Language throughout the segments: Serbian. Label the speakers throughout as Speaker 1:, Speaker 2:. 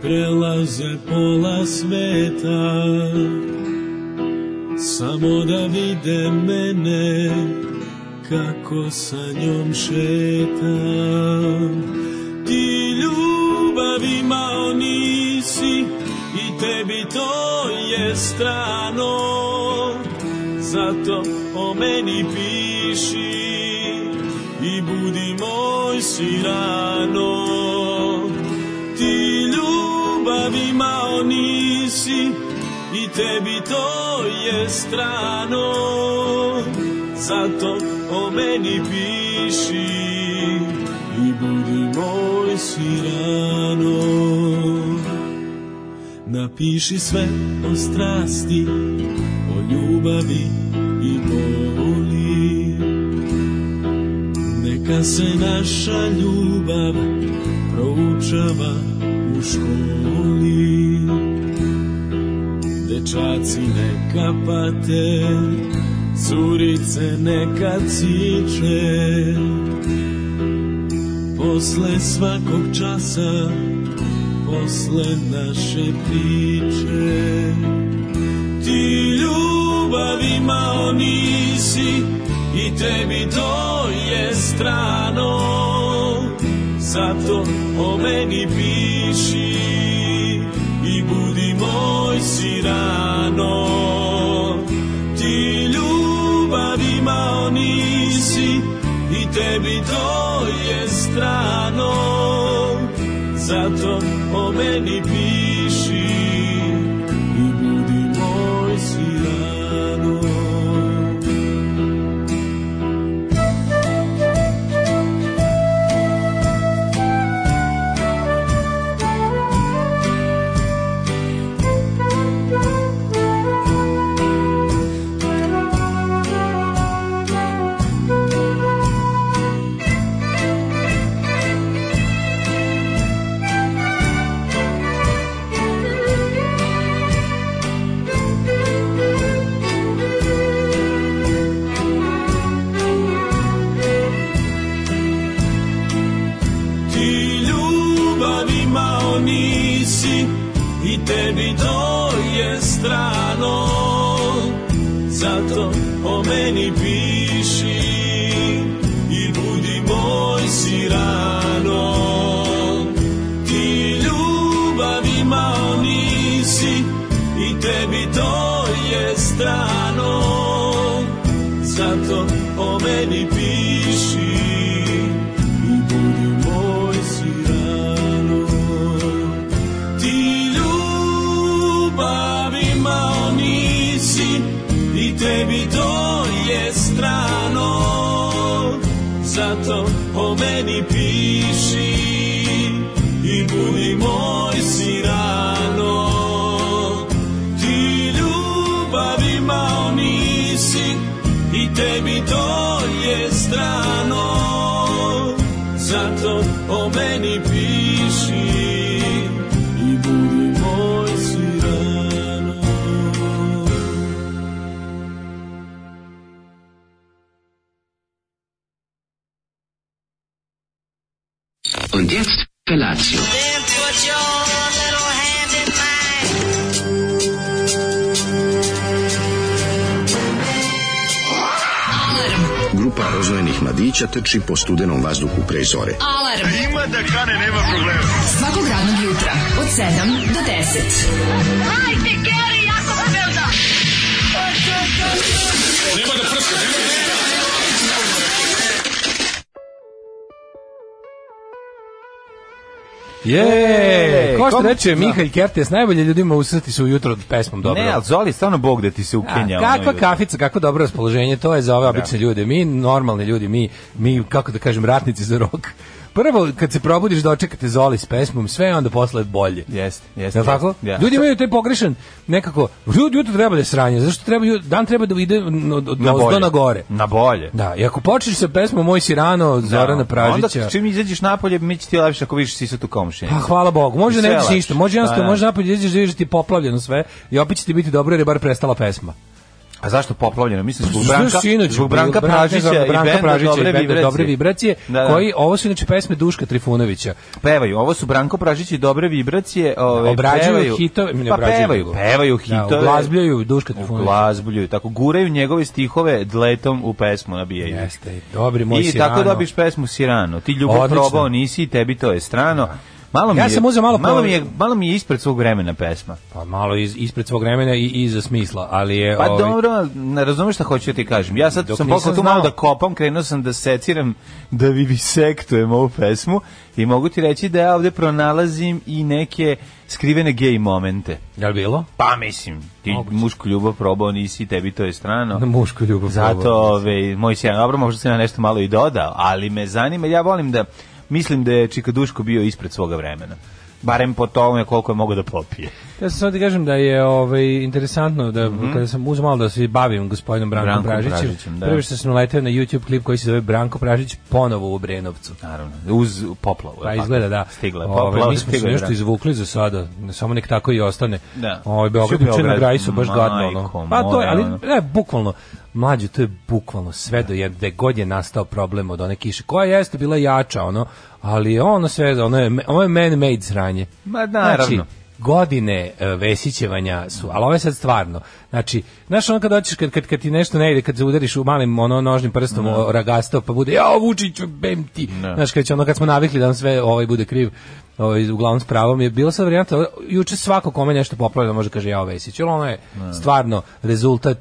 Speaker 1: prelaze pola sveta Samo da vide mene kako sa njom šetam Ti ljubav imao nisi i tebi to je strano Zato o meni piši i budi moj si rano Ti ljubav imao nisi i tebi to je strano Zato o meni piši i budi moj si rano Napiši sve o strasti, o ljubavi i boli neka se naša ljubav proučava u školi Dečaci neka pate, curice neka ciče Posle svakog časa, posle naše priče Ti ljubav imao nisi, i tebi to je strano Zato o meni piši i budi moj si rano Ti ljubav imao nisi i tebi to je strano Zato o meni piši i budi moj si rano
Speaker 2: teči po studenom vazduhu pre zore.
Speaker 3: Alarm!
Speaker 4: A ima da kane, nema problema.
Speaker 3: Svakog radnog jutra, od 7 do 10.
Speaker 5: Hajde, Geri, jako se velda!
Speaker 4: Nema da prska, nema da prska.
Speaker 6: Je, ko što reče da. Mihalj Kertes, najbolje ljudima usrati se ujutro od pesmom dobro.
Speaker 7: Ne, ali Zoli stvarno bog da ti se ukenja.
Speaker 6: A, kakva ono kafica, kako dobro raspoloženje, to je za ove obične ljude. Mi normalni ljudi, mi, mi kako da kažem, ratnici za rok. Prvo, kad se probudiš, dočekate Zoli s pesmom, sve onda posle bolje.
Speaker 7: Jeste, jeste. Je
Speaker 6: tako? Ja. Ljudi imaju taj pogrešan, nekako, ljudi jutro treba da je sranje, zašto treba, dan treba da ide od, od
Speaker 7: na, bolje.
Speaker 6: na gore.
Speaker 7: Na bolje.
Speaker 6: Da, i ako počneš sa pesmom Moj Sirano, Zorana da. Pražića.
Speaker 7: Onda čim izađeš napolje, mi će ti lepše ako vidiš sisa tu komšinu.
Speaker 6: Pa hvala Bogu, može ne vidiš
Speaker 7: Pa
Speaker 6: ništa, može jednostavno, može napolje izađeš da vidiš ti poplavljeno sve i opet će ti biti dobro jer je bar prestala pesma.
Speaker 7: A zašto poplavljeno? Mislim zbog
Speaker 6: Znaš,
Speaker 7: Branka,
Speaker 6: sinoć bilo,
Speaker 7: zbog Branka Pražića
Speaker 6: Branka
Speaker 7: i benda
Speaker 6: Pražića i
Speaker 7: Dobre
Speaker 6: benda
Speaker 7: vibracije.
Speaker 6: Dobre vibracije,
Speaker 7: Da, da.
Speaker 6: koji, ovo su inače pesme Duška Trifunovića.
Speaker 7: pevaju. Ovo su Branko Pražić i dobre vibracije. Ove,
Speaker 6: Obrađuju
Speaker 7: pevaju,
Speaker 6: hitove, ne
Speaker 7: pa
Speaker 6: obrađuju,
Speaker 7: pevaju,
Speaker 6: nego-
Speaker 7: pevaju
Speaker 6: Da,
Speaker 7: hitove.
Speaker 6: uglazbljuju Duška Trifunovića.
Speaker 7: Uglazbljuju, tako guraju njegove stihove dletom u pesmu nabijaju.
Speaker 6: Jeste, dobri moj
Speaker 7: I
Speaker 6: Sirano.
Speaker 7: tako dobiš pesmu Sirano. Ti ljubav
Speaker 6: Odlično.
Speaker 7: probao nisi i tebi to je strano. Malo mi
Speaker 6: Ja
Speaker 7: je,
Speaker 6: sam uzeo malo
Speaker 7: malo
Speaker 6: po-
Speaker 7: mi je malo mi je ispred svog vremena pesma.
Speaker 6: Pa malo iz, ispred svog vremena i iza smisla, ali je...
Speaker 7: Pa
Speaker 6: ovaj,
Speaker 7: dobro, ne razumeš šta hoću ti kažem. Ja sad
Speaker 6: Dok
Speaker 7: sam
Speaker 6: nisam
Speaker 7: pokušao tu malo
Speaker 6: znao.
Speaker 7: da kopam, krenuo sam da seciram, da vi visektujem ovu pesmu i mogu ti reći da ja ovde pronalazim i neke skrivene gej momente.
Speaker 6: Jel bilo?
Speaker 7: Pa mislim, ti mušku ljubav probao nisi, tebi to je strano.
Speaker 6: Na mušku ljubav.
Speaker 7: Zato,
Speaker 6: probao.
Speaker 7: ove, moj sjajan, dobro, možda sam ja nešto malo i dodao, ali me zanima, ja volim da, mislim da je Čika Duško bio ispred svoga vremena. Barem po tome koliko je mogo da popije.
Speaker 6: Ja sam sad da kažem da je ovaj interesantno da kada sam uzeo malo da se bavim gospodinom Brankom,
Speaker 7: Mhm. Brankom
Speaker 6: Pražićem,
Speaker 7: Pražićem, da.
Speaker 6: prvo što sam leteo na YouTube klip koji se zove Branko Pražić ponovo u Brenovcu.
Speaker 7: Naravno, uz poplavu. je
Speaker 6: Pa
Speaker 7: tako?
Speaker 6: izgleda da.
Speaker 7: Stigla je
Speaker 6: Ovaj,
Speaker 7: poplava,
Speaker 6: mi smo se
Speaker 7: stigla je
Speaker 6: nešto
Speaker 7: vrana.
Speaker 6: izvukli za sada, ne samo nek tako i ostane.
Speaker 7: Da.
Speaker 6: Ovaj Beograd
Speaker 7: Svi
Speaker 6: juče na
Speaker 7: Beograd,
Speaker 6: graju su baš gadno
Speaker 7: majko
Speaker 6: ono. Pa to je,
Speaker 7: moja,
Speaker 6: ali
Speaker 7: ono.
Speaker 6: ne, bukvalno mlađe to je bukvalno sve do jedne gde god je nastao problem od one kiše koja jeste bila jača ono, ali je ono sve ono je ono je man made sranje.
Speaker 7: Ma, naravno.
Speaker 6: Znači, godine e, vesićevanja su, ali ovo je sad stvarno. Znači, znaš ono kad hoćeš, kad, kad, kad ti nešto ne ide, kad se udariš u malim ono, nožnim prstom o ragasto, pa bude, ja Vučiću, bem ti. Znaš, kad, će ono, kad smo navikli da nam sve ovaj bude kriv, ovaj, uglavnom s pravom, je bilo sad varijanta, ovo, juče svako kome nešto popravlja može kaže ja Vesić, ali ono je stvarno rezultat,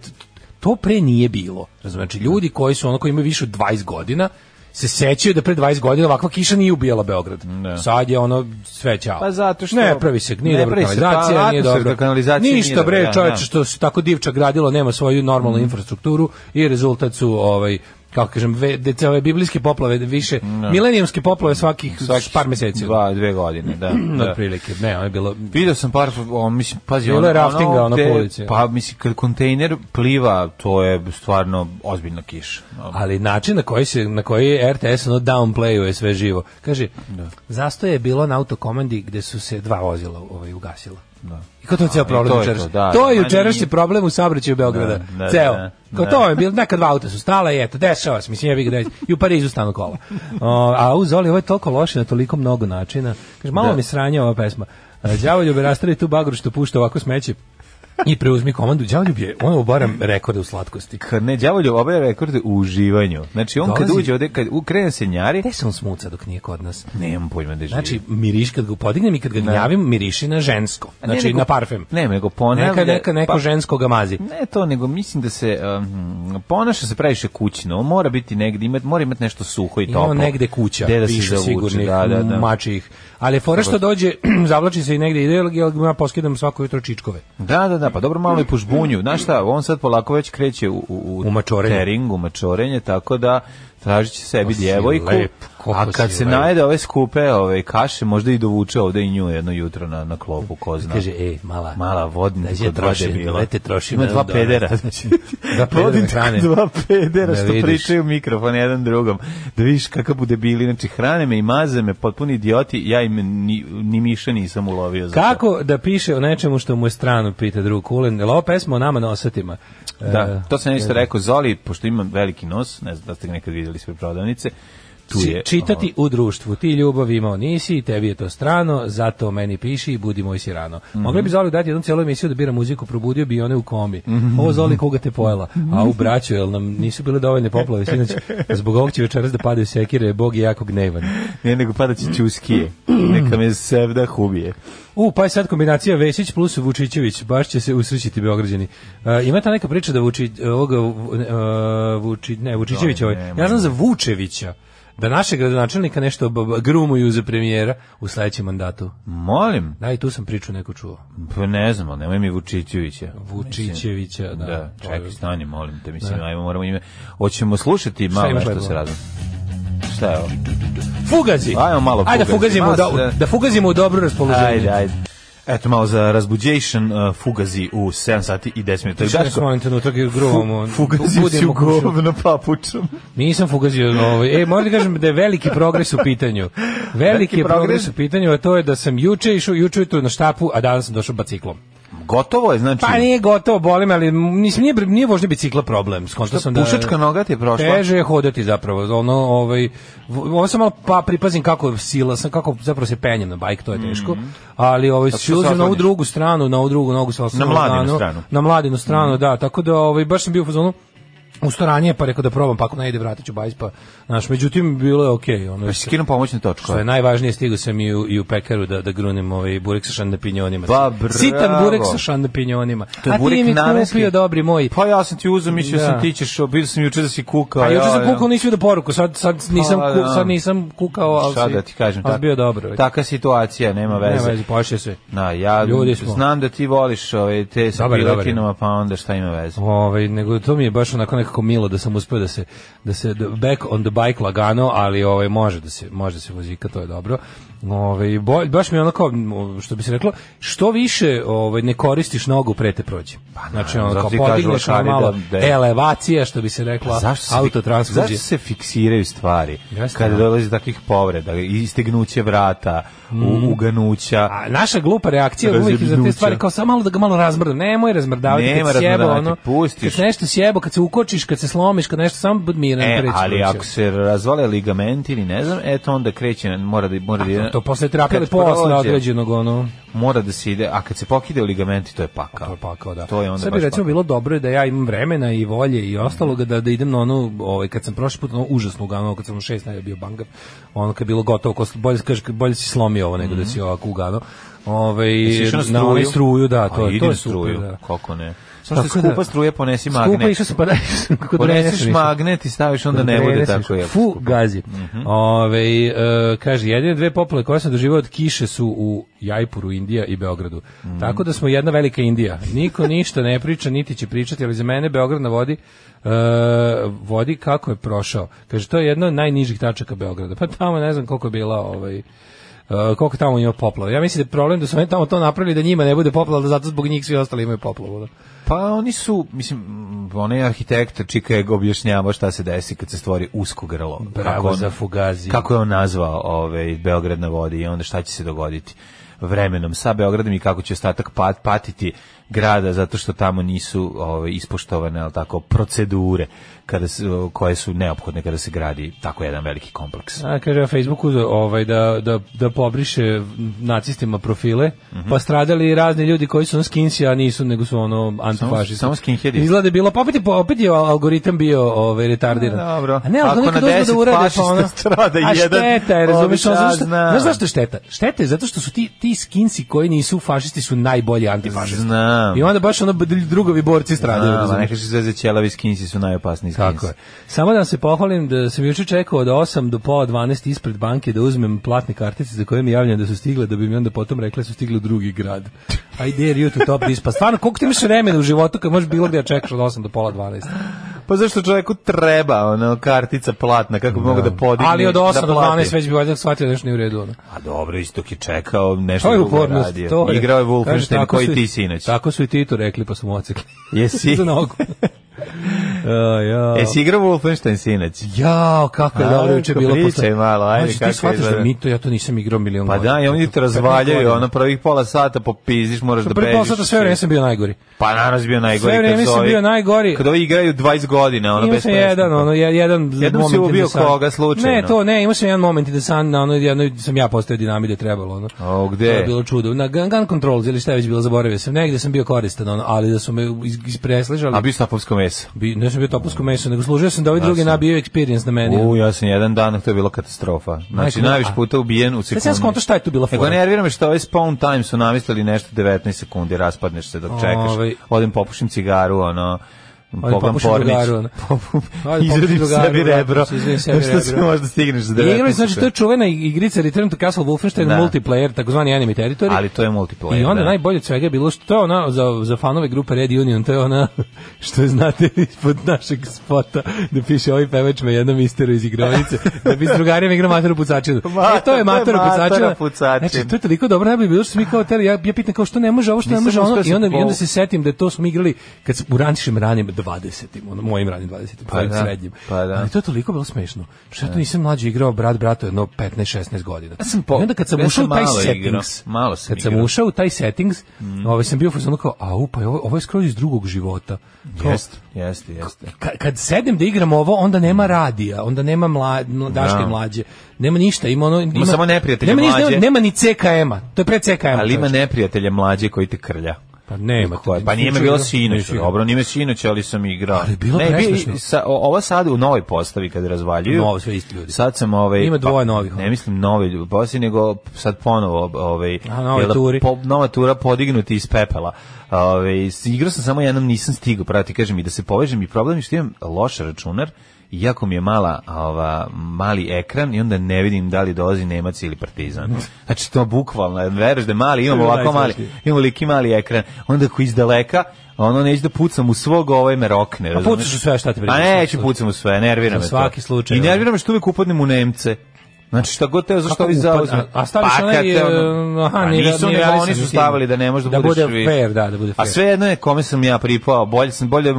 Speaker 6: to pre nije bilo. Razumem, znači, ljudi koji su ono koji imaju više od 20 godina, se sećaju da pre 20 godina ovakva kiša nije ubijala Beograd. Sad je ono sve ćao.
Speaker 7: Pa zato što-
Speaker 6: ne pravi se, nije
Speaker 7: ne
Speaker 6: dobra
Speaker 7: pravi se, pa
Speaker 6: kanalizacija, nije
Speaker 7: atmosferna
Speaker 6: dobro.
Speaker 7: kanalizacija nije
Speaker 6: Ništa
Speaker 7: dobra,
Speaker 6: bre,
Speaker 7: da,
Speaker 6: čoveče
Speaker 7: da. Mm.
Speaker 6: što se tako divča gradilo, nema svoju normalnu infrastrukturu i rezultat su ovaj kako kažem, ve, dece, ove biblijske poplave više, milenijumske poplave svakih,
Speaker 7: Svakih
Speaker 6: Znači, par meseci.
Speaker 7: Dva, dve godine, da.
Speaker 6: Na
Speaker 7: da.
Speaker 6: prilike, ne, ono je bilo...
Speaker 7: Video sam par, o, mislim, pazi,
Speaker 6: Bilo je raftinga, ono,
Speaker 7: gde-
Speaker 6: po ulici.
Speaker 7: Pa, mislim, kad kontejner pliva, to je stvarno ozbiljna kiša.
Speaker 6: Ali način na koji se na koji RTS ono downplayuje sve živo. Kaže, zastoje je bilo na autokomandi gde su se dva vozila ovaj ugasila. Da. I kao to je ceo
Speaker 7: i
Speaker 6: problem
Speaker 7: to je
Speaker 6: jučeras.
Speaker 7: to, da,
Speaker 6: To je
Speaker 7: da,
Speaker 6: jučerašnji
Speaker 7: nije-
Speaker 6: problem u saobraćaju Beograda.
Speaker 7: Da, da,
Speaker 6: ceo.
Speaker 7: da,
Speaker 6: Kao
Speaker 7: da.
Speaker 6: to je bilo, neka dva auta su stala i eto, dešava se, mislim, ja bih da je- i u Parizu stanu kola. O, a uz Oli, ovo je toliko loše na toliko mnogo načina. Kaže, malo mi sranje ova pesma. E, Đavoljub je rastari tu bagru što pušta ovako smeće i preuzmi komandu. Đavoljub je, ono barem rekorde u slatkosti.
Speaker 7: Kad ne, đavolju obavlja rekorde u uživanju. Znači, on kad
Speaker 6: Dolazi-
Speaker 7: uđe ovde, kad u- krene se njari,
Speaker 6: Gde se on smuca dok nije kod nas?
Speaker 7: nemam pojma gde živi.
Speaker 6: Znači, miriš kad ga podignem i kad ga gnjavim, miriši na žensko.
Speaker 7: A ne,
Speaker 6: Znači,
Speaker 7: nego-
Speaker 6: na parfem.
Speaker 7: Ne, nego ponavlja.
Speaker 6: Neka, neka, neko
Speaker 7: pa-
Speaker 6: žensko ga mazi.
Speaker 7: Ne to, nego mislim da se um, ponaša se previše kućno. On mora biti negde, imat, mora imati nešto suho i toplo.
Speaker 6: Ima negde kuća,
Speaker 7: Gde da se
Speaker 6: više
Speaker 7: zavuče,
Speaker 6: sigurnih,
Speaker 7: da, da, da.
Speaker 6: mačih. Ali je fora što dođe, zavlači se i negde ide, ali ja ga poskidam svako jutro čičkove.
Speaker 7: Da, da, da, pa dobro malo i pužbunju. Znaš šta, on sad polako već kreće u, u,
Speaker 6: U mačorenje. Pa
Speaker 7: tering, u mačorenje, tako da tražit će sebi
Speaker 6: si
Speaker 7: djevojku.
Speaker 6: lep, koliko
Speaker 7: a kad
Speaker 6: si
Speaker 7: se
Speaker 6: lep.
Speaker 7: najede ove skupe ove kaše, možda i dovuče ovde i nju jedno jutro na, na klopu, ko zna.
Speaker 6: Kaže, e, mala,
Speaker 7: Mala vodna,
Speaker 6: Daj se
Speaker 7: kod
Speaker 6: trošim,
Speaker 7: vode bila.
Speaker 6: daj te trošim,
Speaker 7: Ima
Speaker 6: evo
Speaker 7: dva
Speaker 6: dobro.
Speaker 7: pedera.
Speaker 6: Dva pedera
Speaker 7: Vodite
Speaker 6: na hrane.
Speaker 7: kod Dva pedera
Speaker 6: Da
Speaker 7: što
Speaker 6: vidiš.
Speaker 7: pričaju u mikrofon jedan drugom. Da vidiš kakav bude bili. Znači, hrane me i maze me, potpuni idioti, ja im ni, ni miša nisam ulovio. za to.
Speaker 6: Kako da piše o nečemu što mu je strano, pita drug Kulen. Jel ovo pesma o nama nosatima?
Speaker 7: Da,
Speaker 6: E,
Speaker 7: to sam isto rekao Zoli, pošto imam veliki nos, ne znam da ste ga nekad vidjeli sve prodavnice, tu
Speaker 6: Ci-
Speaker 7: je...
Speaker 6: čitati u društvu. Ti ljubav imao nisi, tebi je to strano, zato meni piši i budi moj sirano.
Speaker 7: Mhm.
Speaker 6: Mogli bi Zoli dati jednu celu emisiju da bira muziku, probudio bi i one u kombi.
Speaker 7: Mhm.
Speaker 6: Ovo Zoli koga te pojela. A u braću, jel nam nisu bile dovoljne poplave, sinoć, zbog ovog će večeras da padaju sekire, Bog je jako gnevan.
Speaker 7: ono, Ne, nego pada će čuskije. Neka me sevda hubije.
Speaker 6: U, pa je sad kombinacija Vesić plus Vučićević, baš će se usrećiti Beograđani. E, ima ta neka priča da Vuči, ovoga, Vu- e, Vuči, ne, Vučićević,
Speaker 7: Oj,
Speaker 6: ovaj,
Speaker 7: nemoj.
Speaker 6: ja znam za Vučevića, da našeg gradonačelnika nešto b- b- grumuju za premijera u sledećem mandatu.
Speaker 7: Molim,
Speaker 6: Da, i tu sam priču neko čuo.
Speaker 7: pa ne znam, ali nemoj mi Vučićevića.
Speaker 6: Vučićevića, da.
Speaker 7: Mislim, Da,
Speaker 6: To je-
Speaker 7: čekaj, stani, molim te, mislim, ajmo, moramo ime. Hoćemo slušati malo
Speaker 6: imaš
Speaker 7: što
Speaker 6: lepo?
Speaker 7: se razum. Šta je ovo?
Speaker 6: Fugazi!
Speaker 7: Ajmo malo
Speaker 6: Ajde da
Speaker 7: fugazi,
Speaker 6: fugazimo,
Speaker 7: malo
Speaker 6: da,
Speaker 7: se-
Speaker 6: da fugazimo u dobro raspoloženje.
Speaker 7: Ajde, ajde. Eto malo za razbuđation uh, fugazi u 7 sati i 10 minuta.
Speaker 6: Šta nas
Speaker 7: Daško,
Speaker 6: molim trenutak i gruvamo?
Speaker 7: fu- Fugazi si
Speaker 6: Budimo
Speaker 7: u
Speaker 6: kuću.
Speaker 7: govno papučom.
Speaker 6: Nisam fugazio ovaj. E, moram da kažem da je veliki progres u pitanju. Veliki,
Speaker 7: Veliki
Speaker 6: je progres
Speaker 7: progres?
Speaker 6: u pitanju, a to je da sam juče išao, juče je to na štapu, a danas sam došao biciklom.
Speaker 7: Gotovo je, znači...
Speaker 6: Pa nije gotovo, bolim, ali mislim, nije, nije vožnja bicikla problem. Skonto sam da...
Speaker 7: Pušačka noga ti je prošla?
Speaker 6: Teže je hodati zapravo. Ono, ovaj, v- ovo sam malo pa pripazim kako sila sam, kako zapravo se penjem na bajk, to je teško. Ali ovaj,
Speaker 7: Mhm. Tako
Speaker 6: se
Speaker 7: što se
Speaker 6: uzem na ovu
Speaker 7: osloniš?
Speaker 6: drugu stranu, na ovu drugu nogu se osnovno.
Speaker 7: mladinu stranu. Mhm.
Speaker 6: Na mladinu stranu, da. Tako da ovaj, baš sam bio u fazonu usto ranije, pa rekao da probam, pa ako ne ide, vratit ću bajs, pa, znaš, međutim, bilo je okej. ono,
Speaker 7: Pa si skinu pomoćnu točku.
Speaker 6: što je najvažnije, stigao sam i u, i u pekaru da, da grunem ovaj burek sa šandapinjonima.
Speaker 7: Pa, bravo.
Speaker 6: Sitan burek sa šandapinjonima.
Speaker 7: To je
Speaker 6: A
Speaker 7: burek
Speaker 6: ti mi
Speaker 7: namenski.
Speaker 6: kupio, dobri moj.
Speaker 7: Pa ja sam ti uzeo, mislio
Speaker 6: Da.
Speaker 7: sam ti ćeš, bilo sam juče da si kukao.
Speaker 6: Pa juče sam
Speaker 7: ja, ja.
Speaker 6: kukao, nisi vidio poruku, sad, sad, nisam,
Speaker 7: Pa,
Speaker 6: ku,
Speaker 7: da.
Speaker 6: sad nisam kukao, ali
Speaker 7: Šta
Speaker 6: si-
Speaker 7: da ti kažem?
Speaker 6: ali
Speaker 7: tak-
Speaker 6: bio dobro. već.
Speaker 7: Taka situacija, nema
Speaker 6: Nema
Speaker 7: veze.
Speaker 6: veze, pošlje se.
Speaker 7: Na, ja
Speaker 6: Ljudi smo.
Speaker 7: znam da ti voliš ove, te sa
Speaker 6: Dobar je, dobar je.
Speaker 7: piletinama, pa onda šta ima veze.
Speaker 6: Ovaj nego to mi je baš onako nekako milo da sam uspeo da se da se da- back on the bike lagano, ali ovaj može da se može da se muzika, to je dobro. Ovaj bo- baš mi je onako m, što bi se reklo, što više ovaj ne koristiš nogu pre te prođe. Pa znači
Speaker 7: naravno,
Speaker 6: ono kao
Speaker 7: zato i kažu
Speaker 6: podigneš na
Speaker 7: lekari
Speaker 6: malo
Speaker 7: da- da je-
Speaker 6: elevacija što bi se rekla,
Speaker 7: zašto
Speaker 6: autotransfuzija.
Speaker 7: se fiksiraju stvari
Speaker 6: Jeste,
Speaker 7: kada
Speaker 6: da.
Speaker 7: dolazi do takih povreda, istegnuće vrata, u- uganuća,
Speaker 6: Mm. A Pa, naša glupa reakcija uvijek je za te
Speaker 7: Razjebnuća.
Speaker 6: stvari kao samo malo da ga malo razmrdam. Nemoj razmrdavati
Speaker 7: Nema
Speaker 6: kad sjebo
Speaker 7: razmrdavati,
Speaker 6: ono.
Speaker 7: pustiš.
Speaker 6: Kad nešto sjebo, kad se ukočiš, kad se slomiš, kad nešto samo bud miran
Speaker 7: E,
Speaker 6: preći
Speaker 7: ali
Speaker 6: kuću.
Speaker 7: ako se razvale ligamenti ili ne znam, eto onda kreće, mora da, mora da,
Speaker 6: to posle terapije ali
Speaker 7: kad
Speaker 6: posle
Speaker 7: prođe,
Speaker 6: određenog ono
Speaker 7: Mora da se ide, a kad se pokide u ligamenti, to je pakao.
Speaker 6: to je pakao da.
Speaker 7: To je onda
Speaker 6: Sad bi
Speaker 7: baš
Speaker 6: recimo
Speaker 7: pakao.
Speaker 6: bilo dobro da ja imam vremena i volje i ostaloga da da idem na ono ovaj kad sam prošli put na ono užasno ugano kad sam u 6 najbolje bio bangav. Ono kad je bilo gotovo ko bolje kaže bolje si slomio ovo nego da si ovako ugano. Ovaj
Speaker 7: Mhm. Jesi išao
Speaker 6: na onaj struju da to
Speaker 7: a,
Speaker 6: je
Speaker 7: idem
Speaker 6: to je
Speaker 7: na
Speaker 6: struju.
Speaker 7: struju,
Speaker 6: Da.
Speaker 7: Kako ne? Samo što je
Speaker 6: Tako da-
Speaker 7: skupa struje ponesi
Speaker 6: Skupa
Speaker 7: magnet.
Speaker 6: išao sam pa da išao sam kako
Speaker 7: Poneseš
Speaker 6: drenaš
Speaker 7: magnet i staviš, onda ne bude tako Mhm. je.
Speaker 6: Fu, gazi. Ovaj, e, kaže, jedine dve poplave koje sam doživao od kiše su u Jajpuru, Indija i Beogradu.
Speaker 7: Mhm.
Speaker 6: Tako da smo jedna velika Indija. Niko ništa ne priča, niti će pričati, ali za mene Beograd na vodi, e, vodi kako je prošao. Kaže, to je jedna od najnižih tačaka Beograda. Pa tamo ne znam koliko je bila ovaj, e, koliko tamo ima poplava. Ja mislim da je problem da su oni tamo to napravili da njima ne bude poplava, da zato zbog njih svi ostali imaju poplavu. ono. da.
Speaker 7: Pa oni su, mislim, onaj arhitektor čika je objašnjavao šta se desi kad se stvori usko grlo.
Speaker 6: Bravo
Speaker 7: Kako on-
Speaker 6: za Fugazi.
Speaker 7: Kako je on nazvao ovaj, Beograd na vodi i onda šta će se dogoditi vremenom sa Beogradom i kako će ostatak pat, patiti grada zato što tamo nisu ovaj, ispoštovane ali tako, procedure kada se, koje su neophodne kada se gradi tako jedan veliki kompleks.
Speaker 6: A, kaže na Facebooku da, ovaj, da, da, da pobriše nacistima profile,
Speaker 7: Mhm.
Speaker 6: pa stradali razni ljudi koji su ono skinsi, a nisu, nego su ono antifašisti.
Speaker 7: samo skinheadi.
Speaker 6: Izgleda da je bilo, pa opet je, po- opet je algoritam bio ovaj, retardiran.
Speaker 7: A, E, dobro.
Speaker 6: A ne, ali
Speaker 7: Ako
Speaker 6: nekad
Speaker 7: na
Speaker 6: uzme da
Speaker 7: deset
Speaker 6: urade, pa
Speaker 7: fašista
Speaker 6: ono...
Speaker 7: strada
Speaker 6: a
Speaker 7: jedan,
Speaker 6: šteta je, razumiješ, ono,
Speaker 7: ovi
Speaker 6: znaš,
Speaker 7: šta
Speaker 6: šta-
Speaker 7: zna.
Speaker 6: znaš zašto je šteta? Šteta je zato što su ti, ti skinsi koji nisu fašisti su najbolji antifašisti.
Speaker 7: Znam.
Speaker 6: I onda baš ono b- drugovi borci stradaju.
Speaker 7: Da, ma
Speaker 6: razumeš?
Speaker 7: neka se zvezde ćelavi skinsi su najopasniji skinsi.
Speaker 6: Tako je. Samo da vam se pohvalim da sam juče čekao od 8 do pola 12 ispred banke da uzmem platne kartice za koje mi javljam da su stigle, da bi mi onda potom rekla da su stigle u drugi grad. I dare you to top this. Pa stvarno, koliko ti imaš vremena u životu kad možeš bilo gdje da čekaš od 8 do pola 12?
Speaker 7: Pa zašto čovjeku treba ono kartica platna kako bi mogu da podigne?
Speaker 6: Ali od 8
Speaker 7: Pa da
Speaker 6: do
Speaker 7: plati?
Speaker 6: 12 već bi valjda shvatio da nešto nije u redu. Ono.
Speaker 7: A dobro, isto dok je čekao, nešto
Speaker 6: To je
Speaker 7: drugo je
Speaker 6: upornost.
Speaker 7: radio.
Speaker 6: To je.
Speaker 7: Igrao je
Speaker 6: Kaže,
Speaker 7: Wolfenstein
Speaker 6: tako
Speaker 7: koji
Speaker 6: su i-
Speaker 7: ti sinoć.
Speaker 6: Tako su i Tito rekli pa su mu ocekli.
Speaker 7: Jesi?
Speaker 6: Za nogu. A, ja.
Speaker 7: Jesi igrao Wolfenstein sinoć?
Speaker 6: Jao, kako je
Speaker 7: A,
Speaker 6: dobro juče bilo
Speaker 7: pričaj malo, ajde,
Speaker 6: Znači,
Speaker 7: kako je
Speaker 6: ti shvataš da
Speaker 7: izgleda.
Speaker 6: mi to, ja to nisam igrao milion
Speaker 7: Pa da, i oni te razvaljaju, ono prvih pola sata popiziš, moraš da
Speaker 6: Prvi
Speaker 7: bežiš.
Speaker 6: posao da sve vreme sam bio najgori.
Speaker 7: Pa naravno si bio
Speaker 6: Sve
Speaker 7: najgori. kad
Speaker 6: vreme
Speaker 7: su
Speaker 6: sam
Speaker 7: ovi-
Speaker 6: bio najgori.
Speaker 7: Kad ovi igraju 20 godina, ono
Speaker 6: Imao
Speaker 7: bez
Speaker 6: sam
Speaker 7: prestanka.
Speaker 6: jedan, ono, je- jedan
Speaker 7: Jednom si
Speaker 6: moment
Speaker 7: ubio
Speaker 6: gde sam-
Speaker 7: koga slučajno?
Speaker 6: Ne, to ne, imao sam jedan moment gde sam, na ono, jedno sam ja postao dinamit je trebalo, ono.
Speaker 7: O, gde?
Speaker 6: To je bilo čudo. Na Gun, gun Controls ili šta je već bilo, zaboravio sam. Negde sam bio koristan, ono, ali da su me iz, ispresližali.
Speaker 7: A bio sapovsko meso.
Speaker 6: Bi, ne sam bio topovsko meso, nego služio sam da ovi drugi
Speaker 7: sam.
Speaker 6: nabio experience na meni. ono.
Speaker 7: U, ja sam jedan dan, to je bila katastrofa. Znači,
Speaker 6: Majko,
Speaker 7: najviše
Speaker 6: a-
Speaker 7: puta ubijen u
Speaker 6: Sad
Speaker 7: sekundi.
Speaker 6: sam ja skonto šta je tu bila
Speaker 7: Nego
Speaker 6: fora.
Speaker 7: nervira me što ovaj spawn time su namislili nešto 19 sekundi, raspadneš se dok čekaš.
Speaker 6: Ovaj.
Speaker 7: Odem popušim cigaru, ono, pogledam
Speaker 6: popušim
Speaker 7: pornić.
Speaker 6: drugaru, ono.
Speaker 7: Popu-
Speaker 6: Ajde,
Speaker 7: Izradim
Speaker 6: popušim drugaru,
Speaker 7: sebi rebro.
Speaker 6: vratim se, izradim sebi
Speaker 7: Što se
Speaker 6: rebro.
Speaker 7: možda stigneš za 19
Speaker 6: Igrali, znači, to je čuvena igrica Return to Castle Wolfenstein
Speaker 7: Da.
Speaker 6: multiplayer, takozvani enemy territory.
Speaker 7: Ali to je multiplayer.
Speaker 6: I onda
Speaker 7: da.
Speaker 6: najbolje od svega je bilo što to je ona za, za fanove grupe Red Union, to je ona što je, znate ispod našeg spota da piše ovaj pevač me jednom istero iz igrovnice, da bi s drugarima igrao Mataru Pucačinu.
Speaker 7: Ma-
Speaker 6: e, to je Mataru
Speaker 7: to je Matara
Speaker 6: Pucačina.
Speaker 7: Pucačin.
Speaker 6: Znači, to je toliko dobro, najbolje bilo što smo mi kao teli, ja, ja pitam kao što ne može ovo, što ne
Speaker 7: Nisam
Speaker 6: može ono,
Speaker 7: uspeo
Speaker 6: i
Speaker 7: sam
Speaker 6: onda, i onda
Speaker 7: pol-
Speaker 6: se setim da to smo igrali kad smo u ranšim ranim, da 20-im, ono, mojim ranim 20-im,
Speaker 7: Pa da,
Speaker 6: srednjim.
Speaker 7: pa da.
Speaker 6: Ali to je toliko bilo smešno. Što ja tu nisam mlađe igrao brat brato jedno 15-16 godina.
Speaker 7: Ja sam po-
Speaker 6: I onda kad sam
Speaker 7: ja
Speaker 6: ušao
Speaker 7: sam
Speaker 6: u taj
Speaker 7: malo igrao,
Speaker 6: settings,
Speaker 7: malo sam
Speaker 6: kad sam
Speaker 7: igrao.
Speaker 6: ušao u taj settings,
Speaker 7: Mhm.
Speaker 6: ovaj sam bio u fazonu kao, au, pa je ovo, ovo je skroz iz drugog života. Kao,
Speaker 7: Jeste, jeste, jeste.
Speaker 6: Ka- kad sedem da igram ovo, onda nema radija, onda nema mla, mla- daške
Speaker 7: Mhm. Da.
Speaker 6: mlađe, nema ništa, ima ono... Ima,
Speaker 7: samo neprijatelje
Speaker 6: nema ništa,
Speaker 7: mlađe.
Speaker 6: Nema, nema ni CKM-a, to je pre CKM-a.
Speaker 7: Ali ima neprijatelje mlađe koji te krlja.
Speaker 6: Pa nema.
Speaker 7: Ko je? Pa nije me bilo sinoć, dobro, nije me sinoć, ali sam igrao.
Speaker 6: Ali je bilo
Speaker 7: ne, bi-
Speaker 6: presmešno.
Speaker 7: sa, o- ovo sad u novoj postavi kad razvaljuju.
Speaker 6: Novo, sve isti ljudi.
Speaker 7: Sad sam ovaj
Speaker 6: Ima dvoje
Speaker 7: pa,
Speaker 6: novih, ono.
Speaker 7: Ne mislim nove ljudi, poslije nego sad ponovo ovaj
Speaker 6: A, nove
Speaker 7: jel da
Speaker 6: turi.
Speaker 7: po- nova tura podignuti iz pepela. Ovaj s- igrao sam samo jednom, nisam stigao, prati kažem i da se povežem i problem je što imam loš računar i jako mi je mala ova mali ekran i onda ne vidim da li dolazi Nemac ili Partizan. Znači to bukvalno, veruješ da je mali, imam
Speaker 6: To je
Speaker 7: ovako mali,
Speaker 6: najstrašnije.
Speaker 7: imam liki mali ekran. Onda ako iz daleka ono neću da pucam u svog, ovaj me rokne.
Speaker 6: A
Speaker 7: razumeš?
Speaker 6: Pa pucaš u sve, šta te briga.
Speaker 7: A neću pucam u sve, nervira
Speaker 6: Za
Speaker 7: me to.
Speaker 6: svaki slučaj,
Speaker 7: I
Speaker 6: ono.
Speaker 7: nervira me što uvijek upadnem u Nemce. Znači šta god teo, zašto
Speaker 6: Kako
Speaker 7: ovi
Speaker 6: upad-
Speaker 7: zauzme.
Speaker 6: Pa
Speaker 7: Pa
Speaker 6: a- a staviš onaj, e, aha, ni-
Speaker 7: ono- nisu,
Speaker 6: ni
Speaker 7: nego
Speaker 6: realisan,
Speaker 7: oni su
Speaker 6: mislim.
Speaker 7: stavili da ne može da,
Speaker 6: Da
Speaker 7: budeš
Speaker 6: bude
Speaker 7: više.
Speaker 6: fair, da, da bude
Speaker 7: A
Speaker 6: fair.
Speaker 7: svejedno je kome sam ja pripao, bolje, sam, bolje,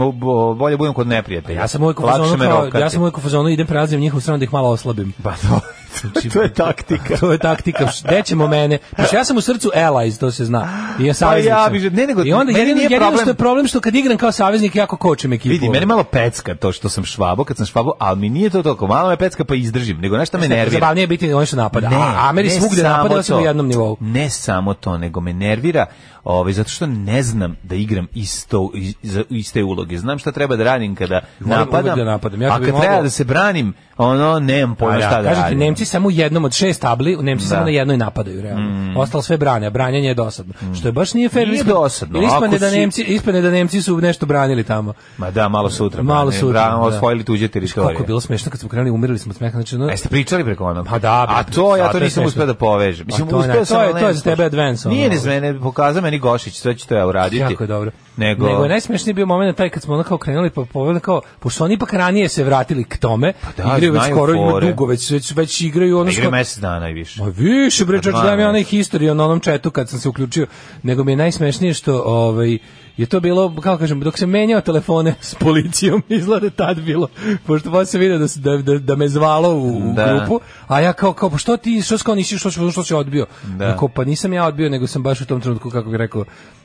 Speaker 7: bolje budem kod neprijatelja.
Speaker 6: Pa Ja sam uvijek u
Speaker 7: Lakše
Speaker 6: fazonu,
Speaker 7: me
Speaker 6: kao,
Speaker 7: rokati.
Speaker 6: ja sam uvijek u fazonu, idem prelazim njihovu stranu da ih malo oslabim.
Speaker 7: Pa to, to je taktika.
Speaker 6: Znači, to je taktika. Gde ćemo mene? Pošto ja sam u srcu allies, to se zna. I ja saveznik
Speaker 7: ja
Speaker 6: sam.
Speaker 7: bi- ne, nego-
Speaker 6: I onda
Speaker 7: meni
Speaker 6: jedino,
Speaker 7: nije
Speaker 6: jedino
Speaker 7: problem-
Speaker 6: što je problem što kad igram kao saveznik, jako kočim ekipu.
Speaker 7: Vidi, mene malo pecka to što sam švabo, kad sam švabo, ali mi nije to toliko, malo me pecka pa izdržim, nego nešto me nervira.
Speaker 6: Zabavnije je biti ono što napada.
Speaker 7: Ne,
Speaker 6: a Ameri
Speaker 7: ne
Speaker 6: svugde
Speaker 7: samo
Speaker 6: napada, osim
Speaker 7: to.
Speaker 6: u jednom nivou.
Speaker 7: Ne samo to, nego me nervira ovaj, zato što ne znam da igram isto, iz- za iste uloge. Znam šta treba da radim kada
Speaker 6: Moram
Speaker 7: napadam,
Speaker 6: uvek da napadam. Ja
Speaker 7: a
Speaker 6: kad bi
Speaker 7: kad treba
Speaker 6: mogao-
Speaker 7: da se branim, ono, nemam pojma
Speaker 6: Pa da,
Speaker 7: šta da
Speaker 6: kažem ti,
Speaker 7: radim.
Speaker 6: Nemci samo u jednom od šest tabli, Nemci
Speaker 7: Da. Mm.
Speaker 6: samo na jednoj napadaju, realno. Ostalo sve brane, a branjanje je dosadno. Što je baš nije fair.
Speaker 7: Nije
Speaker 6: ispadne-
Speaker 7: dosadno,
Speaker 6: jer Ispadne
Speaker 7: ako
Speaker 6: da,
Speaker 7: si-
Speaker 6: Nemci, ispadne da Nemci su nešto branili tamo.
Speaker 7: Ma da, malo sutra.
Speaker 6: Malo
Speaker 7: brane,
Speaker 6: sutra,
Speaker 7: brane,
Speaker 6: da.
Speaker 7: Osvojili tuđe
Speaker 6: Kako
Speaker 7: teritorije.
Speaker 6: je bilo smešno kad smo krenuli, umirali smo od smeha. Znači, ono,
Speaker 7: A jeste pričali preko onog?
Speaker 6: Pa da,
Speaker 7: A
Speaker 6: bre,
Speaker 7: to ja
Speaker 6: zato
Speaker 7: to
Speaker 6: je
Speaker 7: nisam
Speaker 6: smešno.
Speaker 7: uspeo da povežem. Mislim,
Speaker 6: A to ne,
Speaker 7: uspeo sam,
Speaker 6: to je-
Speaker 7: ali ne
Speaker 6: to je za
Speaker 7: uspeo
Speaker 6: tebe
Speaker 7: sam.
Speaker 6: advance, ono.
Speaker 7: Nije ni za mene, pokazao meni Gošić, sve ću to ja uraditi.
Speaker 6: Jako je dobro.
Speaker 7: Nego,
Speaker 6: je najsmešniji bio moment taj kad smo ono kao krenuli pa povedali kao pošto oni ipak ranije se vratili k tome,
Speaker 7: Pa da,
Speaker 6: igraju već
Speaker 7: znaju
Speaker 6: skoro ima
Speaker 7: fore. Pa
Speaker 6: dugo, već već, već igraju ono
Speaker 7: da igra
Speaker 6: što
Speaker 7: mesec dana i više.
Speaker 6: Ma više bre, čoč,
Speaker 7: dva
Speaker 6: daj mi
Speaker 7: meseca.
Speaker 6: onaj historiju na onom četu kad sam se uključio, nego mi je najsmešnije što ovaj, je to bilo, kako kažem, dok sam menjao telefone s policijom, izgleda tad bilo, pošto vas se vidio da, se- da, da, da me zvalo u, u
Speaker 7: Da.
Speaker 6: grupu, a ja kao, kao, pa što ti, što si kao nisi, što, si- što si odbio?
Speaker 7: Da.
Speaker 6: Rekao, pa nisam ja odbio, nego sam baš u tom trenutku, kako bih rekao,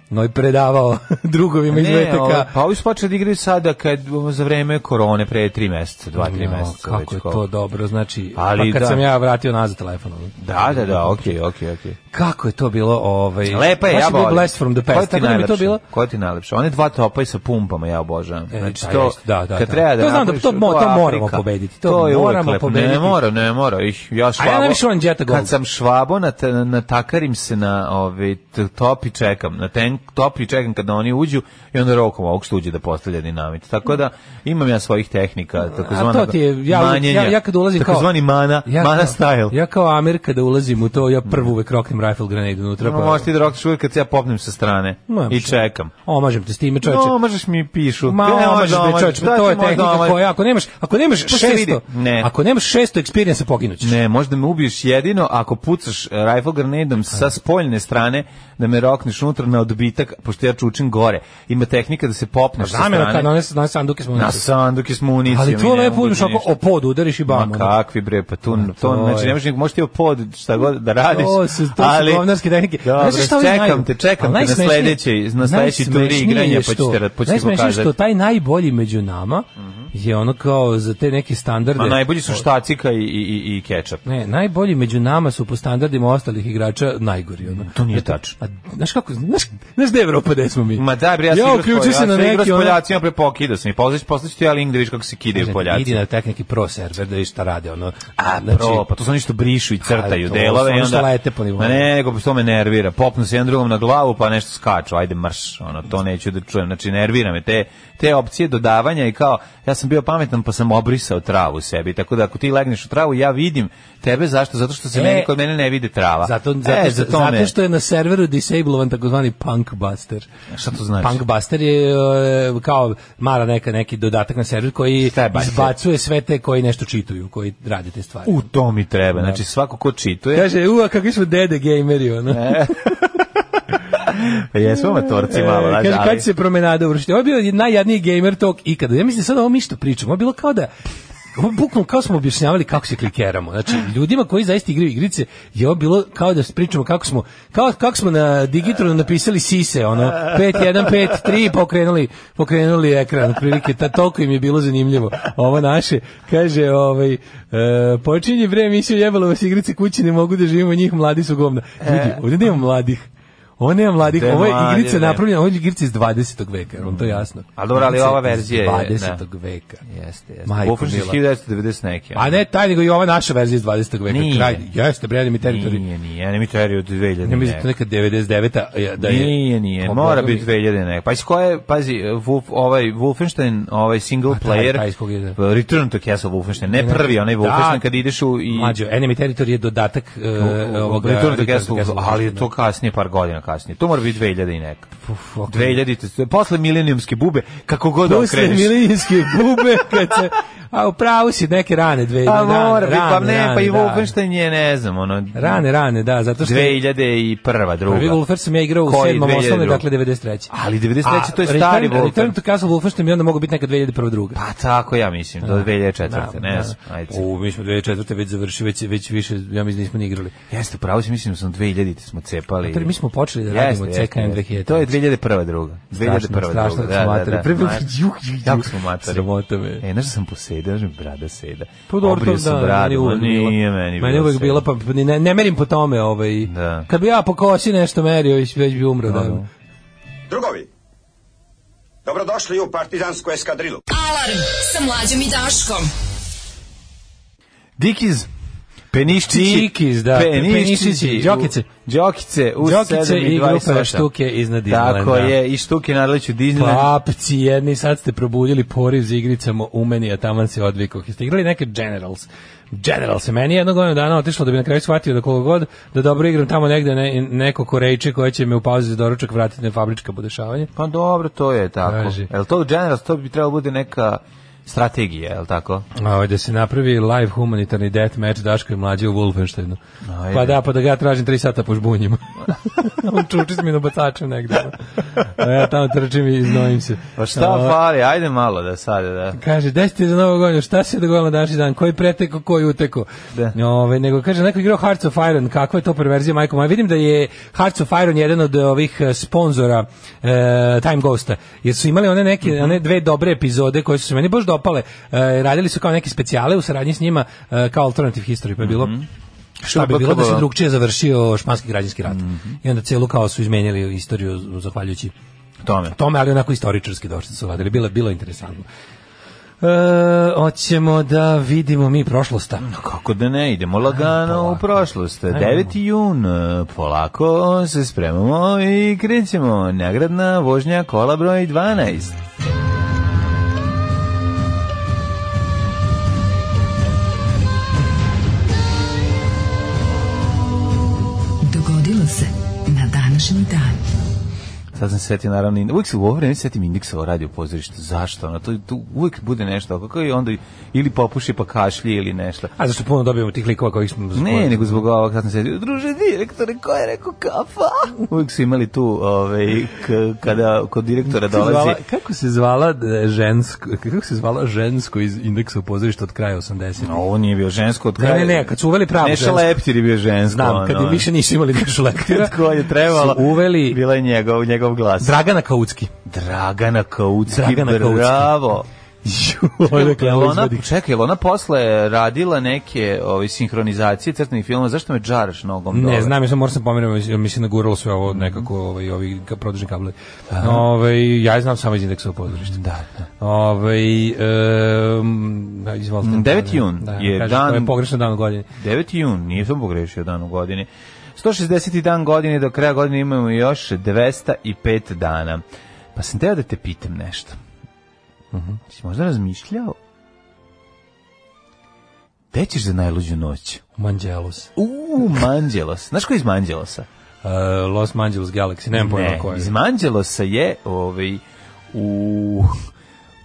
Speaker 6: no i predavao drugovima iz
Speaker 7: Ne, ovo-
Speaker 6: VTK.
Speaker 7: pa ovi su počeli da igraju sada kad, um, za vreme korone, pre tri meseca, dva, pa tri
Speaker 6: Jo,
Speaker 7: meseca. već
Speaker 6: pa, kako je
Speaker 7: koliko.
Speaker 6: to dobro, znači,
Speaker 7: Ali
Speaker 6: pa kad
Speaker 7: da.
Speaker 6: sam ja vratio nazad telefon. ono.
Speaker 7: Da, da, da, okej, okej, okej.
Speaker 6: Kako je to bilo, ovaj
Speaker 7: Lepa je,
Speaker 6: baš
Speaker 7: ja
Speaker 6: bio
Speaker 7: volim.
Speaker 6: blast from the
Speaker 7: Koja
Speaker 6: past.
Speaker 7: ti
Speaker 6: Tako da mi je to
Speaker 7: najlepša?
Speaker 6: bilo.
Speaker 7: Koja ti je najlepša? One dva topaj sa pumpama, ja obožavam.
Speaker 6: E,
Speaker 7: znači,
Speaker 6: da,
Speaker 7: to,
Speaker 6: jeste, da, da,
Speaker 7: kad
Speaker 6: da.
Speaker 7: treba da
Speaker 6: To znam da
Speaker 7: napraviš,
Speaker 6: to mo- to
Speaker 7: je
Speaker 6: moramo
Speaker 7: Afrika.
Speaker 6: pobediti, to
Speaker 7: je uvek
Speaker 6: moramo
Speaker 7: lepo. Ne
Speaker 6: pobediti.
Speaker 7: mora, ne mora. Ih, ja švabo.
Speaker 6: najviše volim Jetta Gold.
Speaker 7: Kad sam švabo, na, te- na takarim se na ove, t- top i čekam. Na ten, top i čekam kada oni uđu i onda rokom ovog što uđe da postavlja dinamit. Tako da imam ja svojih tehnika, takozvana
Speaker 6: to ti je- ja-
Speaker 7: manjenja,
Speaker 6: ja- ja kad ulazim kao-
Speaker 7: takozvani mana, mana style.
Speaker 6: Ja kao Amir kada ulazim u to, ja prvo uvek roknem rifle grenade unutra.
Speaker 7: Ma,
Speaker 6: Pa,
Speaker 7: Možeš ti da rokneš uvijek kad se ja popnem sa strane
Speaker 6: Ma,
Speaker 7: i
Speaker 6: šta?
Speaker 7: čekam.
Speaker 6: Omažem te s time, čoveče.
Speaker 7: No, možeš mi pišu.
Speaker 6: Ma,
Speaker 7: Ne, možeš,
Speaker 6: omažeš me,
Speaker 7: omažeš.
Speaker 6: čoveče,
Speaker 7: Da,
Speaker 6: pa to je
Speaker 7: ti možda
Speaker 6: tehnika
Speaker 7: omažeš.
Speaker 6: koja, ako nemaš, ako nemaš
Speaker 7: Pa se vidi.
Speaker 6: 600,
Speaker 7: Ne.
Speaker 6: ako nemaš 600 experience, poginućeš.
Speaker 7: Ne, možda me ubiješ jedino ako pucaš e, rifle granadom sa spoljne strane da me rokneš unutra na odbitak, pošto ja čučim gore. Ima tehnika da se popneš sa
Speaker 6: Zamena kad na
Speaker 7: strane.
Speaker 6: one, na one sanduke smo
Speaker 7: Na
Speaker 6: unesli.
Speaker 7: sanduke s municijom.
Speaker 6: Ali
Speaker 7: i
Speaker 6: to
Speaker 7: ne
Speaker 6: lepo
Speaker 7: mogu
Speaker 6: uzmeš
Speaker 7: ti
Speaker 6: ako
Speaker 7: ništa.
Speaker 6: o pod udariš i bam.
Speaker 7: Ma
Speaker 6: ono.
Speaker 7: kakvi bre, pa tu,
Speaker 6: Ma,
Speaker 7: to,
Speaker 6: to
Speaker 7: znači
Speaker 6: je.
Speaker 7: ne možeš, nego možeš ti o pod šta god da radiš.
Speaker 6: To su, to
Speaker 7: ali,
Speaker 6: su govnarske tehnike.
Speaker 7: Dobro,
Speaker 6: Znaš šta ovi
Speaker 7: čekam
Speaker 6: znaju?
Speaker 7: te, čekam
Speaker 6: Ali
Speaker 7: te na
Speaker 6: najsmešnije-
Speaker 7: sledeći, na sledeći turi
Speaker 6: najsmešnije
Speaker 7: igranja,
Speaker 6: je
Speaker 7: pa ću
Speaker 6: što-
Speaker 7: te, ra- pa ću ti
Speaker 6: najsmešnije je što
Speaker 7: pokazati. Mhm.
Speaker 6: taj najbolji među nama je ono kao za te neke standarde.
Speaker 7: Ma Pa najbolji su štacika i, i, i, i kečap.
Speaker 6: Ne, najbolji među nama su po standardima ostalih igrača najgori. Ono.
Speaker 7: To nije
Speaker 6: Eto,
Speaker 7: tačno.
Speaker 6: A, znaš kako, znaš, znaš gde je Evropa, gde smo mi?
Speaker 7: Ma da, bre, ja sam
Speaker 6: ja
Speaker 7: igrao s
Speaker 6: uključio se
Speaker 7: Poljacima,
Speaker 6: na
Speaker 7: ja igrao s
Speaker 6: neki ono...
Speaker 7: Poljacima, pre pokidao sam i poslaću, poslaću ti ja link da vidiš kako se kidaju Poljaci.
Speaker 6: Idi na taj neki pro server da vidiš šta rade. Ono.
Speaker 7: A,
Speaker 6: Znači,
Speaker 7: bro, pa to su ništa brišu i crtaju
Speaker 6: A, to
Speaker 7: delove
Speaker 6: su
Speaker 7: i
Speaker 6: ono što
Speaker 7: onda...
Speaker 6: lete po nivou.
Speaker 7: Ma ne, nego to me nervira. Popnu se jedan drugom na glavu pa nešto skaču, ajde mrš, ono, to neću da čujem. Znači, nervira me te, te opcije dodavanja i kao, ja sam bio pametan pa sam obrisao travu sebi, tako da ako ti legneš u travu, ja vidim tebe, zašto? Zato što se
Speaker 6: E,
Speaker 7: meni, kod mene ne vide trava.
Speaker 6: Zato, zato, što,
Speaker 7: E, za to me-
Speaker 6: zato što je na serveru disablovan takozvani punk buster.
Speaker 7: Šta to znači?
Speaker 6: Punk Buster je e, kao mala neka neki dodatak na server koji
Speaker 7: Šta je Buster?
Speaker 6: izbacuje sve te koji nešto čituju, koji rade te stvari.
Speaker 7: U to mi treba, znači svako ko čituje...
Speaker 6: E, Kaže, uva, kakvi smo dede gameri, ono.
Speaker 7: Pa jesmo amatorci malo,
Speaker 6: E,
Speaker 7: znaš,
Speaker 6: kaže,
Speaker 7: ali...
Speaker 6: kad će se promenada uvršiti? Ovo je bio najjadniji gamer talk ikada. Ja mislim sad ovo mi što pričamo. Ovo je bilo kao da Ovo bukvalno kao smo objašnjavali kako se klikeramo. Znači, ljudima koji zaista igraju igrice je ovo bilo kao da pričamo kako smo, kao, kako smo na digitronu napisali sise, ono, 5153 pokrenuli, pokrenuli ekran, otprilike, ta, toliko im je bilo zanimljivo. Ovo naše, kaže, ovaj, e, počinje vreme, emisiju jebalo vas igrice kući, ne mogu da živimo njih, mladi su govna. Ljudi, ovdje nema mladih. Ovo nema mladih,
Speaker 7: E. Gde
Speaker 6: ovo je
Speaker 7: mladi,
Speaker 6: igrica
Speaker 7: ne.
Speaker 6: napravljena, ovo je igrica iz 20. veka, je li vam to jasno.
Speaker 7: Ali dobro, ali
Speaker 6: Igrica
Speaker 7: ova verzija je, da.
Speaker 6: iz 20. veka.
Speaker 7: Jeste, jeste.
Speaker 6: Majko
Speaker 7: Buffon je
Speaker 6: mila.
Speaker 7: 1990 neki.
Speaker 6: A ne, taj nego i ova naša verzija iz 20. veka.
Speaker 7: Nije.
Speaker 6: Kraj, jeste, bredi mi teritorij.
Speaker 7: Nije, nije, ja ne mi teriju od 2000
Speaker 6: Ja mislim da je to neka 99. a je- da je...
Speaker 7: Nije, nije,
Speaker 6: Pa,
Speaker 7: mora
Speaker 6: Boga mi.
Speaker 7: biti 2000 nek. Pa iz koje, pazi, Wolf, ovaj Wolfenstein, ovaj single
Speaker 6: taj-
Speaker 7: player, pa
Speaker 6: taj iz kog je, da.
Speaker 7: Return to Castle Wolfenstein, ne prvi, onaj
Speaker 6: Da.
Speaker 7: Wolfenstein kad ideš u... I,
Speaker 6: Mlađo, Enemy Territory je dodatak uh, ovoga...
Speaker 7: Return to
Speaker 6: Return
Speaker 7: Castle, Wolfenstein, ali je
Speaker 6: Wolfensteina.
Speaker 7: to kasnije, par godina kasnije. To mora biti 2000 i neka.
Speaker 6: Uf, ok.
Speaker 7: 2000, te- to je posle milenijumske bube, kako god
Speaker 6: Posle
Speaker 7: okreneš.
Speaker 6: milijinske bube, kad se... A u pravu si neke rane, dve...
Speaker 7: Pa
Speaker 6: rane,
Speaker 7: mora biti, pa
Speaker 6: rane,
Speaker 7: ne,
Speaker 6: rane,
Speaker 7: pa i
Speaker 6: da.
Speaker 7: Wolfenstein je, ne znam, ono...
Speaker 6: Rane, rane, da, zato što...
Speaker 7: 2001. druga.
Speaker 6: Prvi Wolfer sam ja igrao u
Speaker 7: Koji
Speaker 6: 7. osnovne,
Speaker 7: 2002.?
Speaker 6: dakle 93.
Speaker 7: Ali 93. to je
Speaker 6: A,
Speaker 7: stari
Speaker 6: Return, Return
Speaker 7: Wolfen.
Speaker 6: to Castle Wolfenstein mi onda mogu biti neka 2001. druga.
Speaker 7: Pa tako ja mislim, do 2004. ne znam,
Speaker 6: da.
Speaker 7: ajde.
Speaker 6: U, mi smo 2004. već završili, već, već više, ja mislim, nismo ni igrali.
Speaker 7: Jeste, pravo si, mislim, sam 2000 smo cepali.
Speaker 6: Pre, mi smo počeli da radimo
Speaker 7: Jeste, jeste,
Speaker 6: CKM
Speaker 7: jeste.
Speaker 6: 2000.
Speaker 7: To je 2001. druga. 2001.
Speaker 6: Strašno, strašno
Speaker 7: druga,
Speaker 6: da smo matori. Pre-
Speaker 7: Ma-
Speaker 6: juh, juh, juh.
Speaker 7: Jako smo matori.
Speaker 6: Sramota me.
Speaker 7: E, znaš da sam posedao, znaš mi brada seda.
Speaker 6: Pa dobro,
Speaker 7: Obrio
Speaker 6: to
Speaker 7: sam
Speaker 6: da, meni
Speaker 7: bradu, ma
Speaker 6: uvek bila.
Speaker 7: nije meni
Speaker 6: Meni
Speaker 7: bilo
Speaker 6: uvek
Speaker 7: seda.
Speaker 6: bila, pa ni- ne, ne merim po tome. Ovaj.
Speaker 7: Da.
Speaker 6: Kad bi ja po kosi nešto merio, već, već bi umro. Da,
Speaker 7: da.
Speaker 8: Drugovi, dobrodošli u partizansku eskadrilu.
Speaker 3: Alarm sa mlađom i Daškom.
Speaker 7: Dikiz, peniščići.
Speaker 6: Dikiz, da, peniščići,
Speaker 7: u-
Speaker 6: đokice.
Speaker 7: Đokice u
Speaker 6: Đokice
Speaker 7: 7 i
Speaker 6: i grupa
Speaker 7: 28.
Speaker 6: Štuke iznad
Speaker 7: Tako
Speaker 6: Disneylanda.
Speaker 7: je, i štuke nadleću Disneyland.
Speaker 6: Papci jedni, sad ste probudili poriv za igricama u meni, a taman se odvikao. Jeste igrali neke Generals? Generals je meni jednog onog dana otišlo da bi na kraju shvatio da koliko god da dobro igram tamo negde ne, neko korejče koje će me u pauzi za doručak vratiti na fabrička podešavanja.
Speaker 7: Pa dobro, to je tako.
Speaker 6: Kaže.
Speaker 7: Jel to u General, to bi trebalo bude neka strategija, jel tako?
Speaker 6: Ovaj da se napravi live humanitarni death match Daško i mlađe u Wolfensteinu.
Speaker 7: Ajde.
Speaker 6: Pa da, pa da ga ja tražim 3 sata po žbunjima. On čuči s mi nabacačem negde. A ja tamo trčim i iznojim se.
Speaker 7: Pa šta
Speaker 6: Ovaj,
Speaker 7: fali, ajde malo da sad, da.
Speaker 6: Kaže, gde ste za novu godinu, šta se dogodilo na današnji dan, koji preteko, koji uteko.
Speaker 7: Da.
Speaker 6: Ove, nego kaže, neko igrao Hearts of Iron, kakva je to perverzija, majko moja. Vidim da je Hearts of Iron jedan od ovih eh, sponzora eh, Time Ghosta, jer su imali one neke,
Speaker 7: Mhm.
Speaker 6: one dve dobre epizode koje su se meni baš dopale. Eh, radili su kao neke specijale u saradnji s njima, eh, kao Alternative History, pa je bilo...
Speaker 7: Mhm.
Speaker 6: Šta bi bilo da se drugčije završio španski građanski rat.
Speaker 7: Mhm.
Speaker 6: I onda celu kao su izmenjali istoriju zahvaljujući
Speaker 7: Tome.
Speaker 6: tome, ali onako istoričarski došli su radili. Bilo, bilo je interesantno. E, hoćemo da vidimo mi prošlosta.
Speaker 7: Kako da ne, idemo lagano u prošlost. 9. jun, e, polako se spremamo i krećemo. Nagradna vožnja kola broj 12.
Speaker 3: Dogodilo se na današnji dan.
Speaker 7: Sad sam se setio naravno, ind- uvijek se u ovo vreme setim indeksa o radio pozorištu. Zašto? Ono, to, to uvijek bude nešto. Kako i onda ili popuši pa kašlje ili nešto.
Speaker 6: A zašto puno dobijemo tih likova kojih smo...
Speaker 7: Ne, nego zbog ovog, sad sam se druže direktore, ko je rekao kafa? Uvijek su imali tu, ovaj, k- kada kod direktora
Speaker 6: Kako se
Speaker 7: dolazi,
Speaker 6: zvala- kako se zvala e, žensko kako se zvala žensko iz indeksa pozorišta od kraja 80
Speaker 7: No, ovo nije bio žensko od
Speaker 6: Ne,
Speaker 7: kraja.
Speaker 6: ne, ne, kad su uveli pravo
Speaker 7: Neša
Speaker 6: žensko.
Speaker 7: Leptir je bio žensko.
Speaker 6: Znam, kad
Speaker 7: ono.
Speaker 6: je više nisu imali našu lektora.
Speaker 7: Kad god je trebalo.
Speaker 6: su Uveli
Speaker 7: Bila je njegov, njegov glas.
Speaker 6: Dragana Kaucki.
Speaker 7: Dragana Kaucki,
Speaker 6: Dragana Kaucki.
Speaker 7: bravo.
Speaker 6: Odakle
Speaker 7: Jel
Speaker 6: ovo
Speaker 7: ona,
Speaker 6: izvadi?
Speaker 7: čekaj, jel ona posle radila neke ovaj, sinhronizacije crtenih filmova, zašto me džaraš nogom
Speaker 6: Ne,
Speaker 7: dole? Mhm.
Speaker 6: znam, ja sam moram sam pomenuo, jer mi se naguralo sve ovo nekako ovaj, ovi ka- produžni kablovi. Ovaj, ja je znam samo iz indeksa pozorišta. Da, da. Ovaj, em, da, izvolite.
Speaker 7: 9. Mm, jun
Speaker 6: da,
Speaker 7: je
Speaker 6: kažeš
Speaker 7: dan-
Speaker 6: koji je pogrešan dan u godini.
Speaker 7: 9. jun, nisam pogrešio dan u godini. 160. dan godine, do kraja godine imamo još 205 dana. Pa sam teo da te pitam nešto. Si možda razmišljao? Gde ćeš za najluđu noć?
Speaker 6: Manđelus.
Speaker 7: U Manđelos. Znaš ko je iz Manđelosa?
Speaker 6: E, Los Angeles Galaxy, nemam pojma
Speaker 7: Ne,
Speaker 6: ko je.
Speaker 7: iz Manđelosa je ovaj, u,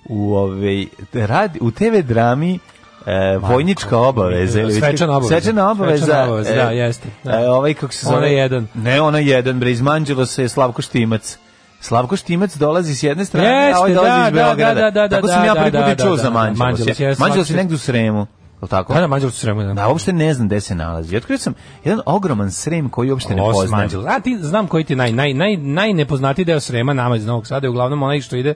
Speaker 7: u, ovaj, radi, u TV drami e, vojnička obaveza ili već-
Speaker 6: Svečana obaveza.
Speaker 7: Svečana obaveza.
Speaker 6: Svečana obaveza,
Speaker 7: e,
Speaker 6: da, jeste, da.
Speaker 7: e, ovaj kako se zove?
Speaker 6: Ona jedan.
Speaker 7: Ne, ona jedan, bre izmanđilo se je Slavko Štimac. Slavko Štimac dolazi s jedne strane, a ovaj
Speaker 6: Jeste,
Speaker 7: dolazi
Speaker 6: da,
Speaker 7: iz
Speaker 6: da,
Speaker 7: Beograda.
Speaker 6: da, da, da,
Speaker 7: tako sam
Speaker 6: da,
Speaker 7: ja
Speaker 6: da,
Speaker 7: prvi put
Speaker 6: da,
Speaker 7: i čuo
Speaker 6: da, da,
Speaker 7: za Manđelos.
Speaker 6: Manđelos,
Speaker 7: je.
Speaker 6: jeste,
Speaker 7: Manđelos je
Speaker 6: Slavko
Speaker 7: negde u Sremu. Jel tako?
Speaker 6: Da, da, Manđelos u Sremu, da.
Speaker 7: Da, uopšte ne znam gde se nalazi. Otkrio sam jedan ogroman Srem koji uopšte ne
Speaker 6: Los
Speaker 7: poznajem.
Speaker 6: Angeles. A ti znam koji ti je naj naj naj najnepoznatiji deo Srema nama iz Novog Sada je uglavnom onaj što ide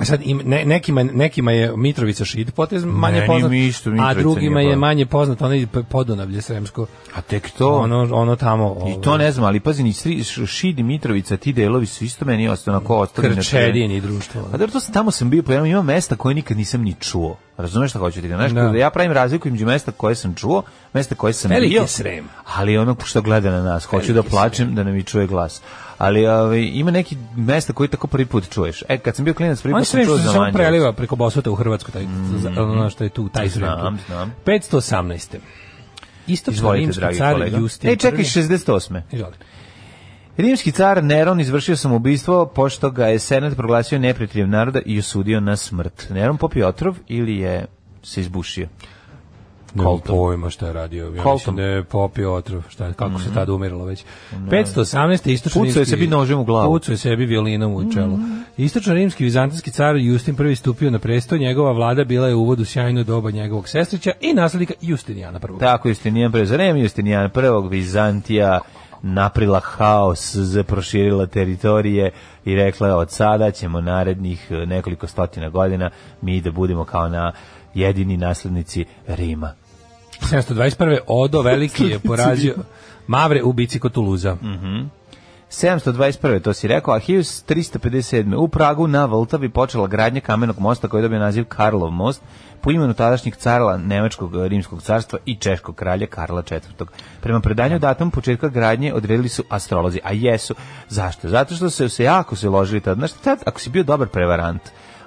Speaker 6: E Sad im, ne, nekima, nekima je Mitrovica Šid potez manje
Speaker 7: Meni
Speaker 6: poznat,
Speaker 7: mi isto
Speaker 6: a
Speaker 7: Mitrovica
Speaker 6: drugima
Speaker 7: nije
Speaker 6: je
Speaker 7: poznat.
Speaker 6: manje poznat onaj podonavlje sremsko.
Speaker 7: A tek to...
Speaker 6: Ono, ono tamo.
Speaker 7: I to ne znam, ali pazi, ni Sri- Š- Šid i Mitrovica, ti delovi su isto meni ostali onako ostali na
Speaker 6: Krčedin i društvo.
Speaker 7: A dobro, to sam, tamo sam bio, pa ja imam mesta koje nikad nisam ni čuo. Razumeš šta hoću ti ga? Znaš,
Speaker 6: Da.
Speaker 7: kada ja pravim razliku između mesta koje sam čuo, mesta koje sam
Speaker 6: Veliki
Speaker 7: bio.
Speaker 6: je Srem.
Speaker 7: Ali ono što gleda na nas, hoću da plačem da ne mi čuje glas. Ali ovaj, ima neki mesta koji tako prvi put čuješ. E, kad sam bio klinac, prvi
Speaker 6: On
Speaker 7: put sam
Speaker 6: sve
Speaker 7: čuo
Speaker 6: što se
Speaker 7: za
Speaker 6: samo
Speaker 7: Manđelos.
Speaker 6: preliva preko Bosvota u Hrvatsku, taj, za- ono što je tu, taj Srem. tu.
Speaker 7: Znam, znam.
Speaker 6: 518. Istočno
Speaker 7: Izvolite,
Speaker 6: rimski
Speaker 7: dragi
Speaker 6: car
Speaker 7: kolega.
Speaker 6: Justin.
Speaker 7: E, čekaj,
Speaker 6: prvi-
Speaker 7: 68.
Speaker 6: Izvoli.
Speaker 7: Rimski car Neron izvršio samoubistvo pošto ga je senat proglasio neprijateljem naroda i osudio na smrt. Neron popio otrov ili je se izbušio?
Speaker 6: Nemam
Speaker 7: Koltom.
Speaker 6: pojma šta je radio. Ja
Speaker 7: Koltom.
Speaker 6: mislim da je popio otrov, šta, je- kako se tada umiralo već. 518. istočno
Speaker 7: Mhm. Pucao je sebi nožem u glavu. Mhm.
Speaker 6: Pucao je sebi violinom u čelo. Istočno rimski vizantijski car Justin prvi stupio na presto, njegova vlada bila je uvod u sjajnu doba njegovog sestrića i naslednika Justinijana prvog.
Speaker 7: Tako Justinijan prvi za vreme Justinijan prvog Vizantija naprila haos, z- proširila teritorije i rekla je, od sada ćemo narednih e, nekoliko stotina godina mi da budemo kao na jedini naslednici Rima.
Speaker 6: 721. Odo Veliki je porazio Mavre u bici kod Tuluza.
Speaker 7: 721. to si rekao, a 1357. u Pragu na Vltavi počela gradnja kamenog mosta koji je dobio naziv Karlov most po imenu tadašnjih carla Nemačkog eh, rimskog carstva i Češkog kralja Karla IV. Prema predanju datum početka gradnje odredili su astrolozi, a jesu. Zašto? Zato što su se jako se ložili tad. Znaš, tad ako si bio dobar prevarant,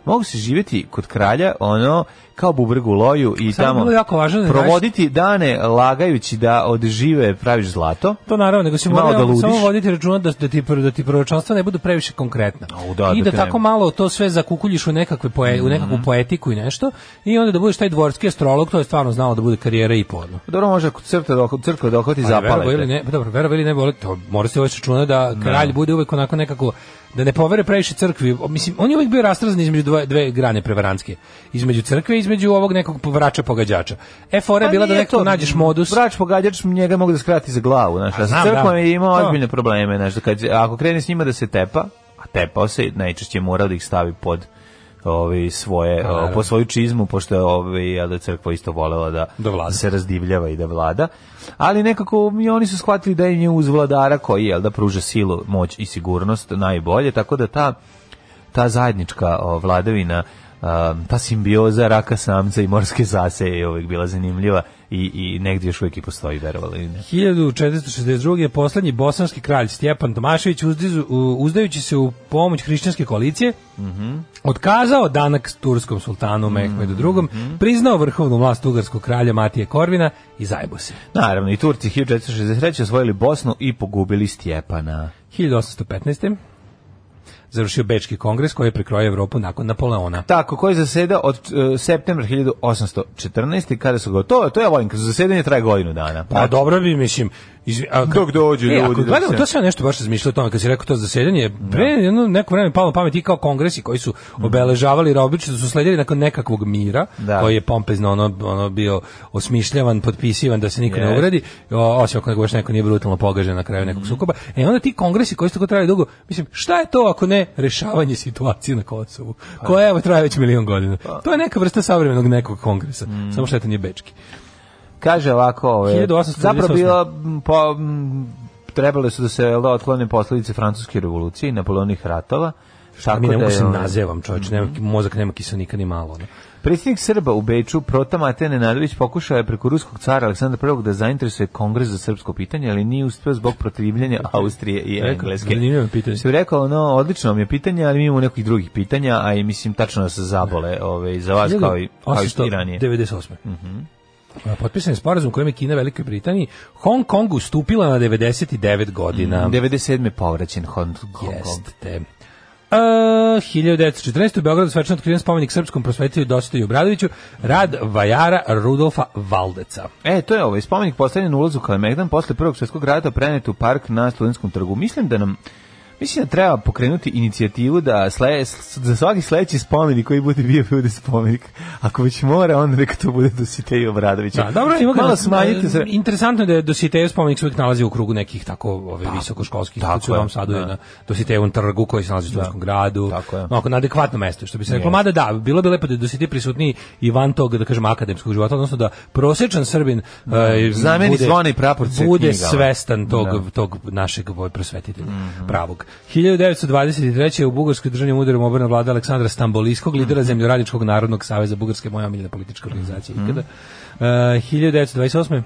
Speaker 7: mogu se živjeti kod kralja ono kao bubreg u loju i
Speaker 6: Samo je
Speaker 7: tamo
Speaker 6: bilo jako važno da
Speaker 7: provoditi dane lagajući da od žive praviš zlato.
Speaker 6: To naravno, nego se
Speaker 7: Malo
Speaker 6: mora
Speaker 7: da ludiš.
Speaker 6: samo voditi računa da, da ti da ti proročanstva ne budu previše konkretna.
Speaker 7: Au, da,
Speaker 6: I
Speaker 7: da
Speaker 6: da,
Speaker 7: te Mhm.
Speaker 6: tako
Speaker 7: ne-
Speaker 6: malo to sve zakukuljiš u nekakve poe, u nekakvu poetiku i nešto i onda da budeš taj dvorski astrolog, to je stvarno znalo da bude karijera i podno.
Speaker 7: Pa Dobro, može ako crkva dohvati, crkva dohvati
Speaker 6: Pa, verovao
Speaker 7: zapale.
Speaker 6: ili ne, pa dobro, verovao ili ne, boli, to mora se uveć računa da kralj bude uvek onako nekako da ne povere previše crkvi. O, Mislim, on je uvek bio rastrazan između dve, dve grane prevarantske. Između crkve i između ovog nekog povrača pogađača. E,
Speaker 7: Pa
Speaker 6: fora je bila da nekako nađeš modus.
Speaker 7: Brač pogađač njega mogu da skrati za glavu, znaš. A sa
Speaker 6: znam,
Speaker 7: crkvom
Speaker 6: da.
Speaker 7: je imao
Speaker 6: To.
Speaker 7: ozbiljne probleme, znaš, da kad, ako krene s njima da se tepa, a tepao se, najčešće je morao da ih stavi pod ovaj svoje o, po svoju čizmu pošto je ovaj a da je crkva isto volela da,
Speaker 6: Da vlada.
Speaker 7: se razdivljava i da vlada ali nekako i oni su shvatili da im je uz vladara koji je da pruža silu moć i sigurnost najbolje tako da ta ta zajednička o, vladavina um, ta simbioza raka samca i morske zase je uvijek bila zanimljiva i, i negdje još uvijek i postoji, verovali ili ne.
Speaker 6: 1462. je poslednji bosanski kralj Stjepan Tomašević uzdizu- u- uzdajući se u pomoć hrišćanske koalicije Mhm. otkazao danak s turskom sultanu Mehmedu II, priznao vrhovnu vlast ugarskog kralja Matije Korvina i zajebo se.
Speaker 7: Naravno, i Turci 1463. osvojili Bosnu i pogubili Stjepana.
Speaker 6: 1815. završio Bečki kongres koji je prekrojio Evropu nakon Napoleona.
Speaker 7: Tako, koji zaseda od e, septembra 1814. kada su ga... To, to ja volim, kad su zasedanje traje godinu dana.
Speaker 6: Pa dobro bi, mislim... Izvi, a, kad-
Speaker 7: Dok dođu
Speaker 6: E, ako
Speaker 7: ljudi, dok
Speaker 6: gledamo,
Speaker 7: se-
Speaker 6: to sam ja nešto baš razmišljao o tome, kad si rekao to zasedanje, pre jedno neko vreme palo na pamet i kao kongresi koji su obeležavali Robić, da su sledili nakon nekakvog mira,
Speaker 7: Mhm. Da.
Speaker 6: koji je pompezno ono, ono bio osmišljavan, potpisivan da se niko ne
Speaker 7: Jest.
Speaker 6: uredi, osim ako neko baš neko nije brutalno pogažen na kraju
Speaker 7: Mhm.
Speaker 6: nekog sukoba. E onda ti kongresi koji su tako trajali dugo, mislim, šta je to ako ne rešavanje situacije na Kosovu,
Speaker 7: Pa
Speaker 6: koja evo traje već milion godina. To je neka vrsta savremenog nekog kongresa,
Speaker 7: Mhm.
Speaker 6: samo što je to nije bečki.
Speaker 7: Kaže ovako, ove,
Speaker 6: 1898.
Speaker 7: zapravo bila, m, pa, m, trebale su da se jel da, otklone posledice francuske revolucije i napoleonih ratova. Tako
Speaker 6: Mi ne
Speaker 7: da
Speaker 6: mogu
Speaker 7: je,
Speaker 6: se
Speaker 7: ono, Mhm.
Speaker 6: nazevam, čovječ, nema, mozak nema kiselnika ni malo. Ono.
Speaker 7: Predsjednik Srba u Beču Prota Matej Nenadović pokušao je preko ruskog cara Aleksandra I da zainteresuje kongres za srpsko pitanje, ali nije uspio zbog protivljenja Austrije i
Speaker 6: Rekao,
Speaker 7: Engleske.
Speaker 6: zanimljivo pitanje.
Speaker 7: Što bi rekao, no, odlično vam je pitanje, ali mi imamo nekih drugih pitanja, a i mislim tačno da se zabole ove, za vas kao i, Mhm. kao i što i ranije.
Speaker 6: 1898. A, Potpisan je sporazum kojim je Kina Velikoj Britaniji Hong Kongu stupila na 99 godina.
Speaker 7: 97. povraćen Mhm. Hong Hong Kong.
Speaker 6: Jeste. Uh, 1914. u Beogradu svečano otkriven spomenik srpskom prosvetitelju Dositoju Obradoviću, rad vajara Rudolfa Valdeca.
Speaker 7: E, to je ovaj spomenik postavljen na ulazu Kalemegdan posle Prvog svjetskog rata prenet u park na Studenskom trgu. Mislim da nam Mislim da treba pokrenuti inicijativu da sle, za svaki sledeći spomenik koji bude bio bude spomenik. Ako već mora, onda neka to bude Dositeju Obradovića.
Speaker 6: Da, dobro, Znači, ima ga-
Speaker 7: malo smanjite se.
Speaker 6: e, Interesantno je da je Dositejev spomenik se uvijek nalazi u krugu nekih tako ove visokoškolskih
Speaker 7: Pa, tako
Speaker 6: institucija u
Speaker 7: je,
Speaker 6: Novom Sadu,
Speaker 7: da.
Speaker 6: je na Dositejevom trgu koji se nalazi u Studentskom gradu.
Speaker 7: tako je.
Speaker 6: Onako, na adekvatno mesto, što bi se reklo.
Speaker 7: Jeste.
Speaker 6: Mada da, bilo bi lepo da je Dositej prisutniji i van tog, da kažem, akademskog života, odnosno da prosječan Srbin e,
Speaker 7: Zameni zvone i praporce
Speaker 6: bude
Speaker 7: knjigama.
Speaker 6: svestan tog,
Speaker 7: ono. Da. Mhm.
Speaker 6: tog našeg ovaj, prosvetitelja pravog. 1923. je u Bugarskoj državnim udarom obrana vlada Aleksandra Stambolijskog, lidera
Speaker 7: Mhm.
Speaker 6: Zemljoradničkog narodnog saveza Bugarske, moja omiljena politička organizacija
Speaker 7: Mhm.
Speaker 6: ikada. E, 1928.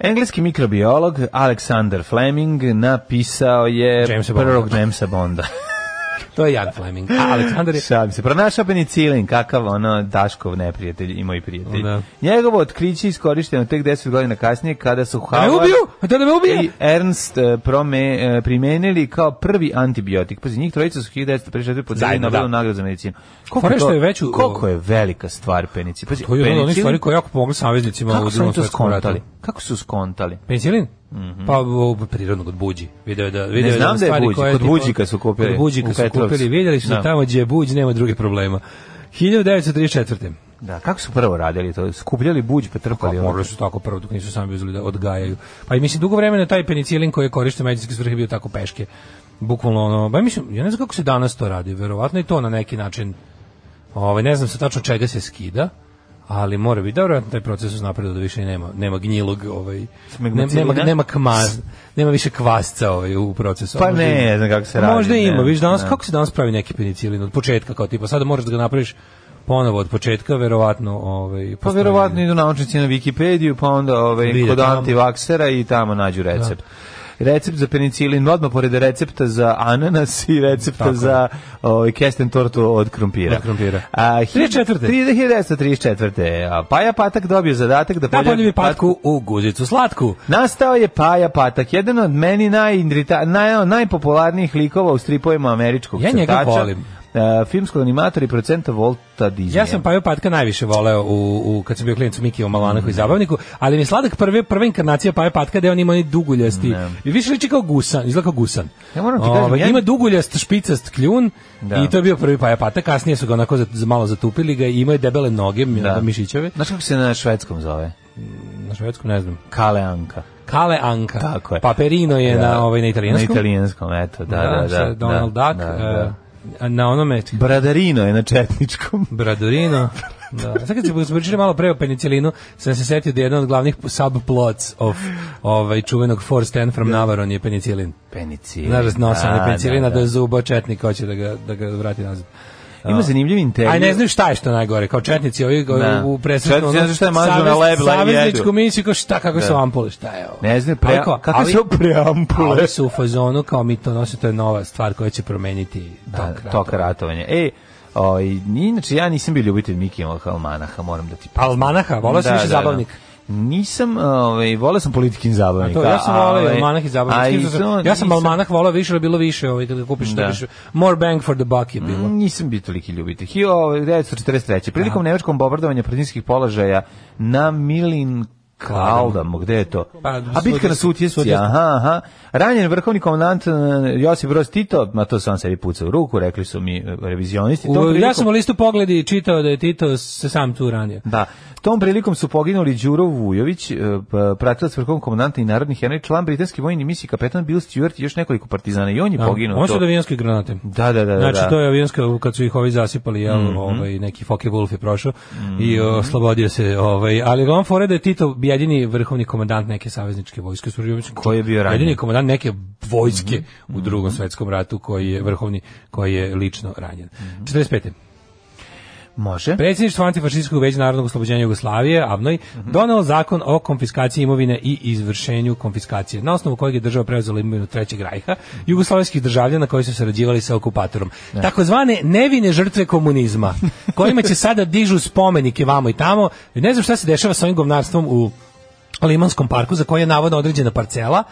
Speaker 7: Engleski mikrobiolog Alexander Fleming napisao je
Speaker 6: Jamesa Bonda.
Speaker 7: prvog Jamesa Bonda.
Speaker 6: To je Jan Fleming. A Aleksandar je...
Speaker 7: Šalim se. Pronašao penicilin, kakav ono Daškov neprijatelj i moj prijatelj.
Speaker 6: Da.
Speaker 7: Njegovo otkriće je iskorišteno tek 10 godina kasnije kada su
Speaker 6: Da me
Speaker 7: Howard
Speaker 6: ubiju! Da, da me ubije!
Speaker 7: i Ernst e, prome, e, primenili kao prvi antibiotik. Pazi, njih trojica su 1954 podelili
Speaker 6: Zajedno,
Speaker 7: Nobelu
Speaker 6: da.
Speaker 7: nagradu za medicinu.
Speaker 6: Fore
Speaker 7: je,
Speaker 6: što
Speaker 7: to-
Speaker 6: je veću-
Speaker 7: koliko je velika stvar penicilin. Pazi,
Speaker 6: To je jedna od onih
Speaker 7: penicilin-
Speaker 6: stvari koja je jako pomogla saveznicima u
Speaker 7: kako su oni
Speaker 6: drugom
Speaker 7: to
Speaker 6: svetskom ratu.
Speaker 7: skontali? Kako su skontali?
Speaker 6: Penicilin? Pa u prirodnog od buđi. Video je da video je
Speaker 7: Mhm. znam
Speaker 6: na
Speaker 7: da je
Speaker 6: stvari
Speaker 7: buđi,
Speaker 6: koje
Speaker 7: kod
Speaker 6: tipa-
Speaker 7: buđika su kupili,
Speaker 6: Kod buđika
Speaker 7: u
Speaker 6: su
Speaker 7: Petrovcu.
Speaker 6: kupili, vidjeli su da
Speaker 7: Da.
Speaker 6: tamo gdje je buđ nema drugih problema. 1934.
Speaker 7: Da, kako su prvo radili to? Skupljali buđ pa trpali.
Speaker 6: Pa
Speaker 7: ono?
Speaker 6: morali su tako prvo dok nisu sami uzeli da odgajaju. Pa i mislim dugo vremena taj penicilin koji je korišten u medicinske svrhe bio tako peške. Bukvalno ono, ba mislim, ja ne znam kako se danas to radi, verovatno i to na neki način. Ovaj ne znam sa tačno čega se skida, ali mora biti dobro, taj proces uz da više i nema, nema gnjilog, ovaj ne- nema
Speaker 7: Smegmacilina?
Speaker 6: nema kmaz, nema više kvasca ovaj u procesu.
Speaker 7: Pa
Speaker 6: Možda
Speaker 7: ne
Speaker 6: ima.
Speaker 7: znam kako se
Speaker 6: Pa
Speaker 7: radi,
Speaker 6: Možda
Speaker 7: ne,
Speaker 6: ima, viš danas
Speaker 7: ne.
Speaker 6: kako se danas pravi neki penicilin od početka kao tipa sada moraš da ga napraviš ponovo od početka, verovatno, ovaj
Speaker 7: Pa
Speaker 6: postoji-
Speaker 7: verovatno idu naučnici na Wikipediju, pa onda ovaj,
Speaker 6: Vide
Speaker 7: kod
Speaker 6: tamo.
Speaker 7: antivaksera i tamo nađu recept. Recept za penicilin, odmah pored recepta za ananas i recepta
Speaker 6: Tako je.
Speaker 7: za ovaj, kesten tortu od krumpira.
Speaker 6: Od krumpira.
Speaker 7: A,
Speaker 6: 34..
Speaker 7: 1934. A, Paja Patak dobio zadatak da
Speaker 6: Da poljubi
Speaker 7: poljubi
Speaker 6: patku u guzicu slatku.
Speaker 7: Nastao je Paja Patak, jedan od meni najindrita, naj, ono, najpopularnijih likova u stripovima američkog
Speaker 6: Ja njega
Speaker 7: crtača.
Speaker 6: volim.
Speaker 7: E, filmskog animatora i producenta Volta Disneya.
Speaker 6: Ja sam Paju Patka najviše voleo u, u kad sam bio klinac u Mikiju Malanaku i
Speaker 7: Mm.
Speaker 6: Zabavniku, ali mi je sladak prve, prva inkarnacija Paju Patka da on ima onaj duguljasti. I više liči kao gusan, izgleda kao gusan.
Speaker 7: Ja moram ti kažem,
Speaker 6: Ovaj,
Speaker 7: ja-
Speaker 6: Ima duguljast, špicast kljun
Speaker 7: Da.
Speaker 6: i to je bio prvi Paja Patak, kasnije su ga onako za, za malo zatupili ga i imao je debele noge, da. mišićeve.
Speaker 7: Znaš kako se na švedskom zove?
Speaker 6: Na švedskom ne znam.
Speaker 7: Kaleanka.
Speaker 6: Kale Anka.
Speaker 7: Tako je.
Speaker 6: Paperino je
Speaker 7: Da.
Speaker 6: na, ovaj, na italijanskom.
Speaker 7: Na italijanskom, eto, da, da,
Speaker 6: šta
Speaker 7: da.
Speaker 6: je Donald
Speaker 7: da,
Speaker 6: Duck.
Speaker 7: da,
Speaker 6: e,
Speaker 7: da.
Speaker 6: a na onome
Speaker 7: Bradarino je na četničkom.
Speaker 6: Bradurino. Da. Sad kad se pričali malo pre o penicilinu, sam se setio da je jedan od glavnih subplots of ovaj, čuvenog Four Stand from Navarone je penicilin.
Speaker 7: Penicilin.
Speaker 6: Znaš, nosa
Speaker 7: Da,
Speaker 6: je penicilina,
Speaker 7: da,
Speaker 6: da je zubo četnik, hoće da ga, da ga vrati nazad.
Speaker 7: Ima zanimljiv intervju.
Speaker 6: A ne znaju šta je što najgore, kao četnici ovi da.
Speaker 7: Da.
Speaker 6: u
Speaker 7: Četnici
Speaker 6: presretno
Speaker 7: ne znaju šta je mazno na lebla i jedu.
Speaker 6: savezničku misiju, kao šta, kako su ampule, šta je ovo.
Speaker 7: Ne znaju,
Speaker 6: Ali
Speaker 7: pre,
Speaker 6: kao-
Speaker 7: kako
Speaker 6: ali-
Speaker 7: su preampule.
Speaker 6: Ali su u fazonu kao mi to nosimo, to je nova stvar koja će promeniti
Speaker 7: Da,
Speaker 6: tok
Speaker 7: Toka ratovanja. E, o, i, inače, ja nisam bio ljubitelj Mikijevog almanaha, moram da ti priznam.
Speaker 6: Almanaha, volao si više zabavnik?
Speaker 7: Nisam, ovaj, volao sam politikin
Speaker 6: A
Speaker 7: zabavnik.
Speaker 6: to, ja sam
Speaker 7: a,
Speaker 6: volao i
Speaker 7: ovaj,
Speaker 6: almanah i zabavnik.
Speaker 7: a
Speaker 6: S kim
Speaker 7: i
Speaker 6: sam se-
Speaker 7: to
Speaker 6: Ja sam
Speaker 7: nisam-
Speaker 6: almanah volao više, ali je bilo više ovaj, kada kupiš da.
Speaker 7: Da. Mm.
Speaker 6: više. More bang for the buck je bilo.
Speaker 7: Nisam bio toliki ljubitelj. 1943. Prilikom nemačkom bombardovanja protivničkih položaja na Milin Kaldamo, gde je to?
Speaker 6: Pa,
Speaker 7: A bitka na Sutjesci,
Speaker 6: Sutjesci.
Speaker 7: aha, aha. Ranjen vrhovni komandant eh, Josip Broz Tito, na to sam sebi pucao u ruku, rekli su mi eh, revizionisti. Tom
Speaker 6: U, ja
Speaker 7: prilikom-
Speaker 6: sam u listu pogledi čitao da je Tito se sam tu ranio.
Speaker 7: Da. Tom prilikom su poginuli Đuro Vujović, eh, p- pratilac vrhovnog komandanta i narodnih heroj, član britanske vojne misije, kapetan Bill Stewart i još nekoliko partizana. I on je
Speaker 6: Da.
Speaker 7: poginuo.
Speaker 6: On su
Speaker 7: to.
Speaker 6: od avionske granate.
Speaker 7: Da, da, da, da,
Speaker 6: Znači,
Speaker 7: da. Mhm.
Speaker 6: to je avionska, kad su ih ovi zasipali, jel, ovaj, neki Fokke Wolf je prošao i oslobodio se. Ovaj, ali glavno fore da je Tito jedini vrhovni komandant neke savezničke vojske. su-
Speaker 7: Koji je bio ranjen. Mhm.
Speaker 6: Jedini komandant neke vojske u drugom svetskom ratu koji je vrhovni, koji je lično ranjen.
Speaker 7: Mhm.
Speaker 6: 45.
Speaker 7: Može.
Speaker 6: Predsjedništvo antifašističkog veća narodnog oslobođenja Jugoslavije, AVNOJ, donelo zakon o konfiskaciji imovine i izvršenju konfiskacije, na osnovu kojeg je država preuzela imovinu Trećeg rajha, jugoslovenskih državljana koji su sarađivali sa okupatorom. Takozvane nevine žrtve komunizma, kojima će sada dižu spomenike vamo i tamo. Ne znam šta se dešava sa ovim govnarstvom u Limanskom parku, za koje je navodno određena parcela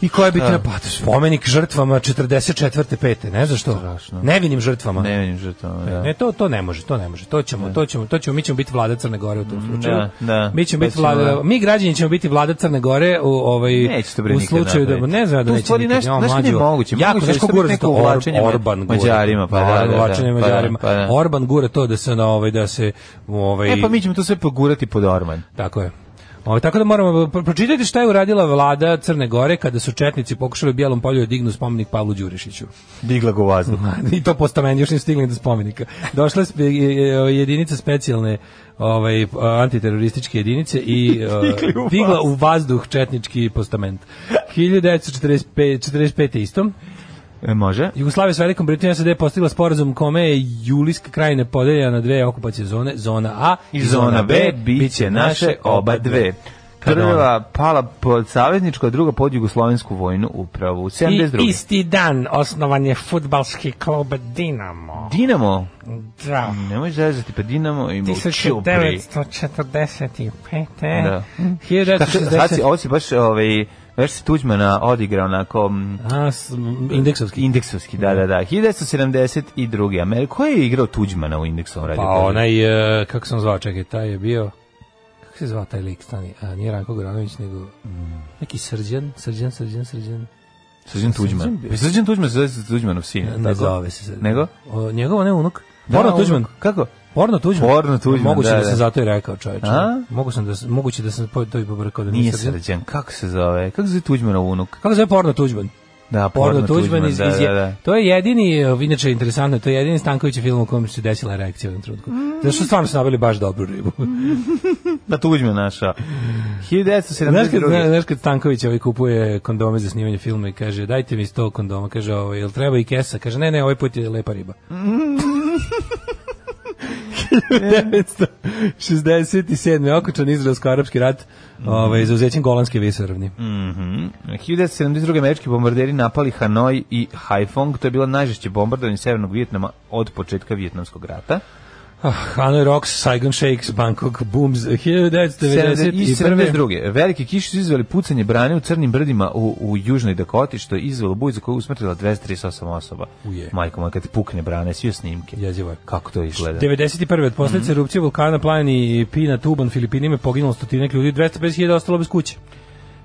Speaker 6: I koja bi treba spomenik žrtvama 44. pete, ne znaš što?
Speaker 7: Strašno.
Speaker 6: Nevinim žrtvama.
Speaker 7: Ne vidim žrtvama, da.
Speaker 6: Ne, to to ne može, to ne može. To ćemo, to ćemo, to ćemo mi ćemo biti vlada Crne Gore u tom slučaju.
Speaker 7: da, da.
Speaker 6: mi ćemo
Speaker 7: To
Speaker 6: biti
Speaker 7: ćemo,
Speaker 6: vlada,
Speaker 7: da.
Speaker 6: mi građani ćemo biti vlada Crne Gore u ovaj
Speaker 7: Neće to bre
Speaker 6: u
Speaker 7: nikad
Speaker 6: slučaju da
Speaker 7: napraviti.
Speaker 6: ne znam da
Speaker 7: To u
Speaker 6: neće.
Speaker 7: stvari
Speaker 6: nikad,
Speaker 7: nešto-
Speaker 6: ja,
Speaker 7: nešto
Speaker 6: mlađo,
Speaker 7: nemoguće.
Speaker 6: Jako
Speaker 7: Moguće
Speaker 6: nešto
Speaker 7: da
Speaker 6: gura
Speaker 7: se
Speaker 6: za to
Speaker 7: neko
Speaker 6: Or-
Speaker 7: uvlačenje
Speaker 6: Orban gura.
Speaker 7: Mađarima, pa da, da, da.
Speaker 6: Uvlačenje
Speaker 7: Pa da,
Speaker 6: Mađarima.
Speaker 7: pa da.
Speaker 6: Orban gura to da se na ovaj da se ovaj
Speaker 7: E, pa mi ćemo to sve pogurati pod Orman.
Speaker 6: tako je. Ovo, tako da moramo pro- pročitati šta je uradila vlada Crne Gore kada su četnici pokušali u Bijelom polju da dignu spomenik Pavlu Đurišiću.
Speaker 7: Digla go u vazduh.
Speaker 6: I to postament, još nisu stigli do spomenika. Došla je spe- je je- jedinica specijalne ovaj, antiterorističke jedinice i
Speaker 7: Stigli u
Speaker 6: uh, digla u vazduh četnički postament. 1945. 45. istom.
Speaker 7: E, može?
Speaker 6: Jugoslavija s Velikom Britanijom SAD je postigla sporazum kome je Julijska krajina podeljena na dve okupacije zone, zona A
Speaker 7: I zona B bit će naše oba dve. Prva pala pod savezničku, a druga pod jugoslovensku vojnu upravu. U
Speaker 6: I
Speaker 7: 72.
Speaker 6: isti dan osnovan je futbalski klub Dinamo.
Speaker 7: Dinamo.
Speaker 6: Da.
Speaker 7: Nemoj zezati, pa Dinamo i Čupri.
Speaker 6: 1945.
Speaker 7: Da. Tako, sad si,
Speaker 6: 1960.
Speaker 7: ovo si baš, ovaj, baš si Tuđmana odigra onako mm,
Speaker 6: A, s- m, indeksovski.
Speaker 7: indeksovski, da, da, da. 1972. Amerika, ko je igrao Tuđmana u indeksovom radio?
Speaker 6: Pa onaj, e, kako sam zvao, čekaj, taj je bio... Kako se zvao taj lik, stani? A, nije Ranko Goranović, nego... Neki srđan, srđan, srđan, srđan.
Speaker 7: Srđan Tuđman. Pa Srđan Tuđman se zove Tuđmanov sin. je li
Speaker 6: Ne
Speaker 7: tako?
Speaker 6: zove se. srđan.
Speaker 7: Nego?
Speaker 6: O, njegov, ne unuk. Borno
Speaker 7: Da,
Speaker 6: Tuđman.
Speaker 7: ono- Kako?
Speaker 6: Porno Tuđman.
Speaker 7: Porno Tuđman,
Speaker 6: Moguće da,
Speaker 7: da,
Speaker 6: da
Speaker 7: da.
Speaker 6: sam zato i rekao, čoveče.
Speaker 7: A?
Speaker 6: Mogu sam da, sam- moguće da sam po- to i pobrkao da
Speaker 7: Nije
Speaker 6: nije srđan.
Speaker 7: Srđan, kako se zove? Kako se zove Tuđmanov unuk?
Speaker 6: Kako se zove Porno Tuđman?
Speaker 7: Da,
Speaker 6: Porno Tuđman iz, iz
Speaker 7: da, da, da.
Speaker 6: To je jedini, e, inače interesantno, to je jedini Stanković film u kojem se desila reakcija u jednom trenutku. Zato što stvarno su nabili baš dobru ribu.
Speaker 7: Da, Tuđman našao.
Speaker 6: znaš, kad,
Speaker 7: 1972.
Speaker 6: znaš kad Stanković ovaj kupuje kondome za snimanje filma i kaže dajte mi 100 kondoma, kaže ovo, jel treba i kesa? Kaže ne, ne, ovaj put je lepa riba. 1967. okočan izraelsko-arapski rat ovaj, za uzećem Golanske visoravni.
Speaker 7: Mm, 1972. američki bombarderi napali Hanoj i Haiphong. To je bilo najžešće bombardovanje Severnog Vjetnama od početka Vjetnamskog rata.
Speaker 6: Ah, Hanoi Rocks, Saigon Shakes, Bangkok Booms,
Speaker 7: 70 i
Speaker 6: 1991.
Speaker 7: 72. Velike kiše su izveli pucanje brane u crnim brdima u, u Južnoj Dakoti, što je izvelo buj za koju je usmrtila 238 osoba.
Speaker 6: Uje.
Speaker 7: Majko moja, kad ti pukne brane, svi joj snimke.
Speaker 6: Jezivo je. Mhm.
Speaker 7: Kako to izgleda?
Speaker 6: 91. od posledice erupcije vulkana Plani i Pina Tuban Filipinima je poginulo stotinak ljudi, 250.000 ostalo bez kuće.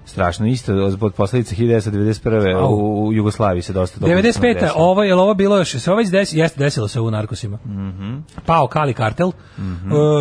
Speaker 7: Strašno, isto od posledica 1991.
Speaker 6: Au.
Speaker 7: U, u Jugoslaviji se dosta dobro
Speaker 6: 95. ovo je ovo bilo još, se ovo već desi, jeste desilo se u narkosima.
Speaker 7: Mhm.
Speaker 6: Pao Kali kartel, e,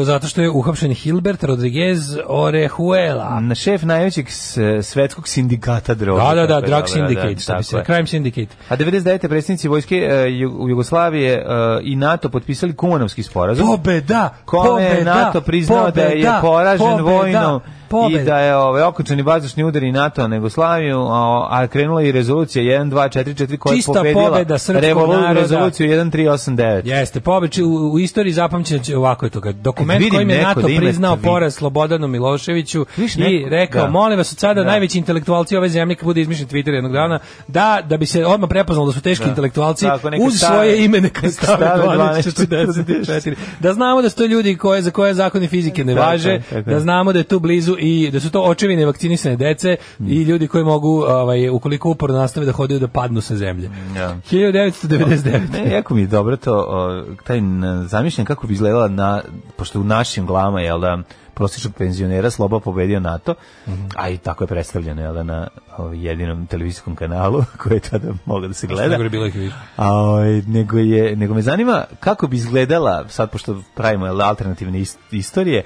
Speaker 6: zato što je uhapšen Hilbert Rodriguez Orejuela.
Speaker 7: Na Mm, šef najvećeg s- svetskog sindikata droga.
Speaker 6: Da, da, da,
Speaker 7: Tako je,
Speaker 6: Drug Syndicate, što
Speaker 7: tako
Speaker 6: bi se,
Speaker 7: je.
Speaker 6: Crime Syndicate.
Speaker 7: A 99. predsjednici vojske e, Ju- u Jugoslavije e, i NATO potpisali kumanovski sporazum.
Speaker 6: Pobeda!
Speaker 7: kome je
Speaker 6: pobeda,
Speaker 7: NATO priznao da je
Speaker 6: pobeda,
Speaker 7: poražen
Speaker 6: pobeda,
Speaker 7: vojnom i
Speaker 6: pobeda.
Speaker 7: da je ovaj, okončani vazdušni udar i NATO na Jugoslaviju, a, a krenula je i rezolucija 1244 koja
Speaker 6: Čista
Speaker 7: je pobedila
Speaker 6: pobeda srpskog naroda.
Speaker 7: rezoluciju 1389.
Speaker 6: Jeste, pobeći u, u istoriji zapamćen će ovako je to kad dokument
Speaker 7: vidim
Speaker 6: kojim je
Speaker 7: neko
Speaker 6: NATO
Speaker 7: da ima
Speaker 6: priznao
Speaker 7: tvi-
Speaker 6: poraz Slobodanu Miloševiću
Speaker 7: Viš
Speaker 6: i
Speaker 7: neko-
Speaker 6: rekao,
Speaker 7: da.
Speaker 6: molim vas od sada
Speaker 7: Da.
Speaker 6: najveći intelektualci ove zemlje kad bude izmišljen Twitter jednog dana, da da bi se odmah prepoznalo da su teški intelektualci
Speaker 7: Tako, neka
Speaker 6: uz
Speaker 7: stave-
Speaker 6: svoje ime neka
Speaker 7: neka
Speaker 6: stave
Speaker 7: stave
Speaker 6: 1244. Da znamo da su to ljudi koje za koje zakoni fizike ne
Speaker 7: Tako je,
Speaker 6: važe,
Speaker 7: tako je.
Speaker 6: da znamo da je tu blizu i da su to očevi nevakcinisane dece
Speaker 7: Mm.
Speaker 6: i ljudi koji mogu ovaj ukoliko uporno nastave da hodaju da padnu sa zemlje.
Speaker 7: Da.
Speaker 6: 1999.
Speaker 7: Ne, jako mi je dobro to, o, taj n- zamišljam kako bi izgledala na, pošto u našim glavama, jel da, prosječnog penzionera Sloba pobedio NATO,
Speaker 6: Mhm.
Speaker 7: a i tako je predstavljeno, jel da, na o, jedinom televizijskom kanalu koji je tada mogao da se gleda.
Speaker 6: Najgore bilo ih je više.
Speaker 7: A, ovaj, nego, je, nego me zanima kako bi izgledala, sad pošto pravimo jel, alternativne is- istorije,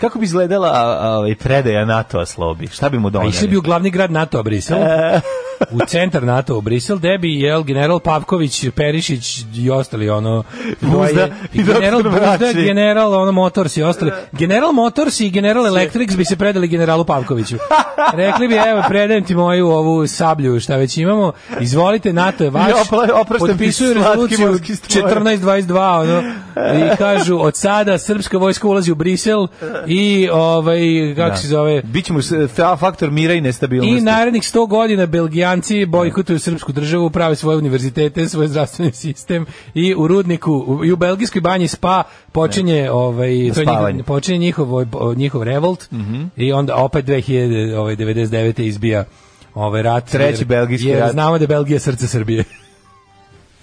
Speaker 7: kako bi izgledala a, a, ovaj, predaja NATO-a Slobi? Šta bi mu
Speaker 6: Pa
Speaker 7: doneli?
Speaker 6: išli bi u glavni grad NATO, a Brisel. u centar NATO, u Brisel, gde bi jel, general Pavković, Perišić i ostali, ono...
Speaker 7: Buzda
Speaker 6: dvoje-
Speaker 7: i
Speaker 6: general
Speaker 7: doktor
Speaker 6: Buzda,
Speaker 7: Bračni.
Speaker 6: general, ono, Motors i ostali. General Motors i general Electrics bi se predali generalu Pavkoviću. Rekli bi, evo, predajem ti moju ovu sablju, šta već imamo, izvolite, NATO je vaš,
Speaker 7: I opra- opraštam ti
Speaker 6: potpisuju
Speaker 7: slatki
Speaker 6: rezoluciju
Speaker 7: morski stvor.
Speaker 6: 1422, ono, i kažu, od sada srpska vojska ulazi u Brisel i, ovaj, kako se zove,
Speaker 7: Bićemo s- fa- faktor mira i nestabilnosti.
Speaker 6: I narednih 100 godina Belgijanci bojkotuju srpsku državu, prave svoje univerzitete, svoj zdravstveni sistem i u rudniku u- i u belgijskoj banji Spa počinje ovaj to je
Speaker 7: spavanje. Mhm.
Speaker 6: njihov, počinje njihov ovaj, po- njihov revolt i onda opet 2000 ovaj 99 izbija ovaj rat.
Speaker 7: Treći belgijski
Speaker 6: jer
Speaker 7: rat.
Speaker 6: Znamo da je Belgija srce Srbije.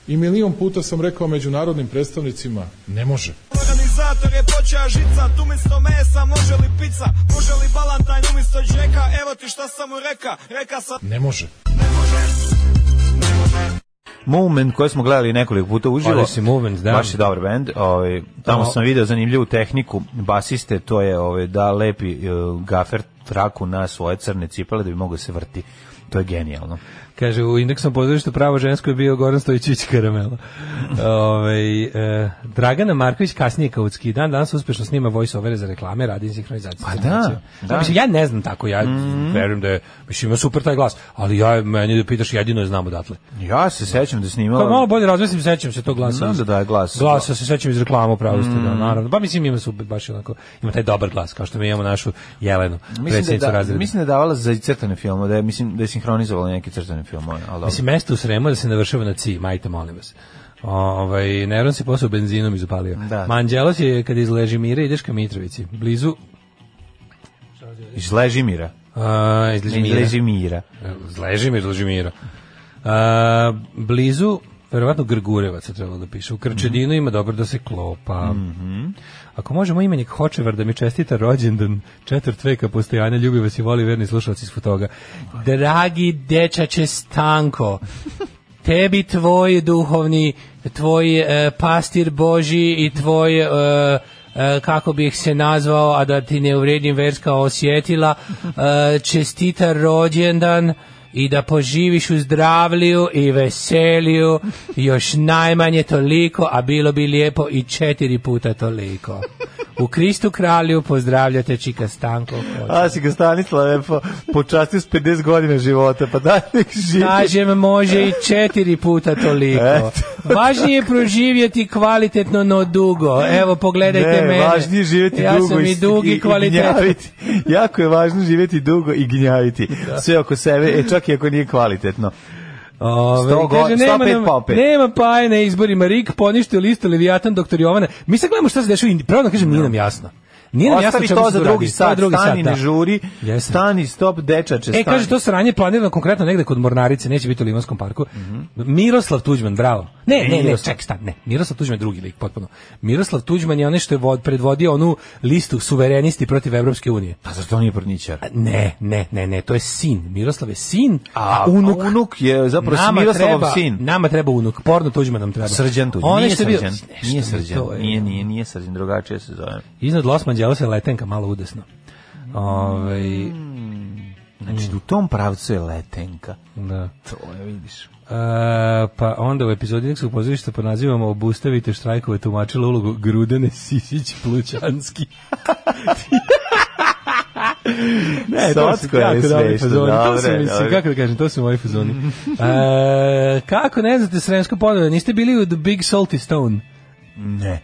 Speaker 9: I milion puta sam rekao međunarodnim predstavnicima, ne može.
Speaker 10: Organizator je počeo žica, tu misto mesa, može li pizza, može li balantajn umjesto džeka, evo ti šta sam mu reka, reka sam...
Speaker 9: Ne može.
Speaker 7: Moment koji smo gledali nekoliko puta uživo.
Speaker 6: Odyssey Pa, Movement, da.
Speaker 7: Baš je dobar bend. Ovaj tamo
Speaker 6: O.
Speaker 7: sam video zanimljivu tehniku basiste, to je ovaj da lepi e, gafer traku na svoje crne cipele da bi mogao se vrti. To je genijalno.
Speaker 6: Kaže, u indeksom pozorištu pravo žensko je bio Goran Stojićić Karamela. Ove, e, Dragana Marković, kasnije Kautski, dan danas uspešno snima voice-overe za reklame, radi sinhronizaciju.
Speaker 7: Pa da,
Speaker 6: stimulaciju.
Speaker 7: da. Mhm.
Speaker 6: Mislim, ja ne znam tako, ja verujem da je, mislim, ima super taj glas, ali ja, meni da pitaš, jedino je znam odatle.
Speaker 7: Ja se sećam
Speaker 6: Pa
Speaker 7: da
Speaker 6: malo
Speaker 7: snimala
Speaker 6: bolje razmislim, sećam se tog glasa.
Speaker 7: Znam da daje glas. Mhm.
Speaker 6: Glasa se sećam iz reklamu, pravo ste, da, naravno. Pa mislim ima super, baš je onako, ima taj dobar glas, kao što mi imamo našu Jelenu,
Speaker 7: Mislim
Speaker 6: predsjednicu
Speaker 7: da, da,
Speaker 6: razreda.
Speaker 7: mislim da je davala za crtane filmove, da je, mislim, da je sinhronizovala neke crtane filmove. Ali, dobro.
Speaker 6: Mislim, mesto u Sremu je da se navršava na ci, majte, molim vas. Ovaj, Neron se posao benzinom izupalio.
Speaker 7: Da.
Speaker 6: Manđelos je kada iz Ležimira ideš ka Mitrovici, blizu
Speaker 7: iz Ležimira.
Speaker 6: a, iz
Speaker 7: Iz
Speaker 6: Ležimira.
Speaker 7: Ležimira.
Speaker 6: Iz Ležimira, iz Ležimira. A, blizu verovatno Grgurevaca trebalo da piše. U Krčedinu ima dobro da se klopa. Ako možemo imenik Hočevar da mi čestita rođendan četvrt veka postojanja, ljubi vas i voli verni slušalac iz Fotoga. Dragi dečače Stanko, tebi tvoj duhovni, tvoj e, pastir Boži i tvoj, e, e, kako bih se nazvao, a da ti ne uvredim verska osjetila, e, čestita rođendan i da poživiš u zdravlju i veselju još najmanje toliko, a bilo bi lijepo i četiri puta toliko. U Kristu kralju pozdravljate Čika Stanko.
Speaker 7: A si ga Stanislave po, počastio s 50 godina života, pa daj nek živi.
Speaker 6: Kažem, može i četiri puta toliko.
Speaker 7: Eto.
Speaker 6: Važnije je proživjeti kvalitetno, no dugo. Evo, pogledajte
Speaker 7: ne,
Speaker 6: mene.
Speaker 7: važnije je živjeti
Speaker 6: ja
Speaker 7: dugo
Speaker 6: sam i dugi i, kvalitetno.
Speaker 7: gnjaviti. Jako je važno živjeti dugo i gnjaviti. Sve oko sebe, e, čak i ako nije kvalitetno.
Speaker 6: Ove,
Speaker 7: Sto go-
Speaker 6: kaže, nema,
Speaker 7: 105
Speaker 6: nam-
Speaker 7: pa opet.
Speaker 6: nema paje na izborima. Rik poništio listu Leviatan, doktor Jovana. Mi sad gledamo šta se dešava. i Pravo da kažem, nije nam jasno. Nije nam jasno
Speaker 7: Ostavi
Speaker 6: čemu
Speaker 7: to
Speaker 6: se
Speaker 7: za
Speaker 6: radi.
Speaker 7: drugi
Speaker 6: To je
Speaker 7: sat, stani,
Speaker 6: da.
Speaker 7: ne žuri,
Speaker 6: Jeste.
Speaker 7: stani, stop, dečače, stani.
Speaker 6: E, kaže, to sranje planirano konkretno negde kod Mornarice, neće biti u Limanskom parku. Miroslav Tuđman, bravo. Ne, ne, ne,
Speaker 7: Mhm. Miroslav.
Speaker 6: ček, stan, ne. Miroslav Tuđman je drugi lik, potpuno. Miroslav Tuđman je onaj što je vod, predvodio onu listu suverenisti protiv Evropske unije.
Speaker 7: Pa zašto on nije porničar?
Speaker 6: A Ne, ne, ne, ne, to je sin. Miroslav je sin, a,
Speaker 7: A,
Speaker 6: unuk...
Speaker 7: a unuk je zapravo Miroslavov
Speaker 6: treba,
Speaker 7: sin.
Speaker 6: Nama treba unuk, porno Tuđman nam treba.
Speaker 7: Srđan tu.
Speaker 6: Onaj
Speaker 7: Nije
Speaker 6: što je bio-
Speaker 7: srđan.
Speaker 6: Nešto
Speaker 7: Nije
Speaker 6: mi
Speaker 7: srđan.
Speaker 6: to je-
Speaker 7: Nije, nije, nije srđan. Drugačije se zove.
Speaker 6: Iznad Los Angeles je letenka malo udesno. Ovaj,
Speaker 7: Znači, u tom pravcu je letenka.
Speaker 6: da.
Speaker 7: To je, vidiš.
Speaker 6: E, pa onda u epizodi Nekskog pozorišta pod nazivom Obustavite štrajkove tumačila ulogu Grudene Sisić Plućanski.
Speaker 7: Ne, to su jako dobri fazoni.
Speaker 6: to su, mislim, kako da kažem, to su moji fazoni. E, kako ne znate Sremsko podove, niste bili u The Big Salty Stone?
Speaker 7: Ne.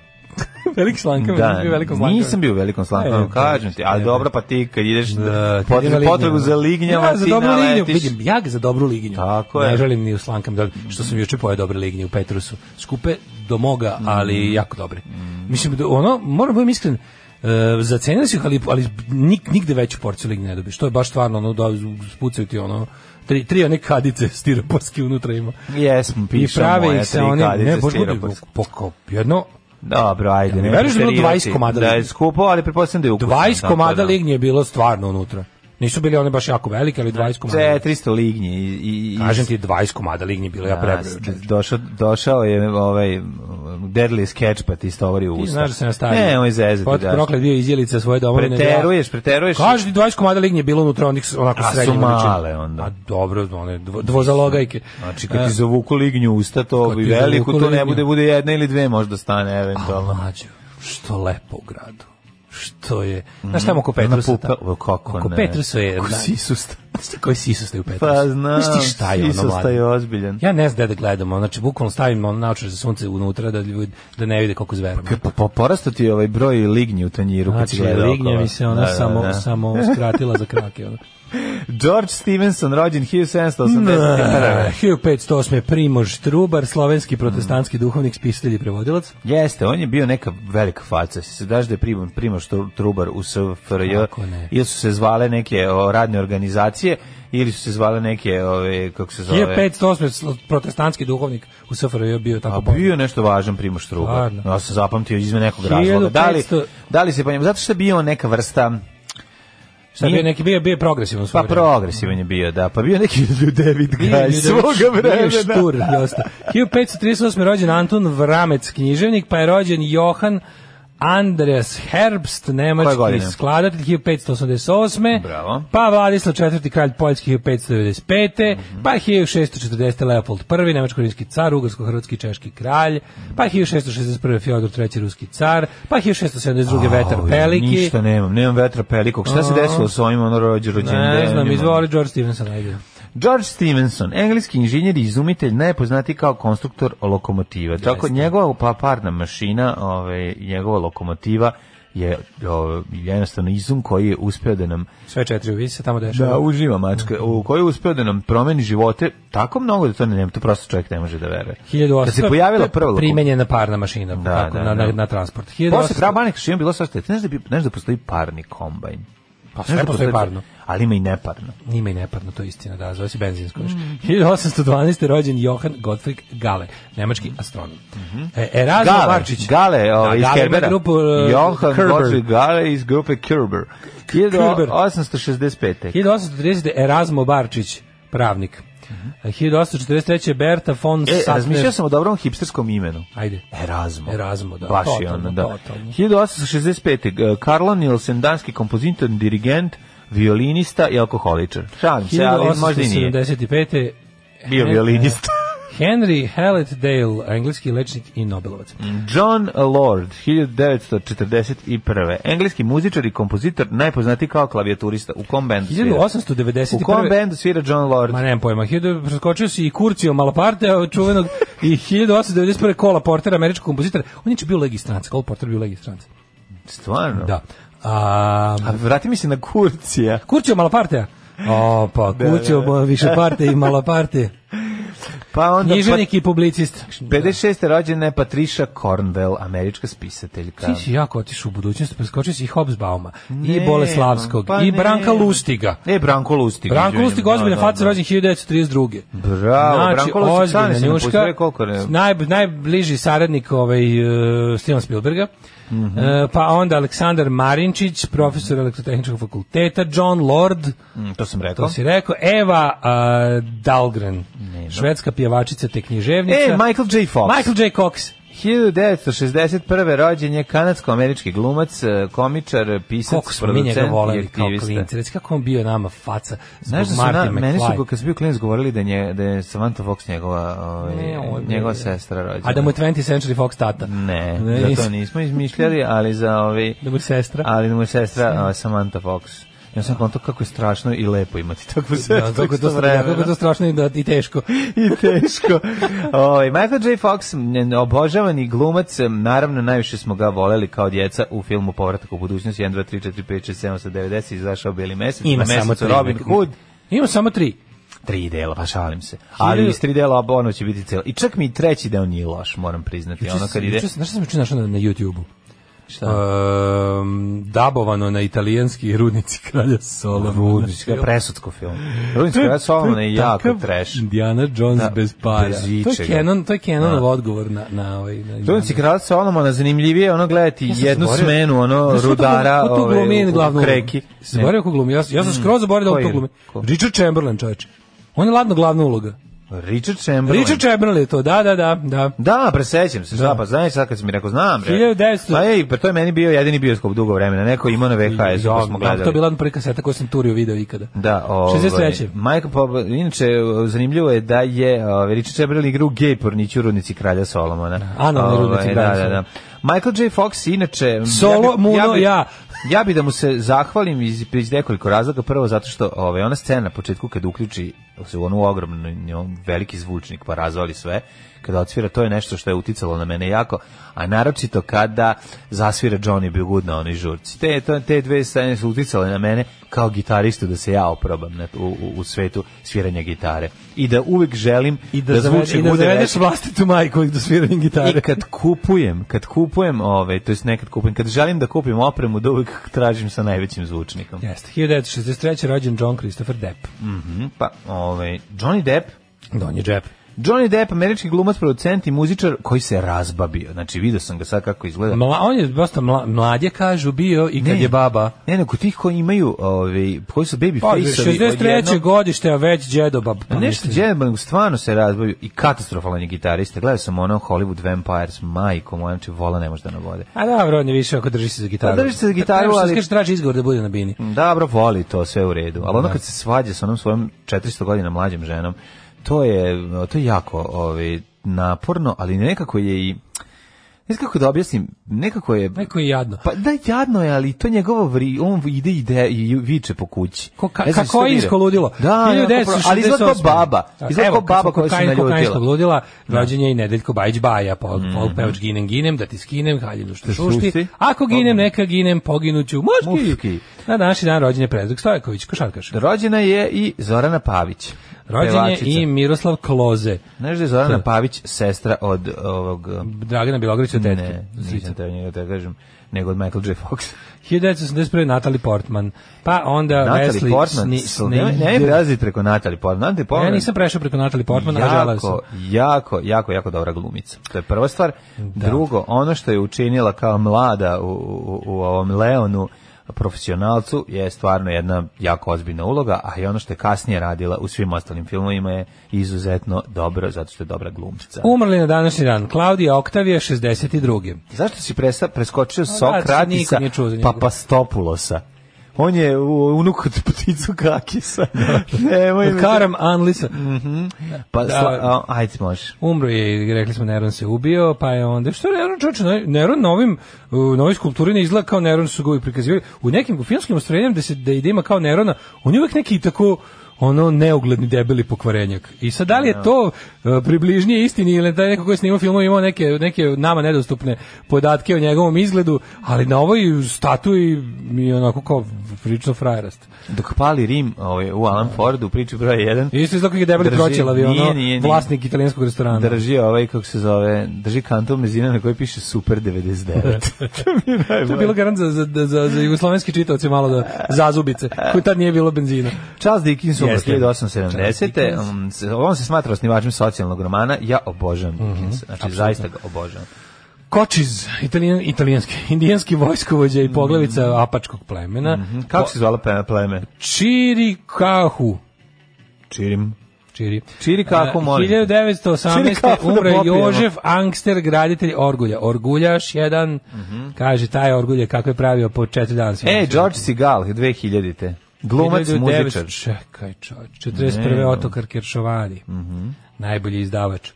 Speaker 6: Velik slanka,
Speaker 7: Da,
Speaker 6: velikom slanka.
Speaker 7: nisam bio u velikom
Speaker 6: E,
Speaker 7: slankom, kažem ti. Ali
Speaker 6: e,
Speaker 7: dobro, pa ti kad ideš
Speaker 6: Da,
Speaker 7: da,
Speaker 6: kad ima lignjava.
Speaker 7: potrebu za lignjava,
Speaker 6: ja, za
Speaker 7: ti
Speaker 6: dobru lignju,
Speaker 7: naletiš.
Speaker 6: vidim, ja ga za dobru lignju.
Speaker 7: Tako
Speaker 6: Ne
Speaker 7: je.
Speaker 6: želim ni u slankam, da, što sam juče pojao dobre lignje u Petrusu. Skupe do moga,
Speaker 7: Mm.
Speaker 6: ali jako dobre. Mislim, da ono, moram budem iskren, Uh, zacenili su ih, ali, ali nik, nigde veću porciju lignje ne dobiješ. To je baš stvarno ono, da spucaju ti ono, tri, tri one kadice stiroporske unutra ima.
Speaker 7: Jesmo,
Speaker 6: I
Speaker 7: pišem
Speaker 6: prave
Speaker 7: moja
Speaker 6: ih se
Speaker 7: e, tri
Speaker 6: oni, ne,
Speaker 7: kadice
Speaker 6: boš budi,
Speaker 7: stiropor.
Speaker 6: poko, jedno,
Speaker 7: Dobro, ajde.
Speaker 6: Ja, ono
Speaker 7: ne
Speaker 6: veruješ da je bilo
Speaker 7: preterivati.
Speaker 6: 20 komada
Speaker 7: Da je
Speaker 6: lignje?
Speaker 7: skupo, ali pretpostavljam da je ukusno.
Speaker 6: 20
Speaker 7: tako
Speaker 6: komada
Speaker 7: da.
Speaker 6: lignje je bilo stvarno unutra. Nisu bili one baš jako velike, ali 20 komada.
Speaker 7: 400 lignje. I, i, i-
Speaker 6: Kažem ti 20 komada lignje bilo ja prebrojao.
Speaker 7: Da, došao, došao je ovaj Deadly Sketch pa ti istovario usta.
Speaker 6: Ti znaš da se nastavio.
Speaker 7: Ne, on je zezati.
Speaker 6: Pot
Speaker 7: da.
Speaker 6: proklet bio izdjelica svoje domovine.
Speaker 7: Preteruješ, preteruješ.
Speaker 6: Kaži ti 20 komada lignje je bilo unutra onih s- onako
Speaker 7: A su
Speaker 6: srednje veličine.
Speaker 7: male onda.
Speaker 6: A dobro, one dvo, dvozalogajke.
Speaker 7: Znači,
Speaker 6: E,
Speaker 7: kad ti zavuku lignju usta, to
Speaker 6: Kad
Speaker 7: bi
Speaker 6: ti
Speaker 7: veliko,
Speaker 6: zavuku
Speaker 7: to ne
Speaker 6: lignju.
Speaker 7: bude, bude jedna ili dve možda stane eventualno.
Speaker 6: mlađo, što lepo u gradu. Što je... Znaš tamo oko Petrusa?
Speaker 7: Ona pupa-
Speaker 6: tamo?
Speaker 7: Mhm. o, kako
Speaker 6: oko
Speaker 7: ne.
Speaker 6: Petrusa je...
Speaker 7: Ko
Speaker 6: da,
Speaker 7: sisusta.
Speaker 6: Znaš ti koji sisus je u Petrusu?
Speaker 7: Pa znam,
Speaker 6: Znaš ti šta je ono,
Speaker 7: sisusta
Speaker 6: mlađo?
Speaker 7: je ozbiljan.
Speaker 6: Ja ne znam gde da gledamo, znači bukvalno stavim ono naočar za sunce unutra da ljudi da ne vide koliko zveramo.
Speaker 7: Pa, pa porasto ti je ovaj broj lignji u tanjiru kad si
Speaker 6: Znači,
Speaker 7: gledao.
Speaker 6: lignja mi se ona samo, samo skratila za krake. Ono.
Speaker 7: George Stevenson, rođen
Speaker 6: E,
Speaker 7: 1781.
Speaker 6: 1508. Primož Trubar, slovenski protestantski
Speaker 7: Mm.
Speaker 6: duhovnik, spisatelj i prevodilac.
Speaker 7: Jeste, on je bio neka velika faca. Se daš da je Primož, Primož Tru- Trubar u SFRJ,
Speaker 6: Kako ne.
Speaker 7: ili su se zvale neke o, radne organizacije, ili su se zvale neke, ove, kako se zove...
Speaker 6: 1508. slo- protestantski duhovnik u SFRJ bio
Speaker 7: A
Speaker 6: tako
Speaker 7: bio je nešto važan Primoš Trubar.
Speaker 6: Stvarno.
Speaker 7: Ja sam zapamtio iz nekog razloga. Da li,
Speaker 6: 1500
Speaker 7: da li se po njemu, zato što je bio neka vrsta...
Speaker 6: Šta je bio neki bio bio je progresivan u
Speaker 7: Pa
Speaker 6: svoje vreme.
Speaker 7: progresivan je bio, da. Pa bio je neki David
Speaker 6: Nije
Speaker 7: Gaj
Speaker 6: bio
Speaker 7: svoga
Speaker 6: David- bio je
Speaker 7: vremena.
Speaker 6: štur, dosta. 1538. rođen Anton Vramec, književnik, pa je rođen Johan Andreas Herbst,
Speaker 7: Koje
Speaker 6: nemački
Speaker 7: godine?
Speaker 6: skladatelj 1588.
Speaker 7: Bravo.
Speaker 6: Pa Vladislav IV. kralj Poljski 1595.
Speaker 7: Mhm.
Speaker 6: Pa 1640. Leopold I. nemačko-rimski car, ugarsko-hrvatski i češki kralj. Pa 1661. Fjodor III. ruski car. Pa 1672. Vetar
Speaker 7: Oj,
Speaker 6: Peliki.
Speaker 7: Ništa nemam, nemam vetra pelikog. Šta se
Speaker 6: A.
Speaker 7: desilo s ovim ono rođe rođendanima?
Speaker 6: Ne znam, izvoli George Stevenson. Ajde.
Speaker 7: George Stevenson, engleski inženjer i izumitelj, najpoznatiji kao konstruktor lokomotiva. Tako njegova pa- parna mašina, ovaj njegova lokomotiva je ovaj, jednostavno izum koji je uspeo da nam
Speaker 6: Sve četiri uvisi se tamo dešava.
Speaker 7: da uživa mačka, u kojoj je uspeo da nam promeni živote tako mnogo da to ne, to prosto čovjek ne može da veruje.
Speaker 6: 1800
Speaker 7: Kad se pojavila prva lokomotiva-
Speaker 6: primenjena parna mašina
Speaker 7: Da,
Speaker 6: tako,
Speaker 7: da,
Speaker 6: na,
Speaker 7: da.
Speaker 6: na, na transport. 1800
Speaker 7: Posle trabanih šina bilo svašta. Ti znaš da, bi, znaš da postoji parni kombajn?
Speaker 6: Pa sve
Speaker 7: Znaš da
Speaker 6: postoji parno.
Speaker 7: Ali ima i neparno.
Speaker 6: Nima i neparno, to je istina, da, zove se benzinsko. još.
Speaker 7: Mhm.
Speaker 6: 1812. rođen Johan Gottfried Gale, nemački astronom. E, Erasmo
Speaker 7: Mhm. Gale,
Speaker 6: Marčić.
Speaker 7: Gale ovaj, iz
Speaker 6: da, Gale ima
Speaker 7: Kerbera.
Speaker 6: grupu, e,
Speaker 7: Johan
Speaker 6: Kerber.
Speaker 7: Gottfried Gale iz grupe Kerber.
Speaker 6: Kerber.
Speaker 7: 1865.
Speaker 6: 1830. Erasmo Barčić, pravnik. E, 1843. Berta von
Speaker 7: Mhm. E,
Speaker 6: Sattner.
Speaker 7: razmišljao sam o dobrom hipsterskom imenu.
Speaker 6: Ajde.
Speaker 7: Erasmo.
Speaker 6: Erasmo, da,
Speaker 7: Baš je
Speaker 6: totalno,
Speaker 7: ono, da.
Speaker 6: totalno.
Speaker 7: 1865. Karlo Nielsen, e, danski kompozitor, dirigent, violinista i alkoholičar. Šalim se, ali možda i nije.
Speaker 6: 1875.
Speaker 7: Bio
Speaker 6: Hen-
Speaker 7: violinista.
Speaker 6: Henry Hallett Dale, engleski lečnik i Nobelovac.
Speaker 7: Mm, John Lord, 1941. Engleski muzičar i kompozitor, najpoznatiji kao klavijaturista. U kom bendu svira?
Speaker 6: 1891.
Speaker 7: U kom bendu svira John Lord?
Speaker 6: Ma nemam pojma, 1000 preskočio si i Kurcio Malaparte, čuvenog, i 1891. Kola Portera, američkog kompozitora. On je bio legistranac, Kola Porter bio legistranac.
Speaker 7: Stvarno?
Speaker 6: Da. A,
Speaker 7: A vrati mi se na Kurcija.
Speaker 6: Kurcio Malapartea. O, pa, Kurcio da, više parte i Malaparte.
Speaker 7: Pa onda...
Speaker 6: Književnik i publicist.
Speaker 7: Pa, 56. rođena je Patricia Cornwell, američka spisateljka.
Speaker 6: Ti si jako otišao u budućnost, preskočio si i Hobsbauma, i
Speaker 7: Ne,
Speaker 6: Boleslavskog,
Speaker 7: pa
Speaker 6: i
Speaker 7: ne.
Speaker 6: Branka Lustiga.
Speaker 7: E, Branko Lustig.
Speaker 6: Branko
Speaker 7: izvinim.
Speaker 6: Lustig, ozbiljna
Speaker 7: Da, da,
Speaker 6: faca,
Speaker 7: da.
Speaker 6: rođen 1932.
Speaker 7: Bravo, Branko Lustig, stani se, ne postoje koliko ne-
Speaker 6: Znači, naj, najbliži saradnik ovaj, uh, Steven Spielberga,
Speaker 7: Mhm.
Speaker 6: E, pa onda Aleksandar Marinčić, profesor elektrotehničkog fakulteta, John Lord,
Speaker 7: Mm, To sam rekao.
Speaker 6: to si rekao, Eva uh, Dahlgren, švedska pjevačica te književnica.
Speaker 7: E, Michael J. Fox.
Speaker 6: Michael J. Cox.
Speaker 7: 1961. rođen je kanadsko-američki glumac, e, komičar, pisac,
Speaker 6: Koliko smo mi
Speaker 7: producent
Speaker 6: njega
Speaker 7: i
Speaker 6: voleli kao
Speaker 7: aktivista.
Speaker 6: klinci. Reci kako on bio nama faca zbog
Speaker 7: Znaš da su
Speaker 6: Marty
Speaker 7: na, meni su
Speaker 6: McFly.
Speaker 7: ga- kad su bio klinac govorili da, nje, da je Samantha Fox njegova, ovaj,
Speaker 6: Ne, ovo je
Speaker 7: njegova
Speaker 6: bilo-
Speaker 7: sestra rođena.
Speaker 6: A da mu je 20th Century Fox tata.
Speaker 7: Ne,
Speaker 6: Ne,
Speaker 7: za to
Speaker 6: nisam.
Speaker 7: nismo izmišljali, ali za ovaj...
Speaker 6: Da mu je sestra.
Speaker 7: Ali da mu je sestra uh, Samantha Fox. Ja sam kontao kako je strašno i lepo imati takvu sestru.
Speaker 6: Da, kako je to,
Speaker 7: istovremeno.
Speaker 6: stra- kako je to strašno i, da, i teško.
Speaker 7: I teško. Ovaj Michael J. Fox, n- obožavani glumac, em, naravno najviše smo ga voleli kao djeca u filmu Povratak u budućnost 1 2 3 4 5 6 7 8 9 10 izašao Beli mesec,
Speaker 6: Ima
Speaker 7: na mesecu
Speaker 6: samo tri.
Speaker 7: Robin Hood.
Speaker 6: Ima samo tri.
Speaker 7: Tri dela, pa šalim se. Ali iz tri dela oba ono će biti celo. I čak mi i treći deo nije loš, moram priznati. ono kad ide...
Speaker 6: Juče sam- Znači, Znaš šta sam juče našao na, na YouTube-u? Šta? dabovano na italijanski rudnici kralja Solomona.
Speaker 7: Rudnička, presudsko film. Rudnička, ja sam je jako
Speaker 6: takav
Speaker 7: trash.
Speaker 6: Indiana Jones
Speaker 7: Da,
Speaker 6: bez para.
Speaker 7: bez
Speaker 6: To je
Speaker 7: ičega.
Speaker 6: Kenon, to je Kenonov
Speaker 7: Da.
Speaker 6: odgovor na, na ovaj... Na,
Speaker 7: Rudnici kralja Solomona zanimljivije je ono gledati
Speaker 6: Ja sam
Speaker 7: jednu
Speaker 6: zaboravio-
Speaker 7: smenu ono
Speaker 6: Znaš ko tu glumi-
Speaker 7: rudara
Speaker 6: ko tu
Speaker 7: ove,
Speaker 6: glumi
Speaker 7: u- u
Speaker 6: glavnu ulogu?
Speaker 7: kreki.
Speaker 6: Zaboravio ko glumi, ja, sam- ja sam skroz zaboravio da
Speaker 7: Ko
Speaker 6: on
Speaker 7: je?
Speaker 6: to glumi.
Speaker 7: Ko?
Speaker 6: Richard Chamberlain, čoveče. On je ladno glavna uloga.
Speaker 7: Richard Chamberlain.
Speaker 6: Richard Chamberlain je to, da, da, da, da.
Speaker 7: Da, presećam se, šta
Speaker 6: Da.
Speaker 7: pa znaš sad kad si mi rekao, znam bre.
Speaker 6: 1900.
Speaker 7: Pa ej, pa to je meni bio jedini bioskop dugo vremena, neko je imao na VHS,
Speaker 6: Ja,
Speaker 7: pa smo
Speaker 6: ja,
Speaker 7: gledali.
Speaker 6: to je bila jedna prvi kaseta koju sam turio video ikada.
Speaker 7: Da, ovaj,
Speaker 6: 63..
Speaker 7: Michael Pop, inače, zanimljivo je da je ovaj, Richard Chamberlain igra u gej porniću Rudnici Kralja Solomona.
Speaker 6: analni
Speaker 7: Ovaj,
Speaker 6: Rudnici Kralja
Speaker 7: da, da, da.
Speaker 6: Solomona.
Speaker 7: Michael J. Fox, inače...
Speaker 6: Solo, Muno,
Speaker 7: bi-
Speaker 6: ja.
Speaker 7: ja bi da mu se zahvalim iz, iz nekoliko razloga. Prvo zato što ovaj, ona scena na početku kad uključi se u onu ogromnu, nju- veliki zvučnik pa razvali sve, kada odsvira, to je nešto što je uticalo na mene jako, a naročito kada zasvira Johnny B. Good na onoj žurci. Te, to, te dve scene su uticale na mene kao gitaristu da se ja oprobam na, u, u, u svetu sviranja gitare. I da uvek želim
Speaker 6: I da,
Speaker 7: zvuči
Speaker 6: zavede- i da
Speaker 7: bude
Speaker 6: zavedeš
Speaker 7: veći.
Speaker 6: vlastitu majku do sviranja gitare.
Speaker 7: I kad kupujem, kad kupujem, ove, to jest nekad kupujem, kad želim da kupim opremu, da uvek tražim sa najvećim zvučnikom.
Speaker 6: Jeste, 1963. rođen John Christopher Depp.
Speaker 7: Mhm, pa, ove, Johnny Depp,
Speaker 6: Donji Depp.
Speaker 7: Johnny Depp, američki glumac, producent i muzičar koji se razbabio. Znači, vidio sam ga sad kako izgleda.
Speaker 6: Mla, on je dosta mla, mlađe, kažu, bio i kad
Speaker 7: Ne.
Speaker 6: je baba.
Speaker 7: Ne, nego tih koji imaju, ove, koji su baby
Speaker 6: Pa,
Speaker 7: face-ovi,
Speaker 6: 63.
Speaker 7: odjednom-
Speaker 6: godište, a već džedoba.
Speaker 7: Pa nešto djeban, nego stvarno se razbavio i katastrofalan je gitarista. Gledao sam ono Hollywood Vampires, majko moja, znači vola ne može da navode.
Speaker 6: A dobro, on je više ako drži se za gitaru.
Speaker 7: Pa drži se za gitaru,
Speaker 6: Treba što
Speaker 7: ali-
Speaker 6: Kaže, traži izgovor da bude na bini.
Speaker 7: Dobro, voli to sve u redu, ali ono kad se svađa sa onom svojom 400 godina mlađim ženom, to je, to je jako ovaj, naporno, ali nekako je i, ne znam kako da objasnim, nekako je,
Speaker 6: Neko je jadno.
Speaker 7: pa da jadno je, ali to je njegovo vri, on ide, ide i viče po kući.
Speaker 6: Ko, ka,
Speaker 7: Ne znam što
Speaker 6: kokainsko
Speaker 7: vidi.
Speaker 6: ludilo.
Speaker 7: Da, jako pro-
Speaker 6: 1968.
Speaker 7: ali izgleda kao baba,
Speaker 6: Tako,
Speaker 7: izgleda
Speaker 6: evo,
Speaker 7: kao
Speaker 6: kad
Speaker 7: baba
Speaker 6: smo
Speaker 7: koja se
Speaker 6: kokain- kokainskog
Speaker 7: naljutila. Mhm.
Speaker 6: ludila, rođen je i Nedeljko Bajić Baja, pa mm pevač ginem, ginem, da ti skinem, haljinu što
Speaker 7: šušti.
Speaker 6: šušti. Ako ginem, neka ginem, poginuću, muški.
Speaker 7: Muški.
Speaker 6: Na današnji dan rođen je Predrag Stojković, košarkaš.
Speaker 7: Rođena je i Zorana Pavić.
Speaker 6: Rođen je
Speaker 7: pevačica.
Speaker 6: i Hm. Miroslav Kloze,
Speaker 7: Znaš da je Zorana Pavić sestra od ovog...
Speaker 6: Dragana Bilogorića tetke.
Speaker 7: Ne, nisam teo njega da kažem, nego od Michael J. Fox.
Speaker 6: 1981. Natalie Portman, pa onda
Speaker 7: Natalie
Speaker 6: Wesley
Speaker 7: Portman,
Speaker 6: Sni-
Speaker 7: sl- ne, ne
Speaker 6: Snyder.
Speaker 7: prelazi preko Natalie Portman. Natalie Portman
Speaker 6: Ja nisam prešao preko Natalie Portman, a želeo sam.
Speaker 7: jako, jako, jako, jako dobra glumica. To je prva stvar. Drugo, ono što je učinila kao mlada u, u, u ovom Leonu, profesionalcu je stvarno jedna jako ozbiljna uloga, a i ono što je kasnije radila u svim ostalim filmovima je izuzetno dobro, zato što je dobra glumčica.
Speaker 6: Umrli na današnji dan. Klaudija Oktavija, 62.
Speaker 7: Zašto si presa, preskočio
Speaker 6: zato što
Speaker 7: Sokratisa
Speaker 6: znači, niko nije čuo za njega.
Speaker 7: Papastopulosa? On je u- unuk od pticu Kakisa. Nemoj me.
Speaker 6: Karam Anlisa.
Speaker 7: Pa,
Speaker 6: Da.
Speaker 7: sla- a, ajde, može.
Speaker 6: Umro je, i rekli smo, Neron se ubio, pa je onda... Što je Neron, čoče, Neron na ovim, uh, na ovoj skulpturi ne izgleda kao Neron su ga uvijek prikazivali. U nekim filmskim ostrenjama da, se, da, i da ima kao Nerona, on je uvijek neki tako ono neugledni debeli pokvarenjak. I sad da li je to uh, približnije istini ili da je neko ko je snimao filmove imao neke, neke nama nedostupne podatke o njegovom izgledu, ali na ovoj statui mi je onako kao prilično frajerast.
Speaker 7: Dok pali Rim ovaj, u Alan Fordu, u priči broj 1,
Speaker 6: Isto izgleda kako je debeli
Speaker 7: Drži,
Speaker 6: proćelavi,
Speaker 7: nije,
Speaker 6: ono,
Speaker 7: nije, nije.
Speaker 6: vlasnik italijanskog restorana.
Speaker 7: drži ovaj, kako se zove, drži kantom mezina na kojoj piše Super 99. to mi je
Speaker 6: To
Speaker 7: najbolje.
Speaker 6: je bilo garant za, za, za, za jugoslovenski čitavce malo da zazubice, koji tad nije bilo benzina.
Speaker 7: Charles Dickens umro
Speaker 6: Jeste. Charles
Speaker 7: 1870.
Speaker 6: Dickens.
Speaker 7: Um, se- On se smatra osnivačem socijalnog romana. Ja obožavam
Speaker 6: Mhm.
Speaker 7: Dickensa. Znači, zaista ga obožavam.
Speaker 6: Kočiz, italijan, italijanski, indijanski vojskovođa i
Speaker 7: Mhm.
Speaker 6: poglavica apačkog plemena.
Speaker 7: Kako se zvala pe- pleme?
Speaker 6: Čirikahu.
Speaker 7: Čirim.
Speaker 6: Čiri.
Speaker 7: Čirikahu,
Speaker 6: E,
Speaker 7: molim te.
Speaker 6: 1918.
Speaker 7: Čirikahu da
Speaker 6: umre
Speaker 7: popijemo.
Speaker 6: Jožef Angster, graditelj Orgulja. Orguljaš jedan, kaže, taj Orgulje kako je pravio po četiri dana.
Speaker 7: Mhm. E, George Segal, 2000-te. Glumac, muzičar.
Speaker 6: Čekaj, čovječ, 41.
Speaker 7: Ne. Mhm.
Speaker 6: otokar Kiršovani. Najbolji izdavač.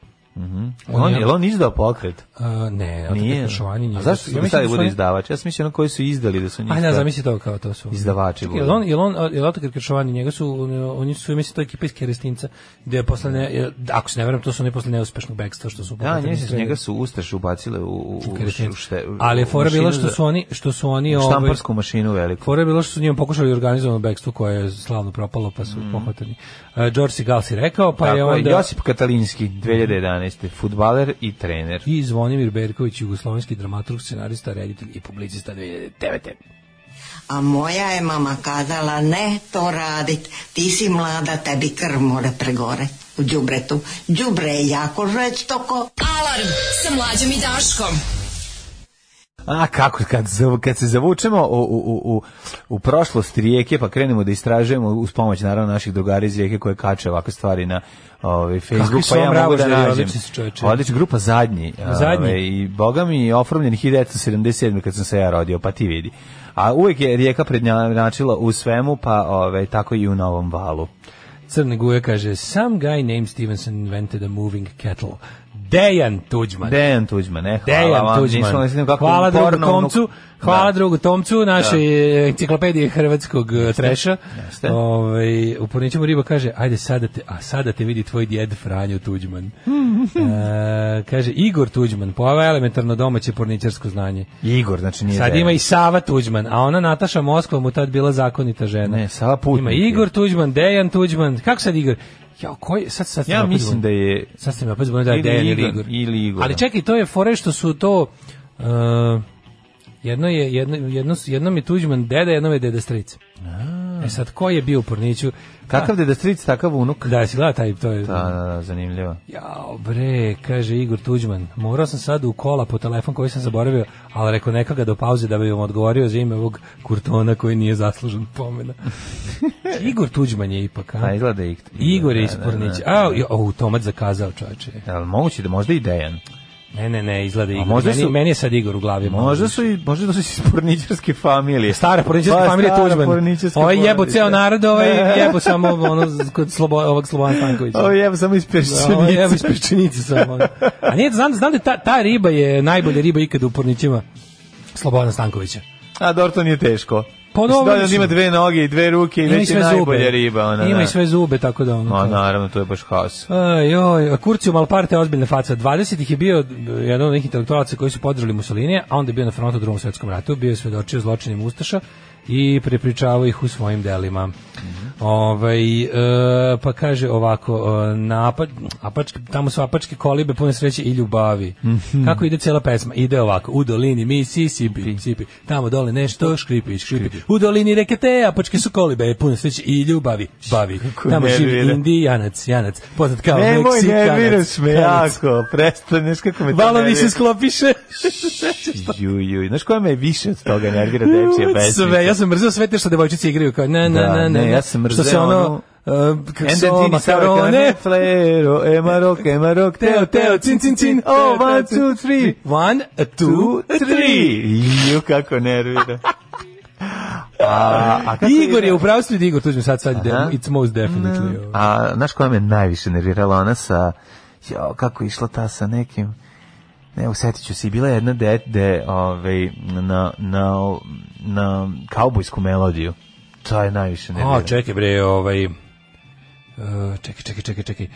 Speaker 7: On, je on izdao pokret?
Speaker 6: A, ne, od
Speaker 7: Nije.
Speaker 6: nije. Šovanje nije.
Speaker 7: A zašto su
Speaker 6: Ja
Speaker 7: ga
Speaker 6: mislim
Speaker 7: stavili
Speaker 6: da su
Speaker 7: bude
Speaker 6: oni-
Speaker 7: izdavač? Ja sam mislio ono koji su izdali da su njih...
Speaker 6: A ne,
Speaker 7: stavili.
Speaker 6: zamisli to kao to su.
Speaker 7: Izdavači
Speaker 6: Čekaj, jel
Speaker 7: budu.
Speaker 6: on, jel on, jel Otakar Kršovani, njega su, on- oni su, mislim, to je ekipa iz Kerestinca, gde je posle, ne, jel- ako se ne veram, to su oni posle neuspešnog bekstva, što su...
Speaker 7: Da,
Speaker 6: pokretali
Speaker 7: njega su,
Speaker 6: sredi-
Speaker 7: njega su ustaše ubacile u, u, u,
Speaker 6: Kerestinca.
Speaker 7: u šte- u-
Speaker 6: Ali je fora
Speaker 7: u mašinu
Speaker 6: bila što
Speaker 7: za-
Speaker 6: su oni, što su oni... ovaj,
Speaker 7: štamparsku mašinu veliku.
Speaker 6: Fora je bilo što su njima pokušali organizovano bekstvo koje je slavno propalo pa su pohvatani. E, George Segal si rekao, pa
Speaker 7: Mhm. Tako
Speaker 6: je
Speaker 7: je,
Speaker 6: onda...
Speaker 7: Josip Katalinski, 2011. Futbaler i trener.
Speaker 6: I Zvonimir Berković, jugoslovenski dramaturg, scenarista, reditelj i publicista 2009.
Speaker 11: A moja je mama kazala, ne to radit, ti si mlada, tebi krv mora pregore u džubretu. Džubre je jako žestoko.
Speaker 3: Alarm sa mlađom i Daškom.
Speaker 7: A kako kad zav- kad se zavučemo u u u u u prošlost rijeke pa krenemo da istražujemo uz pomoć naravno naših drugara iz rijeke koje kače ovakve stvari na ovaj Facebook
Speaker 6: su
Speaker 7: pa
Speaker 6: vam
Speaker 7: ja mogu da
Speaker 6: ravožari,
Speaker 7: nađem.
Speaker 6: odlični su, čoveče.
Speaker 7: Odlična grupa zadnji.
Speaker 6: Zadnji.
Speaker 7: ovaj, i boga mi je oformljen 1977 kad sam se ja rodio, pa ti vidi. A uvek je rijeka prednjačila u svemu, pa ovaj tako i u Novom Valu.
Speaker 6: Crne guje kaže Some guy named Stevenson invented a moving kettle. Dejan Tuđman.
Speaker 7: Dejan Tuđman, ne, hvala
Speaker 6: Pa Dejan
Speaker 7: vam.
Speaker 6: Tuđman.
Speaker 7: nismo listim kako
Speaker 6: hvala drugu
Speaker 7: uporno-
Speaker 6: Tomcu, hvala
Speaker 7: Da.
Speaker 6: drugu Tomcu, naše enciklopedije hrvatskog eh, treša.
Speaker 7: Jeste.
Speaker 6: Ovaj u Pornićemu riba kaže, ajde sada te, a sada te vidi tvoj djed Franjo Tuđman. E, kaže, Igor Tuđman, pojava elementarno domaće porničarsko znanje.
Speaker 7: Igor, znači nije
Speaker 6: Sad
Speaker 7: Dejan.
Speaker 6: ima i Sava Tuđman, a ona Nataša Moskva mu tad bila zakonita žena.
Speaker 7: Ne, Sava Putnik
Speaker 6: Ima
Speaker 7: je.
Speaker 6: Igor Tuđman, Dejan Tuđman, kako sad Igor? Ja, koji, sad, sad sam
Speaker 7: Ja
Speaker 6: opet
Speaker 7: mislim da
Speaker 6: zbunio.
Speaker 7: je
Speaker 6: Sad sam ja opet zbunio da je
Speaker 7: Ili
Speaker 6: Dejan ili
Speaker 7: Igor,
Speaker 6: Igor.
Speaker 7: ili Igor.
Speaker 6: Ali čekaj, to je fore što su to... Uh, jedno je jedno, jedno, su- jednom je Tuđman deda, jednom je deda stric. E sad, ko je bio u Porniću?
Speaker 7: kakav deda stric, takav unuk.
Speaker 6: Da, da si gleda taj, to je...
Speaker 7: Da, da, da, zanimljivo.
Speaker 6: Jao bre, kaže Igor Tuđman, morao sam sad u kola po telefon koji sam zaboravio, ali rekao neka ga do pauze da bi vam odgovorio za ime ovog kurtona koji nije zaslužen pomena. Igor Tuđman je ipak, a?
Speaker 7: A izgleda i
Speaker 6: Igor je iz
Speaker 7: da, da,
Speaker 6: Pornića.
Speaker 7: da.
Speaker 6: A, jo, o, Tomac zakazao čoveče.
Speaker 7: Jel moguće da možda i Dejan?
Speaker 6: Ne, ne, ne, izgleda Igor.
Speaker 7: možda
Speaker 6: meni,
Speaker 7: su-
Speaker 6: meni je sad Igor u glavi. malo
Speaker 7: Možda
Speaker 6: više.
Speaker 7: su i možda da su iz porničarske familije.
Speaker 6: Stara porničarska
Speaker 7: Pa,
Speaker 6: familija
Speaker 7: stara
Speaker 6: Tuđman.
Speaker 7: porničarska
Speaker 6: Ovaj jebo
Speaker 7: porodica.
Speaker 6: ceo narod, ovaj jebo samo ono, kod slobo, ovog Slobodan Stankovića.
Speaker 7: Ovo jebo samo iz
Speaker 6: Da, ovo je Evo
Speaker 7: peščenice.
Speaker 6: iz peščenice samo. ono. A nije, znam, znam da ta, ta riba je najbolja riba ikada u pornićima. Slobodana Stankovića.
Speaker 7: A dobro, to nije teško.
Speaker 6: Pa
Speaker 7: Mislim,
Speaker 6: dobro,
Speaker 7: da, on
Speaker 6: mislim.
Speaker 7: ima dve noge i dve ruke i
Speaker 6: Ima i
Speaker 7: već je
Speaker 6: sve
Speaker 7: najbolja
Speaker 6: zube.
Speaker 7: riba. Ona,
Speaker 6: Ima
Speaker 7: da.
Speaker 6: i sve zube, tako da ono.
Speaker 7: A,
Speaker 6: kao-
Speaker 7: naravno, to je baš haos.
Speaker 6: Aj, oj, Kurcio Malparte je ozbiljna faca. 20 ih je bio jedan od nekih intelektualaca koji su podržali Mussolinija, a onda je bio na frontu u drugom svetskom ratu, bio je svedočio zločinima Ustaša i prepričavao ih u svojim delima. Ovaj, e, pa kaže ovako, e, na apa, apačke, tamo su apačke kolibe pune sreće i ljubavi. Kako ide cijela pesma? Ide ovako, u dolini Mississippi, sipi, tamo dole nešto škripi, škripi. U dolini reke te apačke su kolibe pune sreće i ljubavi, bavi. Tamo živi
Speaker 7: nervira.
Speaker 6: Indijanac, janac, poznat kao
Speaker 7: Nemoj,
Speaker 6: Meksikanac.
Speaker 7: nerviraš me
Speaker 6: Kanac.
Speaker 7: jako. Prestaneš kako me to
Speaker 6: Valovi se
Speaker 7: nervira.
Speaker 6: sklopiše.
Speaker 7: Ju, ju. Znaš koja me je više od toga nervira dečija pesmica?
Speaker 6: Sve, ja sam mrzio sve te što devojčice igraju kao na na
Speaker 7: Da,
Speaker 6: na na.
Speaker 7: ne,
Speaker 6: na.
Speaker 7: ja sam
Speaker 6: Što
Speaker 7: mrzeo
Speaker 6: se ono
Speaker 7: onu-
Speaker 6: uh, kako se ono,
Speaker 7: Endentini
Speaker 6: makarone,
Speaker 7: savrkane, flero, E, emarok, emarok,
Speaker 6: teo, teo, cin, cin, cin,
Speaker 7: oh, one, two, three,
Speaker 6: one, two,
Speaker 7: two, three. Ju, kako nervira. A, a kako
Speaker 6: Igor
Speaker 7: ide?
Speaker 6: je u pravstvu Igor, tuđim sad sad,
Speaker 7: Aha.
Speaker 6: it's most definitely. ovaj. ovo.
Speaker 7: A, znaš koja me najviše nervirala? Ona sa, jo, kako je išla ta sa nekim, ne, usetit ću se, i bila je jedna dete ovaj, na, na, na kaubojsku melodiju. To je najviše nervirala.
Speaker 6: A, čekaj bre, ovaj... e, čekaj, čekaj, čekaj, čekaj.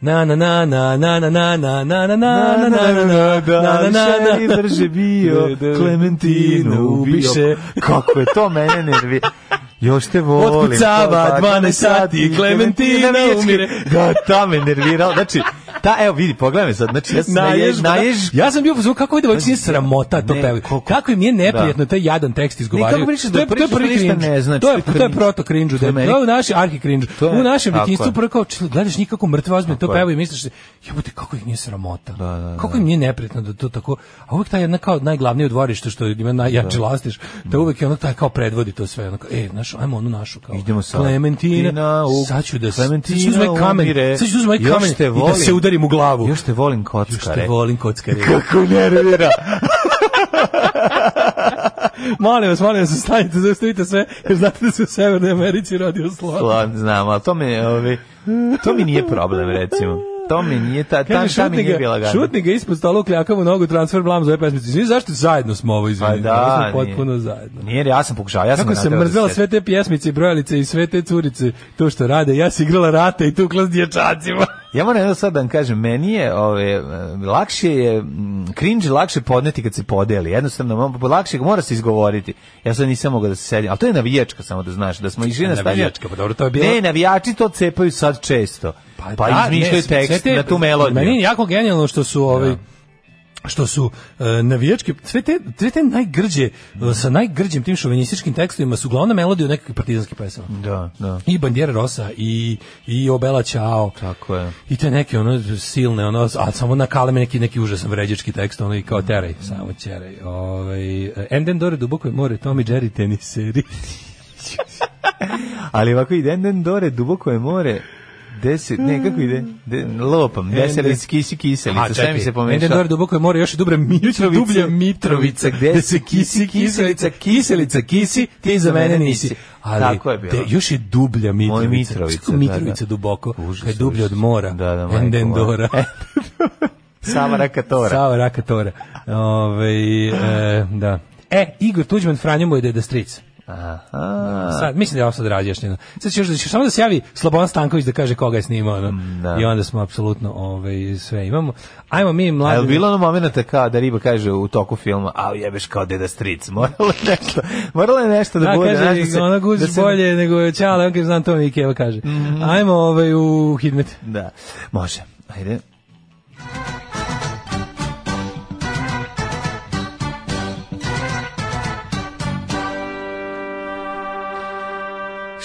Speaker 6: Na na na na na na na na na na na na na na na na na na na
Speaker 7: drže bio,
Speaker 6: Da, da.
Speaker 7: Klementinu ubiše. Kako je to mene nervi. Još te volim.
Speaker 6: Otkucava
Speaker 7: Tako,
Speaker 6: 12 sati, Klementina
Speaker 7: Klementina
Speaker 6: umire.
Speaker 7: Da, ta me nervirao. Znači, ta, evo vidi, pogledaj me sad. Znači, ja sam najež, najež.
Speaker 6: Ja sam bio u fazonu kako je devojčica nije sramota to
Speaker 7: Ne,
Speaker 6: pevaju.
Speaker 7: koliko-
Speaker 6: Kako im nije neprijatno
Speaker 7: Da.
Speaker 6: taj jadan tekst izgovaraju.
Speaker 7: Nikako pričaš da
Speaker 6: To je- to je
Speaker 7: pričaš,
Speaker 6: prvi
Speaker 7: to ništa
Speaker 6: cringe.
Speaker 7: ne znači,
Speaker 6: To je
Speaker 7: to je
Speaker 6: to je
Speaker 7: cringe.
Speaker 6: proto cringe,
Speaker 7: To je meni-
Speaker 6: to je naš arhi cringe.
Speaker 7: To je-
Speaker 6: U našem
Speaker 7: tako
Speaker 6: detinjstvu
Speaker 7: je.
Speaker 6: prvo kao čl- gledaš nikako mrtve ozbiljno to
Speaker 7: Tako je.
Speaker 6: pevaju i misliš se, jebote kako ih nije sramota. Kako im nije neprijatno da to tako. A uvek ta jedna kao najglavnije u dvorištu što ima najjači lastiš,
Speaker 7: Mm.
Speaker 6: da uvek je ona taj kao predvodi to sve, ona kao ej, znaš, ajmo onu našu kao.
Speaker 7: Idemo sad.
Speaker 6: Klementina,
Speaker 7: Klementina, u-
Speaker 6: sad ću da s-
Speaker 7: Klementina
Speaker 6: sad ću uzmem kamen,
Speaker 7: umire.
Speaker 6: sad ću uzmem
Speaker 7: Još
Speaker 6: kamen
Speaker 7: te
Speaker 6: i da se
Speaker 7: volim.
Speaker 6: udarim u glavu.
Speaker 7: Još te volim
Speaker 6: Još
Speaker 7: kockare.
Speaker 6: te volim kockare.
Speaker 7: Kako nervira.
Speaker 6: molim vas, molim vas, stanite, zaustavite sve, jer znate da se u Severnoj Americi rodio slon.
Speaker 7: Slan, znam, ali to me, ovi, to mi nije problem, recimo. To mi nije, ta, ta,
Speaker 6: Kaže,
Speaker 7: ta mi
Speaker 6: šutni
Speaker 7: nije bila
Speaker 6: ga,
Speaker 7: gadna.
Speaker 6: šutni ga ispod stola ukljakavu nogu, transfer blam za ove pesmice. Izvini, zašto zajedno smo ovo, izvini?
Speaker 7: Pa da,
Speaker 6: Mi smo
Speaker 7: nije.
Speaker 6: potpuno zajedno.
Speaker 7: Nije, jer ja sam pokušao, ja sam
Speaker 6: Kako
Speaker 7: ga
Speaker 6: sam
Speaker 7: naterao da
Speaker 6: mrzela
Speaker 7: sedi.
Speaker 6: sve te pjesmice i brojalice i sve te curice, to što rade, ja si igrala rata i tukla s dječacima.
Speaker 7: Ja moram jedno sad da vam kažem, meni je ove, e, lakše je, mm, cringe je lakše podneti kad se podeli, jednostavno, mo- lakše ga mora se izgovoriti. Ja sad nisam mogao da se sedim, ali to je navijačka samo da znaš, da smo išli na stadion.
Speaker 6: Navijačka, pa dobro, to je bilo-
Speaker 7: Ne, navijači to cepaju sad često, pa,
Speaker 6: da,
Speaker 7: izmišljaju
Speaker 6: ne, sve
Speaker 7: tekst
Speaker 6: te-
Speaker 7: na tu melodiju.
Speaker 6: Meni je jako genijalno što su ovaj što su e, navijačke sve te, sve te najgrđe e, sa najgrđim tim šovinističkim tekstovima su glavna melodija nekakvih partizanskih pesama.
Speaker 7: Da, da.
Speaker 6: I Bandiera Rosa i i Obela Ćao.
Speaker 7: Tako je.
Speaker 6: I te neke ono silne ono a samo na kaleme neki neki užasan vređački tekst ono i kao teraj samo teraj. Ovaj Enden Dore duboko je more Tommy Jerry teniseri.
Speaker 7: Ali ovako ide, den dore, duboko je more, deset, ne, kako ide? De, lopam, deselic, kisi, kiselica, sve mi se
Speaker 6: Enden
Speaker 7: pomešao.
Speaker 6: Dore duboko je more još i Dubra Mitrovica, Dublja Mitrovica gde se kisi kiselica kiselica kisi ti za mene nisi. Ali
Speaker 7: Tako je bilo.
Speaker 6: te- još je Dublja Mitrovica.
Speaker 7: Mitrovica,
Speaker 6: Kako
Speaker 7: da,
Speaker 6: Mitrovica
Speaker 7: da.
Speaker 6: duboko.
Speaker 7: Užas,
Speaker 6: kad je dublja od
Speaker 7: užas.
Speaker 6: mora.
Speaker 7: Da, da, majko E,
Speaker 6: Enden
Speaker 7: moja.
Speaker 6: Dora.
Speaker 7: Sava Rakatora.
Speaker 6: Sava Rakatora. Ove, e, da. E, Igor Tuđman, Franjo mu je deda stric.
Speaker 7: Aha.
Speaker 6: Sad, mislim da je ovo sad razjašnjeno. Sad će još da će samo da se javi Slobodan Stanković da kaže koga je snimao. ono.
Speaker 7: Da.
Speaker 6: I onda smo apsolutno ovaj, sve imamo. Ajmo mi mladi.
Speaker 7: A je bilo ono momenta kao da riba kaže u toku filma, a jebeš kao deda stric, moralo je nešto, moralo je nešto da,
Speaker 6: Da,
Speaker 7: bude.
Speaker 6: kaže,
Speaker 7: znaš, da se-
Speaker 6: ona guziš
Speaker 7: da se- Mhm.
Speaker 6: bolje nego je Čale, on kaže, znam to mi Ikeva kaže. Ajmo ovaj, u Hidmet.
Speaker 7: Da, može, ajde.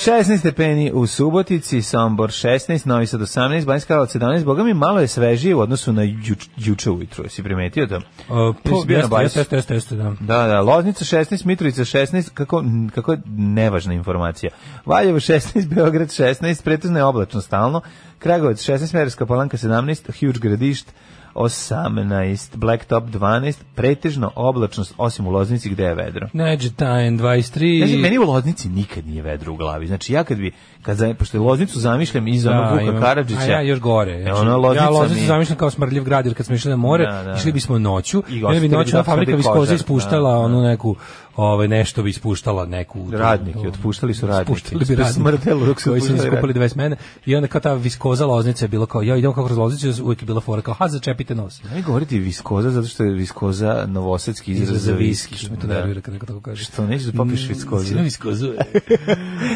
Speaker 7: Šestnaest stepeni u Subotici, Sombor 16, Novi Sad 18, Banjska Karlovac 17, boga mi malo je svežije u odnosu na juč, juče ujutru, si primetio to?
Speaker 6: O, po-
Speaker 7: Jesi bio na
Speaker 6: jeste,
Speaker 7: Bajsu?
Speaker 6: jeste, jeste, jeste, jeste, da.
Speaker 7: Da, da, Loznica 16, Mitrovica 16, kako, kako je nevažna informacija. Valjevo 16, Beograd 16, pretežno je oblačno stalno, Kragovac 16, Merska Palanka 17, Huge Gradišt 18, Blacktop 12, pretežno oblačno, osim u Loznici gde je vedro.
Speaker 6: Neđe Tajn, 23.
Speaker 7: Znači, meni u Loznici nikad nije vedro u glavi. Znači, ja kad bi, kad za, pošto Loznicu zamišljam iz onog Vuka
Speaker 6: imam.
Speaker 7: Karadžića.
Speaker 6: A ja još gore. znači,
Speaker 7: E, ono, Loznica
Speaker 6: ja Loznicu
Speaker 7: mi-
Speaker 6: zamišljam kao smrdljiv grad, jer kad smo išli na more,
Speaker 7: Da, da,
Speaker 6: išli
Speaker 7: da.
Speaker 6: bismo noću,
Speaker 7: I
Speaker 6: i onda bi
Speaker 7: ostavili
Speaker 6: noćna
Speaker 7: da
Speaker 6: fabrika
Speaker 7: smrdi
Speaker 6: viskoza
Speaker 7: požar,
Speaker 6: ispuštala
Speaker 7: da, da.
Speaker 6: onu neku, ovaj, nešto bi ispuštala neku... tu-
Speaker 7: Radnike, otpuštali su radnike.
Speaker 6: Ispuštali bi radnike.
Speaker 7: Smrdelo dok su
Speaker 6: koji su
Speaker 7: otpuštali
Speaker 6: iskopali
Speaker 7: radnike.
Speaker 6: 20 mene. I onda kao ta viskoza loznica je bilo kao, ja idem kao kroz loznicu, uvijek je bila fora kao, ha, začepite nos.
Speaker 7: Ne govoriti viskoza, zato što je viskoza novosadski izraz za viski.
Speaker 6: Što me to
Speaker 7: Da.
Speaker 6: nervira kad neko tako kaže. Mm.
Speaker 7: Što, nećeš da popiš viskozu?
Speaker 6: Sino viskozu.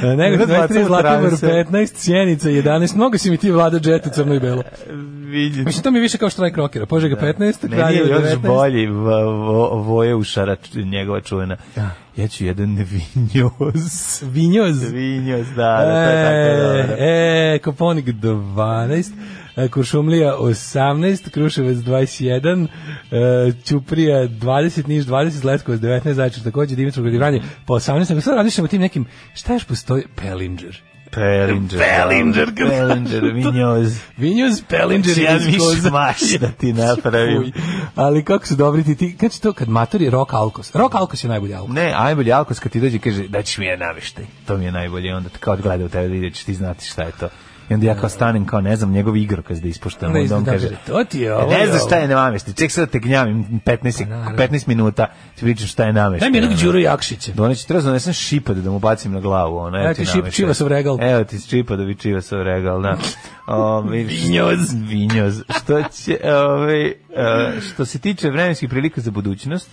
Speaker 6: E, Nego
Speaker 7: Ima dva
Speaker 6: 23,
Speaker 7: crna
Speaker 6: Zlatibor
Speaker 7: transa.
Speaker 6: 15, Sjenica 11. Mnogo si mi ti vlada džetu crno i belo.
Speaker 7: Vidi.
Speaker 6: Mislim, to mi je više kao štrajk rokera. Požega 15,
Speaker 7: Meni je
Speaker 6: Kraljevo
Speaker 7: još
Speaker 6: 19.
Speaker 7: bolji v- vo- voje u šarač, njegova čuvena. Ja ću jedan vinjoz.
Speaker 6: Vinjoz.
Speaker 7: Vinjoz, da, da, to je tako
Speaker 6: E,
Speaker 7: dobro.
Speaker 6: e, Koponik 12, e, Kuršumlija 18, Kruševac 21, e, Ćuprija 20, Niš 20, Leskovac 19, Zajčar takođe, Dimitrovgrad i Vranje po 18. Ako sad razmišljamo o tim nekim, šta još postoji? Pelinger.
Speaker 7: Pelinger. Pelinger. Pelinger, vinjoz.
Speaker 6: Vinjoz, Pelinger i
Speaker 7: Jedan
Speaker 6: Viskoza.
Speaker 7: mišmaš da ti
Speaker 6: Fuj.
Speaker 7: napravim.
Speaker 6: Ali kako su dobri ti ti, kad će to kad matori rok alkos. Rok alkos je najbolji alkos.
Speaker 7: Ne, najbolji alkos kad ti dođe i kaže da ćeš mi je naveštaj. To mi je najbolje. Onda te kao gleda u tebe da ideš, ti znati šta je to. I onda ja kao stanem, kao ne znam, njegov igrokaz da ispoštujem.
Speaker 6: Onda
Speaker 7: Onda on
Speaker 6: izgleda,
Speaker 7: kaže,
Speaker 6: kaže, to ti je ovaj ovo.
Speaker 7: ne
Speaker 6: je
Speaker 7: znaš
Speaker 6: ovo.
Speaker 7: šta je nameštaj. Ček sad da te gnjavim 15,
Speaker 6: naravno.
Speaker 7: 15 minuta, ti pričam šta je nameštaj.
Speaker 6: Daj mi jednog
Speaker 7: ono.
Speaker 6: Đuru Jakšića.
Speaker 7: Doneći treba donesem šipad da mu bacim na glavu. Ono, evo
Speaker 6: Evo ti šip-
Speaker 7: nameštaj.
Speaker 6: Čivasov regal.
Speaker 7: Evo ti Čipadovi Čivasov regal, da. Ove, vinjoz. Vinjoz. Što, će, ove, e, što se tiče vremenskih prilika za budućnost,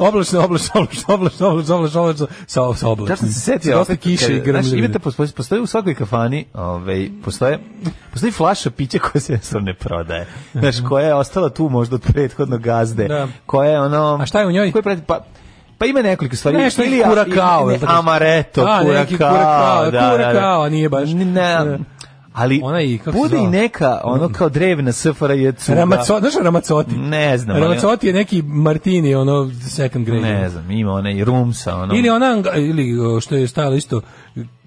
Speaker 6: Oblačno, oblačno, oblačno, oblačno, oblačno, oblačno, oblačno, sa, sa oblačno.
Speaker 7: Ja sam se setio
Speaker 6: dosta
Speaker 7: opet,
Speaker 6: kiše
Speaker 7: kad-
Speaker 6: i grmlje.
Speaker 7: Znaš, imate, postoji, postoji u svakoj kafani, ovaj, postoje, postoji flaša pića koja se jednostavno ne prodaje. Znaš, koja je ostala tu možda od prethodnog gazde.
Speaker 6: Da.
Speaker 7: Koja je ono...
Speaker 6: A šta je u njoj?
Speaker 7: Koja prati, pa, Pa ima nekoliko stvari.
Speaker 6: Nešto
Speaker 7: Ili
Speaker 6: je
Speaker 7: a-
Speaker 6: kurakao,
Speaker 7: ili
Speaker 6: jel tako?
Speaker 7: Amareto,
Speaker 6: A, neki
Speaker 7: kurakao.
Speaker 6: kurakao,
Speaker 7: da, da, da.
Speaker 6: kurakao, a nije baš.
Speaker 7: Ne, Ne, ali
Speaker 6: Ona i- kako se
Speaker 7: bude i
Speaker 6: zvala?
Speaker 7: neka, ono kao drevna SFRJ cuga.
Speaker 6: Ramaco, znaš Ramacoti?
Speaker 7: Ne znam, ali-
Speaker 6: Ramacoti je neki Martini, ono, second grade.
Speaker 7: Ne znam, ima ona i Rumsa. Ono.
Speaker 6: Ili ona, anga- ili o, što je stajalo isto,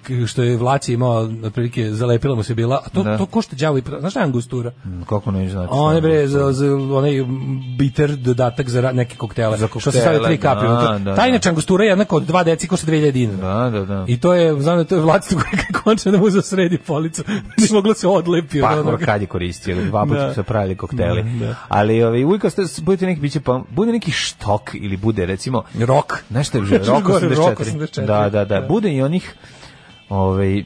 Speaker 6: k- što je Vlaci imao, otprilike, zalepila mu se bila, a to,
Speaker 7: Da.
Speaker 6: to košta đavo i... pra- Znaš šta je angustura?
Speaker 7: Kako neću znati?
Speaker 6: One
Speaker 7: šta je
Speaker 6: bre za, za onaj biter dodatak za ra- neke koktele.
Speaker 7: Za
Speaker 6: Što se stavlja tri
Speaker 7: koktele,
Speaker 6: kapi. ono
Speaker 7: da,
Speaker 6: unutra.
Speaker 7: da,
Speaker 6: Ta
Speaker 7: da.
Speaker 6: inače angostura je jednako od 2 deci košta 2000 dinara.
Speaker 7: Da, da, da.
Speaker 6: I to je, znam da to je vladstvo koje je končano da mu zasredi policu. Nije moglo se odlepi
Speaker 7: pa
Speaker 6: od
Speaker 7: dobro,
Speaker 6: onoga.
Speaker 7: kad je koristio, ono, dva puta
Speaker 6: Ono Da.
Speaker 7: su se pravili kokteli.
Speaker 6: Da, da.
Speaker 7: Ali ovaj uvijek ostaje budete neki biće pa bude neki štok ili bude recimo
Speaker 6: Rok.
Speaker 7: znaš šta je bio,
Speaker 6: Što
Speaker 7: rok
Speaker 6: gore, rok
Speaker 7: 84.
Speaker 6: 84.
Speaker 7: Da, da, da,
Speaker 6: Da.
Speaker 7: bude i onih ovaj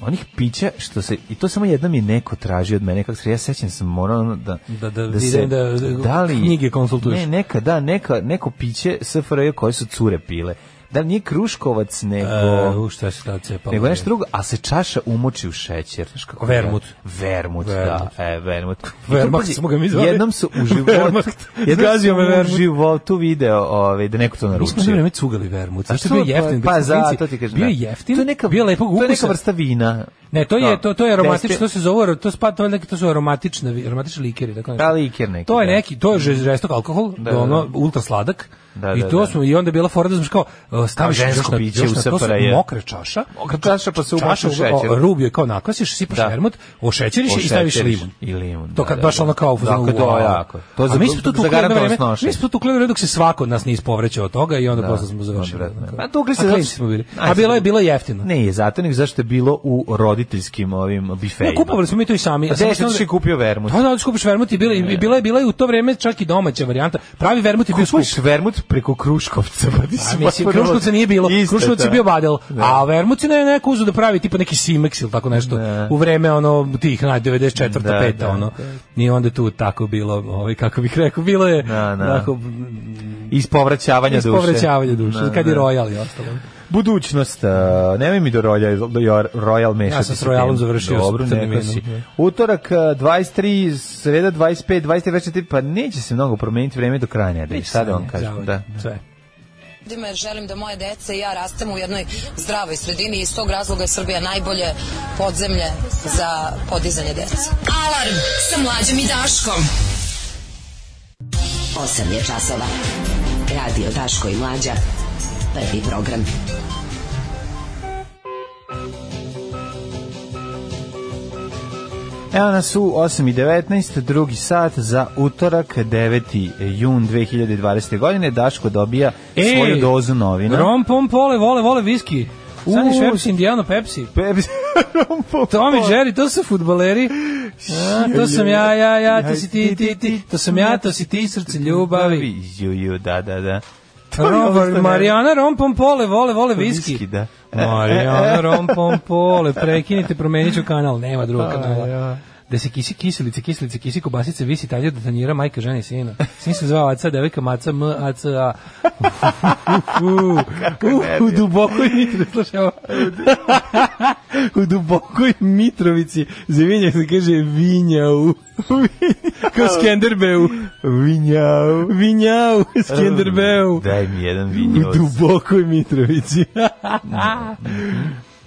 Speaker 7: onih pića što se i to samo jednom je neko tražio od mene kako se ja sećam sam morao ono da
Speaker 6: Da- da vidim da- knjige konsultuješ.
Speaker 7: Ne, neka da, neka neko piće SFRJ koje su cure pile. Da li nije Kruškovac nego
Speaker 6: E, u šta se tada cepalo?
Speaker 7: nego nešto drugo, a se čaša umoči u šećer. Znaš kako je?
Speaker 6: Vermut.
Speaker 7: Vermut,
Speaker 6: Vermut.
Speaker 7: da. E, vermut.
Speaker 6: Wehrmacht
Speaker 7: Pazi,
Speaker 6: smo ga mi zvali.
Speaker 7: Jednom su u životu,
Speaker 6: Wehrmacht.
Speaker 7: jednom
Speaker 6: Zgazio me
Speaker 7: sam u
Speaker 6: Wehrmacht.
Speaker 7: životu video ovaj, da neko to
Speaker 6: Mi smo za
Speaker 7: naručio.
Speaker 6: vreme cugali vermut.
Speaker 7: A
Speaker 6: Zašto je bio
Speaker 7: što, pa-
Speaker 6: jeftin?
Speaker 7: Pa,
Speaker 6: Kad smo
Speaker 7: za,
Speaker 6: klinci,
Speaker 7: to ti kažem.
Speaker 6: Bio je
Speaker 7: da.
Speaker 6: jeftin,
Speaker 7: To je neka,
Speaker 6: bio je lepog
Speaker 7: To je
Speaker 6: ukusa.
Speaker 7: neka vrsta vina.
Speaker 6: Ne, to je to to je aromatično,
Speaker 7: Despe-
Speaker 6: to se zove, to spada to je neki to su aromatične, aromatični likeri, tako nešto.
Speaker 7: Da, liker neki,
Speaker 6: To je
Speaker 7: da.
Speaker 6: neki, to je žestok alkohol,
Speaker 7: Da,
Speaker 6: da,
Speaker 7: da,
Speaker 6: ono
Speaker 7: da.
Speaker 6: ultra sladak
Speaker 7: Da,
Speaker 6: I
Speaker 7: da,
Speaker 6: to
Speaker 7: da.
Speaker 6: smo i onda je bila fora da smo kao e, staviš
Speaker 7: Kao žensko
Speaker 6: još na-
Speaker 7: piće
Speaker 6: još
Speaker 7: u
Speaker 6: na- to su
Speaker 7: SFRJ.
Speaker 6: mokra čaša.
Speaker 7: Mokra čaša, pa se ubaci
Speaker 6: čaša,
Speaker 7: šećer.
Speaker 6: o, Rubio je kao nakvasiš, sipaš
Speaker 7: Da.
Speaker 6: vermut, ošećeriš i staviš
Speaker 7: Ošećeriš
Speaker 6: limun.
Speaker 7: i limun,
Speaker 6: To
Speaker 7: da,
Speaker 6: kad
Speaker 7: da,
Speaker 6: baš
Speaker 7: da.
Speaker 6: ono kao u fazonu,
Speaker 7: Dakle, to
Speaker 6: wow.
Speaker 7: je jako. To
Speaker 6: A
Speaker 7: za-
Speaker 6: mi smo tu
Speaker 7: za
Speaker 6: tukli jedno
Speaker 7: garantovano
Speaker 6: vreme,
Speaker 7: snošenje.
Speaker 6: mi smo tu tukli jedno vreme dok se svako od nas nije ispovrećao od toga i onda
Speaker 7: Da,
Speaker 6: posle smo završili.
Speaker 7: odvratno je. Pa tukli se
Speaker 6: A
Speaker 7: zato
Speaker 6: klinci
Speaker 7: što-
Speaker 6: smo bili.
Speaker 7: Aj,
Speaker 6: A bilo je
Speaker 7: sad-
Speaker 6: bilo je jeftino.
Speaker 7: Ne, je zato nego zašto je bilo u roditeljskim ovim bifejima.
Speaker 6: Ne, kupovali smo mi to i sami.
Speaker 7: A
Speaker 6: Samo
Speaker 7: gde si
Speaker 6: što-
Speaker 7: otišao i kupio vermut?
Speaker 6: Da, da, skupiš vermut i bila, i bila je bila je u to vreme čak i domaća varijanta. Pravi vermut je bio skup.
Speaker 7: Kupuješ vermut preko Kruškovca. Pa, ti si
Speaker 6: A mislim,
Speaker 7: potpuno-
Speaker 6: Kruškovca nije bilo.
Speaker 7: Isto,
Speaker 6: Kruškovac je
Speaker 7: da.
Speaker 6: bio badel.
Speaker 7: Da.
Speaker 6: A Vermuci ne neko uzu da pravi tipa neki Simex ili tako nešto.
Speaker 7: Da.
Speaker 6: U vreme ono tih naj 94.
Speaker 7: Da,
Speaker 6: 5.
Speaker 7: da,
Speaker 6: ono. I onda tu tako bilo, ovaj kako bih rekao, bilo je
Speaker 7: Da, da.
Speaker 6: onako,
Speaker 7: Iz povraćavanja duše.
Speaker 6: ispovrećavanje duše,
Speaker 7: Da,
Speaker 6: kad i
Speaker 7: da.
Speaker 6: Royal i ostalo.
Speaker 7: Budućnost, uh, nemoj mi do Royal, do Jor- Royal mešati.
Speaker 6: Ja sam s
Speaker 7: sa tim.
Speaker 6: Royalom završio
Speaker 7: Dobro,
Speaker 6: s crnim
Speaker 7: neka
Speaker 6: vinom.
Speaker 7: si. Utorak uh, 23, sreda 25, 24, pa neće se mnogo promeniti vreme do kranja. Da sad vam kažem.
Speaker 6: Zavod,
Speaker 7: Da.
Speaker 6: Sve.
Speaker 3: ljudima jer želim da moje dece i ja rastemo u jednoj zdravoj sredini i iz tog razloga je Srbija najbolje podzemlje za podizanje dece. Alarm sa mlađom i Daškom.
Speaker 11: 8 je časova. Radio Daško i Mlađa. Prvi program.
Speaker 7: Evo nas u 8.19, drugi sat za utorak, 9. jun 2020. godine. Daško dobija svoju dozu novina.
Speaker 6: Rom pom pole, vole, vole viski.
Speaker 7: U,
Speaker 6: Sani Šepsi, Indiano, Pepsi.
Speaker 7: Pepsi. Rom pom
Speaker 6: Tom i
Speaker 7: pom.
Speaker 6: Jerry, to su futbaleri. A, to sam ja, ja, ja, to si ti, ti, ti. To sam ja, to si ti, srce ljubavi.
Speaker 7: Ju, ju, da, da, da. To je ono što
Speaker 6: Rovar,
Speaker 7: ne-
Speaker 6: Marijana Rompom Pole, vole, vole viski.
Speaker 7: Viski, da.
Speaker 6: Marijana Rompom Pole, prekinite, promenit ću kanal, nema drugog kanala.
Speaker 7: ja.
Speaker 6: Da se kisi kiselice, kiselice, kisi kobasice, visi tanjir da tanjira majka žena i sina. Sin se zvao Aca, devojka Maca, M, A, C, A. U, u, u, u dubokoj Mitrovici, slušaj ovo. u dubokoj Mitrovici, za vinjak se kaže vinjau. Kao Skenderbeu.
Speaker 7: Vinjau.
Speaker 6: Vinjau, Skenderbeu.
Speaker 7: Ehm, Daj mi jedan
Speaker 6: U
Speaker 7: vinjaus.
Speaker 6: dubokoj Mitrovici.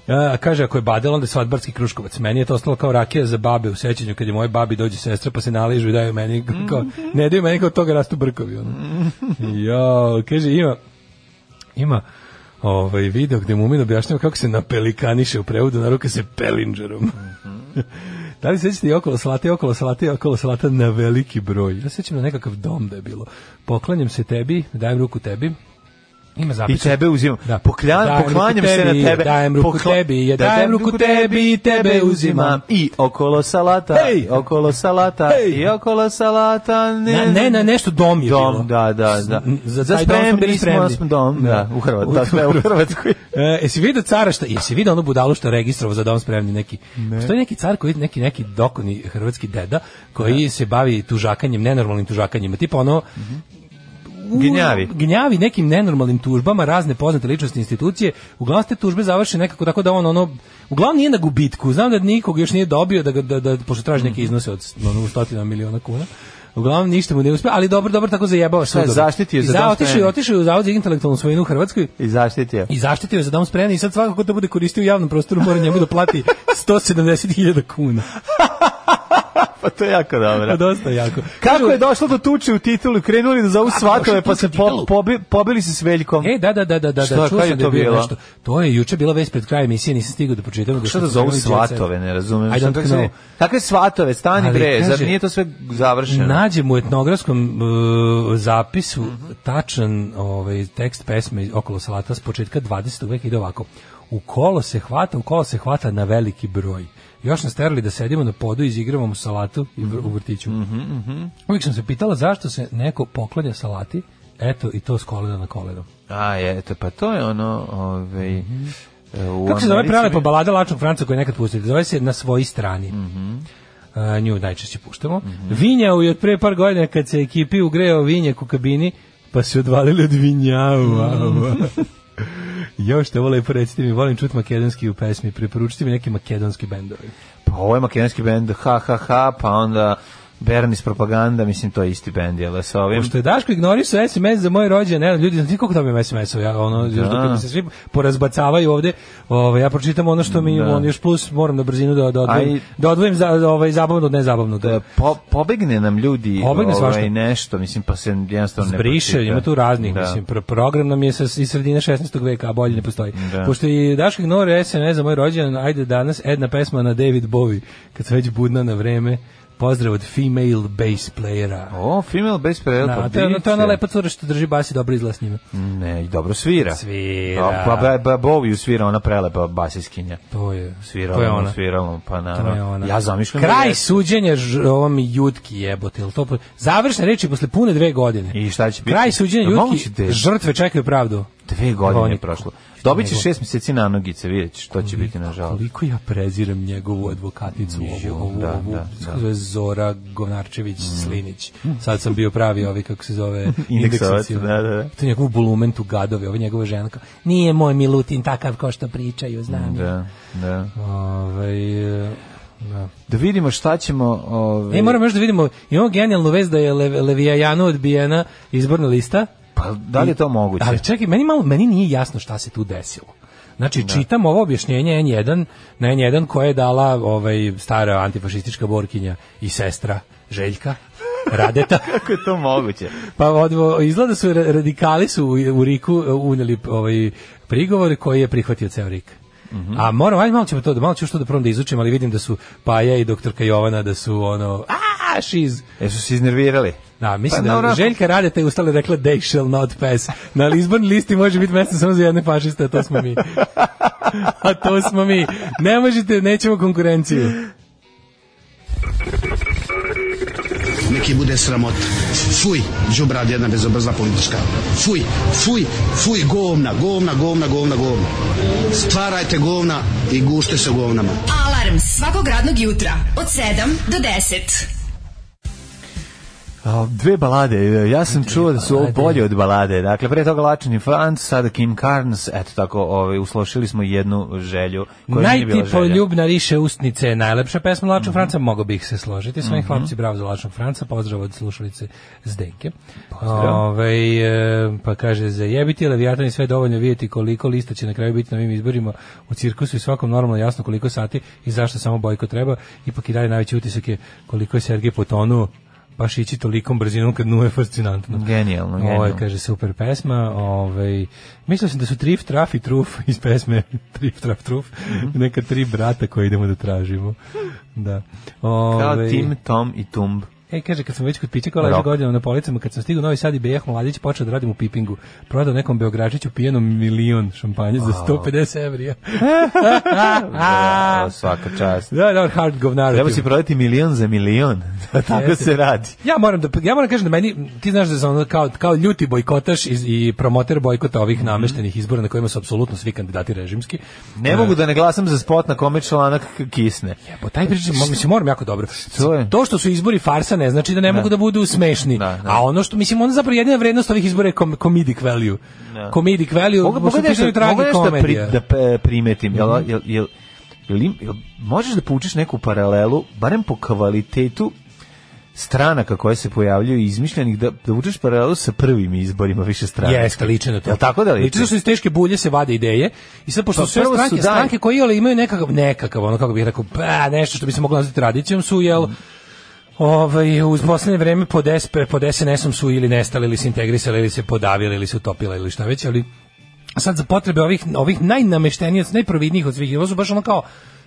Speaker 6: A, kaže, ako je badel, onda je svadbarski kruškovac. Meni je to ostalo kao rakija za babe u sećanju, kad je moje babi dođe sestra, pa se naližu i daju meni, kao, ne daju meni, kao od toga rastu brkovi. Ono. Jo, kaže, ima, ima ovaj video gde Mumin objašnjava kako se napelikaniše u prevodu na ruke se pelinđerom. da li sećate i okolo salate, i okolo salate, i okolo salata na veliki broj? Ja se sećam na nekakav dom da je bilo. Poklanjam se tebi, dajem ruku tebi. Ima
Speaker 7: I
Speaker 6: zapisak.
Speaker 7: tebe uzimam.
Speaker 6: Da.
Speaker 7: Poklja,
Speaker 6: Dajem
Speaker 7: poklanjam
Speaker 6: ruku
Speaker 7: se na
Speaker 6: tebi,
Speaker 7: tebe.
Speaker 6: dajem ruku
Speaker 7: Pokla-
Speaker 6: tebi, ja dajem ruku tebi i tebe uzimam.
Speaker 7: I okolo salata,
Speaker 6: Hej!
Speaker 7: okolo salata,
Speaker 6: Hej!
Speaker 7: i okolo salata. Ne,
Speaker 6: Ne, ne, ne, nešto dom je bilo.
Speaker 7: Dom, da, da, da.
Speaker 6: Za, za taj dom smo bili spremni.
Speaker 7: smo dom, da, u Hrvatskoj. Da, sve u Hrvatskoj.
Speaker 6: E, jesi vidio cara šta, jesi vidio onu budalu što je registrovao za dom spremni neki? Ne. Što je neki car koji neki neki dokoni hrvatski deda koji se bavi tužakanjem, nenormalnim tužakanjima, tipa ono u-
Speaker 7: Gnjavi.
Speaker 6: Gnjavi nekim nenormalnim tužbama razne poznate ličnosti institucije. Uglavnom te tužbe završe nekako tako da on ono uglavnom nije na gubitku. Znam da nikog još nije dobio da ga- da, da pošto traži
Speaker 7: Mhm.
Speaker 6: neke iznose od ono, stotina miliona kuna. Uglavnom ništa mu ne uspe, ali dobro, dobro tako zajebao sve.
Speaker 7: zaštitio je za dom
Speaker 6: otišao je
Speaker 7: spremni.
Speaker 6: otišao je u zavod za intelektualnu svojinu u Hrvatskoj
Speaker 7: I zaštitio.
Speaker 6: i zaštitio je za dom spremni i sad svakako ko to bude koristio u javnom prostoru mora njemu da plati 170.000 kuna.
Speaker 7: Pa to je jako dobro.
Speaker 6: Pa dosta jako.
Speaker 7: Kako je došlo do tuče u titulu? Krenuli da zovu svatove, pa se po, pobi, pobili se s Veljkom.
Speaker 6: E, da, da, da, da, da,
Speaker 7: Šta,
Speaker 6: da, čuo
Speaker 7: kad je
Speaker 6: sam da
Speaker 7: to
Speaker 6: je bio
Speaker 7: bilo?
Speaker 6: nešto. To je juče bila vest pred krajem emisije, nisam stigao da pročitam.
Speaker 7: Šta
Speaker 6: došao
Speaker 7: da
Speaker 6: sam
Speaker 7: zovu
Speaker 6: prvi jet set.
Speaker 7: svatove, ne razumem.
Speaker 6: I
Speaker 7: Šta
Speaker 6: don't
Speaker 7: da
Speaker 6: know.
Speaker 7: zovu? Kakve svatove, stani
Speaker 6: Ali,
Speaker 7: bre, zar
Speaker 6: kaže-
Speaker 7: nije to sve završeno?
Speaker 6: Nađem u etnografskom e, zapisu
Speaker 7: Mhm.
Speaker 6: tačan ovaj, tekst pesme okolo salata s početka 20. veka ide ovako. U kolo se hvata, u kolo se hvata na veliki broj. Još nas terali da sedimo na podu i izigravamo salatu i vr- u
Speaker 7: Mhm.
Speaker 6: vrtiću. Uvijek sam se pitala zašto se neko poklanja salati, eto i to s kolena na koleno.
Speaker 7: A, eto, pa to je ono, ovaj... e, u
Speaker 6: Mhm. Kako se zove
Speaker 7: Americi
Speaker 6: prelepa
Speaker 7: bi-
Speaker 6: balada Lačnog Franca koju nekad pustite? Zove se Na svoji strani. A, nju najčešće puštamo. Vinjau je od pre par godina kad se ekipi ugreo vinjak u kabini, pa se odvalili od vinjau. Mhm. Još te vole recite mi, volim čut makedonski u pesmi, preporučite mi neke makedonske bendove.
Speaker 7: Pa ovo je makedonski bend, ha, ha, ha, pa onda Bernis propaganda, mislim to je isti bend, jel sa ovim.
Speaker 6: Pošto je Daško ignorisao SMS za moje rođendan, evo ljudi, znate koliko dobijem SMS-ova, ja ono još dok mi se svi porazbacavaju ovde, ovaj ja pročitam ono što mi
Speaker 7: Da.
Speaker 6: on još plus moram na brzinu da da odvojim,
Speaker 7: Aj.
Speaker 6: da odvojim za za ovaj zabavno od nezabavnog.
Speaker 7: Da po, pobegne nam ljudi
Speaker 6: Pobegne svašta.
Speaker 7: ovaj, nešto, mislim, pa se jednostavno ne
Speaker 6: Briše,
Speaker 7: pročita.
Speaker 6: ima tu raznih,
Speaker 7: Da.
Speaker 6: mislim, pro- program nam je sa, iz sredine 16. veka, a bolje ne postoji.
Speaker 7: Da.
Speaker 6: Pošto i Daško ignore SNS za moj rođendan, ajde danas jedna pesma na David Bowie, kad sam već budna na vreme, pozdrav od female bass playera.
Speaker 7: O, female bass player,
Speaker 6: Da,
Speaker 7: pa
Speaker 6: to je ona- to je ona
Speaker 7: biće.
Speaker 6: lepa cura što drži bas i dobro izgleda s njime.
Speaker 7: Ne, i dobro svira.
Speaker 6: Svira.
Speaker 7: A, Pa, ba, ba, Boviju svira ona prelepa basiskinja.
Speaker 6: To je,
Speaker 7: Svira
Speaker 6: to je
Speaker 7: ono,
Speaker 6: ona.
Speaker 7: svira ono, pa
Speaker 6: To je
Speaker 7: naravno.
Speaker 6: ona.
Speaker 7: Ja zamišljam. da
Speaker 6: Kraj
Speaker 7: je-
Speaker 6: suđenja ž- ovom Jutki jebote, jel to po- završne reči posle pune dve godine.
Speaker 7: I šta će biti?
Speaker 6: Kraj suđenja
Speaker 7: Jel
Speaker 6: Jutki,
Speaker 7: moguće da je-
Speaker 6: žrtve čekaju pravdu.
Speaker 7: Dve godine
Speaker 6: Oni-
Speaker 7: je prošlo. Dobit ćeš
Speaker 6: Nego-
Speaker 7: šest mjeseci na nogice, vidjet ćeš, to će biti nažalost.
Speaker 6: Koliko ja preziram njegovu advokatnicu,
Speaker 7: Jo,
Speaker 6: ovu, ovu,
Speaker 7: da,
Speaker 6: ovu,
Speaker 7: da, Mm.
Speaker 6: kako se zove, Zora Govnarčević Slinić. Sad sam bio pravi ovi, kako se zove,
Speaker 7: Indeksovac,
Speaker 6: indeksacion.
Speaker 7: da, da, da.
Speaker 6: To je njegov bulumentu gadovi, ovo je njegova žena. kao, Nije moj Milutin takav kao što pričaju, znam. ja."
Speaker 7: Da, da.
Speaker 6: Ovaj, e, da.
Speaker 7: Da vidimo šta ćemo... ovaj, Ove,
Speaker 6: E, moramo još da vidimo, imamo genijalnu vez da je Le, Levijajanu odbijena izborna lista.
Speaker 7: Pa, da li je to moguće?
Speaker 6: Ali čekaj, meni, malo, meni nije jasno šta se tu desilo. Znači, čitam ovo objašnjenje N1, na N1 koje je dala ovaj, stara antifašistička borkinja i sestra Željka Radeta.
Speaker 7: Kako je to moguće?
Speaker 6: Pa odvo, izgleda su ra- radikali su u, u Riku e, unijeli ovaj prigovor koji je prihvatio ceo Rik. A moram, ajde malo ćemo to, da- malo ću što da prvom da izučim, ali vidim da su Paja i doktorka Jovana, da su ono, a, šiz.
Speaker 7: Jesu E, se iznervirali?
Speaker 6: Da, mislim
Speaker 7: Pa,
Speaker 6: da
Speaker 7: dobro.
Speaker 6: Željka Radeta je ustala i rekla they shall not pass. Na izbornoj listi može biti mesto samo za jedne fašiste, a to smo mi. A to smo mi. Ne možete, nećemo konkurenciju.
Speaker 2: Neki bude sramot. Fuj, džubrad jedna bezobrzna politička. Fuj, fuj, fuj, govna, govna, govna, govna, govna. Stvarajte govna i gušte se u govnama.
Speaker 5: Alarm svakog radnog jutra od 7 do 10.
Speaker 7: A, Dve balade, e, ja sam čuo da su ovo
Speaker 6: balade.
Speaker 7: bolje od balade. Dakle, pre toga Lačan i Franc, sada Kim Carnes, eto tako, ovaj, uslošili smo jednu želju koja nije bila
Speaker 6: Najtipo
Speaker 7: želja. Mhm.
Speaker 6: ljubna riše usnice je najlepša pesma Lačnog Franca, mogo bih se složiti. Sve hlapci, bravo za Lačnog Franca, pozdrav od slušalice Zdenke. Ovaj, e, pa kaže, zajebiti Leviatan i sve dovoljno vidjeti koliko lista će na kraju biti na ovim izborima u cirkusu i svakom normalno jasno koliko sati i zašto samo bojko treba. Ipak i dalje najveći utisak je koliko je Sergej potonuo baš ići tolikom brzinom kad nuje fascinantno.
Speaker 7: Genijalno,
Speaker 6: Ovo je,
Speaker 7: genijalno.
Speaker 6: kaže super pesma, ovaj mislio sam da su Trif Traf i Truf iz pesme Trif Traf Truf,
Speaker 7: Mhm.
Speaker 6: neka tri brata koje idemo da tražimo. Da.
Speaker 7: Kao
Speaker 6: Ovaj
Speaker 7: Tim, Tom i Tumb.
Speaker 6: E, kaže, kad sam već kod pića koja leži
Speaker 7: Rock.
Speaker 6: godinama na policama, kad sam stigao u Novi Sad i Bejah Mladić, počeo da radim u pipingu. Prodao nekom Beogračiću pijenom milion šampanje za 150 evrija.
Speaker 7: Da, svaka čast.
Speaker 6: da, da, hard govnar.
Speaker 7: Treba si prodati milion za milion. Tako
Speaker 6: Jeste.
Speaker 7: se radi.
Speaker 6: Ja moram da ja moram kažem da meni ti znaš da sam ono kao kao ljuti bojkotaš iz, i promoter bojkota ovih
Speaker 7: Mhm.
Speaker 6: nameštenih izbora na kojima su apsolutno svi kandidati režimski.
Speaker 7: Ne mogu da ne glasam za spot na kome članak k- kisne.
Speaker 6: Po taj priči mo- mislim moram jako dobro.
Speaker 7: To je.
Speaker 6: To što su izbori farsa ne znači da ne mogu da budu smešni.
Speaker 7: Da, da.
Speaker 6: A ono što mislim ono zapravo jedina vrednost ovih izbora je kom, comedic value. Comedic value,
Speaker 7: Mogu mogu
Speaker 6: pošto
Speaker 7: nešto,
Speaker 6: pitanju Mhm.
Speaker 7: mogu nešto da, pri,
Speaker 6: tragikomedija.
Speaker 7: da pe- primetim. Jel, jel, jel, jel, im- jel možeš da povučeš neku paralelu, barem po kvalitetu stranaka koje se pojavljuju i izmišljenih, da, da vučeš paralelu sa prvim izborima više stranaka.
Speaker 6: Jeste, liče na to.
Speaker 7: Jel tako da liči?
Speaker 6: Liči što iz teške bulje se vade ideje. I sad, pošto
Speaker 7: Pa
Speaker 6: sve
Speaker 7: prvo su
Speaker 6: stranke,
Speaker 7: daj-
Speaker 6: stranke koje jel, imaju nekakav, nekakav, ono kako bih rekao, pa, nešto što bi se moglo nazvati tradicijom su, jel, Ovaj, uz poslednje vreme pod, SP, pod SNS-om su ili nestali, ili se integrisali, ili se podavili, ili se utopila, ili šta već, ali sad za potrebe ovih, ovih najnameštenijih, najprovidnijih od svih, ovo su baš ono kao,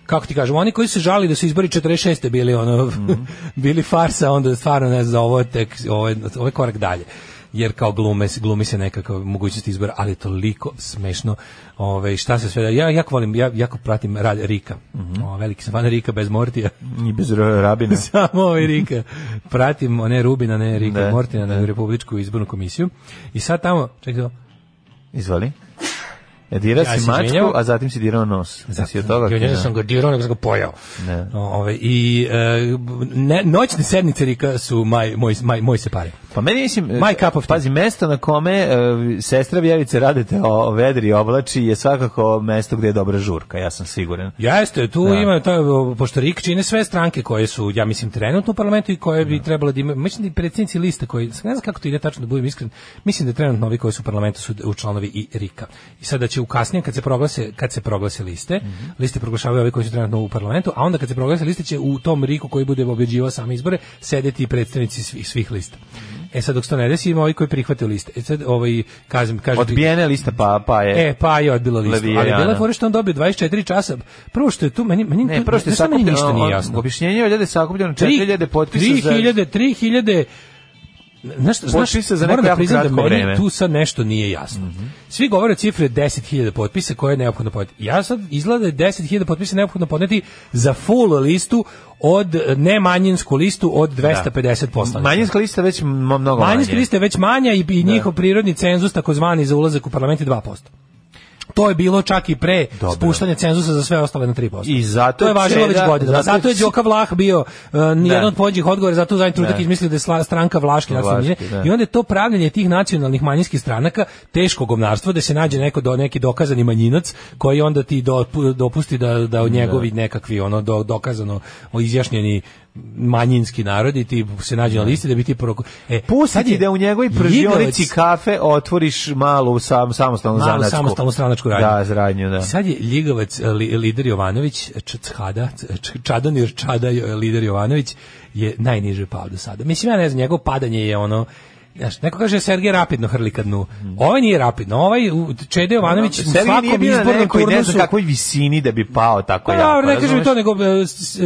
Speaker 6: kako ti kažem, oni koji se žali da su izbori 46. bili ono, bili farsa, onda stvarno ne znam, za ovo je tek, ovo je, ovo je korak dalje jer kao glume, se- glumi se nekakva mogućnost izbora, ali je toliko smešno ovaj, šta se sve da, ja jako volim, ja jako pratim rad Rika, O, veliki sam fan Rika bez Mortija,
Speaker 7: I bez ra- rabina.
Speaker 6: samo ovaj Rika, pratim one Rubina, ne Rika
Speaker 7: Da,
Speaker 6: Mortina, ne Republičku izbornu komisiju i sad tamo, čekaj,
Speaker 7: Izvali. E, dirao
Speaker 6: Ja
Speaker 7: si
Speaker 6: sam
Speaker 7: mačku,
Speaker 6: menjao.
Speaker 7: a zatim si dirao nos. Zato, si od toga
Speaker 6: Ja
Speaker 7: krenuo?
Speaker 6: sam ga dirao, nego sam ga pojao.
Speaker 7: Ne.
Speaker 6: Ove, I e, ne, noćne sednice Rika su maj, moj, maj, moj se pare.
Speaker 7: Pa meni mislim,
Speaker 6: My cup of tea.
Speaker 7: pazi, mesto na kome e, sestra Vjerice radite o vedri i oblači je svakako mesto gde je dobra žurka, ja sam siguran.
Speaker 6: Jeste, tu
Speaker 7: Da.
Speaker 6: ima ta, pošto RIK čine sve stranke koje su, ja mislim, trenutno u parlamentu i koje bi trebalo da imaju, mislim da i predsjednici lista koji, ne znam kako to ide tačno da budem iskren, mislim da trenutno ovi koji su u parlamentu su u članovi i RIK-a. I sada će u kasnije, kad se proglase, kad se proglase liste, liste proglašavaju ovi koji su trenutno u parlamentu, a onda kad se proglase liste će u tom RIK-u koji bude objeđivao same izbore sedeti i predstavnici svih, svih lista. E sad dok se to ne desi, ima ovi koji prihvate liste. E sad ovaj kažem kažem
Speaker 7: Odbijena je lista pa, pa je...
Speaker 6: E, pa je odbilo listu. Ali
Speaker 7: Levijana.
Speaker 6: bila je fora što on dobio 24 časa. Prvo što je tu, meni, meni,
Speaker 7: Ne,
Speaker 6: to-
Speaker 7: prosto je
Speaker 6: znaš šta meni
Speaker 7: sakupljeno,
Speaker 6: ništa nije
Speaker 7: on-
Speaker 6: jasno.
Speaker 7: Objašnjenje je da je sakupljeno 4000 potpisa za...
Speaker 6: 3000, 3000, Znaš, šta- znaš,
Speaker 7: Potpisa za
Speaker 6: moram
Speaker 7: neko
Speaker 6: da
Speaker 7: jako
Speaker 6: priznam da
Speaker 7: kratko
Speaker 6: meni
Speaker 7: vreme.
Speaker 6: tu sad nešto nije jasno. Svi govore cifre 10.000 potpisa koje je neophodno podneti. Ja sad izgleda da je 10.000 potpisa neophodno podneti za full listu od e, ne manjinsku listu od 250 poslanika.
Speaker 7: Manjinska lista već m- mnogo manje.
Speaker 6: Manjinska lista je već manja i, i njihov prirodni cenzus takozvani za ulazak u parlament je 2%. To je bilo čak i pre
Speaker 7: Dobro.
Speaker 6: spuštanje cenzusa za sve ostale na 3%.
Speaker 7: I zato
Speaker 6: to je važilo
Speaker 7: će
Speaker 6: već
Speaker 7: da-
Speaker 6: godinama.
Speaker 7: zato
Speaker 6: Zato je
Speaker 7: će-
Speaker 6: Đoka Vlah bio uh, jedan od pođih odgovora, zato je zadnji trudak
Speaker 7: Da.
Speaker 6: izmislio da je sla- stranka Vlaške nacionalne
Speaker 7: Vlaške,
Speaker 6: manjine.
Speaker 7: da.
Speaker 6: I onda je to pravljanje tih nacionalnih manjinskih stranaka teško gomnarstvo da se nađe neko do neki dokazani manjinac koji onda ti do- dopusti da da od njegovi nekakvi ono do- dokazano izjašnjeni manjinski narodi ti se nađu na listi da bi ti proko... E,
Speaker 7: Pusti
Speaker 6: sad
Speaker 7: ti
Speaker 6: je
Speaker 7: da u njegovoj
Speaker 6: Ljigavac-
Speaker 7: pržionici kafe otvoriš malu sam, samostalnu
Speaker 6: Malu
Speaker 7: zanatsku.
Speaker 6: samostalnu stranačku radnju.
Speaker 7: Da, zradnju, da.
Speaker 6: I Sad je Ljigavac, e, li- lider Jovanović, eh, Č- Chada, C- Č- Čadomir Čada, e, lider Jovanović, je najniže pao do sada. Mislim, ja ne znam, njegovo padanje je ono, Znaš, neko kaže Sergej rapidno hrli ka dnu.
Speaker 7: Mhm.
Speaker 6: Ovaj nije rapidno, ovaj u- Čede Jovanović u
Speaker 7: Sergij
Speaker 6: svakom
Speaker 7: nije bio na
Speaker 6: izbornom
Speaker 7: nekoj, ne znam
Speaker 6: turnusu
Speaker 7: kakvoj visini da bi pao tako
Speaker 6: pa
Speaker 7: jako.
Speaker 6: dobro, ne kažem
Speaker 7: razumeš?
Speaker 6: to, nego e, s- e,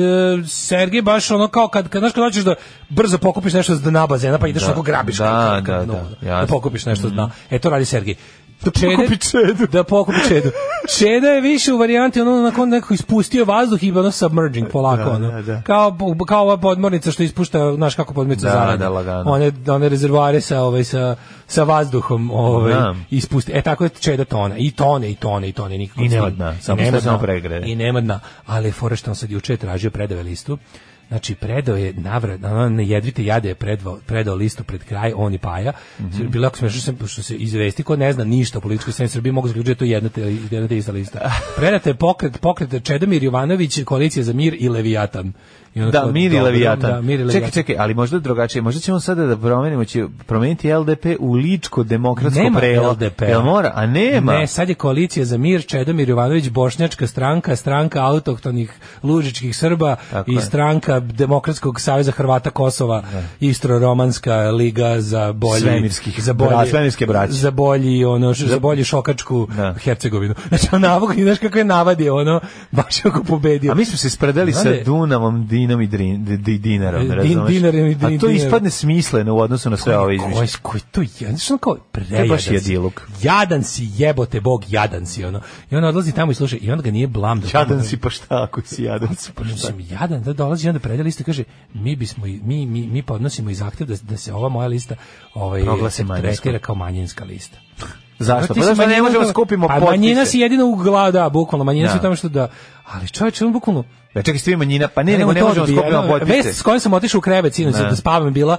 Speaker 6: Sergej baš ono kao kad, kad, znaš kad hoćeš da brzo pokupiš nešto s dna bazena, pa ideš
Speaker 7: Da,
Speaker 6: onako grabiš
Speaker 7: da,
Speaker 6: ka- ka-
Speaker 7: da,
Speaker 6: ka dnu,
Speaker 7: da,
Speaker 6: ono, da
Speaker 7: jasno. Mhm.
Speaker 6: pokupiš nešto s dna. E, to radi Sergej. Da
Speaker 7: pokupi čedu.
Speaker 6: Da pokupi čedu. Čeda je više u varijanti ono onako nekako ispustio vazduh i ono submerging polako.
Speaker 7: Da,
Speaker 6: ono.
Speaker 7: da, da.
Speaker 6: Kao, bu- kao ova podmornica što ispušta, znaš kako podmornica
Speaker 7: Da,
Speaker 6: zaradi.
Speaker 7: da, lagano.
Speaker 6: One, one rezervoare sa, ovaj, sa, sa vazduhom ovaj,
Speaker 7: Da.
Speaker 6: ispusti. E, tako je čeda tone. I tone, i tone, i tone. nikako
Speaker 7: I nema
Speaker 6: s tim.
Speaker 7: dna, samo
Speaker 6: Nema
Speaker 7: što samo
Speaker 6: dna.
Speaker 7: pregreje.
Speaker 6: I nema dna. Ali je fora što on sad juče je tražio predave listu. Znači, predao je navrat, ono, na jedvite jade je predvao, predao listu pred kraj, on i Paja.
Speaker 7: Mhm.
Speaker 6: Bilo je jako smešno što se- što se izvesti, ko ne zna ništa o političkoj sceni Srbije, mogu zaključiti da je to jedna te, jedna te ista lista. Predate pokret, pokret Čedomir Jovanović, koalicija za mir i Leviatan. I onda
Speaker 7: Da,
Speaker 6: kao,
Speaker 7: Miri
Speaker 6: dobro,
Speaker 7: Leviatan.
Speaker 6: Da, mir i Leviatan.
Speaker 7: Čekaj, čekaj, ali možda drugačije. Možda ćemo sada da promenimo, će promeniti LDP u ličko demokratsko
Speaker 6: Nema
Speaker 7: prelo.
Speaker 6: LDP.
Speaker 7: Jel mora? A nema.
Speaker 6: Ne, sad je koalicija za mir, Čedomir Jovanović, bošnjačka stranka, stranka autohtonih lužičkih Srba
Speaker 7: Tako
Speaker 6: i
Speaker 7: je.
Speaker 6: stranka Demokratskog saveza Hrvata Kosova, Istro-Romanska liga za bolji...
Speaker 7: Svemirskih
Speaker 6: za bolji,
Speaker 7: bra- svemirske braće.
Speaker 6: Za bolji, ono, š- za bolji šokačku
Speaker 7: Da.
Speaker 6: Hercegovinu. Znači, on navog, znaš kako je navadio, ono, baš je ako pobedio.
Speaker 7: A mi smo se spredali sa
Speaker 6: Znate- E,
Speaker 7: Dunavom, Dinom i drin, di, di- dinarom,
Speaker 6: Din-
Speaker 7: razumeš?
Speaker 6: dinarom i din-
Speaker 7: A to
Speaker 6: dinarom.
Speaker 7: ispadne smisleno u odnosu na sve ove
Speaker 6: Koji,
Speaker 7: izmišlje.
Speaker 6: koji to je, znaš ono kao prejadan
Speaker 7: baš
Speaker 6: si.
Speaker 7: jediluk.
Speaker 6: Jadan si, jebote bog, jadan si, ono. I on odlazi tamo i sluša, i onda ga nije blam. da
Speaker 7: Jadan si pa šta ako si jadan si pa šta.
Speaker 6: Mislim, jadan, da dolazi onda predaj liste, kaže, mi bismo, i- mi, mi, mi podnosimo i zahtjev da, da se ova moja lista ovaj,
Speaker 7: Proglasi
Speaker 6: se
Speaker 7: manjinskom.
Speaker 6: tretira kao manjinska lista.
Speaker 7: Zašto?
Speaker 6: Ti
Speaker 7: Pa
Speaker 6: si
Speaker 7: zašto ne
Speaker 6: manjina,
Speaker 7: možemo
Speaker 6: da-
Speaker 7: skupimo
Speaker 6: pa,
Speaker 7: potpise?
Speaker 6: manjina si jedina u glavu, da, bukvalno, manjina si u
Speaker 7: Da.
Speaker 6: tome što da, ali čovječe, on bukvalno,
Speaker 7: Da čekaj, ste vi manjina, pa ne, nego
Speaker 6: Evo,
Speaker 7: ne
Speaker 6: to
Speaker 7: možemo
Speaker 6: odbijeno.
Speaker 7: skupimo
Speaker 6: Vest s
Speaker 7: potpise.
Speaker 6: kojom sam otišao u krevet sinoć
Speaker 7: Ne.
Speaker 6: da spavam je bila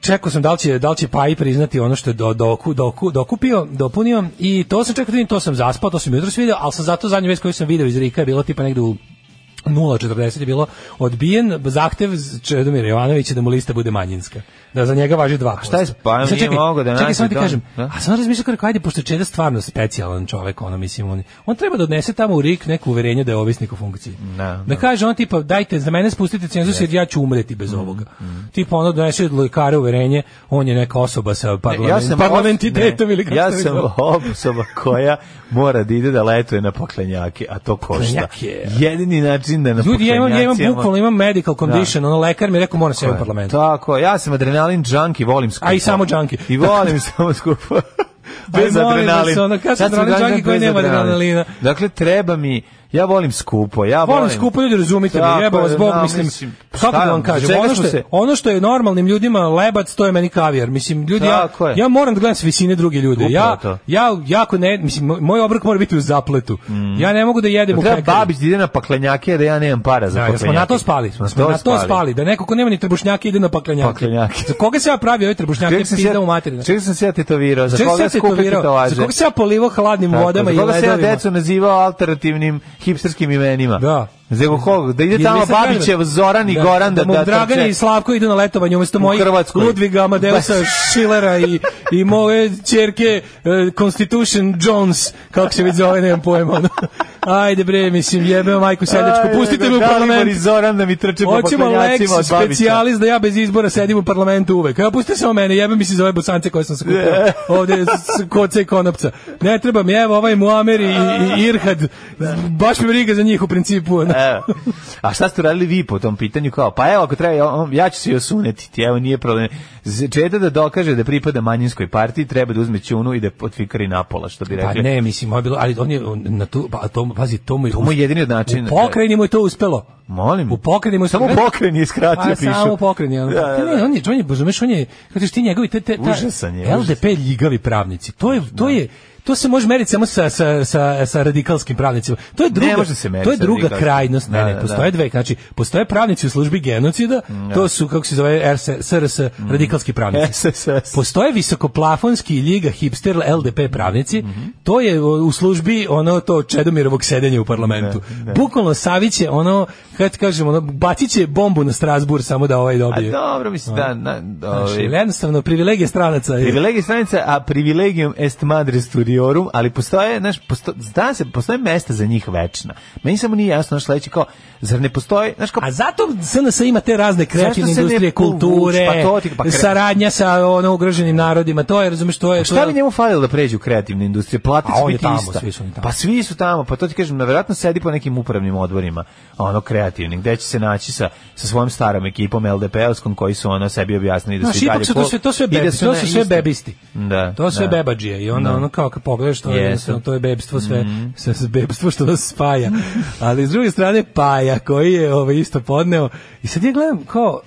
Speaker 6: Čekao sam da li će, da li će Paji priznati ono što je do, doku, doku, dokupio, dopunio i to sam čekao da vidim, to sam zaspao, to sam jutros video, ali sam zato zadnju vez koju sam video iz Rika je bilo tipa negde u 0.40 je bilo odbijen zahtev Čedomira Jovanovića da mu lista bude manjinska. Da za njega važi 2%.
Speaker 7: šta je s Pajom?
Speaker 6: I sad
Speaker 7: Nije mogao da
Speaker 6: čekaj,
Speaker 7: nađe
Speaker 6: samo ti
Speaker 7: dom,
Speaker 6: kažem,
Speaker 7: da?
Speaker 6: a sam razmišljao kako ajde, pošto je Čeda stvarno specijalan čovek, ono, mislim, on, on treba da odnese tamo u Rik neko uverenje da je ovisnik u funkciji.
Speaker 7: Da,
Speaker 6: Da kaže on tipa dajte za mene spustite cenzus jer ja ću umreti bez
Speaker 7: Mhm,
Speaker 6: ovoga. Tipa ono donese od lekara uverenje, on je neka osoba sa parlament,
Speaker 7: Ja sam
Speaker 6: parlamentitetom
Speaker 7: os- ne,
Speaker 6: ili kako
Speaker 7: ja
Speaker 6: se to
Speaker 7: sam
Speaker 6: zove.
Speaker 7: osoba koja mora da ide da letuje na poklenjake, a to košta.
Speaker 6: Poklenjak je-
Speaker 7: Jedini način da na
Speaker 6: Ljudi, ja imam, ja imam
Speaker 7: poklenjacima-
Speaker 6: bukvalno, imam medical condition, ono lekar mi je rekao mora se u parlamentu.
Speaker 7: Tako, ja sam adrenalin junkie, volim skupo.
Speaker 6: A i samo junkie.
Speaker 7: I volim samo skupo. Bez
Speaker 6: Aj, molim
Speaker 7: adrenalin.
Speaker 6: vas, ono, ja sam
Speaker 7: Sad sam
Speaker 6: adrenalin
Speaker 7: junkie
Speaker 6: junkie koji
Speaker 7: bez
Speaker 6: nema
Speaker 7: adrenalina.
Speaker 6: adrenalina.
Speaker 7: Dakle, treba mi, ja volim skupo, ja volim...
Speaker 6: Volim skupo ljudi, razumite me,
Speaker 7: Tako
Speaker 6: jeba vas
Speaker 7: je,
Speaker 6: Bog,
Speaker 7: da,
Speaker 6: mislim,
Speaker 7: mislim,
Speaker 6: kako da vam kažem, ono što, je, ono što je normalnim ljudima lebac, to je meni kavijar. Mislim, ljudi, ja,
Speaker 7: Tako je.
Speaker 6: ja moram da gledam s visine druge ljude.
Speaker 7: Upravo
Speaker 6: Ja,
Speaker 7: to.
Speaker 6: ja jako ne, mislim, moj- moj obrok mora biti u zapletu. Ja ne mogu da jedem u
Speaker 7: Treba
Speaker 6: pekari.
Speaker 7: Babić Mm. da ide na paklenjake, a da ja nemam para za
Speaker 6: Da, da
Speaker 7: paklenjake.
Speaker 6: smo na to spali, smo, smo na to spali, da neko ko nema ni trbušnjake ide na paklenjake.
Speaker 7: Paklenjake.
Speaker 6: Za koga se ja pravio ove trbušnjake
Speaker 7: Čekaj sam se
Speaker 6: pizda
Speaker 7: ja-
Speaker 6: u materinu?
Speaker 7: Čekaj sam se ja tetovirao, za
Speaker 6: Čega
Speaker 7: koga
Speaker 6: se ja
Speaker 7: skupiti
Speaker 6: tetovirao?
Speaker 7: tetovaže?
Speaker 6: Za koga se ja polivao hladnim
Speaker 7: Tako,
Speaker 6: vodama i
Speaker 7: za koga se ja
Speaker 6: ledovima?
Speaker 7: decu nazivao alternativnim hipsterskim imenima.
Speaker 6: Da.
Speaker 7: Zbog koga? Da ide
Speaker 6: Jer
Speaker 7: tamo
Speaker 6: nisam
Speaker 7: Babićev,
Speaker 6: gledao.
Speaker 7: Zoran i
Speaker 6: Da,
Speaker 7: Goran da
Speaker 6: da, mu
Speaker 7: da
Speaker 6: Dragane
Speaker 7: trče.
Speaker 6: i Slavko idu na letovanje umesto
Speaker 7: U
Speaker 6: mojih
Speaker 7: Hrvatskoj.
Speaker 6: Ludviga Amadeusa
Speaker 7: Baš.
Speaker 6: Schillera i, i moje ćerke e, Constitution Jones kako se već zove, nemam pojma ono. Ajde bre, mislim, jebeo majku seljačku,
Speaker 7: Aj,
Speaker 6: pustite
Speaker 7: nego
Speaker 6: me u
Speaker 7: Dalibor
Speaker 6: parlament.
Speaker 7: i Zoran da mi trče po
Speaker 6: Hoćemo
Speaker 7: paklenjacima
Speaker 6: Lexus
Speaker 7: od Babića.
Speaker 6: specijalist da ja bez izbora sedim u parlamentu uvek. Evo, pustite samo mene, jebe mi se za ove bosance koje sam skupio
Speaker 7: Ne.
Speaker 6: ovde s koce i konopca. Ne treba mi, evo ovaj Muamer i, i Irhad, baš mi briga za njih u principu. ono.
Speaker 7: Evo. A šta ste uradili vi po tom pitanju? Kao, pa evo, ako treba, ja- on- ja ću se i osunetiti, evo, nije problem. Z- Čeda da dokaže da pripada manjinskoj partiji, treba da uzme čunu i da potfikari napola, što bi
Speaker 6: Pa
Speaker 7: rekli.
Speaker 6: ne, mislim, ovo je bilo, ali on je on na tu, pa to, mu- pazi, to mu je...
Speaker 7: To mu je jedini od načina.
Speaker 6: U pokrajini mu je to uspelo.
Speaker 7: Molim.
Speaker 6: U pokrajini mu je
Speaker 7: Samo u pokrajini je skratio,
Speaker 6: Pa
Speaker 7: pišu.
Speaker 6: samo u pokrajini. ono.
Speaker 7: Da, da,
Speaker 6: Ne, on je, on je, razumeš, on je, kako ćeš ti njegovi, te, te, ta-
Speaker 7: Užasan je,
Speaker 6: LDP ljigavi pravnici. To je, to je, to se može meriti samo sa, sa, sa, sa radikalskim pravnicima. To je druga,
Speaker 7: može se meriti
Speaker 6: to je
Speaker 7: sa
Speaker 6: druga
Speaker 7: radikalskim.
Speaker 6: krajnost. Ne,
Speaker 7: Da,
Speaker 6: ne,
Speaker 7: da,
Speaker 6: postoje
Speaker 7: da.
Speaker 6: dve. Znači, postoje pravnici u službi genocida, to su, kako se zove, RS, SRS,
Speaker 7: Mm.
Speaker 6: radikalski pravnici.
Speaker 7: SSS.
Speaker 6: Postoje visokoplafonski ljiga hipster LDP pravnici, to je o, u službi ono to Čedomirovog sedenja u parlamentu. Bukvalno Savić je ono, kako ti kažem, ono, bacit će bombu na Strasbur samo da ovaj
Speaker 7: A
Speaker 6: dobije.
Speaker 7: dobro, mislim, da, na,
Speaker 6: Znači,
Speaker 7: ovaj,
Speaker 6: jednostavno, privilegije stranaca. je-
Speaker 7: Privilegij stranica, a privilegium est madre studiorum, ali postoje, znaš, posto, zna se, postoje mesta za njih večna. Meni samo nije jasno, znaš, sledeće, kao, zar ne postoje, znaš, kao,
Speaker 6: A zato SNS ima te razne kreativne
Speaker 7: Zašto se ne
Speaker 6: industrije,
Speaker 7: povuče?
Speaker 6: kulture,
Speaker 7: Pa to ti- pa kre-
Speaker 6: saradnja sa ono ugroženim narodima, to je, razumeš, to je... to
Speaker 7: šta
Speaker 6: je-
Speaker 7: bi njemu falilo da pređe u kreativnu industriju? Plata
Speaker 6: A
Speaker 7: će
Speaker 6: on je
Speaker 7: biti
Speaker 6: tamo,
Speaker 7: ista.
Speaker 6: svi su oni tamo.
Speaker 7: Pa svi su tamo, pa to ti kažem, verovatno sedi po nekim upravnim odborima, ono, kreativnim, gde će se naći sa, sa svojom starom ekipom LDP-ovskom, koji su ono sebi objasnili da
Speaker 6: Znaš,
Speaker 7: su i dalje...
Speaker 6: ipak su
Speaker 7: kol-
Speaker 6: to sve, to sve
Speaker 7: i da
Speaker 6: bebi, to
Speaker 7: na
Speaker 6: su sve
Speaker 7: istom.
Speaker 6: bebisti.
Speaker 7: Da,
Speaker 6: To su sve
Speaker 7: da.
Speaker 6: bebađije i onda
Speaker 7: Da.
Speaker 6: ono kao kad pogledaš to, je,
Speaker 7: Jesu. Mhm.
Speaker 6: jednostavno, to je bebstvo sve, sve s- bebstvo što nas spaja. Ali s druge strane Paja koji je ovo isto podneo i sad ja gledam kao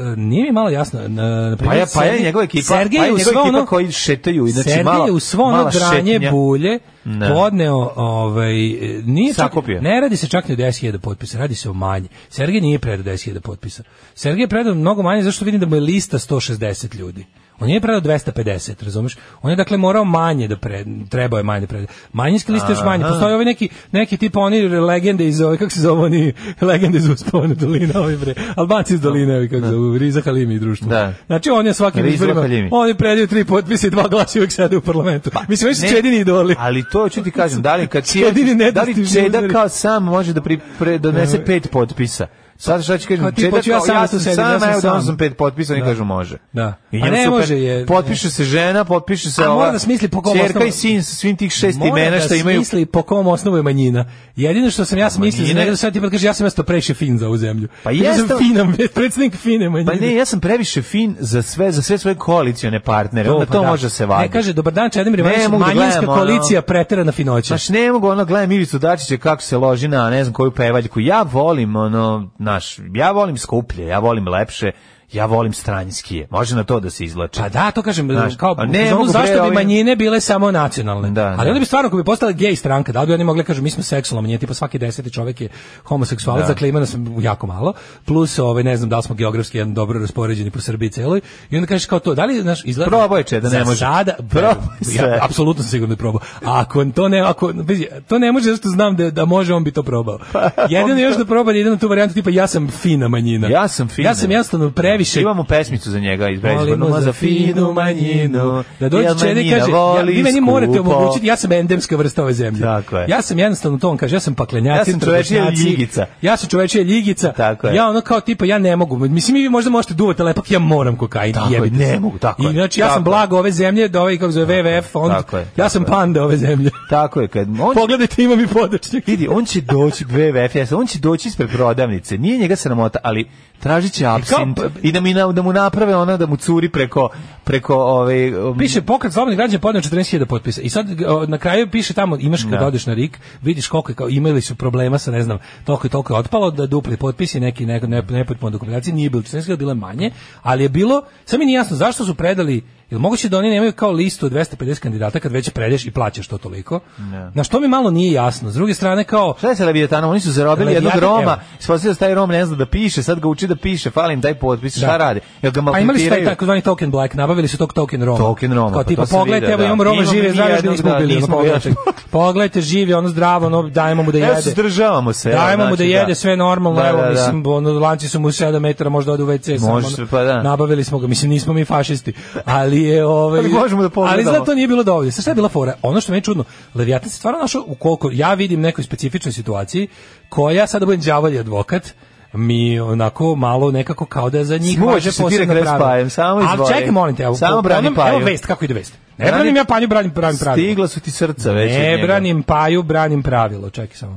Speaker 6: e, nije mi malo jasno na, na
Speaker 7: Pa
Speaker 6: primjer,
Speaker 7: ja, pa ja
Speaker 6: Sergej-
Speaker 7: njegova ekipa,
Speaker 6: Sergej
Speaker 7: pa ja
Speaker 6: je u
Speaker 7: njegova
Speaker 6: svo
Speaker 7: ekipa
Speaker 6: ono-
Speaker 7: koji šetaju, znači
Speaker 6: Sergej
Speaker 7: mala,
Speaker 6: je u svo ono
Speaker 7: mala
Speaker 6: dranje
Speaker 7: šetnja.
Speaker 6: bulje
Speaker 7: Ne.
Speaker 6: podneo ovaj e, nije čak-
Speaker 7: Sakupio.
Speaker 6: ne radi se čak ni o 10.000 potpisa, radi se o manje. Sergej nije predao 10.000 potpisa. Sergej je predao mnogo manje zašto vidim da mu je lista 160 ljudi. On nije predao 250, razumeš? On je dakle morao manje da pre, trebao je manje da preda. Manjinski liste još manje. Postoje ovi neki, neki tipa oni legende iz ove, kako se zove oni, legende iz uspavane doline, ovi bre, Albanci iz doline, ovi kako se zove, Riza Halimi i društvo.
Speaker 7: Da.
Speaker 6: Znači on je svakim
Speaker 7: Riza
Speaker 6: izborima,
Speaker 7: Halimi.
Speaker 6: on je predao tri potpisa i dva glasa i uvek sede u parlamentu. Mislim, oni su čedini idoli.
Speaker 7: Pa, Ali to ću ti kažem, da li kad Čeda,
Speaker 6: Jedini
Speaker 7: da li
Speaker 6: nedostižni
Speaker 7: Čeda
Speaker 6: uzori.
Speaker 7: kao sam može da pri, pre, donese pet potpisa? Sad šta ću
Speaker 6: Kao
Speaker 7: kažem,
Speaker 6: ti,
Speaker 7: Čeda kao
Speaker 6: hoću ja sam da tu sedim, ja sam
Speaker 7: evo
Speaker 6: sam.
Speaker 7: da sam pet potpisa, oni
Speaker 6: Da.
Speaker 7: kažu može.
Speaker 6: Da.
Speaker 7: I
Speaker 6: Pa
Speaker 7: njemu
Speaker 6: ne
Speaker 7: super.
Speaker 6: može, je-
Speaker 7: Potpiše se žena, potpiše se
Speaker 6: A mora
Speaker 7: ova,
Speaker 6: da smisli po kom
Speaker 7: ćerka
Speaker 6: osnovu.
Speaker 7: i sin sa svim tih šest
Speaker 6: Mora
Speaker 7: imena
Speaker 6: da
Speaker 7: što imaju.
Speaker 6: smisli po kom osnovu je manjina. Jedino što sam ja smislio za
Speaker 7: manjine-
Speaker 6: njega, sad ti pa kaže, ja sam mesto previše fin za ovu zemlju.
Speaker 7: Pa
Speaker 6: Ja sam
Speaker 7: jeste-
Speaker 6: finan, predsjednik fine
Speaker 7: Pa
Speaker 6: manjine.
Speaker 7: ne, ja sam previše fin za sve, za sve svoje koalicione partnere, onda
Speaker 6: pa
Speaker 7: to
Speaker 6: da.
Speaker 7: može da se vadi.
Speaker 6: Ne, kaže, dobar dan, Čedomir
Speaker 7: Ne
Speaker 6: Ivanović,
Speaker 7: mogu da
Speaker 6: manjinska
Speaker 7: gledam, ono-
Speaker 6: koalicija pretera na finoće.
Speaker 7: Znaš, ne mogu, ono, gledam Ivicu Dačića kako se loži na ne znam koju pevaljku. Ja volim, ono, naš, ja volim skuplje, ja volim lepše, ja volim stranjskije. Može na to da se izlače.
Speaker 6: Pa da, to kažem,
Speaker 7: Znaš,
Speaker 6: kao,
Speaker 7: a ne
Speaker 6: u zonu
Speaker 7: mogu, bre,
Speaker 6: zašto bi
Speaker 7: ovim-
Speaker 6: manjine bile samo nacionalne?
Speaker 7: Da, da.
Speaker 6: Ali onda bi stvarno, ako bi postala gej stranka, da li bi oni mogli, kažu, mi smo seksualna manjina, tipa svaki deseti čovjek je homoseksualac, dakle ima nas jako malo, plus, ovaj, ne znam da li smo geografski jedan dobro raspoređeni po Srbiji celoj, i onda kažeš kao to, da li, znaš, izgleda...
Speaker 7: Probao je, če, da ne
Speaker 6: Za
Speaker 7: može.
Speaker 6: Sada,
Speaker 7: Probao je
Speaker 6: ja,
Speaker 7: sve.
Speaker 6: apsolutno sam sigurno da je probao. A ako to ne, ako, vidi, to ne može, zato što znam da, da može, on bi to probao.
Speaker 7: Pa,
Speaker 6: Jedino još da proba, jedino tu varijantu, tipa, ja sam fina manjina.
Speaker 7: Ja sam fin.
Speaker 6: Ja sam jednostavno previše
Speaker 7: Imamo pesmicu za njega iz
Speaker 6: Volimo
Speaker 7: Brezbornuma
Speaker 6: za finu manjinu. Da dođe
Speaker 7: Jel
Speaker 6: čede i
Speaker 7: manjina
Speaker 6: kaže, ja,
Speaker 7: voli
Speaker 6: vi meni morate
Speaker 7: skupo?
Speaker 6: omogućiti, ja sam endemska vrsta ove zemlje.
Speaker 7: Tako je.
Speaker 6: Ja sam jednostavno to on kaže, ja sam
Speaker 7: Ja
Speaker 6: paklenjac,
Speaker 7: sam čovečija ljigica.
Speaker 6: Ja sam čovečija ljigica.
Speaker 7: Tako je.
Speaker 6: Ja ono kao tipa ja ne mogu. Mislim vi možda možete duvati, ali ipak ja moram kokain.
Speaker 7: Tako je,
Speaker 6: jebite
Speaker 7: ne
Speaker 6: se.
Speaker 7: mogu, tako
Speaker 6: I
Speaker 7: je.
Speaker 6: znači ja sam
Speaker 7: Tako
Speaker 6: blago ove zemlje, da ovaj kako zove WWF fond.
Speaker 7: tako je,
Speaker 6: Ja sam
Speaker 7: tako je.
Speaker 6: panda ove zemlje.
Speaker 7: Tako je, kad on
Speaker 6: Pogledajte, imam i podočnjak.
Speaker 7: vidi, on će doći BVFS, on će doći ispred prodavnice. Nije njega sramota, ali tražit će absint
Speaker 6: pa-
Speaker 7: i da mi na- da mu naprave ona da mu ono curi preko preko ovaj
Speaker 6: Piše pokret slobodnih građana podneo 14.000 potpisa. I sad o, na kraju piše tamo imaš kad
Speaker 7: Da.
Speaker 6: odeš na RIK, vidiš koliko je kao imali su problema sa ne znam, toliko i toliko je otpalo da dupli potpisi neki neko ne nepotpuna dokumentacija nije bilo 14.000, bilo je manje, ali je bilo samo mi nije jasno zašto su predali Jel moguće da oni nemaju kao listu od 250 kandidata kad već predeš i plaćaš to toliko?
Speaker 7: Da.
Speaker 6: Na što mi malo nije jasno. S druge strane kao
Speaker 7: Šta je sa Leviatanom? Oni su zarobili jednog
Speaker 6: Leviatan,
Speaker 7: Roma,
Speaker 6: evo.
Speaker 7: sposio se taj Rom ne zna da piše, sad ga uči da piše, falim taj potpis, šta radi? Jel ga
Speaker 6: A imali su taj
Speaker 7: maltretiraju?
Speaker 6: takozvani token black, nabavili su tog token Roma.
Speaker 7: Token Roma,
Speaker 6: Kao
Speaker 7: pa
Speaker 6: tipa,
Speaker 7: to sam
Speaker 6: pogledajte,
Speaker 7: vidio,
Speaker 6: evo
Speaker 7: da.
Speaker 6: imamo Roma
Speaker 7: Imamo
Speaker 6: žive,
Speaker 7: mi
Speaker 6: zdrave, da
Speaker 7: jednog,
Speaker 6: nismo
Speaker 7: da,
Speaker 6: ubili. ono,
Speaker 7: nismo
Speaker 6: Pogledajte, pogledajte živi, ono zdravo, ono, dajemo mu da
Speaker 7: Evo,
Speaker 6: jede.
Speaker 7: suzdržavamo se, evo,
Speaker 6: Dajemo mu da
Speaker 7: znači,
Speaker 6: jede,
Speaker 7: da.
Speaker 6: sve normalno,
Speaker 7: Da,
Speaker 6: evo,
Speaker 7: da, da.
Speaker 6: mislim, ono, lanci su mu 7 metara, možda ode u WC. samo,
Speaker 7: Može
Speaker 6: ono,
Speaker 7: se, pa da.
Speaker 6: Nabavili smo ga, mislim, nismo mi fašisti. Ali je, ovaj...
Speaker 7: Ali možemo da pogledamo.
Speaker 6: Ali izgleda to nije bilo dovoljno. Sad šta je bila fora? Ono što mi je čudno, Leviatan se stvarno našao u koliko, ja vidim nekoj specifičnoj situaciji, koja, sada budem đavolji advokat, mi onako malo nekako kao da za njih
Speaker 7: Smuvaš
Speaker 6: važe
Speaker 7: se ti
Speaker 6: posebno
Speaker 7: rekao da
Speaker 6: pravilo.
Speaker 7: spajem, samo
Speaker 6: Ali
Speaker 7: izvoli.
Speaker 6: čekaj, molim te, evo,
Speaker 7: Samo
Speaker 6: po-
Speaker 7: brani
Speaker 6: ponovim-
Speaker 7: Paju.
Speaker 6: Evo vest, kako ide vest. Ne
Speaker 7: Brani-
Speaker 6: branim ja panju, branim, branim pravilo.
Speaker 7: Stigla su ti srca već od
Speaker 6: Ne
Speaker 7: njega. Mhm.
Speaker 6: branim paju, branim pravilo, čekaj samo.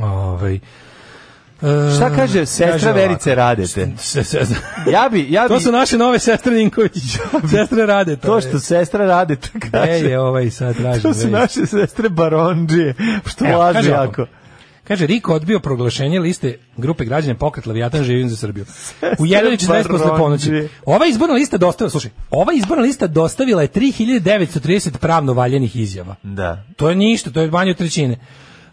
Speaker 6: Ovaj, e,
Speaker 7: Šta kaže sestra
Speaker 6: ovako,
Speaker 7: Verice Radete?
Speaker 6: se- se-
Speaker 7: Ja bi, ja bi,
Speaker 6: To su naše nove sestre Ninković. Sestre rade to.
Speaker 7: to što sestra Radete
Speaker 6: Gde
Speaker 7: kaže.
Speaker 6: je ovaj sad traži.
Speaker 7: To su
Speaker 6: vest?
Speaker 7: naše sestre Barondžije, što
Speaker 6: Evo,
Speaker 7: lažu
Speaker 6: kaže ovako.
Speaker 7: jako.
Speaker 6: Kaže, Riko odbio proglašenje liste grupe građana pokret Leviatan živim za Srbiju. U 1.40 posle ponoći.
Speaker 7: Barondžije.
Speaker 6: Ova izborna lista dostavila, slušaj, ova izborna lista dostavila je 3930 pravno valjenih izjava.
Speaker 7: Da.
Speaker 6: To je ništa, to je manje od trećine.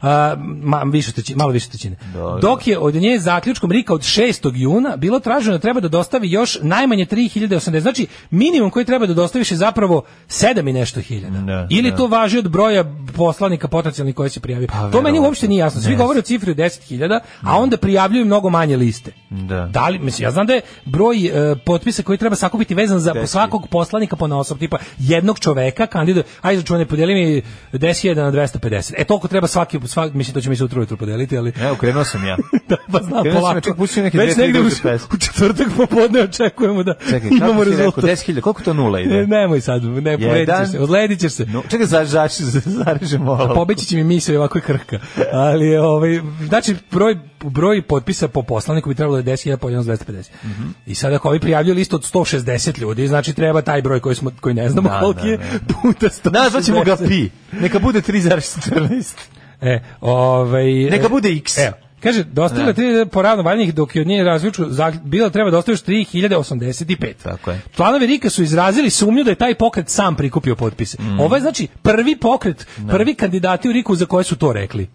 Speaker 6: A, ma, više od trećine, malo više od trećine.
Speaker 7: Dobro.
Speaker 6: Dok je od nje zaključkom Rika od 6. juna bilo traženo da treba da dostavi još najmanje 3080. Znači, minimum koji treba da dostaviš je zapravo 7 i nešto hiljada.
Speaker 7: Da,
Speaker 6: Ili
Speaker 7: da.
Speaker 6: to važi od broja poslanika potencijalnih koji se prijavio. to meni
Speaker 7: Pa, verovatno.
Speaker 6: uopšte nije jasno. Svi
Speaker 7: Ne
Speaker 6: govore o cifri od 10.000, a onda prijavljuju mnogo manje liste.
Speaker 7: Da.
Speaker 6: Da li, mislim, ja znam da je broj e, potpisa koji treba sakupiti vezan za
Speaker 7: Teški.
Speaker 6: svakog poslanika po osob, tipa jednog čoveka, kandidat, ajde računaj, podijeli mi 10.000 na 250. E, toliko treba svaki, svak, mislim, to će mi se utro jutro podeliti, ali...
Speaker 7: Evo, krenuo sam ja.
Speaker 6: Da, pa znam,
Speaker 7: Krenuo sam, ja čak
Speaker 6: polako.
Speaker 7: pustio neke dve,
Speaker 6: Već
Speaker 7: tri
Speaker 6: negde u,
Speaker 7: grupe pesme.
Speaker 6: u četvrtak popodne očekujemo da
Speaker 7: Čekaj,
Speaker 6: imamo
Speaker 7: kako si rekao,
Speaker 6: rezultat.
Speaker 7: 10.000, koliko to nula
Speaker 6: Ne,
Speaker 7: ide?
Speaker 6: nemoj sad, ne, povredit ćeš se, odledit ćeš se.
Speaker 7: No, čekaj, za, za, za, zarežemo ovo.
Speaker 6: Pobeći će mi misli ovako je krhka. Ali je, ovaj znači broj broj potpisa po poslaniku bi trebalo da je 10.000 po 1.250.
Speaker 7: Mhm.
Speaker 6: I sad ako ovi prijavljuju listu od 160 ljudi, znači treba taj broj koji smo koji ne znamo
Speaker 7: Da,
Speaker 6: koliki
Speaker 7: da,
Speaker 6: je
Speaker 7: da.
Speaker 6: puta 160.
Speaker 7: Nazvat ćemo ga pi. Neka bude 3,14.
Speaker 6: E, ovaj
Speaker 7: Neka
Speaker 6: e,
Speaker 7: bude x.
Speaker 6: Evo. Kaže, dostavila
Speaker 7: Da.
Speaker 6: 3000 po ravno valjenih, dok je od nje različu, bilo treba da ostaviš 3085.
Speaker 7: Tako je.
Speaker 6: Članovi Rika su izrazili sumnju da je taj pokret sam prikupio potpise.
Speaker 7: Mm.
Speaker 6: Ovo je znači prvi pokret, prvi kandidati u Riku za koje su to rekli.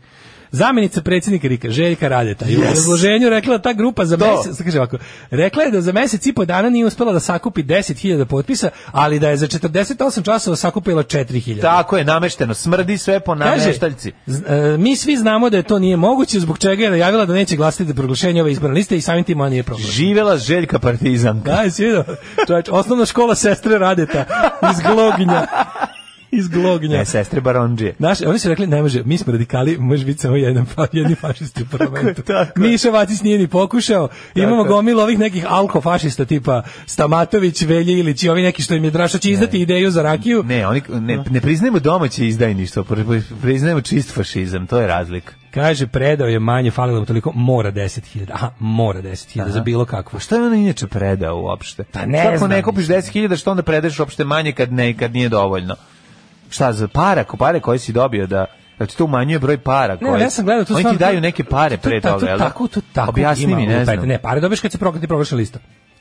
Speaker 6: Zamenica predsjednika Rika, Željka Radeta, je u
Speaker 7: Yes.
Speaker 6: obrazloženju rekla da ta grupa za
Speaker 7: To.
Speaker 6: mesec, kaže ovako, rekla je da za mesec i po dana nije uspela da sakupi 10.000 potpisa, ali da je za 48 časova sakupila 4.000.
Speaker 7: Tako je, namešteno. Smrdi sve po nameštaljci.
Speaker 6: Z- e, mi svi znamo da je to nije moguće, zbog čega je najavila da neće glasiti za proglašenje ove izborne liste i samim tim ona nije proglašena.
Speaker 7: Živela Željka Partizanka.
Speaker 6: Da, jesi vidio? Čovječ, osnovna škola sestre Radeta iz Glognja. Iz Glognja.
Speaker 7: Ne, E, sestre Baronđije.
Speaker 6: Naš, oni su rekli, ne može, mi smo radikali, može biti samo jedan, fa- jedni fašisti u parlamentu.
Speaker 7: Tako je, tako je.
Speaker 6: Mišo Vacić nije ni pokušao, imamo
Speaker 7: je.
Speaker 6: gomilu ovih nekih alkofašista tipa Stamatović, Velje Ilić i ovi neki što im je drašo će izdati ideju za rakiju.
Speaker 7: Ne, oni ne, ne priznajemo domaće izdajništvo, pri- pri- priznajemo čist fašizam, to je razlika.
Speaker 6: Kaže, predao je manje, falilo mu toliko, mora 10.000. Aha, mora 10.000 za bilo kakvo.
Speaker 7: Šta je on inače predao uopšte?
Speaker 6: Pa ne
Speaker 7: Kako
Speaker 6: znam,
Speaker 7: ne kupiš 10.000, što onda predaješ uopšte manje kad, ne, kad nije dovoljno? Šta za para, ko- pare koje si dobio da... Jel ti to umanjuje broj para?
Speaker 6: Ne,
Speaker 7: koje-
Speaker 6: ali ja sam gledao to
Speaker 7: Oni ti
Speaker 6: stvarno-
Speaker 7: daju neke pare
Speaker 6: To-
Speaker 7: pre
Speaker 6: to-
Speaker 7: toga,
Speaker 6: to
Speaker 7: jel da?
Speaker 6: tako, to tako
Speaker 7: Objasni
Speaker 6: ima
Speaker 7: mi,
Speaker 6: lupeta.
Speaker 7: ne znam.
Speaker 6: Ne, pare dobiješ kad se progati proglašena lista.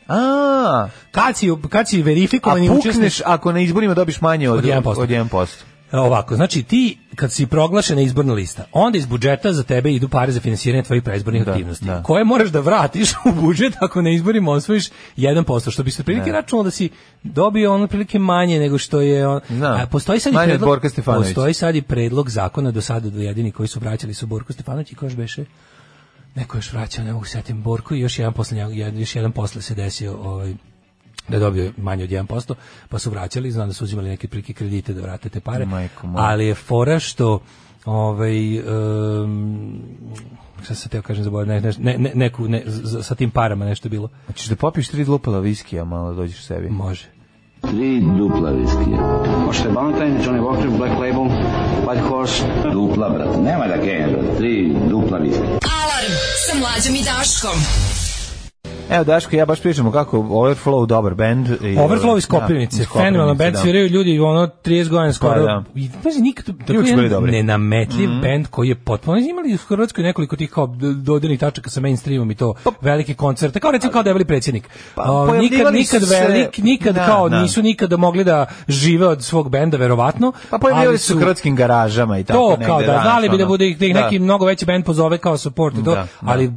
Speaker 7: A,
Speaker 6: Kad si, kad si
Speaker 7: a
Speaker 6: verifikovani učesnik,
Speaker 7: pukneš ako na izborima dobiš manje od,
Speaker 6: Od 1%.
Speaker 7: Od 1%.
Speaker 6: ovako, znači ti kad si proglašena izborna lista, onda iz budžeta za tebe idu pare za finansiranje tvojih preizbornih
Speaker 7: Da,
Speaker 6: aktivnosti,
Speaker 7: da.
Speaker 6: koje moraš da vratiš u budžet ako na izborima osvojiš 1%, što bi se prilike računalo da si dobio ono prilike manje nego što je... On,
Speaker 7: Znam.
Speaker 6: A, postoji sad i
Speaker 7: Manje od
Speaker 6: predlog,
Speaker 7: Borka Stefanovića.
Speaker 6: Postoji sad i predlog zakona do sada do jedini koji su vraćali su Borko Stefanović i ko još beše? Neko je još vraćao, ne mogu se setim Borku i još jedan posle, njega- jed- još jedan posle se desio ovaj, da je dobio manje od 1%, pa su vraćali, znam da su uzimali neke prilike kredite da vrate te pare,
Speaker 7: Majko moja.
Speaker 6: ali je fora što ovaj, em, šta sam teo kažem, zaboravio, ne, ne, ne, neku, ne, z- sa tim parama nešto je bilo.
Speaker 7: Hoćeš da popiš tri dlupala viskija, malo dođeš sebi.
Speaker 6: Može.
Speaker 12: Tri dupla viskija. Možete Valentine, Johnny Walker, Black Label, White Horse. Dupla, brate. Nema da genja, brate. Tri dupla viskija.
Speaker 3: Alarm sa mlađom i Daškom.
Speaker 7: Evo, Daško, i ja baš pričamo kako Overflow dobar band. I,
Speaker 6: Overflow iz Koprivnice,
Speaker 7: iz Koprivnice,
Speaker 6: fenomenalno band
Speaker 7: da. Pa
Speaker 6: sviraju ljudi ono 30 godina skoro.
Speaker 7: da.
Speaker 6: I pazi nikad to je
Speaker 7: su bili
Speaker 6: jedan
Speaker 7: dobri.
Speaker 6: nenametljiv
Speaker 7: Mhm.
Speaker 6: band koji je potpuno oni su imali u Hrvatskoj nekoliko tih kao d- dodirnih tačaka sa mainstreamom i to
Speaker 7: Pa-
Speaker 6: velike koncerte. Kao recimo kao debeli predsjednik. O,
Speaker 7: pojavljivali
Speaker 6: nikad nikad
Speaker 7: su se-
Speaker 6: velik, nikad
Speaker 7: Da,
Speaker 6: kao
Speaker 7: da.
Speaker 6: nisu nikada mogli da žive od svog benda verovatno.
Speaker 7: Pa pojavljivali
Speaker 6: ali
Speaker 7: su u hrvatskim garažama i tako
Speaker 6: to
Speaker 7: negde.
Speaker 6: kao da
Speaker 7: znaš,
Speaker 6: znali bi da
Speaker 7: ono.
Speaker 6: bude ih- da ih
Speaker 7: Da.
Speaker 6: neki mnogo veći bend pozove kao support i to,
Speaker 7: Da, da.
Speaker 6: ali m,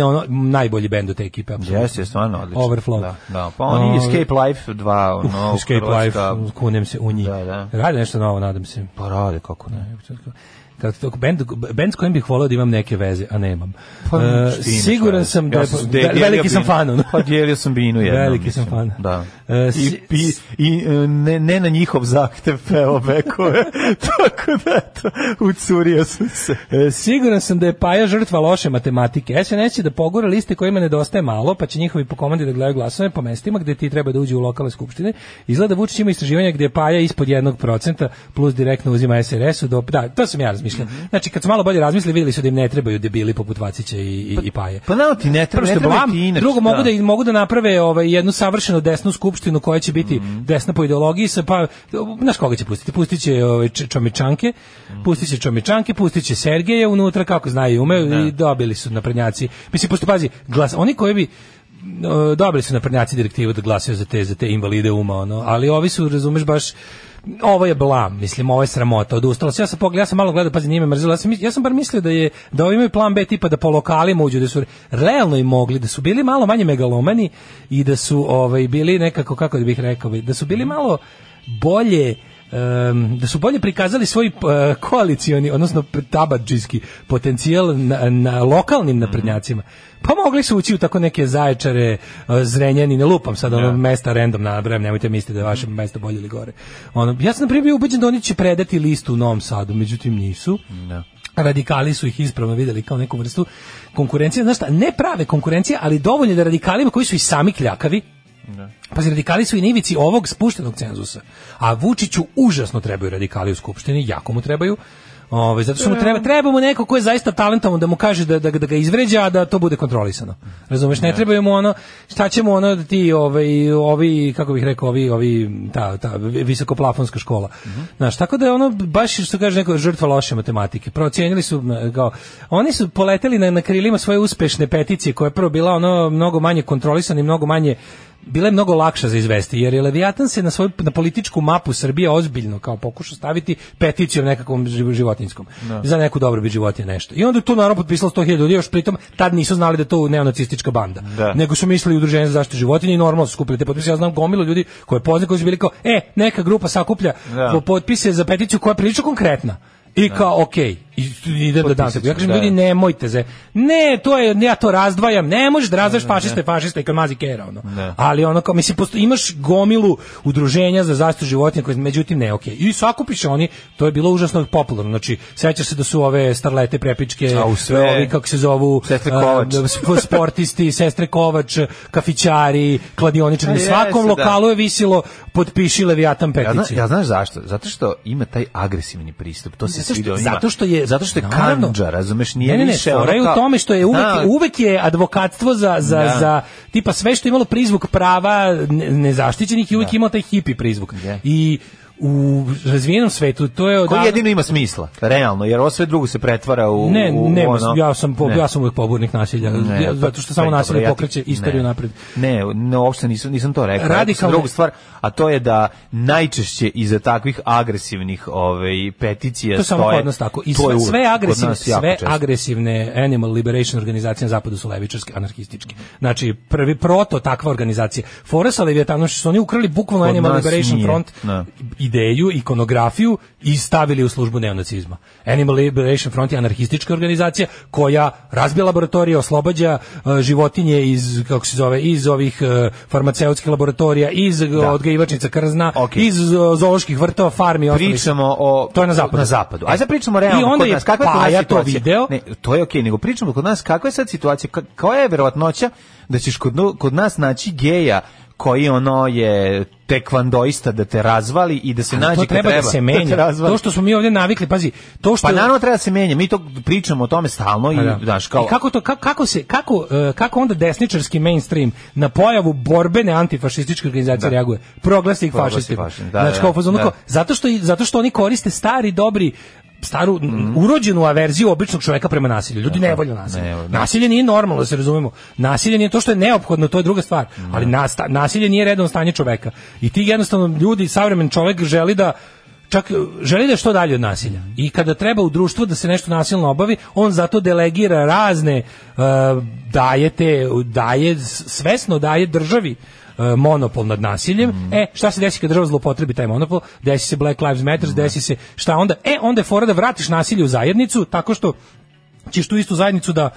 Speaker 6: ono, najbolji bend od te ekipe. apsolutno.
Speaker 7: Jeste, stvarno odlično.
Speaker 6: Overflow. Ovaj, Ono-
Speaker 7: Da, da. Pa oni Escape Life 2,
Speaker 6: Uf,
Speaker 7: ono,
Speaker 6: Escape
Speaker 7: hrvatska-
Speaker 6: Life, kunem se u njih.
Speaker 7: Da, da.
Speaker 6: Rade nešto novo, nadam se.
Speaker 7: Pa rade, kako ne.
Speaker 6: Kad to bend bend s kojim bih voleo da imam neke veze, a nemam.
Speaker 7: Pa,
Speaker 6: E,
Speaker 7: što imaš,
Speaker 6: siguran
Speaker 7: ne?
Speaker 6: sam da
Speaker 7: Ja
Speaker 6: je-
Speaker 7: sam
Speaker 6: ve-
Speaker 7: dijelio
Speaker 6: veliki sam
Speaker 7: binu.
Speaker 6: fan. ono.
Speaker 7: Pa dijelio sam binu jednom.
Speaker 6: Veliki sam
Speaker 7: mislim.
Speaker 6: fan.
Speaker 7: Da.
Speaker 6: E,
Speaker 7: I,
Speaker 6: si-
Speaker 7: i, i e, ne, ne na njihov zahtev peo bekove. Tako da, eto, ucurio sam se.
Speaker 6: E, Siguran sam da je Paja žrtva loše matematike. SNS će da pogura liste kojima nedostaje malo, pa će njihovi po komandi da gledaju glasove po mestima gde ti treba da uđe u lokalne skupštine. Izgleda Vučić ima istraživanja gde je Paja ispod 1% plus direktno uzima SRS-u. Do... Da, to sam ja razmišljao.
Speaker 7: Mhm.
Speaker 6: Znači, kad su malo bolje razmislili, vidjeli su da im ne trebaju debili poput Vacića i, i, i Paje.
Speaker 7: Pa nao ti ne
Speaker 6: Prvo
Speaker 7: treba,
Speaker 6: što
Speaker 7: ne
Speaker 6: je
Speaker 7: treba
Speaker 6: blam,
Speaker 7: ti inače.
Speaker 6: drugo mogu da mogu da naprave ovaj jednu savršenu desnu skupštinu koja će biti
Speaker 7: Mhm.
Speaker 6: desna po ideologiji sa pa znaš koga će pustiti? Pustit će ovaj Č- čomičanke,
Speaker 7: Mhm.
Speaker 6: pustit će čomičanke, pustit će Sergeje unutra kako znaju i umeju i dobili su naprednjaci. Mislim pošto pazi, glas oni koji bi e, dobili su naprednjaci direktivu da glasaju za te za te invalide uma ono, ali ovi su razumeš baš ovo je blam, mislim, ovo je sramota, odustalo se. Ja sam pogledao, ja sam malo gledao, pazi, nije me mrzilo. Ja sam, mis- ja sam bar mislio da je da ovi imaju plan B tipa da po lokalima uđu, da su realno i mogli, da su bili malo manje megalomani i da su ovaj bili nekako kako bih rekao, da su bili malo bolje em, da su bolje prikazali svoj eh, koalicioni, odnosno tabadžijski potencijal na, na lokalnim naprednjacima. Pa mogli su ući u tako neke zaječare, eh, zrenjanine, lupam sad ono mesta random nabrajam, nemojte misliti da je vaše mesto bolje ili gore. Ono, ja sam na primjer bio ubeđen da oni će predati listu u Novom Sadu, međutim nisu
Speaker 7: Mhm.
Speaker 6: radikali su ih ispravno videli kao neku vrstu konkurencije, znaš šta, ne prave konkurencije, ali dovoljno da radikalima koji su i sami kljakavi, Pazi, radikali su i na ivici ovog spuštenog cenzusa. A Vučiću užasno trebaju radikali u skupštini, jako mu trebaju. Ove, zato što mu treba, treba mu neko ko je zaista talentovan da mu kaže da, da, da ga izvređa, a da to bude kontrolisano. Razumeš, ne trebaju mu ono, šta će mu ono da ti ovi, ovi kako bih rekao, ovi, ovi ta, ta visokoplafonska škola. Znaš, tako da je ono baš što kaže neko žrtva loše matematike. Procijenili su na- kao oni su poleteli na, na krilima svoje uspešne peticije koja je prvo bila ono mnogo manje kontrolisana i mnogo manje bila je mnogo lakša za izvesti, jer je Leviatan se na svoju na političku mapu Srbije ozbiljno kao pokušao staviti peticijom nekakvom živ- životinjskom.
Speaker 7: Da.
Speaker 6: Za neku dobrobit životinje nešto. I onda je to naravno potpisalo 100.000 ljudi, još pritom tad nisu znali da je to neonacistička banda.
Speaker 7: Da.
Speaker 6: Nego su mislili udruženje za zaštitu životinja i normalno su skupili te potpise. Ja znam gomilu ljudi koje poznaju koji su bili kao, e, neka grupa sakuplja
Speaker 7: Da.
Speaker 6: po- potpise za peticiju koja je prilično konkretna. I kao, ok, i, idem da dam.
Speaker 7: Potpisat ću,
Speaker 6: Ja kažem,
Speaker 7: da.
Speaker 6: ljudi, nemojte se. Ne, to je, ja to razdvajam. Ne možeš da razdvajaš fašiste, fašiste i kad mazi kera, ono.
Speaker 7: Da.
Speaker 6: Ali ono kao, mislim, posto, imaš gomilu udruženja za zaštitu životinja, koje, međutim, ne, ok. I sakupiš oni, to je bilo užasno popularno. Znači, sećaš se da su ove starlete prepičke,
Speaker 7: A u sve-
Speaker 6: ovi, kako se zovu,
Speaker 7: Sestre
Speaker 6: a,
Speaker 7: Kovač.
Speaker 6: sp- sportisti, sestre Kovač, kafićari, kladioničari.
Speaker 7: A
Speaker 6: Na svakom
Speaker 7: jesu, da.
Speaker 6: lokalu je visilo potpiši Leviatan
Speaker 7: Ja,
Speaker 6: peticiju.
Speaker 7: zna, ja znaš zašto? Zato što ima taj agresivni pristup. To se
Speaker 6: Zato što-
Speaker 7: sviđa njima.
Speaker 6: zato što je-
Speaker 7: zato što je
Speaker 6: naravno.
Speaker 7: kanđa, razumeš, nije
Speaker 6: Ne, ne, ne,
Speaker 7: više
Speaker 6: fora je
Speaker 7: ono
Speaker 6: u
Speaker 7: kao-
Speaker 6: tome što je uvek,
Speaker 7: Da,
Speaker 6: uvek je advokatstvo za, za,
Speaker 7: Da.
Speaker 6: za, tipa sve što je imalo prizvuk prava ne- nezaštićenih i uvek je imao taj hipi prizvuk. I u razvijenom svetu to je...
Speaker 7: koji
Speaker 6: odavno-
Speaker 7: jedino ima smisla, realno, jer ovo sve drugo se pretvara u,
Speaker 6: ne,
Speaker 7: u, u
Speaker 6: ne,
Speaker 7: ono...
Speaker 6: ja sam po,
Speaker 7: Ne.
Speaker 6: ja sam uvek pobornik nasilja,
Speaker 7: Ne,
Speaker 6: ja-
Speaker 7: pa
Speaker 6: zato što
Speaker 7: to
Speaker 6: samo
Speaker 7: je dobro,
Speaker 6: nasilje
Speaker 7: ja ti-
Speaker 6: pokreće istoriju
Speaker 7: ne.
Speaker 6: napred.
Speaker 7: Ne, ne, uopšte nisam, nisam to rekao. Radikalno.
Speaker 6: Radikalne-
Speaker 7: drugu stvar, a to je da najčešće iza takvih agresivnih ovaj, peticija
Speaker 6: To
Speaker 7: stoje...
Speaker 6: samo kod nas tako. I
Speaker 7: to
Speaker 6: sve,
Speaker 7: je uvek
Speaker 6: sve
Speaker 7: kod
Speaker 6: agresivne,
Speaker 7: nas jako
Speaker 6: sve
Speaker 7: često.
Speaker 6: agresivne animal liberation organizacije na zapadu su levičarske, anarhističke. Znači, prvi proto takva organizacija. Fora sa Leviatanom što su oni ukrali bukvalno
Speaker 7: Kod
Speaker 6: Animal
Speaker 7: nas
Speaker 6: Liberation
Speaker 7: nije,
Speaker 6: Front
Speaker 7: da.
Speaker 6: ideju, ikonografiju i stavili u službu neonacizma. Animal Liberation Front je anarhistička organizacija koja razbija laboratorije, oslobađa e, životinje iz kako se zove, iz ovih e, farmaceutskih laboratorija, iz da. odgajivačnica krzna,
Speaker 7: Ok.
Speaker 6: iz e, zooloških vrtova, farmi i ostalih.
Speaker 7: pričamo o
Speaker 6: To je na zapadu.
Speaker 7: Na zapadu. Ajde sad pričamo
Speaker 6: I
Speaker 7: realno
Speaker 6: onda
Speaker 7: kod
Speaker 6: je
Speaker 7: nas kakva je kod nas
Speaker 6: Paja Pa, to
Speaker 7: situacija?
Speaker 6: video.
Speaker 7: Ne, to je okej, nego pričamo kod nas kakva je sad situacija, ka- koja je verovatnoća da ćeš kod, nu- kod nas naći geja koji ono je tekvandoista da te razvali i da se
Speaker 6: Ali
Speaker 7: nađe
Speaker 6: to
Speaker 7: kad
Speaker 6: treba, da se menja.
Speaker 7: te razvali.
Speaker 6: to što smo mi ovdje navikli, pazi, to što
Speaker 7: Pa naravno treba da se menja, mi to pričamo o tome stalno i
Speaker 6: Pa da.
Speaker 7: znaš kao
Speaker 6: I kako to kako, kako se kako e, kako onda desničarski mainstream na pojavu borbene antifašističke organizacije
Speaker 7: Da.
Speaker 6: reaguje? Proglasi ih
Speaker 7: Proglasi
Speaker 6: fašistima.
Speaker 7: fašistima, da,
Speaker 6: znači
Speaker 7: da,
Speaker 6: kao u fazonu
Speaker 7: da.
Speaker 6: kao, zato što i- zato što oni koriste stari dobri staru n- urođenu averziju običnog čovjeka prema nasilju. Ljudi ne volju nasilje.
Speaker 7: Ne volju, Mhm. da.
Speaker 6: Nasilje nije normalno, da se razumemo. Nasilje nije to što je neophodno, to je druga stvar. Ali nasta- nasilje nije redovno stanje čoveka. I ti jednostavno ljudi, savremen čovjek želi da čak e, želi da je što dalje od nasilja. I kada treba u društvu da se nešto nasilno obavi, on zato delegira razne e, daje te, daje s- svesno daje državi e, monopol nad nasiljem. E, šta se desi kad država zlopotrebi taj monopol? Desi se Black Lives Matter, desi se šta onda? E, onda je fora da vratiš nasilje u zajednicu tako što ćeš tu istu zajednicu da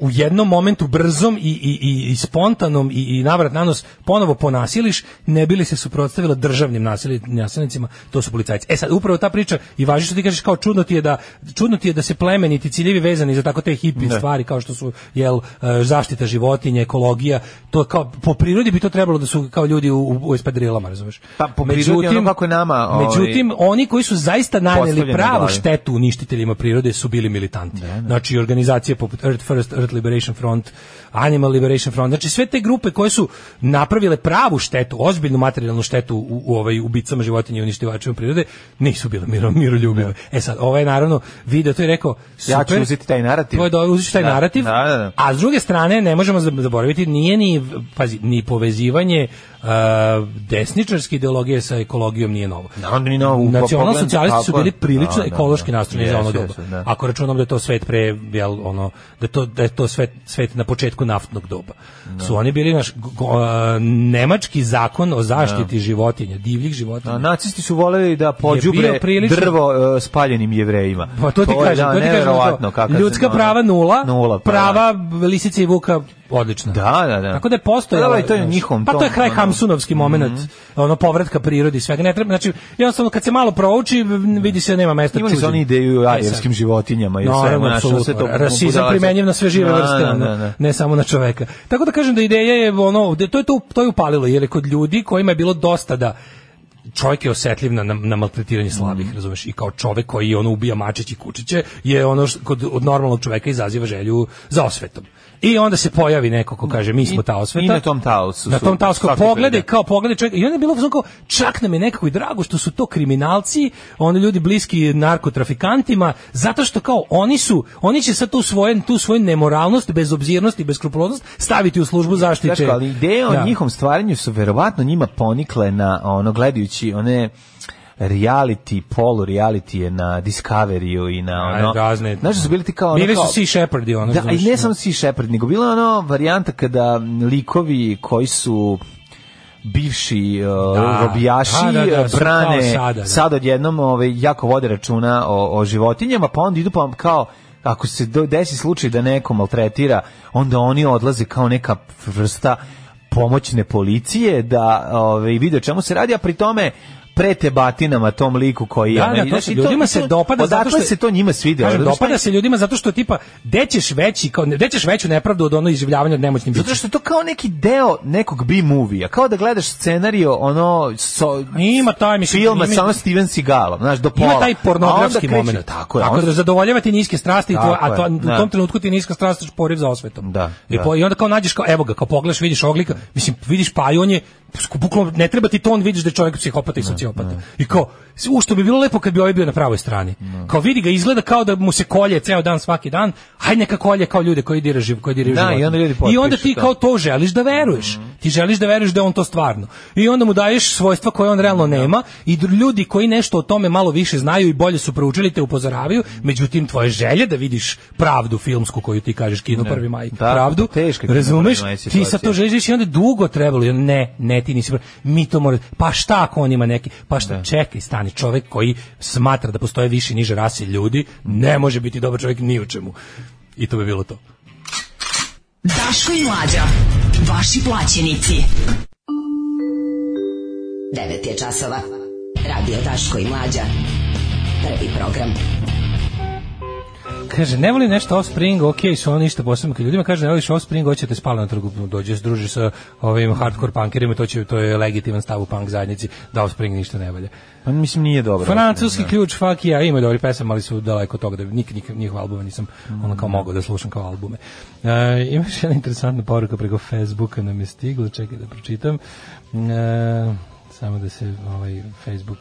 Speaker 6: u jednom momentu brzom i, i, i, i spontanom i, i navrat na nos ponovo ponasiliš, ne bili se suprotstavila državnim nasilj- nasilnicima, to su policajci. E sad, upravo ta priča i važi što ti kažeš kao čudno ti je da, čudno ti je da se plemeniti ciljevi vezani za tako te hipi
Speaker 7: Da.
Speaker 6: stvari kao što su jel, e, zaštita životinja, ekologija, to kao, po prirodi bi to trebalo da su kao ljudi u, u, u espadrilama, razumeš?
Speaker 7: Pa po prirodi ono kako je nama, ovaj,
Speaker 6: međutim, oni koji su zaista naneli
Speaker 7: postavljeno
Speaker 6: pravu
Speaker 7: glavi.
Speaker 6: štetu uništiteljima prirode su bili militanti. Znači organizacije poput Earth First, Earth Liberation Front, Animal Liberation Front, znači sve te grupe koje su napravile pravu štetu, ozbiljnu materijalnu štetu u, u ovaj ubicama životinja i uništivačima prirode, nisu bile miro, miroljubive. E sad, ovaj je naravno video to i rekao, super,
Speaker 7: Ja ću uzeti taj narativ.
Speaker 6: to je dobro, uzet ću taj
Speaker 7: Da,
Speaker 6: narativ,
Speaker 7: da, da, da.
Speaker 6: a s druge strane, ne možemo zab- zaboraviti, nije ni, pazi, ni povezivanje uh, desničarske ideologije sa ekologijom nije novo.
Speaker 7: Naravno, nije novo, u pogledu,
Speaker 6: Nacionalno-socijalisti Znači, ono su
Speaker 7: tako je.
Speaker 6: bili prilično
Speaker 7: Da, da,
Speaker 6: ekološki
Speaker 7: da.
Speaker 6: nastrojeni za
Speaker 7: Jesu,
Speaker 6: ono doba.
Speaker 7: jesu, da.
Speaker 6: Ako računam da je to svet pre, jel, ono, da je to, da je to svet, svet na početku naftnog doba. Su oni bili, naš, nemački zakon o zaštiti životinja, divljih
Speaker 7: A,
Speaker 6: životinja.
Speaker 7: nacisti su voleli da
Speaker 6: Je
Speaker 7: pođubre
Speaker 6: bio prilično-
Speaker 7: drvo e, spaljenim jevrejima.
Speaker 6: Pa to ti
Speaker 7: je,
Speaker 6: kažem,
Speaker 7: da,
Speaker 6: to ti kažem.
Speaker 7: nevjerovatno
Speaker 6: to.
Speaker 7: kakav se,
Speaker 6: Ljudska
Speaker 7: ono,
Speaker 6: prava nula,
Speaker 7: nula, pa,
Speaker 6: prava lisice i vuka odlična.
Speaker 7: Da, da, da.
Speaker 6: Tako da je postojalo.
Speaker 7: Da, da, i to je
Speaker 6: znaš,
Speaker 7: njihovom
Speaker 6: Pa to je
Speaker 7: tom,
Speaker 6: kraj
Speaker 7: ono.
Speaker 6: Hamsunovski moment, ono povratka prirodi i svega. Ne treba, znači, jednostavno kad se malo prouči, vidi se da nema mesta
Speaker 7: Imali su
Speaker 6: čuđenju.
Speaker 7: oni ideju o
Speaker 6: E,
Speaker 7: ajevskim
Speaker 6: sad.
Speaker 7: životinjama i o
Speaker 6: Naravno,
Speaker 7: svemu, znaš,
Speaker 6: apsolutno.
Speaker 7: sve to
Speaker 6: Rasizam
Speaker 7: budalaca.
Speaker 6: primenjiv na sve žive
Speaker 7: Da,
Speaker 6: vrste,
Speaker 7: da,
Speaker 6: ono,
Speaker 7: da, da.
Speaker 6: ne samo na čoveka. Tako da kažem da ideja je ono, da to je to, to je upalilo, jer je kod ljudi kojima je bilo dosta da čovjek je osjetljiv na, na, na maltretiranje slabih,
Speaker 7: Mhm.
Speaker 6: razumeš, i kao čovjek koji ono ubija mačići i kučiće, je ono š- kod, od normalnog čovjeka izaziva želju za osvetom. I onda se pojavi neko ko kaže mi smo ta osveta.
Speaker 7: i na tom taosu
Speaker 6: Na
Speaker 7: su
Speaker 6: tom taosu, kao
Speaker 7: svakakve,
Speaker 6: pogledaj,
Speaker 7: da.
Speaker 6: kao pogledaj čovjeka. I onda je bilo u fazonu kao, čak nam je nekako i drago što su to kriminalci, oni ljudi bliski narkotrafikantima, zato što kao oni su, oni će sad tu svoje, tu svoju nemoralnost, bezobzirnost i beskrupuloznost staviti u službu zaštite.
Speaker 7: Znaš, ali ideje o
Speaker 6: Da.
Speaker 7: njihovom stvaranju su verovatno njima ponikle na ono gledajući one reality, polu reality je na Discovery-u i na
Speaker 6: Aj,
Speaker 7: ono...
Speaker 6: razne-
Speaker 7: Znaš da su bili ti kao ono...
Speaker 6: Bili
Speaker 7: kao-
Speaker 6: su Sea Shepherdi, ono,
Speaker 7: Da,
Speaker 6: razumeš?
Speaker 7: i ne samo Sea Shepherd, nego bila je ono varijanta kada likovi koji su bivši uh,
Speaker 6: Da,
Speaker 7: robijaši
Speaker 6: da, da, da,
Speaker 7: uh,
Speaker 6: su
Speaker 7: brane
Speaker 6: kao sada, da.
Speaker 7: sad odjednom ovaj, jako vode računa o, o životinjama, pa onda idu pa kao ako se do- desi slučaj da neko maltretira, onda oni odlaze kao neka vrsta pomoćne policije da ovaj, vide o čemu se radi, a pri tome prete batinama tom liku koji je...
Speaker 6: Da,
Speaker 7: onaj-
Speaker 6: da, to
Speaker 7: znaš,
Speaker 6: se
Speaker 7: i to-
Speaker 6: ljudima
Speaker 7: i
Speaker 6: se
Speaker 7: znači, to-
Speaker 6: dopada zato
Speaker 7: odatle
Speaker 6: što je-
Speaker 7: se to njima svidelo.
Speaker 6: Kažem,
Speaker 7: zato što-
Speaker 6: dopada se ljudima zato što tipa dećeš veći kao dećeš veću nepravdu od ono iživljavanja od nemoćnim bićima.
Speaker 7: Zato što je to kao neki deo nekog B-movija, kao da gledaš scenario ono so,
Speaker 6: Ima taj, mislim,
Speaker 7: filma
Speaker 6: ima-
Speaker 7: samo Steven Seagalom, znaš, do pola.
Speaker 6: Ima taj
Speaker 7: A onda
Speaker 6: pornografski
Speaker 7: kreće-
Speaker 6: moment.
Speaker 7: Tako je.
Speaker 6: Ako
Speaker 7: onda-
Speaker 6: da zadovoljava ti niske strasti, i
Speaker 7: Tako
Speaker 6: tvoje- a
Speaker 7: je,
Speaker 6: to,
Speaker 7: da.
Speaker 6: u tom trenutku ti je niska strast je poriv za osvetom.
Speaker 7: Da,
Speaker 6: I,
Speaker 7: da.
Speaker 6: po- I onda kao nađeš, kao, evo ga, kao pogledaš, vidiš oglika, mislim, vidiš paju, on je, sku- bukvalno, ne treba ti to, on vidiš da je čovjek psihopata i sociopata. I kao, s- u što bi bilo lepo kad bi ovaj bio na pravoj strani. Kao vidi ga, izgleda kao da mu se kolje ceo dan, svaki dan, hajde neka kolje kao ljude koji dira živ, koji dira
Speaker 7: Da, i onda ljudi
Speaker 6: I onda
Speaker 7: potpišu Mhm.
Speaker 6: ti
Speaker 7: to.
Speaker 6: kao to želiš da veruješ. Ti želiš da veruješ da je on to stvarno. I onda mu daješ svojstva koje on
Speaker 7: Mhm,
Speaker 6: realno nema i dru- ljudi koji nešto o tome malo više znaju i bolje su proučili te upozoravaju, međutim tvoje želje da vidiš pravdu filmsku koju ti kažeš kino prvi maj,
Speaker 7: Da, pa
Speaker 6: pravdu,
Speaker 7: teška kino
Speaker 6: razumeš,
Speaker 7: prvi maj situacija.
Speaker 6: ti sad to želiš i onda je dugo trebalo, i onda ne, ne, ti nisi, prav- mi to mora, pa šta ako on ima neki, pa šta, čekaj, stani, čovek koji smatra da postoje više i niže rase ljudi, ne može biti dobar čovjek ni u čemu. I to bi bilo to.
Speaker 13: Daško i Mlađa. Vaši plaćenici. 9 je časova. Radio Daško i Mlađa. Prvi program.
Speaker 6: Kaže, ne voli nešto Offspring, okej, su oni ništa posebno kad ljudima kaže, ne voliš Offspring, hoćete spali na trgu, dođe, druži sa ovim hardcore punkerima, to, će, to je legitiman stav u punk zajednici, da Offspring ništa ne valja.
Speaker 7: Pa, mislim, nije dobro.
Speaker 6: Francuski
Speaker 7: Offspring, da.
Speaker 6: ključ, fuck ja, ima dobri pesama, ali su daleko od toga, da nik, nik, njihove albume nisam ono
Speaker 7: Mm.
Speaker 6: kao mogao da slušam kao albume. E, imaš jedna interesantna poruka preko Facebooka nam je stigla, čekaj da pročitam. E, samo da se ovaj Facebook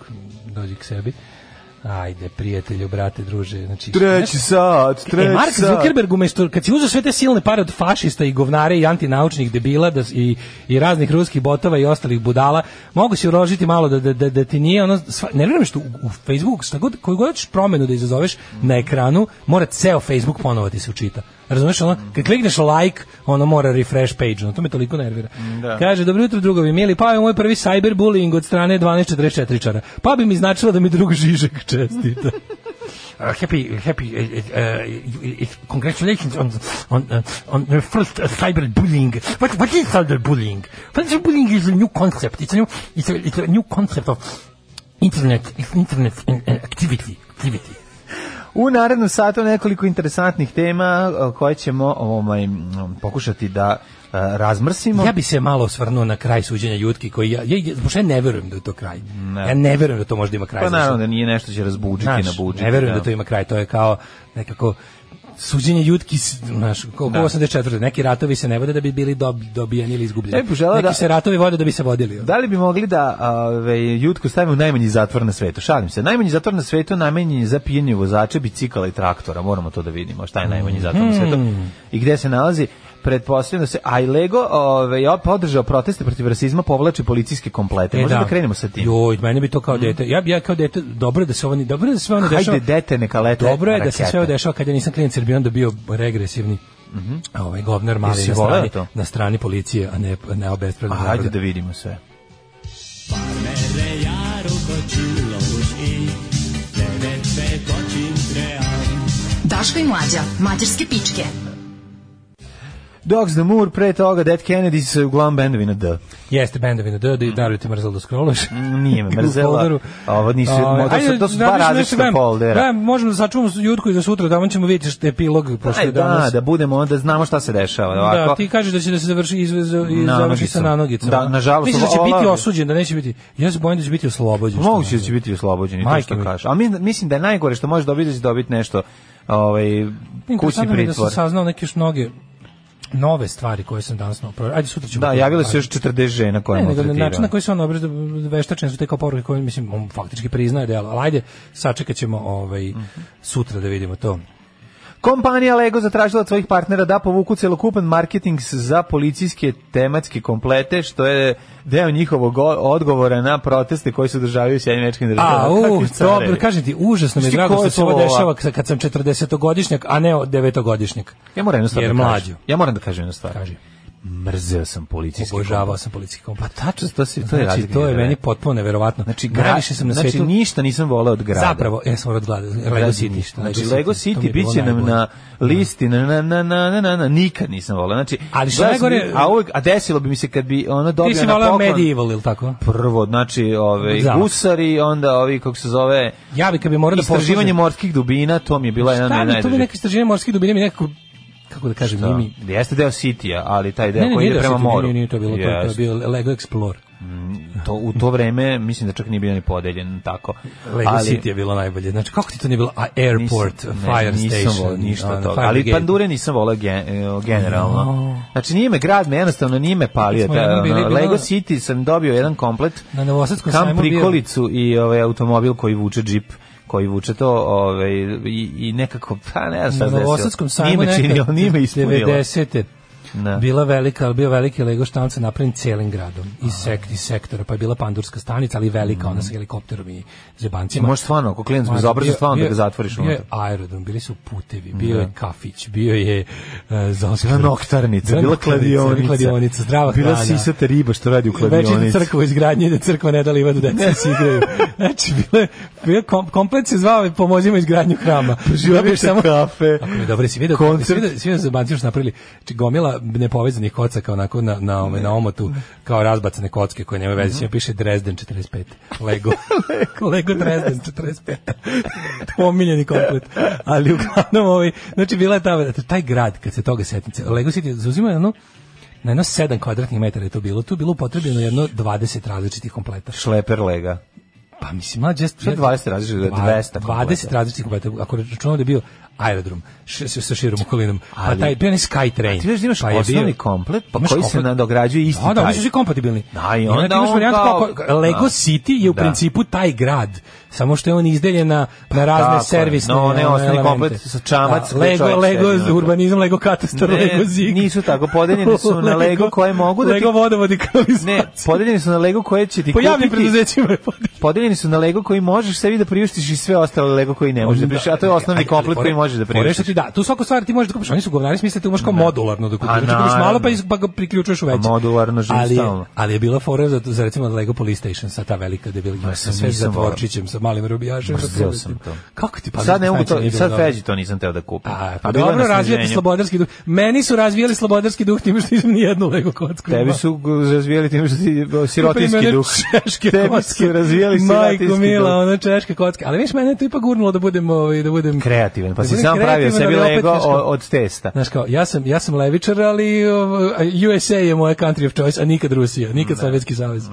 Speaker 6: dođe k sebi. Ajde, prijatelju, brate, druže. Znači,
Speaker 7: Treći sat, treći
Speaker 6: e, Mark
Speaker 7: sat.
Speaker 6: Zuckerberg umesto kad si uzeo sve te silne pare od fašista i govnare i antinaučnih debila da, s- i, i raznih ruskih botova i ostalih budala, mogu si uložiti malo da, da, da, da ti nije ono sva, ne vjerujem što u, u Facebooku šta god koju god ćeš promenu da izazoveš na ekranu, mora ceo Facebook ponovo ti se učita. Razumeš ono? Kad klikneš like, ono mora refresh page, ono, to me toliko nervira.
Speaker 7: Da.
Speaker 6: Kaže, dobro jutro drugovi, mili, pa je moj prvi cyberbullying od strane 1244 čara. Pa bi mi značilo da mi drug Žižek čestita. Uh, happy, happy, uh, uh, uh, uh, congratulations on on uh, on the first uh, cyberbullying. What what is cyberbullying? Cyberbullying is a new concept. It's a new it's a, it's a new concept of internet internet uh, uh, activity activity.
Speaker 7: U narednom satu nekoliko interesantnih tema o, koje ćemo ovaj, m, pokušati da e, razmrsimo.
Speaker 6: Ja bi se malo osvrnuo na kraj suđenja Jutki koji ja, ja, ja, baš ja ne verujem da je to kraj.
Speaker 7: Ne.
Speaker 6: Ja ne verujem da to možda ima kraj.
Speaker 7: Pa
Speaker 6: Znaš,
Speaker 7: naravno da nije nešto će razbuđiti,
Speaker 6: Znaš,
Speaker 7: nabuđiti.
Speaker 6: Ne verujem da to ima kraj, to je kao nekako suđenje jutki, s- znaš, kao
Speaker 7: Da.
Speaker 6: da. 84. Neki ratovi se ne vode da bi bili dob, dobijeni ili izgubljeni.
Speaker 7: Ja bih poželeo
Speaker 6: Neki
Speaker 7: da-
Speaker 6: se ratovi vode da bi se vodili.
Speaker 7: Da li bi mogli da ove, jutku stavimo u najmanji zatvor na svetu? Šalim se. Najmanji zatvor na svetu najmanji je za pijenje vozača, bicikala i traktora. Moramo to da vidimo. Šta je najmanji zatvor na svetu?
Speaker 6: Hmm.
Speaker 7: I gde se nalazi? Pretpostavljam da se a i Lego ove, ja podržao proteste protiv rasizma, povlači policijske komplete. Možda da. krenemo sa tim.
Speaker 6: E,
Speaker 7: Mm.
Speaker 6: Joj, mene bi to kao dete. Ja bi ja kao dete, dobro je da se ovo ni dobro je da se sve ono
Speaker 7: Hajde,
Speaker 6: dešava.
Speaker 7: dete, neka lete
Speaker 6: Dobro je da se
Speaker 7: rakete.
Speaker 6: sve ovo dešava kad ja nisam klinac jer bi onda bio regresivni. Mhm. Ovaj govnar mali
Speaker 7: Jesi
Speaker 6: na
Speaker 7: voleo
Speaker 6: strani,
Speaker 7: to?
Speaker 6: na strani policije, a ne ne obespravljeno.
Speaker 7: A, hajde da vidimo sve.
Speaker 13: Daško i Mlađa, mađarske pičke.
Speaker 7: Dogs the Moor, pre toga Dead Kennedy se uglavnom bendovi na D.
Speaker 6: Jeste bendovi na D, da
Speaker 7: Mhm.
Speaker 6: daruje ti mrzelo da scrolluješ.
Speaker 7: Nije me mrzela. Ovo nisu- to su- to su dva različita foldera.
Speaker 6: Da, možemo da sačuvamo jutku i za sutra, da on ćemo vidjeti što je epilog pošto
Speaker 7: Aj,
Speaker 6: je
Speaker 7: da,
Speaker 6: danas.
Speaker 7: da budemo, onda znamo šta se dešava.
Speaker 6: Da,
Speaker 7: ovako.
Speaker 6: ti kažeš da će da se završi iz, iz, iz
Speaker 7: Na
Speaker 6: završi sa
Speaker 7: nogicama.
Speaker 6: nanogicama.
Speaker 7: Da, nažalost,
Speaker 6: Misliš da će
Speaker 7: ova-
Speaker 6: biti osuđen, da neće biti. Ja se bojim da će biti oslobođen. što
Speaker 7: Moguće da
Speaker 6: najgore.
Speaker 7: će biti oslobođeni, to
Speaker 6: Majke
Speaker 7: što
Speaker 6: mi.
Speaker 7: kažeš. Ali mi- mislim da je najgore što možeš dobiti, da će dobiti nešto ovaj, kućni
Speaker 6: Interesantno mi je da sam
Speaker 7: pritvor.
Speaker 6: saznao neke još mnoge nove stvari koje sam danas napravio. Ajde, sutra ćemo...
Speaker 7: Da, javile se još 40 žena koje
Speaker 6: Ne,
Speaker 7: mu
Speaker 6: nego na
Speaker 7: tretirao.
Speaker 6: način na koji se on obrađa veštačenje su te kao poruke koje mislim on faktički priznaje delo. Ali ajde, sačekat ćemo ovaj
Speaker 7: Mhm.
Speaker 6: sutra da vidimo to.
Speaker 7: Kompanija Lego zatražila od svojih partnera da povuku celokupan marketing s- za policijske tematske komplete, što je deo njihovog o- odgovora na proteste koji se održavaju u Sjedinim Američkim
Speaker 6: A,
Speaker 7: državama.
Speaker 6: u,
Speaker 7: Kakvi carevi.
Speaker 6: dobro, kažem ti, užasno mi je
Speaker 7: Znaš ti
Speaker 6: drago
Speaker 7: ko
Speaker 6: što
Speaker 7: je
Speaker 6: se
Speaker 7: to
Speaker 6: ovo
Speaker 7: ova?
Speaker 6: dešava k- kad sam 40-godišnjak, a ne 9-godišnjak.
Speaker 7: Ja moram jednu stvar
Speaker 6: Jer
Speaker 7: da kažem.
Speaker 6: mlađu.
Speaker 7: Ja moram da kažem jednu stvar.
Speaker 6: Kaži.
Speaker 7: Mrzeo sam policijski
Speaker 6: Obožavao
Speaker 7: komplet.
Speaker 6: sam policijski komplet.
Speaker 7: Pa tačno, to, se, to je
Speaker 6: Znači,
Speaker 7: razlika
Speaker 6: to je
Speaker 7: generacija.
Speaker 6: meni potpuno neverovatno.
Speaker 7: Znači, gra-
Speaker 6: najviše sam na
Speaker 7: znači,
Speaker 6: svetu.
Speaker 7: ništa nisam voleo od grada.
Speaker 6: Zapravo, ja sam od glada, Lego
Speaker 7: Grad
Speaker 6: City.
Speaker 7: ništa. Znači, Lego
Speaker 6: to mi
Speaker 7: City
Speaker 6: je bilo
Speaker 7: biće nam
Speaker 6: najbolje.
Speaker 7: na listi, na, na, na, na, na, na, na, nikad nisam voleo. Znači,
Speaker 6: Ali što
Speaker 7: gledao
Speaker 6: najgore-
Speaker 7: sam- a, uvek, a desilo bi mi se kad bi ono dobio
Speaker 6: Ti si
Speaker 7: na
Speaker 6: voleo
Speaker 7: poklon.
Speaker 6: Medieval, ili tako?
Speaker 7: Prvo, znači, ove,
Speaker 6: Da.
Speaker 7: gusari, onda ovi, kako se zove,
Speaker 6: Ja bi kad bi morao da
Speaker 7: istraživanje
Speaker 6: poslužim-
Speaker 7: morskih dubina, to mi je bila jedna
Speaker 6: Šta mi, to bi
Speaker 7: najdražih.
Speaker 6: neka istraživanje morskih dubina mi nekako kako da kažem,
Speaker 7: Da.
Speaker 6: nimi.
Speaker 7: Jeste deo Citya, ali taj deo
Speaker 6: ne, ne,
Speaker 7: koji
Speaker 6: nije
Speaker 7: ide
Speaker 6: da
Speaker 7: prema
Speaker 6: se to-
Speaker 7: moru.
Speaker 6: Nije, nije to bilo, to, to je
Speaker 7: Jeste.
Speaker 6: bio Lego Explorer.
Speaker 7: To, u to vreme, mislim da čak nije bio ni podeljen tako.
Speaker 6: Lego
Speaker 7: ali,
Speaker 6: City je bilo najbolje. Znači, kako ti to nije bilo? A, airport,
Speaker 7: Nisam- ne,
Speaker 6: fire
Speaker 7: nisam
Speaker 6: station,
Speaker 7: volao ništa
Speaker 6: ono,
Speaker 7: od toga.
Speaker 6: fire
Speaker 7: Ali
Speaker 6: brigade.
Speaker 7: pandure nisam volao gen- e, generalno.
Speaker 6: No.
Speaker 7: Znači nije me grad, me jednostavno nije me palio.
Speaker 6: Kad smo
Speaker 7: taj,
Speaker 6: jednom
Speaker 7: ono,
Speaker 6: bili, bilo-
Speaker 7: Lego City sam dobio jedan komplet.
Speaker 6: Na Novosadskom
Speaker 7: kam
Speaker 6: sajmu bio-
Speaker 7: prikolicu i ovaj automobil koji vuče džip koji vuče to ovaj, i, i nekako, pa ne znam šta
Speaker 6: Na
Speaker 7: se desilo.
Speaker 6: Novosadskom sajmu
Speaker 7: Nije me činilo,
Speaker 6: nekad
Speaker 7: nije me ispunilo.
Speaker 6: 90.
Speaker 7: Da.
Speaker 6: Bila velika, ali bio veliki Lego štanca napravljen celim gradom iz, sek, iz sektora, pa je bila pandurska stanica, ali velika, ona sa helikopterom i zebancima.
Speaker 7: Mhm. Možeš stvarno, ako klijent bezobrazan,
Speaker 6: Bio-
Speaker 7: stvarno da
Speaker 6: bio-
Speaker 7: ga zatvoriš
Speaker 6: Bio je
Speaker 7: unutra.
Speaker 6: aerodrom, bili su putevi, bio
Speaker 7: Da.
Speaker 6: je kafić, bio je e, zaoskar.
Speaker 7: Bila noktarnica,
Speaker 6: Bila
Speaker 7: bila
Speaker 6: noktarnica,
Speaker 7: kladionica.
Speaker 6: kladionica, zdrava
Speaker 7: Bila
Speaker 6: hrana.
Speaker 7: sisata riba što radi u
Speaker 6: Večernja
Speaker 7: kladionici.
Speaker 6: crkva u izgradnji, da crkva ne da livadu deca se igraju. Znači, bilo je, bio je kom, komplet se zvao pomozimo izgradnju hrama.
Speaker 7: Živite
Speaker 6: Dobiješ
Speaker 7: kafe.
Speaker 6: Ako mi je dobro, si vidio,
Speaker 7: koncert.
Speaker 6: si vidio, si vidio za banci još napravili, znači gomila nepovezanih kocaka onako na, na, ome, na omotu, kao razbacane kocke koje nemaju veze, s njima piše Dresden 45, Lego, Lego Dresden 45, omiljeni komplet, ali uglavnom, ovaj, znači bila je ta, taj grad, kad se toga setnice, Lego City zauzima jedno, na jedno 7 kvadratnih metara je to bilo, tu je bilo upotrebljeno jedno 20 različitih kompleta.
Speaker 7: Šleper lega.
Speaker 6: Pa mislim, mlađe, ja
Speaker 7: Šta 20 različitih,
Speaker 6: Dva-
Speaker 7: 200 kompleta?
Speaker 6: 20 različitih kompleta. Ako računamo da je bio aerodrom š, sa- sa širom okolinom,
Speaker 7: Ali-
Speaker 6: pa taj bio je onaj sky train.
Speaker 7: A ti vidiš da imaš
Speaker 6: je
Speaker 7: osnovni
Speaker 6: bio-
Speaker 7: komplet, pa
Speaker 6: imaš
Speaker 7: koji se
Speaker 6: komplet.
Speaker 7: nadograđuje isti
Speaker 6: A, da,
Speaker 7: taj.
Speaker 6: oni su svi kompatibilni.
Speaker 7: Da, i
Speaker 6: onda
Speaker 7: onda
Speaker 6: ti imaš
Speaker 7: on
Speaker 6: varijantu
Speaker 7: kao-
Speaker 6: kako- Lego
Speaker 7: da.
Speaker 6: City je u
Speaker 7: Da. Pa
Speaker 6: principu taj grad, samo što je on izdeljen na, na razne
Speaker 7: tako je,
Speaker 6: servisne
Speaker 7: na one
Speaker 6: ono,
Speaker 7: osnovni
Speaker 6: elemente.
Speaker 7: komplet sa čamac
Speaker 6: Da,
Speaker 7: gde
Speaker 6: Lego,
Speaker 7: čovjek
Speaker 6: Lego,
Speaker 7: sedi, ono.
Speaker 6: urbanizam, Lego katastar,
Speaker 7: Ne,
Speaker 6: Lego zig.
Speaker 7: nisu tako, podeljeni su na Lego koje mogu da ti-
Speaker 6: Lego vodovodi kanalizacija.
Speaker 7: Ne, podeljeni su na Lego koje će ti
Speaker 6: Po javnim
Speaker 7: kupiti.
Speaker 6: preduzećima je
Speaker 7: Podeljeni su na Lego koji možeš sebi da priuštiš i sve ostale Lego koji ne možeš da priuštiš, a to je osnovni
Speaker 6: Ajde,
Speaker 7: komplet
Speaker 6: ali
Speaker 7: koji
Speaker 6: fore-
Speaker 7: možeš da
Speaker 6: fore što
Speaker 7: priuštiš.
Speaker 6: ti da, tu svaku stvar ti možeš da kupiš. Oni su govnari, smislite, tu možeš kao modularno da kupiš.
Speaker 7: A
Speaker 6: Znači, kupiš malo
Speaker 7: naravno.
Speaker 6: pa, iz, pa ga priključuješ u veće.
Speaker 7: A modularno živim
Speaker 6: ali, je-
Speaker 7: stalno.
Speaker 6: ali je bila fora za, za recimo Lego Polystation sa ta velika debilima.
Speaker 7: Ma,
Speaker 6: sa
Speaker 7: sam
Speaker 6: sve
Speaker 7: nisam
Speaker 6: zatvorčićem, sa malim rubijašem. sa
Speaker 7: Mrzeo
Speaker 6: sve
Speaker 7: sam
Speaker 6: tim.
Speaker 7: to.
Speaker 6: Kako ti pa
Speaker 7: Sad ne mogu to, sad
Speaker 6: feđi
Speaker 7: Feđi to nisam teo da kupim.
Speaker 6: A,
Speaker 7: A
Speaker 6: pa
Speaker 7: bilo je na
Speaker 6: dobro, razvijati
Speaker 7: sniženju.
Speaker 6: slobodarski duh. Meni su razvijali slobodarski duh time što nisam ni jednu Lego kocku.
Speaker 7: Tebi
Speaker 6: imao.
Speaker 7: su g- razvijali tim što si o,
Speaker 6: Kupili
Speaker 7: sirotinski
Speaker 6: mene
Speaker 7: duh.
Speaker 6: Češke
Speaker 7: Tebi
Speaker 6: kocke.
Speaker 7: su razvijali sirotinski
Speaker 6: Majko
Speaker 7: duh.
Speaker 6: mila, ona češke kocke. Ali viš, mene je to ipak gurnulo da budem, ovaj, da budem
Speaker 7: Kreativan, pa
Speaker 6: Da
Speaker 7: si
Speaker 6: budem
Speaker 7: sam pravio
Speaker 6: kreativan,
Speaker 7: sebi
Speaker 6: ali opet,
Speaker 7: Lego
Speaker 6: znaš kao-
Speaker 7: o- od testa.
Speaker 6: Znaš kao, ja sam, ja sam levičar, ali uh, USA je moja country of choice, a nikad Rusija, nikad Sovjetski savez.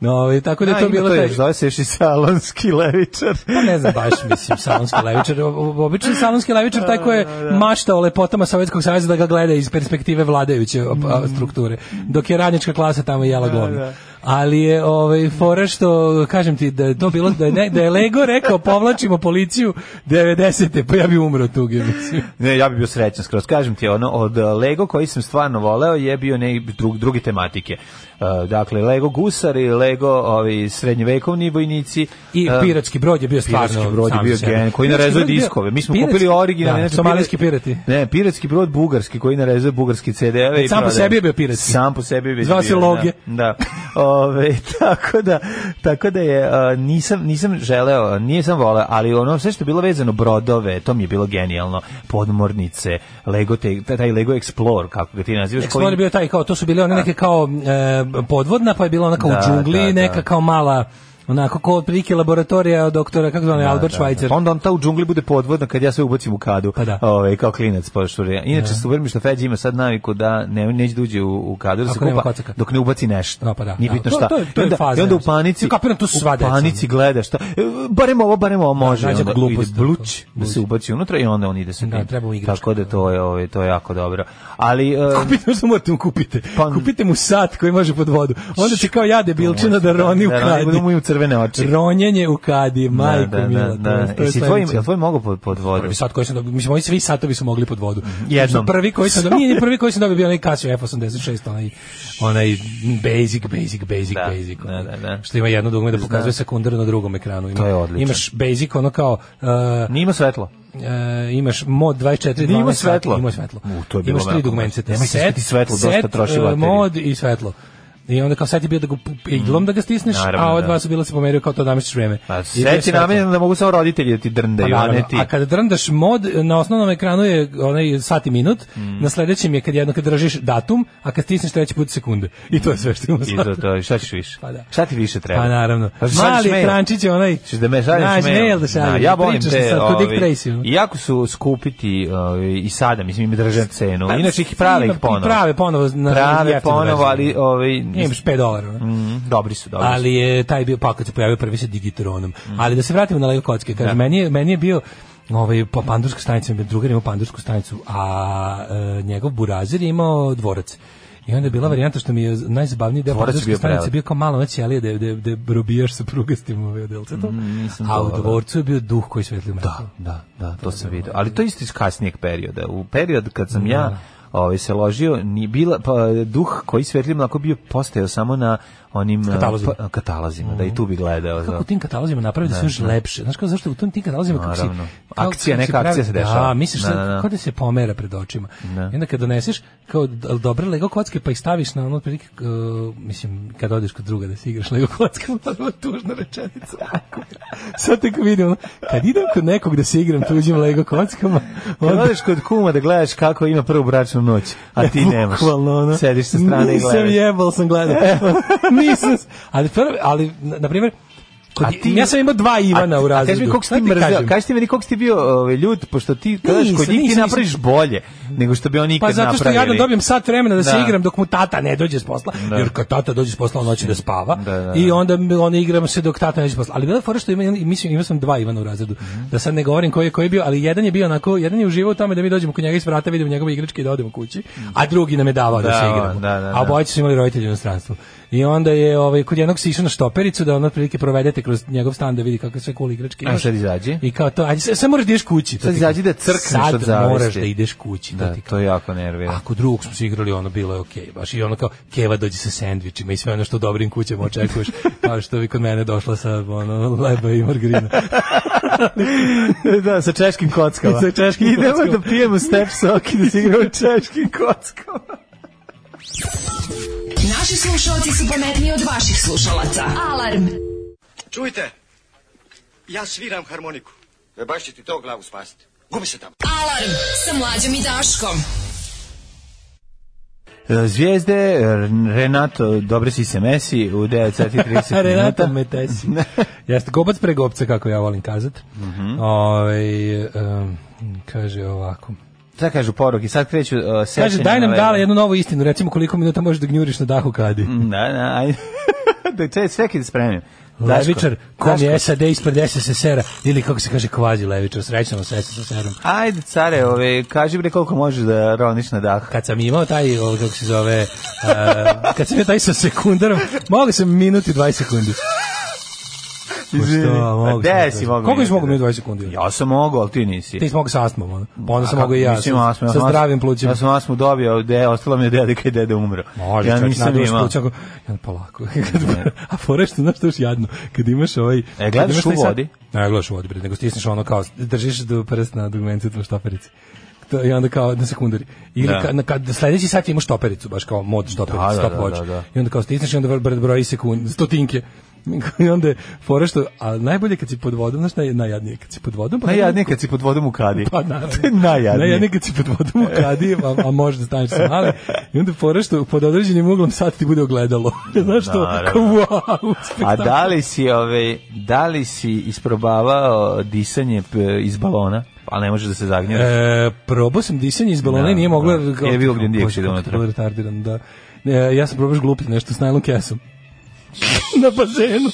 Speaker 6: No, ovaj, tako da je
Speaker 7: Da,
Speaker 6: to
Speaker 7: ima
Speaker 6: bilo
Speaker 7: to
Speaker 6: taj...
Speaker 7: još, zove se još i salonski levičar.
Speaker 6: Pa ne znam baš, mislim, salonski levičar. o- o- Obični salonski levičar taj koji je mašta o lepotama Sovjetskog saveza da ga gleda iz perspektive vladajuće op- a, strukture, dok je radnička klasa tamo jela glavno.
Speaker 7: Mm. da.
Speaker 6: Ali je ovaj fora što kažem ti da je to bilo da je, ne, da je Lego rekao povlačimo policiju 90. pa ja bi umro tu mislim.
Speaker 7: Ne, ja bih bio srećan skroz. Kažem ti, ono, od e, Lego koji sam stvarno voleo je bio ne, drug, druge tematike. E, dakle, Lego gusari, Lego ovi, srednjevekovni vojnici.
Speaker 6: I
Speaker 7: e,
Speaker 6: piratski brod je bio stvarno
Speaker 7: Piratski brod je
Speaker 6: sam
Speaker 7: bio
Speaker 6: za sebe.
Speaker 7: gen, koji
Speaker 6: Piratski
Speaker 7: narezuje
Speaker 6: brod je bio-
Speaker 7: diskove. Mi smo
Speaker 6: piratski-
Speaker 7: kupili originalne.
Speaker 6: da,
Speaker 7: znači,
Speaker 6: somalijski
Speaker 7: pirat-
Speaker 6: pirati.
Speaker 7: Ne, piratski brod bugarski koji narezuje bugarski CD-eve. i
Speaker 6: Sam po
Speaker 7: prodaje.
Speaker 6: sebi je bio piratski.
Speaker 7: Sam po sebi je već
Speaker 6: Zvao se
Speaker 7: bio,
Speaker 6: Loge.
Speaker 7: Da. da. Ove, tako da, tako da je, a, nisam, nisam želeo, nije sam voleo, ali ono sve što je bilo vezano brodove, to mi je bilo genijalno, podmornice, Lego, te, taj Lego Explorer, kako ga ti nazivaš. koji-
Speaker 6: Explorer Znači, je bio taj kao, to su bile one neke kao e, podvodna, pa je bila ona kao
Speaker 7: Da,
Speaker 6: u džungli,
Speaker 7: da, da.
Speaker 6: neka kao mala onako kao otprilike laboratorija doktora, kako zove, Albert Schweitzer.
Speaker 7: Onda on ta u džungli bude podvodna kad ja sve ubacim u kadu. Pa
Speaker 6: da.
Speaker 7: kao klinac pošto je. Inače
Speaker 6: Da.
Speaker 7: super mi što Feđi ima sad naviku da ne neće da uđe u, u kadu da
Speaker 6: Ako
Speaker 7: se
Speaker 6: nema
Speaker 7: kupa
Speaker 6: kocaka.
Speaker 7: dok ne ubaci nešto.
Speaker 6: Da, pa da.
Speaker 7: Nije
Speaker 6: Da,
Speaker 7: bitno
Speaker 6: to-
Speaker 7: šta.
Speaker 6: to je- to je
Speaker 7: I onda,
Speaker 6: faza,
Speaker 7: i onda u
Speaker 6: ja mislim.
Speaker 7: panici.
Speaker 6: Ja kapiram, tu su sva
Speaker 7: u
Speaker 6: deca.
Speaker 7: panici gleda šta. e, Barem ovo, barem ovo može.
Speaker 6: nađe
Speaker 7: i onda
Speaker 6: neku glupost.
Speaker 7: ide bluć da se ubaci unutra i onda on ide sa
Speaker 6: Da,
Speaker 7: tim.
Speaker 6: treba mu igračka.
Speaker 7: Tako da to je ovaj to je jako dobro. Ali e,
Speaker 6: Kupite, što morate mu kupite.
Speaker 7: Pa-
Speaker 6: Kupite mu sat koji može pod vodu. Onda će kao ja debilčina da roni u
Speaker 7: da roni,
Speaker 6: kadi.
Speaker 7: budu mu i u crvene oči.
Speaker 6: Ronjenje u kadi, majko
Speaker 7: da,
Speaker 6: mila.
Speaker 7: da, E, da.
Speaker 6: to je-
Speaker 7: Jesi
Speaker 6: to je
Speaker 7: tvoj,
Speaker 6: sledeće.
Speaker 7: jel tvoj mogu pod, pod vodu?
Speaker 6: Prvi sat koji sam dobio, mislim, ovi svi satovi su mogli pod vodu.
Speaker 7: Jednom.
Speaker 6: Prvi koji sam dobio, nije prvi koji sam dobio bio onaj Casio F86, onaj, onaj basic, basic, basic,
Speaker 7: Da,
Speaker 6: basic.
Speaker 7: da,
Speaker 6: ono,
Speaker 7: da, da.
Speaker 6: Što ima jedno dugme da pokazuje
Speaker 7: Znam.
Speaker 6: sekundaru na drugom ekranu. Ima,
Speaker 7: To je odlično.
Speaker 6: Imaš basic, ono kao... Uh,
Speaker 7: Nima svetlo.
Speaker 6: E, imaš mod 24
Speaker 7: Nije imao
Speaker 6: 12 sati,
Speaker 7: svetlo.
Speaker 6: Ima svetlo.
Speaker 7: U, to je bilo
Speaker 6: imaš tri
Speaker 7: jako
Speaker 6: dugmence.
Speaker 7: loše. Nemoj se sveti svetlo, dosta troši
Speaker 6: e,
Speaker 7: baterije.
Speaker 6: mod i svetlo. I onda kao sad je bio da ga pu- iglom da ga stisneš,
Speaker 7: Naravno,
Speaker 6: a ova
Speaker 7: da.
Speaker 6: dva su bila da se pomeraju kao to namestiš vreme.
Speaker 7: Pa,
Speaker 6: I bio
Speaker 7: sve ti
Speaker 6: svetlo.
Speaker 7: namenjeno da mogu samo roditelji da ti
Speaker 6: Pa
Speaker 7: drndaju, a
Speaker 6: naravno,
Speaker 7: ne ti.
Speaker 6: A kada drndaš mod, na osnovnom ekranu je onaj sat i minut,
Speaker 7: Mm.
Speaker 6: na sledećem je kad jedno kad držiš datum, a kad stisneš treći put sekunde. I to je sve što ima
Speaker 7: I
Speaker 6: sad.
Speaker 7: to, to, šta ćeš više?
Speaker 6: Pa da.
Speaker 7: Šta ti više treba?
Speaker 6: Pa naravno.
Speaker 7: Pa šta šalješ
Speaker 6: Mali
Speaker 7: mail?
Speaker 6: ekrančić je onaj...
Speaker 7: Ćeš da me šalješ
Speaker 6: Znaš,
Speaker 7: mail?
Speaker 6: mail da šalješ,
Speaker 7: Da, ja volim
Speaker 6: pričaš
Speaker 7: te,
Speaker 6: sad ko Dick
Speaker 7: ovaj,
Speaker 6: Tracy, ono.
Speaker 7: Iako su skupiti ovaj, i sada, mislim, im drže cenu.
Speaker 6: Pa,
Speaker 7: Inače ih prave
Speaker 6: ima-
Speaker 7: ih ponovo.
Speaker 6: i prave ponovo na-
Speaker 7: prave
Speaker 6: jeftino
Speaker 7: ponovo,
Speaker 6: verziju.
Speaker 7: ali... Ovaj,
Speaker 6: Imaš 5 dolara. ono.
Speaker 7: Mm, dobri su, dobri su.
Speaker 6: ali je taj bio pa kad se pojavio prvi sa digitronom. Ali da se vratimo na Lego kocke, kaže meni je meni je bio ovaj pa pandurska stanica, mi je drugar imao pandursku stanicu, a e, njegov burazir je imao dvorac. I onda je bila varijanta što mi je najzabavniji deo
Speaker 7: Dvorac je
Speaker 6: pandurske
Speaker 7: bio
Speaker 6: stanice
Speaker 7: prelep.
Speaker 6: bio kao malo noć, ali da da da robijaš sa ovaj, prugastim ove delcetom.
Speaker 7: Mm,
Speaker 6: a u
Speaker 7: volao.
Speaker 6: dvorcu je bio duh koji svetli mrak.
Speaker 7: Da, Pa, da, da, to sam vidio. Ali to je isto iz kasnijeg perioda. U period kad sam ja ovaj, se ložio, ni bila, pa, duh koji svetli mlako bio postajao samo na onim eh,
Speaker 6: Katalozima.
Speaker 7: pa- katalozima, da i tu bi gledao.
Speaker 6: Kako
Speaker 7: da.
Speaker 6: u tim katalozima napravi da
Speaker 7: Da,
Speaker 6: su još
Speaker 7: da.
Speaker 6: lepše? Znaš kao zašto u tim tim katalozima kako si...
Speaker 7: Naravno.
Speaker 6: kao-
Speaker 7: Akcija,
Speaker 6: kako si
Speaker 7: neka akcija se dešava.
Speaker 6: Da, misliš
Speaker 7: Da,
Speaker 6: da,
Speaker 7: da, da.
Speaker 6: kao da se pomera pred očima.
Speaker 7: Da.
Speaker 6: I onda kad doneseš kao d- dobre Lego kocke pa ih staviš na ono otprilike, uh, mislim, kad odeš kod druga da se igraš Lego kocke, vrlo ono tužna rečenica. Sad tek vidim, ono, kad idem kod nekog da se igram tuđim Lego kockama,
Speaker 7: Kad
Speaker 6: onda
Speaker 7: odeš kod kuma da gledaš kako ima prvu bračnu noć, a ti nemaš.
Speaker 6: Bukvalno, ono.
Speaker 7: Sediš sa strane i
Speaker 6: Nisam
Speaker 7: gledaš.
Speaker 6: jebal sam gledao. Nisam, s- ali, prvi, ali na, na primjer, kod, ja sam imao dva Ivana u razredu.
Speaker 7: A kaži mi koliko si ti
Speaker 6: Sad ti
Speaker 7: mrzeo,
Speaker 6: kažem.
Speaker 7: kaži ti meni koliko si ti bio ovaj, ljud, pošto ti kad odeš kod
Speaker 6: Nisam,
Speaker 7: njih ti
Speaker 6: nisam,
Speaker 7: napraviš
Speaker 6: nisam.
Speaker 7: bolje nego što bi oni ikad
Speaker 6: Pa
Speaker 7: napravili.
Speaker 6: zato što ja dobijem sat vremena da, se
Speaker 7: Da.
Speaker 6: igram dok mu tata ne dođe s posla,
Speaker 7: Da.
Speaker 6: jer kad tata dođe s posla on hoće da spava
Speaker 7: da,
Speaker 6: i onda mi- onda igram se dok tata ne dođe s posla. Ali bila je fora što ima, mislim, imao sam dva Ivana u razredu.
Speaker 7: Mhm.
Speaker 6: Da sad ne govorim koji je koji je bio, ali jedan je bio onako, jedan je uživao u tome da mi dođemo kod njega iz vrata, vidimo njegove igračke i da odemo kući, a drugi nam je davao da,
Speaker 7: Mhm. Da,
Speaker 6: se igramo.
Speaker 7: da, da, da.
Speaker 6: A bojice su imali roditelji u inostranstvu. I onda je ovaj kod jednog se išao na štopericu da on otprilike provedete kroz njegov stan da vidi kakve sve cool igračke
Speaker 7: A
Speaker 6: imaš.
Speaker 7: sad izađi.
Speaker 6: I kao to, ajde sad, sad moraš da ideš kući. to
Speaker 7: Sad
Speaker 6: ti kažem.
Speaker 7: izađi da crkneš
Speaker 6: Sad
Speaker 7: od zavesti.
Speaker 6: moraš da ideš kući. to
Speaker 7: Da,
Speaker 6: ti kažem.
Speaker 7: to je jako nervira.
Speaker 6: Ako drugog smo se igrali, ono bilo je okej, baš i ono kao Keva dođe sa sendvičima i sve ono što u dobrim kućama očekuješ, kao što bi kod mene došla sa ono leba i margarina.
Speaker 7: da, sa češkim kockama.
Speaker 6: Sa češkim kockama.
Speaker 7: pijemo step sok i da se igramo češkim kockama.
Speaker 13: Naši slušalci su pametniji od vaših slušalaca. Alarm!
Speaker 8: Čujte, ja sviram harmoniku. E baš će ti to glavu spasiti. Gubi se tamo.
Speaker 3: Alarm sa mlađom i Daškom.
Speaker 7: E, Zvijezde, Renato, dobre si se Messi u 9.30
Speaker 6: Renata me tesi. Jeste, gobac pre gobca, kako ja volim kazat.
Speaker 7: Mhm.
Speaker 6: Ovaj, em, kaže ovako.
Speaker 7: Šta kažu poruki? Sad kreću uh, sećanja.
Speaker 6: Kaže, daj nam
Speaker 7: na
Speaker 6: dala
Speaker 7: leđa. Mm.
Speaker 6: jednu novu istinu, recimo koliko minuta možeš da gnjuriš na dahu kadi.
Speaker 7: Da, da, ajde. da če, sve kada spremim. Daško,
Speaker 6: Levičar, kom
Speaker 7: Daško,
Speaker 6: je SAD ispred SSSR-a, ili kako se kaže kvazi levičar, srećno sa SSSR-om.
Speaker 7: Ajde, care, ove, kaži bre koliko možeš da roniš na dah.
Speaker 6: kad sam imao taj, ovo, kako se zove, a, kad sam imao taj sa sekundarom, mogu sam minut i 20 sekundi.
Speaker 7: Izvini.
Speaker 6: Što, mogu
Speaker 7: Pa gde
Speaker 6: sam-
Speaker 7: si mogao?
Speaker 6: Koliko si
Speaker 7: imati?
Speaker 6: mogao minut i 20 sekundi?
Speaker 7: Ja sam mogao, ali ti nisi.
Speaker 6: Ti si mogao sa astmom, ono. Pa onda sam
Speaker 7: A
Speaker 6: mogao i ja,
Speaker 7: mislim,
Speaker 6: sa,
Speaker 7: astmu, ja
Speaker 6: sa
Speaker 7: sam astmu-
Speaker 6: zdravim plućima.
Speaker 7: Ja sam astmu dobio, de, ostalo mi je dede kad je dede umro.
Speaker 6: Može,
Speaker 7: ja
Speaker 6: čovjek,
Speaker 7: nisam
Speaker 6: naduvaš
Speaker 7: imao.
Speaker 6: pluća, ako- ja, polako. A fore što, znaš što je još jadno, kad imaš ovaj...
Speaker 7: E,
Speaker 6: kad
Speaker 7: gledaš
Speaker 6: imaš
Speaker 7: u
Speaker 6: taj sad-
Speaker 7: vodi?
Speaker 6: Ne, gledaš u vodi, bre, nego stisneš ono kao, držiš do prst na dugmencu u štoperici. To, I onda kao na sekundari. Ili
Speaker 7: Da.
Speaker 6: ka, na, kad, sledeći sat imaš štopericu, baš kao mod štopericu,
Speaker 7: Da, da,
Speaker 6: stop
Speaker 7: da,
Speaker 6: watch.
Speaker 7: da, da.
Speaker 6: I onda kao stisneš i onda br- broji sekund, stotinke. I onda je fora što, a najbolje kad si pod vodom, znaš, naj, najjadnije kad si pod vodom. Pa
Speaker 7: Najjadnije kad si pod vodom u kadi.
Speaker 6: pa naravno.
Speaker 7: To je najjadnije.
Speaker 6: Najjadnije kad si pod vodom u kadi, a, a možeš da staneš sa male. I onda fora što pod određenim uglom sad ti bude ogledalo. Znaš što?
Speaker 7: Naravno.
Speaker 6: Kao, wow,
Speaker 7: A
Speaker 6: spektakl.
Speaker 7: da li si, ove, da li si isprobavao disanje p- iz balona? Pa ne možeš da se zagnjeraš.
Speaker 6: E, probao sam disanje iz balona
Speaker 7: Da,
Speaker 6: i nije moglo...
Speaker 7: da.
Speaker 6: kao-
Speaker 7: Je bilo gdje nije išao
Speaker 6: Kako
Speaker 7: unutra.
Speaker 6: to bilo retardiran, da. E, ja sam probaš glupiti nešto s najlon kesom. na bazenu.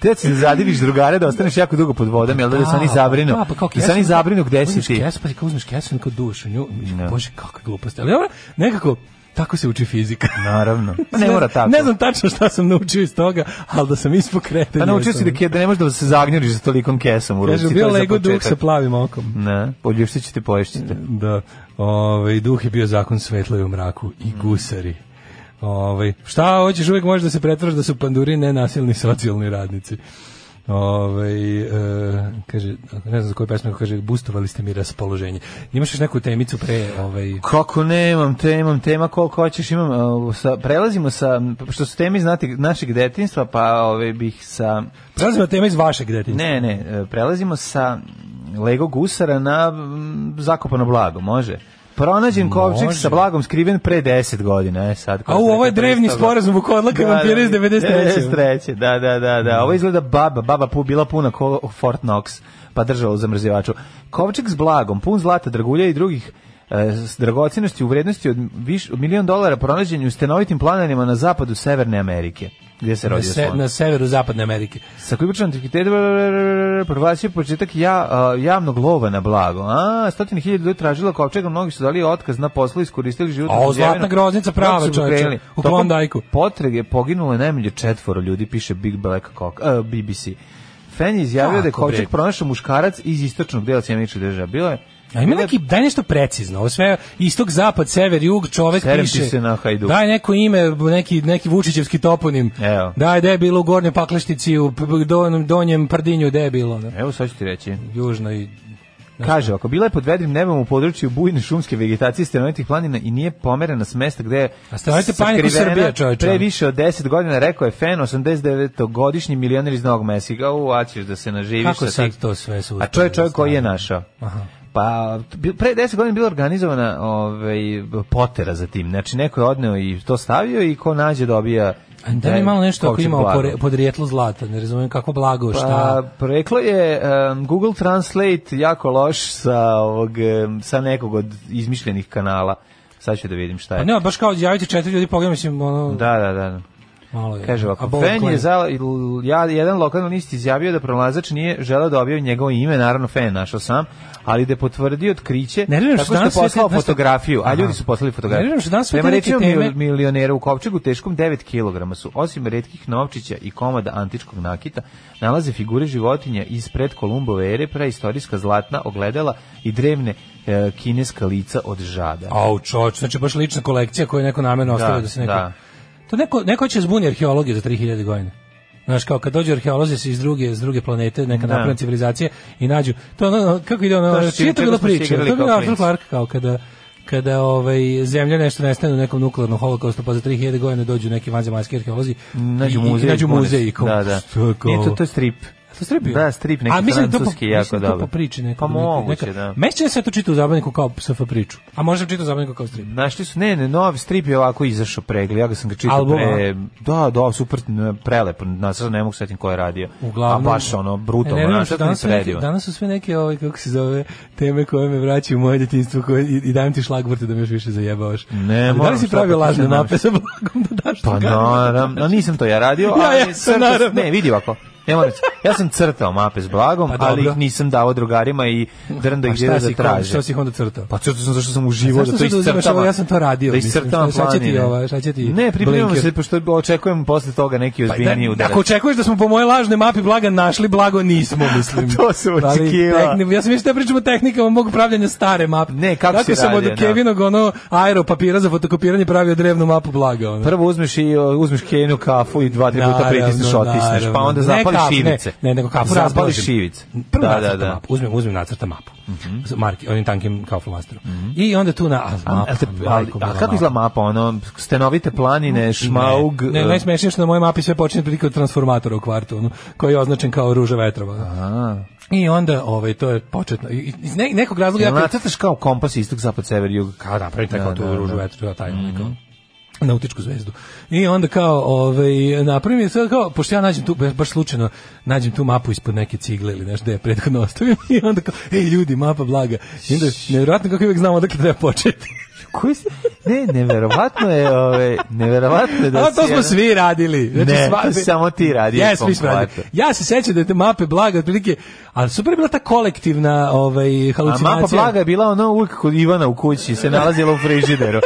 Speaker 7: Te da se zadiviš drugare da ostaneš jako dugo pod vodom, jel da li se oni zabrinu?
Speaker 6: Da, pa kao
Speaker 7: Da se oni
Speaker 6: kesu-
Speaker 7: zabrinu gde si
Speaker 6: uzmeš
Speaker 7: ti?
Speaker 6: Kesu, pa ti kao uzmeš kesu i kao duš u nju. Bože, kakve gluposti. Ali dobro, nekako, tako se uči fizika.
Speaker 7: Naravno. Pa ne mora tako.
Speaker 6: Ne znam tačno šta sam naučio iz toga, ali da sam ispod kretenja.
Speaker 7: Pa naučio si da,
Speaker 6: sam.
Speaker 7: ke- da ne možeš da se zagnjeriš sa tolikom kesom u ruci.
Speaker 6: Kažu,
Speaker 7: to
Speaker 6: bio
Speaker 7: je za
Speaker 6: Lego duh
Speaker 7: početak.
Speaker 6: sa plavim okom.
Speaker 7: Ne, poljuštit ćete, poješćete.
Speaker 6: Da. Ove, duh je bio zakon svetla i u mraku. I gusari. Ove, šta hoćeš, uvijek možeš da se pretvaraš da su panduri nenasilni socijalni radnici. Ove, e, kaže, ne znam za koju pesmu, kaže, bustovali ste mi raspoloženje. Imaš još neku temicu pre, ovaj,
Speaker 7: Kako nemam, te imam tema koliko hoćeš, imam, uh, sa, prelazimo sa, što su teme iz nati- našeg detinstva, pa ove bih sa,
Speaker 6: prelazimo na teme iz vašeg detinjstva.
Speaker 7: ne, ne, e, prelazimo sa Lego gusara na mm, zakopano blago, može? Pronađen kovčeg
Speaker 6: Može.
Speaker 7: sa blagom skriven pre 10 godina, e sad.
Speaker 6: A u ovo je drevni
Speaker 7: spor
Speaker 6: sporazum u kodlaka i vampira iz 93.
Speaker 7: 93. Da, da, da, da. Ovo izgleda baba, baba pu, bila puna ko Fort Knox, pa držala u zamrzivaču. Kovčeg s blagom, pun zlata, dragulja i drugih e, s dragocenosti u vrednosti od, viš, od milion dolara pronađen je u stenovitim planarima na zapadu Severne Amerike, gdje se
Speaker 6: Na,
Speaker 7: rodio
Speaker 6: se,
Speaker 7: slon.
Speaker 6: na severu zapadne Amerike.
Speaker 7: Sa kubičnom antikvitetom proglasio je početak ja, a, javnog lova na blago. A, stotine hiljada ljudi tražila kovčega, mnogi su dali otkaz na poslu i iskoristili život.
Speaker 6: A, o, zlatna groznica prava, čoveče, u Klondajku.
Speaker 7: Potrege poginulo je najmanje četvoro ljudi, piše Big Black Cock, e, BBC. Fen je izjavio da je
Speaker 6: Kako, bre?
Speaker 7: kovčeg pronašao muškarac iz istočnog dela Sjemeničke države. Bilo je
Speaker 6: A ima neki, daj nešto precizno, ovo sve istog, zapad, sever, jug, čovek
Speaker 7: Serem ti
Speaker 6: piše.
Speaker 7: se na Hajduk.
Speaker 6: Daj neko ime, neki, neki Vučićevski toponim.
Speaker 7: Evo.
Speaker 6: Daj, gde je bilo u Gornjoj Pakleštici, u P- P- Don- Donjem Prdinju, gde je bilo. Da.
Speaker 7: Evo sad ću ti reći.
Speaker 6: Južno i...
Speaker 7: Kaže, ako bila je pod vedrim nebom u području bujne šumske vegetacije stanovitih planina i nije pomerena s mesta gde je
Speaker 6: A stanovite planine ko
Speaker 7: sakrivena
Speaker 6: Srbija, ono? čoveče.
Speaker 7: pre više od 10 godina, rekao je Fen, 89-godišnji milioner iz Novog Mesika, u, a ćeš da se naživiš.
Speaker 6: Kako
Speaker 7: sa
Speaker 6: sad
Speaker 7: tih-
Speaker 6: to sve su
Speaker 7: A to je čovjek koji je našao.
Speaker 6: Aha.
Speaker 7: Pa bi- pre 10 godina je bila organizovana ovaj potera za tim. Znači neko je odneo i to stavio i ko nađe dobija
Speaker 6: Da mi
Speaker 7: e,
Speaker 6: malo nešto ako
Speaker 7: kovčeg
Speaker 6: ima
Speaker 7: blaga.
Speaker 6: opore- podrijetlo zlata, ne razumijem kako blago, šta...
Speaker 7: Pa, reklo je em, Google Translate jako loš sa, ovog, em, sa nekog od izmišljenih kanala. Sad ću da vidim šta
Speaker 6: Pa
Speaker 7: je.
Speaker 6: ne, baš kao javiti četiri ljudi, pogledaj, mislim, ono...
Speaker 7: Da, da, da.
Speaker 6: Malo je.
Speaker 7: Kaže
Speaker 6: A
Speaker 7: ovako,
Speaker 6: bol
Speaker 7: Fen
Speaker 6: koji?
Speaker 7: je za, ja, jedan lokalni list izjavio da pronalazač nije želeo da objavi njegovo ime, naravno Fen našao sam, ali da je potvrdio otkriće
Speaker 6: Nerviram se
Speaker 7: tako što je
Speaker 6: danas sve
Speaker 7: poslao
Speaker 6: te- znaš šta-
Speaker 7: fotografiju, a
Speaker 6: Aha.
Speaker 7: ljudi su poslali fotografiju.
Speaker 6: Nerviram se danas sve te
Speaker 7: Prema
Speaker 6: neke
Speaker 7: rečima
Speaker 6: teme-
Speaker 7: mil- milionera u Kopčegu teškom 9 kg su, osim redkih novčića i komada antičkog nakita, nalaze figure životinja iz pred Kolumbove ere, preistorijska zlatna ogledala i drevne e, kineska lica od žada.
Speaker 6: Au, čoč, znači baš lična kolekcija koju je neko namerno ostavio da, se neko...
Speaker 7: da.
Speaker 6: To neko, neko će zbuni arheologiju za 3000 godina. Znaš, kao kad dođu arheolozi se iz druge, s druge planete, neka
Speaker 7: Da.
Speaker 6: napravljena civilizacije i nađu, to ono, ono, kako ide ono,
Speaker 7: To što
Speaker 6: čije je to
Speaker 7: čim-
Speaker 6: bila
Speaker 7: čega smo se
Speaker 6: priča? To
Speaker 7: igrali
Speaker 6: je bila
Speaker 7: kao
Speaker 6: Arthur
Speaker 7: klinci.
Speaker 6: Clarke, kao kada kada ovaj zemlja nešto nestane u nekom nuklearnom holokaustu pa za 3000 godina dođu neki vanzemaljski arheolozi
Speaker 7: Nađu
Speaker 6: i- i- i
Speaker 7: muzej.
Speaker 6: nađu
Speaker 7: i pune se.
Speaker 6: muzej i kao,
Speaker 7: Da, da.
Speaker 6: što je kao-
Speaker 7: Nije to, to je strip.
Speaker 6: To strip bio?
Speaker 7: Da, strip neki
Speaker 6: A mislim da to po,
Speaker 7: francuski jako
Speaker 6: mislim da to
Speaker 7: dobro.
Speaker 6: po priči neko.
Speaker 7: Pa
Speaker 6: neka-
Speaker 7: moguće,
Speaker 6: neka-
Speaker 7: da.
Speaker 6: Meni se da sam ja to čitao u zabavniku kao SF priču. A možda sam čitao u zabavniku kao strip.
Speaker 7: Našli su, ne, ne, novi strip je ovako izašao pregled, ja ga sam ga čitao
Speaker 6: Album,
Speaker 7: pre, da, da, super, n- prelepo, na sad ne mogu setim ko je radio,
Speaker 6: Uglavnom,
Speaker 7: a baš ono, brutalno,
Speaker 6: E,
Speaker 7: e,
Speaker 6: ne, ne,
Speaker 7: našao sam
Speaker 6: danas, su neke,
Speaker 7: predivan.
Speaker 6: danas su sve neke, ovaj, kako se zove, teme koje me vraćaju u moje djetinjstvo koje, i, i dajem ti šlagvrte da me još više zajebavaš.
Speaker 7: Ne,
Speaker 6: Ali da li
Speaker 7: moram,
Speaker 6: si
Speaker 7: šta
Speaker 6: pravio
Speaker 7: pa ti
Speaker 6: lažne
Speaker 7: ne možeš?
Speaker 6: mape sa blagom da daš
Speaker 7: Pa
Speaker 6: drugaru?
Speaker 7: naravno, no, nisam to ja radio,
Speaker 6: Ja,
Speaker 7: ali
Speaker 6: ja,
Speaker 7: crtao-
Speaker 6: naravno.
Speaker 7: ne, vidi ovako, ne moram, reći, ja sam crtao mape s blagom,
Speaker 6: Pa dobro.
Speaker 7: ali ih nisam davao drugarima i drnda
Speaker 6: A
Speaker 7: gdje
Speaker 6: šta
Speaker 7: da
Speaker 6: si,
Speaker 7: zatraže.
Speaker 6: šta si ih onda crtao?
Speaker 7: Pa crtao sam zašto sam
Speaker 6: A
Speaker 7: uživo
Speaker 6: zašto
Speaker 7: da to
Speaker 6: sad uzimaš ovo?
Speaker 7: iscrtava.
Speaker 6: Ja sam to radio,
Speaker 7: Da
Speaker 6: mislim,
Speaker 7: iscrtava
Speaker 6: šta- šta će ti
Speaker 7: planine.
Speaker 6: ova, šta će ti
Speaker 7: Ne, pripremamo
Speaker 6: blinker?
Speaker 7: se, pošto očekujem posle toga neki
Speaker 6: Pa, da,
Speaker 7: ozbiljniji udarac.
Speaker 6: ako očekuješ da smo po moje lažne mapi blaga našli, blago nismo, mislim.
Speaker 7: To sam
Speaker 6: Ali
Speaker 7: očekivao.
Speaker 6: tehni- Ja sam mislio da pričamo o tehnikama mog pravljanja stare mape. Ne,
Speaker 7: kako si
Speaker 6: sam
Speaker 7: radio,
Speaker 6: od
Speaker 7: da.
Speaker 6: Kevinog ono aero papira za fotokopiranje pravio drevnu mapu blaga. Ono.
Speaker 7: Prvo uzmeš i o, uzmeš kenu, kafu i dva tri puta
Speaker 6: Naravno,
Speaker 7: pritisneš, otisneš, pa
Speaker 6: naravno.
Speaker 7: onda
Speaker 6: Ne
Speaker 7: zapališ
Speaker 6: kafu, ne,
Speaker 7: šivice.
Speaker 6: Ne, nego kafu
Speaker 7: zapališ
Speaker 6: razblažim.
Speaker 7: šivice.
Speaker 6: Prvo
Speaker 7: da, da,
Speaker 6: nacrtam
Speaker 7: da. Mhm.
Speaker 6: mapu. Uzmem, uzmem nacrtam mapu. S Marki, onim tankim kao flomasterom. I onda tu na... A,
Speaker 7: A,
Speaker 6: mapa,
Speaker 7: a, te- ali-
Speaker 6: majko,
Speaker 7: a
Speaker 6: mila
Speaker 7: kako
Speaker 6: mapa.
Speaker 7: izgleda mapa? Ono, stenovite planine, šmaug...
Speaker 6: Ne, ne
Speaker 7: eh,
Speaker 6: najsmešnije je što na mojoj mapi sve počinje otprilike od transformatora u kvartu, ono, koji je označen kao ruža vetrova. I onda, ovaj, to je početno. I- i- Iz ne, nekog razloga...
Speaker 7: jel
Speaker 6: ja kad-
Speaker 7: nacrtaš kao kompas istok, zapad, sever, jug.
Speaker 6: Kao da, pravi tako
Speaker 7: Da,
Speaker 6: tu
Speaker 7: da,
Speaker 6: ružu
Speaker 7: da. Mhm.
Speaker 6: vetrova, taj, ono, kao nautičku zvezdu. I onda kao, ovaj, napravim je sve kao, pošto ja nađem tu, baš slučajno, nađem tu mapu ispod neke cigle ili nešto da je prethodno ostavim i onda kao, ej ljudi, mapa blaga. I onda, nevjerojatno kako uvijek znamo odakle treba početi.
Speaker 7: Koji si- Ne, neverovatno je, ove, neverovatno je da
Speaker 6: A to
Speaker 7: si
Speaker 6: smo
Speaker 7: jedan-
Speaker 6: svi radili. Znači,
Speaker 7: Ne,
Speaker 6: sva-
Speaker 7: to si samo ti radio
Speaker 6: Ja,
Speaker 7: u svom
Speaker 6: svi smo radili.
Speaker 7: kvartu.
Speaker 6: Ja se sećam da je te mape blaga otprilike, ali super je bila ta kolektivna ovaj,
Speaker 7: A
Speaker 6: halucinacija.
Speaker 7: mapa blaga je bila ono uvijek kod Ivana u kući, se nalazila u frižideru.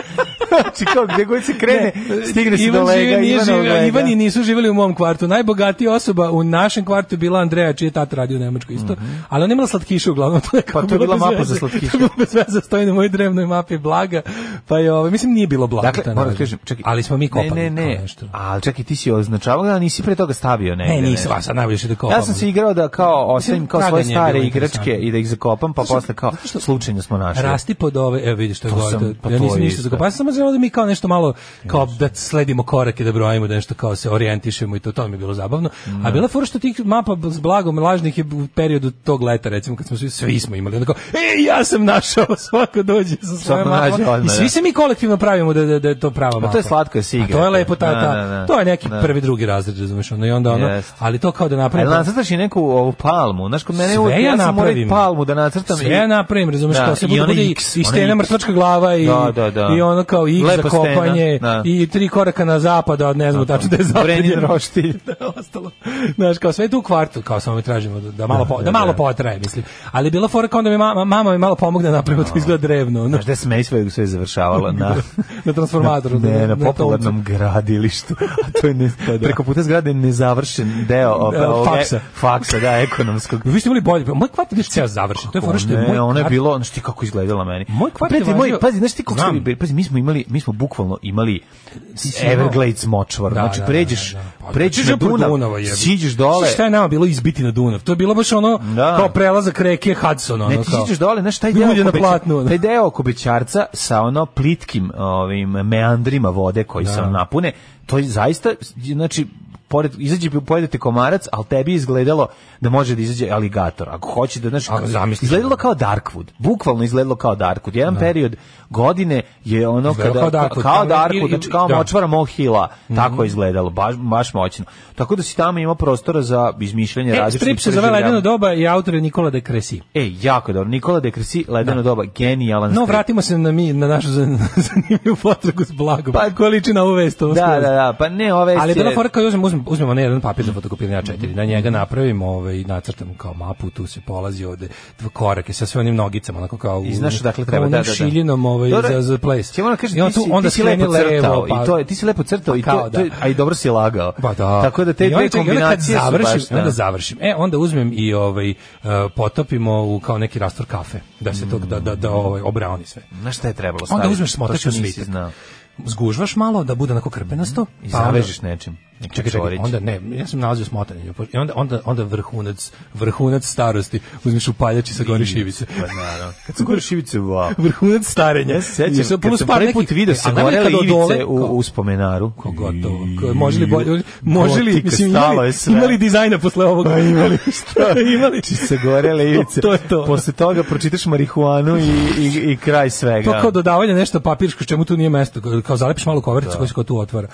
Speaker 7: Znači kao gdje god se krene, stigne se do
Speaker 6: Ivan
Speaker 7: lega,
Speaker 6: živi, nije
Speaker 7: Ivana
Speaker 6: živio,
Speaker 7: lega.
Speaker 6: Ivani nisu živjeli u mom kvartu. Najbogatija osoba u našem kvartu je bila Andreja, čiji je tata radio u Nemačkoj isto. Ali ona je imala slatkiše uglavnom. To je
Speaker 7: Mhm. Pa to je bila mapa za slatkiše.
Speaker 6: To je bilo bez veze, stoji na mojoj drevnoj mapi blaga. Pa je, ovaj, mislim, nije bilo blaga. ta
Speaker 7: Dakle, moram
Speaker 6: nađa.
Speaker 7: ti kažem, čekaj.
Speaker 6: Ali smo mi kopali.
Speaker 7: Ne, ne,
Speaker 6: kao
Speaker 7: ne.
Speaker 6: nešto.
Speaker 7: Ali čekaj, ti si označavao, a nisi pre toga stavio negde.
Speaker 6: Ne, nisam, a sad najbolje što je da kopam.
Speaker 7: Ja sam se igrao da kao ostavim
Speaker 6: Mislim,
Speaker 7: kao svoje
Speaker 6: traganje je
Speaker 7: stare
Speaker 6: bilo
Speaker 7: igračke
Speaker 6: interesantno.
Speaker 7: i da ih zakopam, pa posle kao slučajno smo našli.
Speaker 6: Rasti pod ove, evo vidiš to je
Speaker 7: To
Speaker 6: gore,
Speaker 7: sam-
Speaker 6: to-
Speaker 7: pa
Speaker 6: ja
Speaker 7: to
Speaker 6: nisam
Speaker 7: je
Speaker 6: ništa
Speaker 7: isto.
Speaker 6: zakopao, ja sam samo želeo da mi kao nešto malo, kao da sledimo korake, da brojimo, da nešto kao se orijentišemo i to, to mi je bilo zabavno. A bila fora što tih mapa s blagom lažnih je u periodu tog leta, recimo, kad smo svi, svi smo imali, onda kao, e, ja sam našao, svako dođe sa svojom
Speaker 7: Svako nađe
Speaker 6: mapom. I
Speaker 7: odmah,
Speaker 6: svi
Speaker 7: da.
Speaker 6: se mi kolektivno pravimo da, da, da je to prava mapa.
Speaker 7: Pa to je slatko, je si
Speaker 6: A to je
Speaker 7: igrate.
Speaker 6: lepo, ta,
Speaker 7: Da,
Speaker 6: ta-
Speaker 7: da, da.
Speaker 6: to je neki
Speaker 7: Da.
Speaker 6: prvi, drugi razred, razumiješ, ono, i onda ono,
Speaker 7: Jest.
Speaker 6: ali to kao da
Speaker 7: Ali
Speaker 6: napravimo...
Speaker 7: nacrtaš i neku ovu palmu. Znaš, kod mene
Speaker 6: Sve
Speaker 7: uvijek,
Speaker 6: ja
Speaker 7: ja sam morao i
Speaker 6: napravim.
Speaker 7: palmu da nacrtam.
Speaker 6: Sve ja napravim, razumeš,
Speaker 7: Da,
Speaker 6: kao se
Speaker 7: i
Speaker 6: bude,
Speaker 7: onaj
Speaker 6: bude i,
Speaker 7: X,
Speaker 6: i
Speaker 7: onaj
Speaker 6: stena
Speaker 7: X.
Speaker 6: mrtvačka glava i,
Speaker 7: Da, da, da.
Speaker 6: i ono kao i za
Speaker 7: Lepa stena,
Speaker 6: kopanje
Speaker 7: da.
Speaker 6: i tri koraka na zapad, a ne znam tačno gde je zapad.
Speaker 7: Brenjin roštilj.
Speaker 6: da, ostalo. Znaš, kao sve je tu u kvartu, kao samo mi tražimo da, da malo, po, da,
Speaker 7: da,
Speaker 6: malo
Speaker 7: da.
Speaker 6: potraje, mislim. Ali je bila fora kao onda mi mama, mama mi malo pomogne da napravimo to izgleda drevno. ono.
Speaker 7: Znaš, gde smej sve, sve završavala na
Speaker 6: na transformatoru,
Speaker 7: na, ne,
Speaker 6: na-
Speaker 7: na
Speaker 6: na
Speaker 7: popularnom gradilištu. A to je ne, preko puta zgrade nezavršen deo ove-
Speaker 6: Da,
Speaker 7: ove-
Speaker 6: E, faksa.
Speaker 7: faksa, da, ekonomskog.
Speaker 6: Vi ste imali bolje, moj kvart je bio ceo završen. To je fora što je
Speaker 7: ne,
Speaker 6: moj
Speaker 7: ono je
Speaker 6: kvart-
Speaker 7: bilo, ono što kako izgledala meni. Moj
Speaker 6: kvart je
Speaker 7: moj,
Speaker 6: važio-
Speaker 7: pazi, znaš ti kako
Speaker 6: Znam.
Speaker 7: ste bili, pazi, mi smo imali, mi smo bukvalno imali
Speaker 6: si imao-
Speaker 7: Everglades močvar.
Speaker 6: Da,
Speaker 7: znači
Speaker 6: da, da,
Speaker 7: pređeš,
Speaker 6: da, da. Pa,
Speaker 7: pređeš
Speaker 6: ti
Speaker 7: na
Speaker 6: si preko
Speaker 7: Dunav,
Speaker 6: Dunava, jebi.
Speaker 7: siđeš dole.
Speaker 6: Šta je nama bilo izbiti na Dunav? To je bilo baš ono kao prelazak reke Hudson, ono
Speaker 7: Ne, ti
Speaker 6: kao.
Speaker 7: siđeš dole, znaš, taj
Speaker 6: Ljulje
Speaker 7: deo,
Speaker 6: na
Speaker 7: oko Beća-
Speaker 6: platnu. ono.
Speaker 7: taj deo oko Bećarca sa ono plitkim ovim meandrima vode koji se
Speaker 6: Da.
Speaker 7: ono napune, to je zaista, znači, pored, izađe, pojedete komarac, ali tebi je izgledalo da može da izađe aligator. Ako hoće da, znaš,
Speaker 6: Ako zamisliš. ono.
Speaker 7: izgledalo kao Darkwood. Bukvalno izgledalo kao Darkwood. Jedan period godine je ono
Speaker 6: Izgledalo
Speaker 7: kada,
Speaker 6: kao Darkwood.
Speaker 7: kao Darkwood,
Speaker 6: Ili-
Speaker 7: znači kao
Speaker 6: da. Mhm.
Speaker 7: močvara Mog Hila. Tako je izgledalo, baš, baš moćno. Tako da si tamo imao prostora za izmišljanje
Speaker 6: E,
Speaker 7: različitih
Speaker 6: strip se zove Ledeno
Speaker 7: preživljavanja.
Speaker 6: doba i autor je Nikola de Kresi.
Speaker 7: E, jako dobro. Nikola de Kresi, Ledeno doba, genijalan
Speaker 6: No,
Speaker 7: strip.
Speaker 6: vratimo se na mi na našu zan- zanimljivu potragu s blagom. Pa, koja liči na ovu vest, ovo
Speaker 7: Da,
Speaker 6: skroz.
Speaker 7: da, da, pa ne, ove
Speaker 6: Ali je bila
Speaker 7: sje-
Speaker 6: fora kao uzmemo, uzmemo ne jedan papir za fotokopiranje A4,
Speaker 7: Mhm.
Speaker 6: na njega napravimo ovaj, nacrtam kao mapu, tu se polazi ovde dva korake sa sve onim nogicama, onako kao...
Speaker 7: I znaš
Speaker 6: dakle,
Speaker 7: odakle treba, da, da, da.
Speaker 6: Šiljinom ovaj,
Speaker 7: Dobro,
Speaker 6: za, za place.
Speaker 7: Ti moram kažem,
Speaker 6: I on
Speaker 7: ti si,
Speaker 6: tu onda
Speaker 7: ti si lepo
Speaker 6: skreni levo,
Speaker 7: crtao,
Speaker 6: pa-
Speaker 7: i to, je- ti si lepo crtao, i
Speaker 6: Pa
Speaker 7: to,
Speaker 6: kao
Speaker 7: to je-
Speaker 6: da.
Speaker 7: a i dobro si lagao.
Speaker 6: Pa da.
Speaker 7: Tako da te
Speaker 6: I onda
Speaker 7: dve
Speaker 6: čekaj, onda kad
Speaker 7: kombinacije su
Speaker 6: završim,
Speaker 7: baš, da.
Speaker 6: onda završim. E, onda uzmem i ovaj, e, potopimo u kao neki rastor kafe, da se to, da, da, da ovaj, obrauni sve.
Speaker 7: Znaš šta je trebalo
Speaker 6: Onda
Speaker 7: staviti?
Speaker 6: uzmeš
Speaker 7: To
Speaker 6: smotač
Speaker 7: što
Speaker 6: u
Speaker 7: nisi
Speaker 6: svitak.
Speaker 7: znao.
Speaker 6: Zgužvaš malo da bude onako krpenasto.
Speaker 7: I
Speaker 6: pa onda-
Speaker 7: zavežeš nečim. nekim
Speaker 6: Čekaj, čekaj,
Speaker 7: čvorićem.
Speaker 6: onda ne, ja sam nalazio smotanje. pa- I onda, onda, onda vrhunac, vrhunac starosti, uzmiš upaljač i sa gore šivice.
Speaker 7: Pa naravno. Kad su gore šivice, wow.
Speaker 6: Vrhunac starenja.
Speaker 7: Ja se sećam,
Speaker 6: Jer sam
Speaker 7: kad
Speaker 6: puno
Speaker 7: sam
Speaker 6: spar
Speaker 7: prvi put
Speaker 6: neki-
Speaker 7: vidio
Speaker 6: E,
Speaker 7: se
Speaker 6: a najbolje
Speaker 7: gorele
Speaker 6: kad
Speaker 7: ivice
Speaker 6: odole-
Speaker 7: u, u spomenaru.
Speaker 6: Ko gotovo. ko- Može li bolje? Može li?
Speaker 7: Gotika,
Speaker 6: Mislim,
Speaker 7: stalo je
Speaker 6: imali,
Speaker 7: sve.
Speaker 6: imali dizajna posle ovoga?
Speaker 7: Pa imali, šta?
Speaker 6: imali.
Speaker 7: Či se gorele ivice.
Speaker 6: To je to.
Speaker 7: Posle toga pročitaš marihuanu i, i, i kraj svega.
Speaker 6: To Pa kao dodavanje nešto papirsko, čemu tu nije mesto. Kao zalepiš malu kovericu koja se kao tu otvara.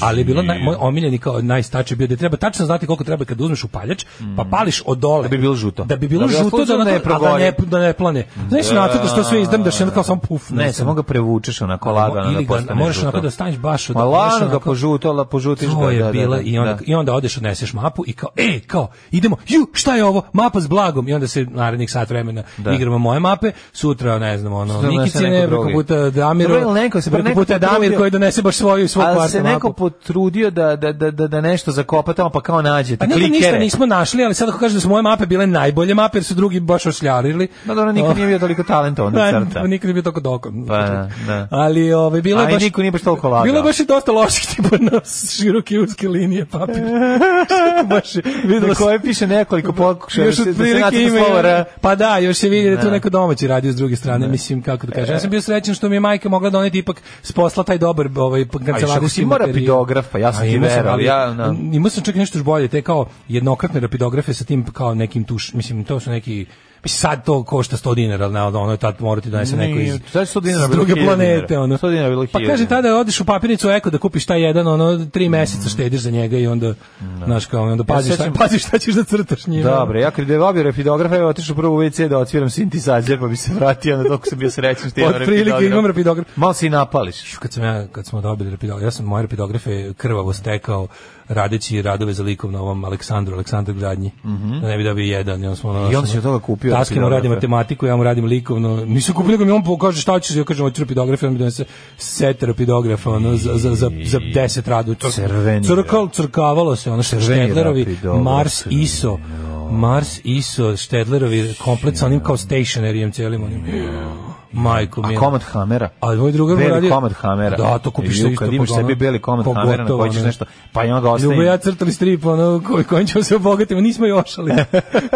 Speaker 6: Ali je bilo naj, moj omiljeni kao najstači bio da treba tačno znati koliko treba kad uzmeš upaljač, pa pališ od dole. Da bi
Speaker 7: bilo žuto.
Speaker 6: Da bi bilo
Speaker 7: Mm. Da bi
Speaker 6: žuto da, na
Speaker 7: apsolutno ne
Speaker 6: to, a da,
Speaker 7: progori.
Speaker 6: ne, da ne plane. Znaš, na to što sve izdrmdaš, da, kao samo puf.
Speaker 7: Ne, samo ga prevučeš onako lagano
Speaker 6: Ili
Speaker 7: da
Speaker 6: ga-
Speaker 7: postane
Speaker 6: moraš
Speaker 7: žuto.
Speaker 6: onako da staneš baš od-
Speaker 7: Ma
Speaker 6: baš
Speaker 7: lagano ga
Speaker 6: onako-
Speaker 7: požuto, la požutiš
Speaker 6: To
Speaker 7: ga,
Speaker 6: je
Speaker 7: da, da,
Speaker 6: bila
Speaker 7: da,
Speaker 6: i onda
Speaker 7: da.
Speaker 6: i onda odeš odneseš mapu i kao ej kao idemo ju šta je ovo mapa s blagom i onda se narednih sat vremena
Speaker 7: Da.
Speaker 6: igramo moje mape sutra ne znam ono
Speaker 7: Sutra donese
Speaker 6: Nikicine
Speaker 7: neko
Speaker 6: preko
Speaker 7: drugi.
Speaker 6: puta Damiru
Speaker 7: Dobro, ili neko se-
Speaker 6: preko
Speaker 7: neko
Speaker 6: puta Damir
Speaker 7: potrudio.
Speaker 6: koji donese baš svoju svog
Speaker 7: Ali
Speaker 6: kvarta
Speaker 7: se
Speaker 6: mapu.
Speaker 7: neko potrudio da, da, da, da, da nešto zakopa tamo, pa kao nađe
Speaker 6: Pa
Speaker 7: te
Speaker 6: nikad ništa
Speaker 7: klikere.
Speaker 6: nismo našli, ali sad ako kažem da su moje mape bile najbolje mape, jer su drugi baš ošljarili.
Speaker 7: Da, dobro, niko
Speaker 6: O,
Speaker 7: nije bio toliko talentovan da
Speaker 6: da,
Speaker 7: crta.
Speaker 6: Niko nije bio tako dokon.
Speaker 7: Pa, da, da.
Speaker 6: Ali ove, bilo je
Speaker 7: A i
Speaker 6: baš...
Speaker 7: niko nije baš toliko lagao.
Speaker 6: Bilo je baš i dosta loših tipa na široke uske linije papira. baš je- videlo
Speaker 7: Na
Speaker 6: se-
Speaker 7: koje piše nekoliko pokušaja da
Speaker 6: još
Speaker 7: se, da se
Speaker 6: otprilike
Speaker 7: nacrta
Speaker 6: ime,
Speaker 7: slovo R.
Speaker 6: Pa da, još se vidi da tu
Speaker 7: Da. E.
Speaker 6: neko domaći radio s druge strane, mislim kako da kažem. Ja sam bio srećan što mi je majka mogla doneti ipak s posla taj dobar ovaj
Speaker 7: A još ako si
Speaker 6: kancelarijski
Speaker 7: imao
Speaker 6: materijal.
Speaker 7: rapidografa, ja sam
Speaker 6: A
Speaker 7: ti
Speaker 6: imao
Speaker 7: verovao,
Speaker 6: ali
Speaker 7: ja, ono- da.
Speaker 6: Imao sam čak i nešto još bolje, te kao jednokratne rapidografe sa tim kao nekim tuš, mislim to su neki Mislim, sad to košta 100 dinara, ali navodno, ono je tad morati donese neko iz,
Speaker 7: Nije, sad je 100 dinara
Speaker 6: s
Speaker 7: bilo
Speaker 6: druge
Speaker 7: 1000
Speaker 6: planete.
Speaker 7: dinara.
Speaker 6: Ono.
Speaker 7: 100 dinara bilo
Speaker 6: Pa
Speaker 7: 1000
Speaker 6: kaže,
Speaker 7: dinara.
Speaker 6: tada odeš u papirnicu Eko da kupiš taj jedan, ono, tri meseca štediš za njega i onda, znaš, kao, onda paziš, šta,
Speaker 7: sećam-
Speaker 6: paziš šta ćeš da crtaš njima.
Speaker 7: Dobro, ja kad je dobio rapidografa, ja otišao prvo u WC da odsviram sintetizađer, pa bi se vratio na dok sam bio srećan što imam
Speaker 6: Od prilike imam rapidograf.
Speaker 7: Malo se i napališ.
Speaker 6: Kad sam ja, kad smo dobili rapidograf, ja sam moje rapidografe krvavo stekao radeći radove za likov na ovom Aleksandru, Aleksandar Gradnji. Da ne bi dobio jedan. I on, smo, ono,
Speaker 7: Mhm. I onda si od toga kupio
Speaker 6: Daske mu radi
Speaker 7: rapidografe.
Speaker 6: matematiku, ja mu radim likovno. Nisam kupio, nego mi on pokaže šta ću, ja kažem, hoću rapidografe, on mi donese set rapidografa, ono, za, za, za, za deset radu. Cr-
Speaker 7: Crveni
Speaker 6: Crkal, crkavalo se, ono,
Speaker 7: Crveni
Speaker 6: Štedlerovi,
Speaker 7: rapidograf,
Speaker 6: Mars, ISO, Mars, ISO, Štedlerovi, komplet sa onim kao stationerijem cijelim onim. Majko mi
Speaker 7: A komad hamera?
Speaker 6: a moj drugar mu
Speaker 7: beli
Speaker 6: radio...
Speaker 7: komad hamera.
Speaker 6: Da, to kupiš
Speaker 7: Ju,
Speaker 6: isto.
Speaker 7: Kad imaš
Speaker 6: pa ono,
Speaker 7: sebi beli komad
Speaker 6: pogotovo,
Speaker 7: hamera na koji ćeš
Speaker 6: ono.
Speaker 7: nešto, pa i onda ga
Speaker 6: Ljubo i
Speaker 7: ostavim.
Speaker 6: ja crtali strip, ono, koji, kojim ćemo se obogatiti, ma nismo još, ali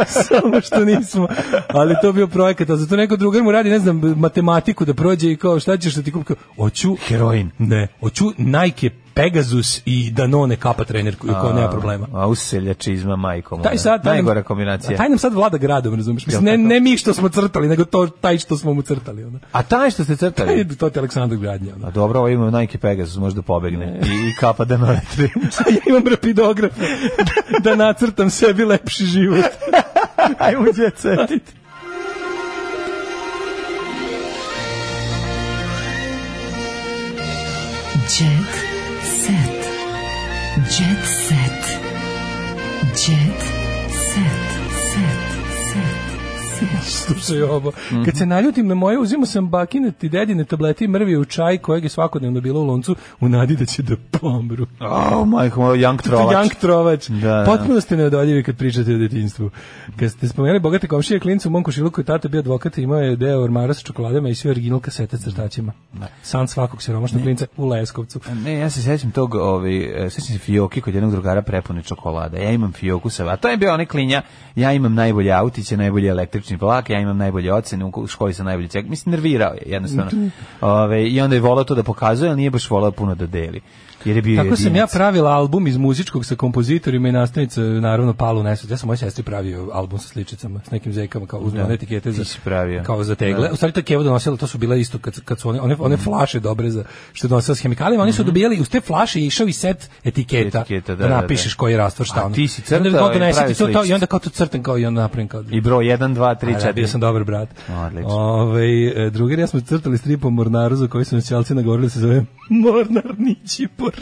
Speaker 6: samo što nismo. Ali to je bio projekat, a zato neko drugar mu radi, ne znam, matematiku da prođe i kao, šta ćeš da ti kupim? Kao, Oću...
Speaker 7: Heroin.
Speaker 6: Ne, oću Nike Pegasus i Danone kapa trener, koji kao nema problema.
Speaker 7: A uselja čizma majkom.
Speaker 6: Taj
Speaker 7: ona.
Speaker 6: sad, taj nam-
Speaker 7: Najgora kombinacija.
Speaker 6: A taj nam sad vlada gradom, razumiješ? Mislim, ne,
Speaker 7: Jel
Speaker 6: ne mi što smo crtali, nego to, taj što smo mu crtali. Ono.
Speaker 7: A taj što ste crtali?
Speaker 6: To ti je Aleksandar Gradnja. Ono.
Speaker 7: A dobro, ovo ima Nike Pegasus, možda pobegne. I, i kapa da noletri.
Speaker 6: A ja imam rapidograf da nacrtam sebi lepši život.
Speaker 7: Ajmo djece.
Speaker 13: Jet set. Jet set. Jet set. Set. Set. Set.
Speaker 6: Slušaj ovo. Kad se naljutim na moje, uzimo sam bakine i dedine tablete i mrvije u čaj kojeg je svakodnevno bilo u loncu u nadi da će da pomru.
Speaker 7: O, majko, moj, Young Trovač.
Speaker 6: Jank Trovač.
Speaker 7: Da, da.
Speaker 6: Potpuno ste neodoljivi kad pričate o detinjstvu. Kad ste spomenuli bogate komšije klincu, u mom košiluku je tata bio advokat i imao je deo ormara sa čokoladama i sve original kasete s crtačima. San svakog siromašnog klinca u Leskovcu.
Speaker 7: Ne, ja se sećam tog, ovaj, e, sećam se fioki kod jednog drugara prepune čokolada. Ja imam fioku sa, a to je bio onaj klinja, ja imam najbolje autiće, najbolji električni vlak, ja imam najbolje ocene, u školi sam najbolji cek. Mislim, nervirao je jednostavno. Ove, I onda je volao to da pokazuje, ali nije baš volao puno da deli. Jer je bio
Speaker 6: Tako sam ja
Speaker 7: jedinac.
Speaker 6: pravila album iz muzičkog sa kompozitorima i nastavnica, naravno, palu nesveć. Ja sam moj sestri pravio album sa sličicama, s nekim zekama, kao uzme
Speaker 7: Da.
Speaker 6: one etikete za,
Speaker 7: Ti si pravio.
Speaker 6: kao za tegle.
Speaker 7: Da.
Speaker 6: U stvari to je Keva donosila, to su bila isto kad, kad su one, one, one flaše dobre za, što je donosila s hemikalijama, oni su dobijali, uz te flaše je išao i set etiketa,
Speaker 7: Mhm. Etiketa, da,
Speaker 6: da,
Speaker 7: da, da.
Speaker 6: napišeš koji je rastvor šta
Speaker 7: A
Speaker 6: ono.
Speaker 7: ti si
Speaker 6: I onda
Speaker 7: crtao
Speaker 6: kao
Speaker 7: i
Speaker 6: donesete
Speaker 7: pravio
Speaker 6: to, to, I
Speaker 7: sličice.
Speaker 6: onda kao to crtam kao i onda napravim kao...
Speaker 7: I broj 1, 2, 3, 4.
Speaker 6: A, da, bio sam dobar brat.
Speaker 7: Odlično.
Speaker 6: Ove, drugar, ja smo crtali strip o Mornaru za koji su nas ćelci nagovorili da se zove Mornar Nićipor.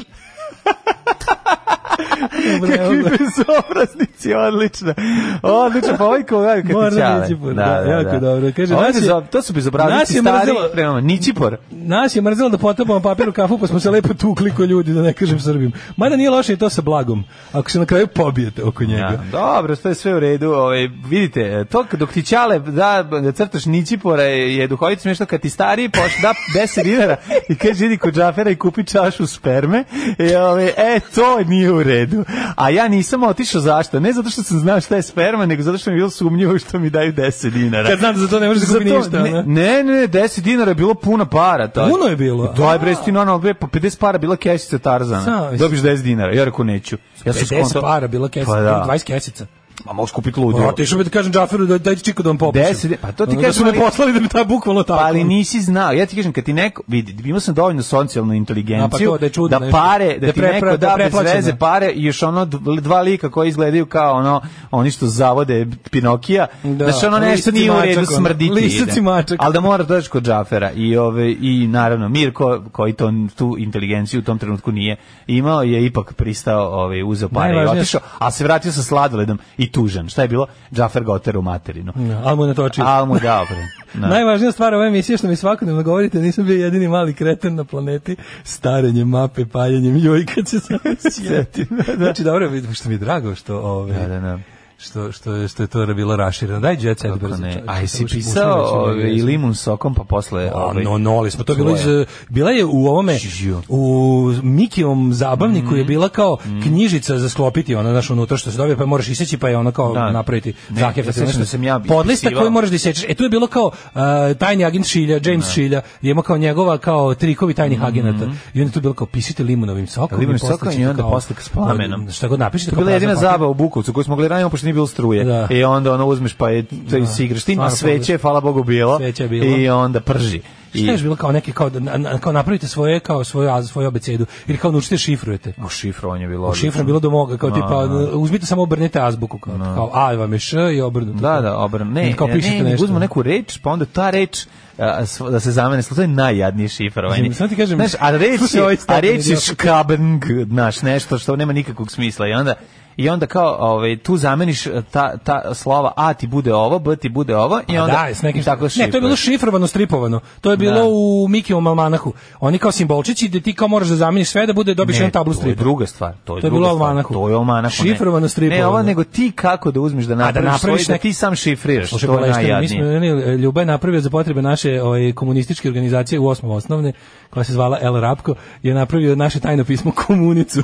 Speaker 6: Dobro, evo
Speaker 7: Kakvi
Speaker 6: ga.
Speaker 7: bezobraznici, odlično. Odlično, pa ovaj koga je
Speaker 6: Moram
Speaker 7: kad ti čale.
Speaker 6: Nićipor, da, jako dobro. Kaže,
Speaker 7: Ovo je
Speaker 6: nas je-
Speaker 7: Ovaj bezo- to su
Speaker 6: nas
Speaker 7: bezobraznici
Speaker 6: je
Speaker 7: stari,
Speaker 6: mrzelo-
Speaker 7: prema Nićipor.
Speaker 6: Nas je mrzelo da potapamo papir u kafu, pa smo se lepo tukli ko ljudi, da ne kažem Srbim. Mada nije loše i to sa blagom, ako se na kraju pobijete oko njega.
Speaker 7: Ja, dobro, to je sve u redu. Ovaj vidite, to kad dok ti čale da da crtaš Nićipora je, je duhovit smešno kad ti stari poš da 10 dinara i kaže idi kod Džafera i kupi čašu sperme. I ovaj e to nije u redu. A ja nisam otišao zašto? Ne zato što sam znao šta je sperma, nego zato što mi je bilo sumnjivo što mi daju 10 dinara.
Speaker 6: Kad znam da za to ne možeš da
Speaker 7: Za
Speaker 6: kupi
Speaker 7: to-
Speaker 6: ništa,
Speaker 7: ne,
Speaker 6: ne?
Speaker 7: ne, ne, 10 dinara je bilo puno para. To.
Speaker 6: Puno je bilo?
Speaker 7: Da, bre, sti normalno, bre, po 50 para bila kešica Tarzana.
Speaker 6: Sam-
Speaker 7: Dobiš 10 dinara. Ja rekao neću. Ja sam
Speaker 6: 50
Speaker 7: skonto-
Speaker 6: para, bila kesica,
Speaker 7: Pa da.
Speaker 6: 20 kesica.
Speaker 7: Ma možeš kupiti ludio.
Speaker 6: Pa, Otišao bi da kažem Džaferu da daj čiko da vam popušim.
Speaker 7: 10, pa to ti
Speaker 6: Ono, Da
Speaker 7: kažem,
Speaker 6: su me
Speaker 7: ali-
Speaker 6: poslali da bi ta bukvalno tako.
Speaker 7: Pa ali nisi znao. Ja ti kažem kad ti neko vidi, imao sam dovoljno socijalnu inteligenciju
Speaker 6: A, pa to da je čudno
Speaker 7: da
Speaker 6: nešto.
Speaker 7: pare, da,
Speaker 6: Da
Speaker 7: ti
Speaker 6: prepra-
Speaker 7: neko
Speaker 6: da
Speaker 7: da, bez
Speaker 6: preplaćeno.
Speaker 7: veze pare i još ono d- dva lika koji izgledaju kao ono oni što zavode Pinokija, da,
Speaker 6: Da,
Speaker 7: ono nešto
Speaker 6: lisac i
Speaker 7: nije u
Speaker 6: mačak,
Speaker 7: redu
Speaker 6: ono.
Speaker 7: smrditi.
Speaker 6: Lisac
Speaker 7: ide.
Speaker 6: i mačak.
Speaker 7: Ali da mora doći kod Džafera i ove i naravno Mirko koji to tu inteligenciju u tom trenutku nije imao je ipak pristao, ovaj uzeo pare i
Speaker 6: Najvažnije-
Speaker 7: otišao, a se vratio sa sladoledom i tužan. Šta je bilo? Džafer ga oterao u materinu.
Speaker 6: Ja, ali mu je natočio.
Speaker 7: Al mu je dao, bre. Da.
Speaker 6: Najvažnija stvar ove emisije što mi svakodnevno govorite, nisam bio jedini mali kreten na planeti starenjem mape, paljenjem joj kad se sam sjetim. Znači dobro, vidim što mi je drago što ove
Speaker 7: Da, da, da.
Speaker 6: Što, što, je- što je to bilo rašireno. Daj Jet Set
Speaker 7: Kako
Speaker 6: brzo.
Speaker 7: ne?
Speaker 6: čak-
Speaker 7: A jesi
Speaker 6: čak-
Speaker 7: pisao ovaj,
Speaker 6: čak-
Speaker 7: ove, i limun sokom pa posle...
Speaker 6: A,
Speaker 7: ove,
Speaker 6: no, no, ali smo to bilo iz, e,
Speaker 7: tvoje?
Speaker 6: bila je u ovome
Speaker 7: Žiju.
Speaker 6: u Mikijevom zabavniku
Speaker 7: Mhm.
Speaker 6: je bila kao knjižica za sklopiti ona naš unutra što se dobije pa moraš iseći pa je ona kao
Speaker 7: Da.
Speaker 6: napraviti
Speaker 7: Ne,
Speaker 6: zahtjev za to
Speaker 7: ja sećam
Speaker 6: nešto.
Speaker 7: da sam ja
Speaker 6: podlista
Speaker 7: ispisivao.
Speaker 6: koju moraš da isečeš e tu je bilo kao uh, tajni agent Šilja James Šilja je imao kao njegova kao trikovi tajnih agenata i onda je tu bilo kao pisite limunovim sokom
Speaker 7: Limunovim
Speaker 6: i posle
Speaker 7: Mhm. sokom i
Speaker 6: ćete
Speaker 7: onda
Speaker 6: kao- Pa,
Speaker 7: posle s plamenom.
Speaker 6: šta god napišete
Speaker 7: To je
Speaker 6: kao
Speaker 7: bila jedina
Speaker 6: prazan papir.
Speaker 7: zabava u Bukovcu koju smo mogli ranije, pošto nije bilo struje.
Speaker 6: pa- Da.
Speaker 7: I onda ono uzmeš pa je, da. si igraš. Ti ima
Speaker 6: Stvarno
Speaker 7: sveće, hvala Bogu bilo.
Speaker 6: Sveće je bilo.
Speaker 7: I onda prži. I,
Speaker 6: Šta je još bilo kao neki kao, da- na- na- kao napravite svoje kao svoju a- svoju abecedu ili kao naučite šifrujete.
Speaker 7: U šifrovanje je bilo.
Speaker 6: U
Speaker 7: odlično.
Speaker 6: šifrom bilo do moga, kao
Speaker 7: Da,
Speaker 6: tipa,
Speaker 7: da.
Speaker 6: uzmite samo obrnite azbuku, kao, kao A vam je Š i obrnuto.
Speaker 7: Da, da, obrn. Ne,
Speaker 6: I kao
Speaker 7: ne,
Speaker 6: pišete
Speaker 7: ne,
Speaker 6: nešto.
Speaker 7: uzmu neku reč, pa onda ta reč a, s- da se zamene, slu- to je najjadnije šifrovanje.
Speaker 6: Mislim, sad ti kažem-
Speaker 7: ovaj, znaš, a reč
Speaker 6: Slušaj,
Speaker 7: je,
Speaker 6: ovaj
Speaker 7: a
Speaker 6: stepeni
Speaker 7: reč je
Speaker 6: dio.
Speaker 7: škabeng, znaš, nešto što nema nikakvog smisla i onda i onda kao ovaj tu zameniš ta, ta slova A ti bude ovo, B ti bude ovo i
Speaker 6: A
Speaker 7: onda
Speaker 6: da, Pa s nekim
Speaker 7: i tako
Speaker 6: Ne, to je bilo
Speaker 7: šifruješ.
Speaker 6: šifrovano, stripovano. To je bilo
Speaker 7: Da.
Speaker 6: u Mikijevom almanahu. Oni kao simbolčići gde ti kao moraš da zameniš sve da bude dobiješ
Speaker 7: Ne,
Speaker 6: jedan tablu
Speaker 7: to je
Speaker 6: stripa.
Speaker 7: druga stvar. To je,
Speaker 6: To je
Speaker 7: druga
Speaker 6: bilo u
Speaker 7: stvar.
Speaker 6: almanahu.
Speaker 7: To je u almanahu. ne.
Speaker 6: Šifrovano, stripovano.
Speaker 7: Ne, ovo nego ti kako da uzmeš da napraviš,
Speaker 6: napraviš
Speaker 7: svoj, da
Speaker 6: neki-
Speaker 7: ti sam šifriraš.
Speaker 6: Slušaj,
Speaker 7: to je
Speaker 6: Baleštan, mi smo,
Speaker 7: najjadnije.
Speaker 6: ne, Ljuba je napravio za potrebe naše ovaj, komunističke organizacije u osmom osnovne, koja se zvala El Rapko, je napravio naše tajno pismo Komunicu.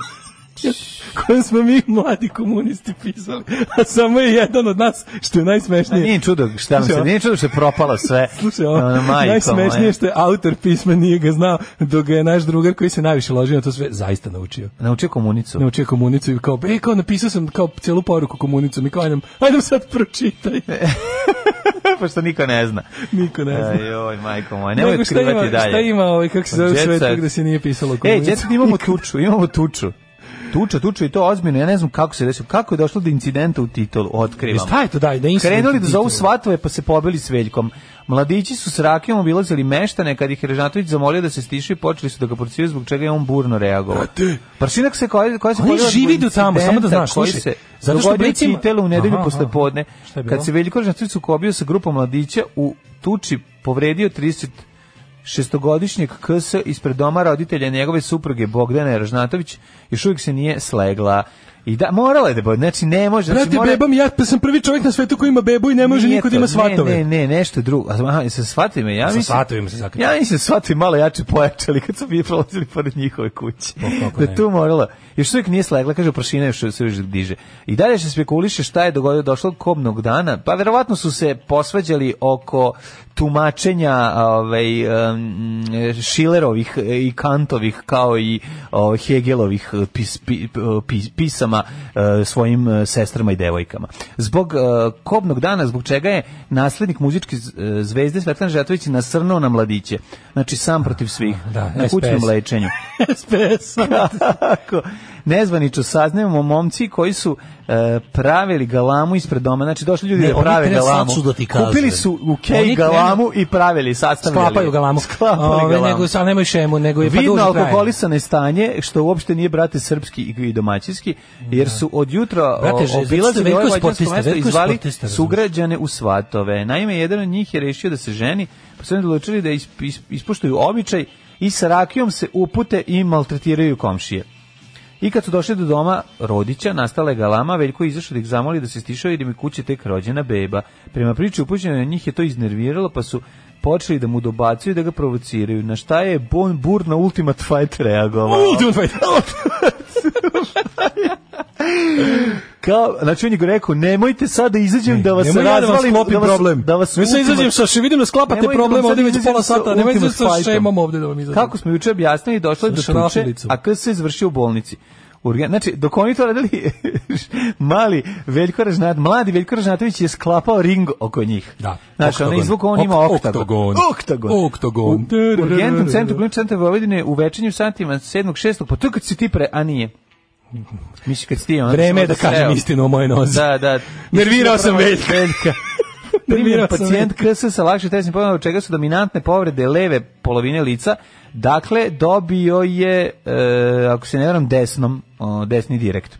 Speaker 6: kojem smo mi mladi komunisti pisali, a samo je jedan od nas, što je
Speaker 7: A
Speaker 6: najsmešnije.
Speaker 7: Pa Nije čudo šta nam se,
Speaker 6: Slušaj,
Speaker 7: nije čudo što je propalo sve.
Speaker 6: Slušaj, ovo,
Speaker 7: Ono, majko moja.
Speaker 6: najsmešnije što je autor pisma nije ga znao, dok ga je naš drugar koji se najviše ložio na to sve zaista naučio.
Speaker 7: Naučio komunicu.
Speaker 6: Naučio je komunicu i kao, e, kao napisao sam kao celu poruku komunicu, i kao, ajdem, ajdem sad pročitaj.
Speaker 7: Pošto niko ne zna.
Speaker 6: Niko ne zna.
Speaker 7: Joj, majko moja, Pa nemoj
Speaker 6: Nego šta
Speaker 7: otkrivati
Speaker 6: ima-
Speaker 7: dalje.
Speaker 6: Šta ima, ovaj, kako se zove
Speaker 7: Jet
Speaker 6: svet,
Speaker 7: Set.
Speaker 6: gde se nije pisalo
Speaker 7: Ej,
Speaker 6: komunicu?
Speaker 7: djeca, imamo tuču, imamo tuču. tuča, tuča i to ozbiljno. Ja ne znam kako se desilo. Kako je došlo do incidenta u titolu? Otkrivam.
Speaker 6: E, šta je to, da, da incident
Speaker 7: Krenuli
Speaker 6: u
Speaker 7: da
Speaker 6: titolu?
Speaker 7: zovu svatove pa se pobili s veljkom. Mladići su s rakijom obilazili meštane kad ih je Režnatović zamolio da se stišu i počeli su da ga prociju zbog čega je on burno reagovao. Pršinak se koja, koja se
Speaker 6: Oni
Speaker 7: pojavila zbog
Speaker 6: živi idu tamo, samo da
Speaker 7: incidenta
Speaker 6: znaš,
Speaker 7: koji
Speaker 6: slušaj,
Speaker 7: se
Speaker 6: zato što
Speaker 7: dogodio u
Speaker 6: Britcima-
Speaker 7: Titelu u nedelju
Speaker 6: Aha,
Speaker 7: posle
Speaker 6: aha.
Speaker 7: podne,
Speaker 6: Šta je bilo?
Speaker 7: kad se Veljko Režnatović sukobio sa grupom mladića u tuči povredio 30 šestogodišnjeg KS ispred doma roditelja njegove supruge Bogdana Ražnatović još uvijek se nije slegla. I da, morala je da bude, znači ne može. Znači,
Speaker 6: Brate,
Speaker 7: mora-
Speaker 6: bebam, ja pa sam prvi čovjek na svetu koji ima bebu i ne može
Speaker 7: Nije
Speaker 6: niko da
Speaker 7: to,
Speaker 6: ima
Speaker 7: ne,
Speaker 6: svatove.
Speaker 7: Ne, ne, nešto drugo. Aha, se shvatim, ja
Speaker 6: Sa
Speaker 7: mislim.
Speaker 6: svatovima se sakrio.
Speaker 7: Ja mislim, shvatim malo jače pojačali kad su mi prolazili pored njihove kuće.
Speaker 6: Pa kako
Speaker 7: da
Speaker 6: ne.
Speaker 7: tu morala. Još uvijek nije slegla, kaže, pršina još se još diže. I dalje se spekuliše šta je dogodilo došlo kobnog dana. Pa verovatno su se posvađali oko tumačenja ovaj, um, Šilerovih i Kantovih kao i o, Hegelovih e, pis, pi- pis- pisama e, svojim e, sestrama i devojkama. Zbog e, kobnog dana, zbog čega je naslednik muzičke z- e, zvezde Svetlana Žatović nasrnuo na mladiće. Znači sam protiv svih.
Speaker 6: Da,
Speaker 7: na
Speaker 6: SPS.
Speaker 7: kućnom lečenju.
Speaker 6: SPS.
Speaker 7: Kako? Nezvanično saznajemo momci koji su e, pravili galamu ispred doma. Znači došli ljudi
Speaker 14: Ne,
Speaker 7: da
Speaker 14: oni
Speaker 7: prave
Speaker 14: krenu- sad
Speaker 7: galamu.
Speaker 14: ću da ti kažem.
Speaker 7: Kupili su u
Speaker 14: Oni
Speaker 7: kej
Speaker 14: krenu-
Speaker 7: galamu i pravili, sastavljali.
Speaker 6: Sklapaju galamu.
Speaker 7: Sklapali
Speaker 6: Ove,
Speaker 7: galamu.
Speaker 6: Nego, sad nemoj šemu, nego je pa
Speaker 7: Vidno
Speaker 6: duže traje.
Speaker 7: alkoholisane stanje, što uopšte nije, brate, srpski i domaćinski, jer su od jutra
Speaker 6: Brate, že- zato što je
Speaker 7: obilazili ovaj
Speaker 6: veliko
Speaker 7: ovo vađansko
Speaker 6: sportista,
Speaker 7: mesto i
Speaker 6: veliko
Speaker 7: zvali
Speaker 6: sportista, razumeš.
Speaker 7: sugrađane u svatove. Naime, jedan od njih je rešio da se ženi, pa su oni odlučili da isp- isp- ispoštuju običaj i sa rakijom se upute i maltretiraju komšije. I kad su došli do doma rodića, nastala je galama, Veljko je izašao da ih zamoli da se stišao jer im je kuće tek rođena beba. Prema priči upućenoj na njih je to iznerviralo, pa su počeli da mu dobacuju i da ga provociraju. Na šta je Bon Bur na Ultimate Fight reagovao?
Speaker 6: Ultimate fight.
Speaker 7: Kao, znači on je go rekao, nemojte sad da izađem da vas
Speaker 6: Nemoj ja da vas
Speaker 7: razvalim.
Speaker 6: sklopim
Speaker 7: vas-
Speaker 6: problem.
Speaker 7: Da vas
Speaker 6: Mislim,
Speaker 7: Ultimate-
Speaker 6: izađem sa še- vidim da sklapate
Speaker 7: Nemojte
Speaker 6: problem
Speaker 7: vam sad
Speaker 6: ovdje već
Speaker 7: izađem
Speaker 6: pola
Speaker 7: sa
Speaker 6: sata, nemojte
Speaker 7: Ultimate
Speaker 6: sa
Speaker 7: Fightom.
Speaker 6: šemom ovdje da vam izađem.
Speaker 7: Kako smo juče objasnili, došlo je do
Speaker 6: Sa
Speaker 7: tuče,
Speaker 6: šrafilicom.
Speaker 7: a KS se završio u bolnici. Urgen, znači, dok oni to radili, mali Veljko Ražnat, mladi Veljko Ražnatović je sklapao ring oko njih. Da. Znači,
Speaker 6: oktagon.
Speaker 7: onaj izvuk, on ima
Speaker 6: Okt-
Speaker 7: oktagon.
Speaker 6: oktagon.
Speaker 7: Oktagon.
Speaker 6: Oktagon.
Speaker 7: U- U urgentnom centru, klinički centar Vojvodine u večernjim satima 7. 6. Pa to je kad si ti pre, a nije. Mislim, kad si ti, onda
Speaker 6: Vreme je
Speaker 7: onda
Speaker 6: da
Speaker 7: si
Speaker 6: kažem
Speaker 7: sreo.
Speaker 6: istinu o mojoj nozi.
Speaker 7: Da, da.
Speaker 6: Nervirao sam
Speaker 7: Prvo-
Speaker 6: Veljka.
Speaker 7: Primjer
Speaker 6: Nervirao sam
Speaker 7: pacijent KS sa lakše tesnim pojavama od čega su dominantne povrede leve polovine lica. Dakle, dobio je, e, ako se ne varam, desnom, o, desni direkt.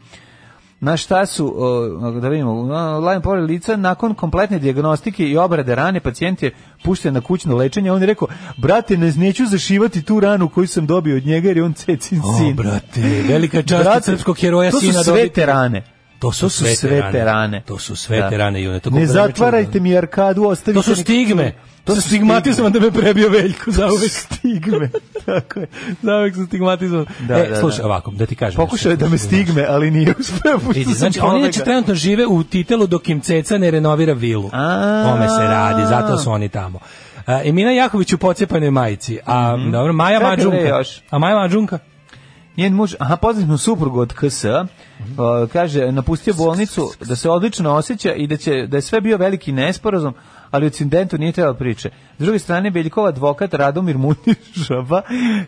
Speaker 7: Na šta su, o, da vidimo, na- lajn povrede lica, nakon kompletne dijagnostike i obrade rane, pacijent je pušten na kućno lečenje. On je rekao, brate, ne neću zašivati tu ranu koju sam dobio od njega, jer je on cecin
Speaker 6: O,
Speaker 7: sin.
Speaker 6: brate, velika čast od srpskog heroja
Speaker 7: to
Speaker 6: sina
Speaker 7: su sve
Speaker 6: dobiti.
Speaker 7: terane.
Speaker 6: To su sve terane.
Speaker 7: To su
Speaker 6: sve terane, June, to
Speaker 7: Ne
Speaker 6: kako
Speaker 7: zatvarajte mi arkadu, ostavite
Speaker 6: To su
Speaker 7: mi-
Speaker 6: stigme. To
Speaker 7: To su
Speaker 6: su
Speaker 7: stigme.
Speaker 6: stigmatizovan da me prebio Veljko za
Speaker 7: To su
Speaker 6: uvek.
Speaker 7: stigme. Tako je.
Speaker 6: Zauvek sam stigmatizovan.
Speaker 7: Da,
Speaker 6: e,
Speaker 7: da,
Speaker 6: slušaj,
Speaker 7: da.
Speaker 6: ovako, da ti kažem.
Speaker 7: Pokušao je
Speaker 6: nešto.
Speaker 7: da me stigne, ali nije uspeo. pošto
Speaker 6: znači? Vidi,
Speaker 7: sam
Speaker 6: znači,
Speaker 7: pobegao.
Speaker 6: oni inače trenutno žive u titelu dok im ceca ne renovira vilu. Tome se radi, zato su oni tamo. A, Emina Jaković u pocepanoj majici, a dobro, Maja
Speaker 7: Mhm. Čekaj, bre,
Speaker 6: Mađunka.
Speaker 7: još.
Speaker 6: A Maja Mađunka?
Speaker 7: Njen muž, aha, poznali smo suprugu od KS, uh, kaže, napustio bolnicu, da se odlično osjeća i da, će, da je sve bio veliki nesporazum, ali o incidentu nije trebalo priče. S druge strane, Beljikov advokat Radomir Munišaba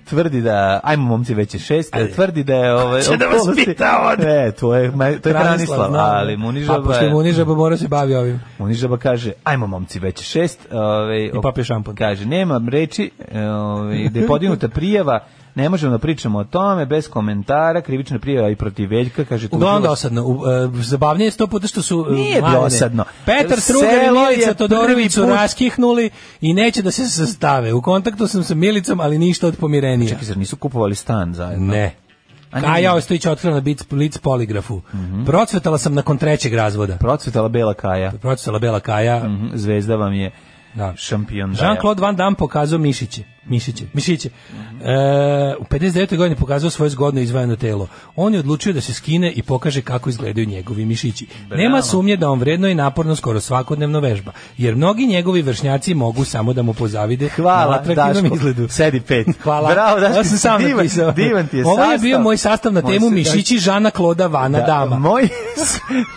Speaker 7: tvrdi da, ajmo momci već je šest, tvrdi da je... Ovaj,
Speaker 6: Pa Će da vas
Speaker 7: okolnosti-
Speaker 6: pita on.
Speaker 7: Ne, to je, ma- to je Branislav,
Speaker 6: znam.
Speaker 7: ali Munižaba...
Speaker 6: Pa, pošto je Munižaba mora se bavi ovim.
Speaker 7: Munižaba kaže, ajmo momci, već je šest. Ove, I
Speaker 6: papir
Speaker 7: šampon. Kaže, nema reči, ove, da je podignuta prijava, ne možemo da pričamo o tome, bez komentara, krivična prijava i protiv Veljka, kaže tu.
Speaker 6: Uglavnom dosadno. U, e, zabavnije je sto puta što su... e,
Speaker 7: Nije
Speaker 6: mlade.
Speaker 7: dosadno.
Speaker 6: Petar Strugar i
Speaker 7: Selo je
Speaker 6: Milica Todorović su
Speaker 7: prvi put-
Speaker 6: raskihnuli i neće da se sastave. U kontaktu sam sa Milicom, ali ništa od pomirenija.
Speaker 7: Čekaj, zar nisu kupovali stan zajedno?
Speaker 6: Ne.
Speaker 7: A
Speaker 6: Kaja
Speaker 7: nije. Mhm.
Speaker 6: Ostojić otkrila na bic, lic poligrafu. Procvetala sam nakon trećeg razvoda.
Speaker 7: Procvetala Bela Kaja.
Speaker 6: Procvetala Bela Kaja.
Speaker 7: Mhm, Zvezda vam je
Speaker 6: Da.
Speaker 7: šampion. daja.
Speaker 6: Jean-Claude Van Damme pokazao mišiće. Mišiće. Mišiće.
Speaker 7: Mhm.
Speaker 6: E, u 59. godini pokazao svoje zgodno izvajeno telo. On je odlučio da se skine i pokaže kako izgledaju njegovi mišići. Nema sumnje da on vredno i naporno skoro svakodnevno vežba, jer mnogi njegovi vršnjaci mogu samo da mu pozavide
Speaker 7: Hvala,
Speaker 6: na atraktivnom
Speaker 7: Daško.
Speaker 6: izgledu.
Speaker 7: Sedi pet.
Speaker 6: Hvala.
Speaker 7: Bravo, Daško,
Speaker 6: Ja sam sam
Speaker 7: divan-
Speaker 6: napisao.
Speaker 7: divan ti je
Speaker 6: Ovo je
Speaker 7: sastav.
Speaker 6: bio moj sastav na
Speaker 7: Moj
Speaker 6: temu
Speaker 7: se-
Speaker 6: mišići Žana Kloda Vana
Speaker 7: Da,
Speaker 6: Dama.
Speaker 7: Moj,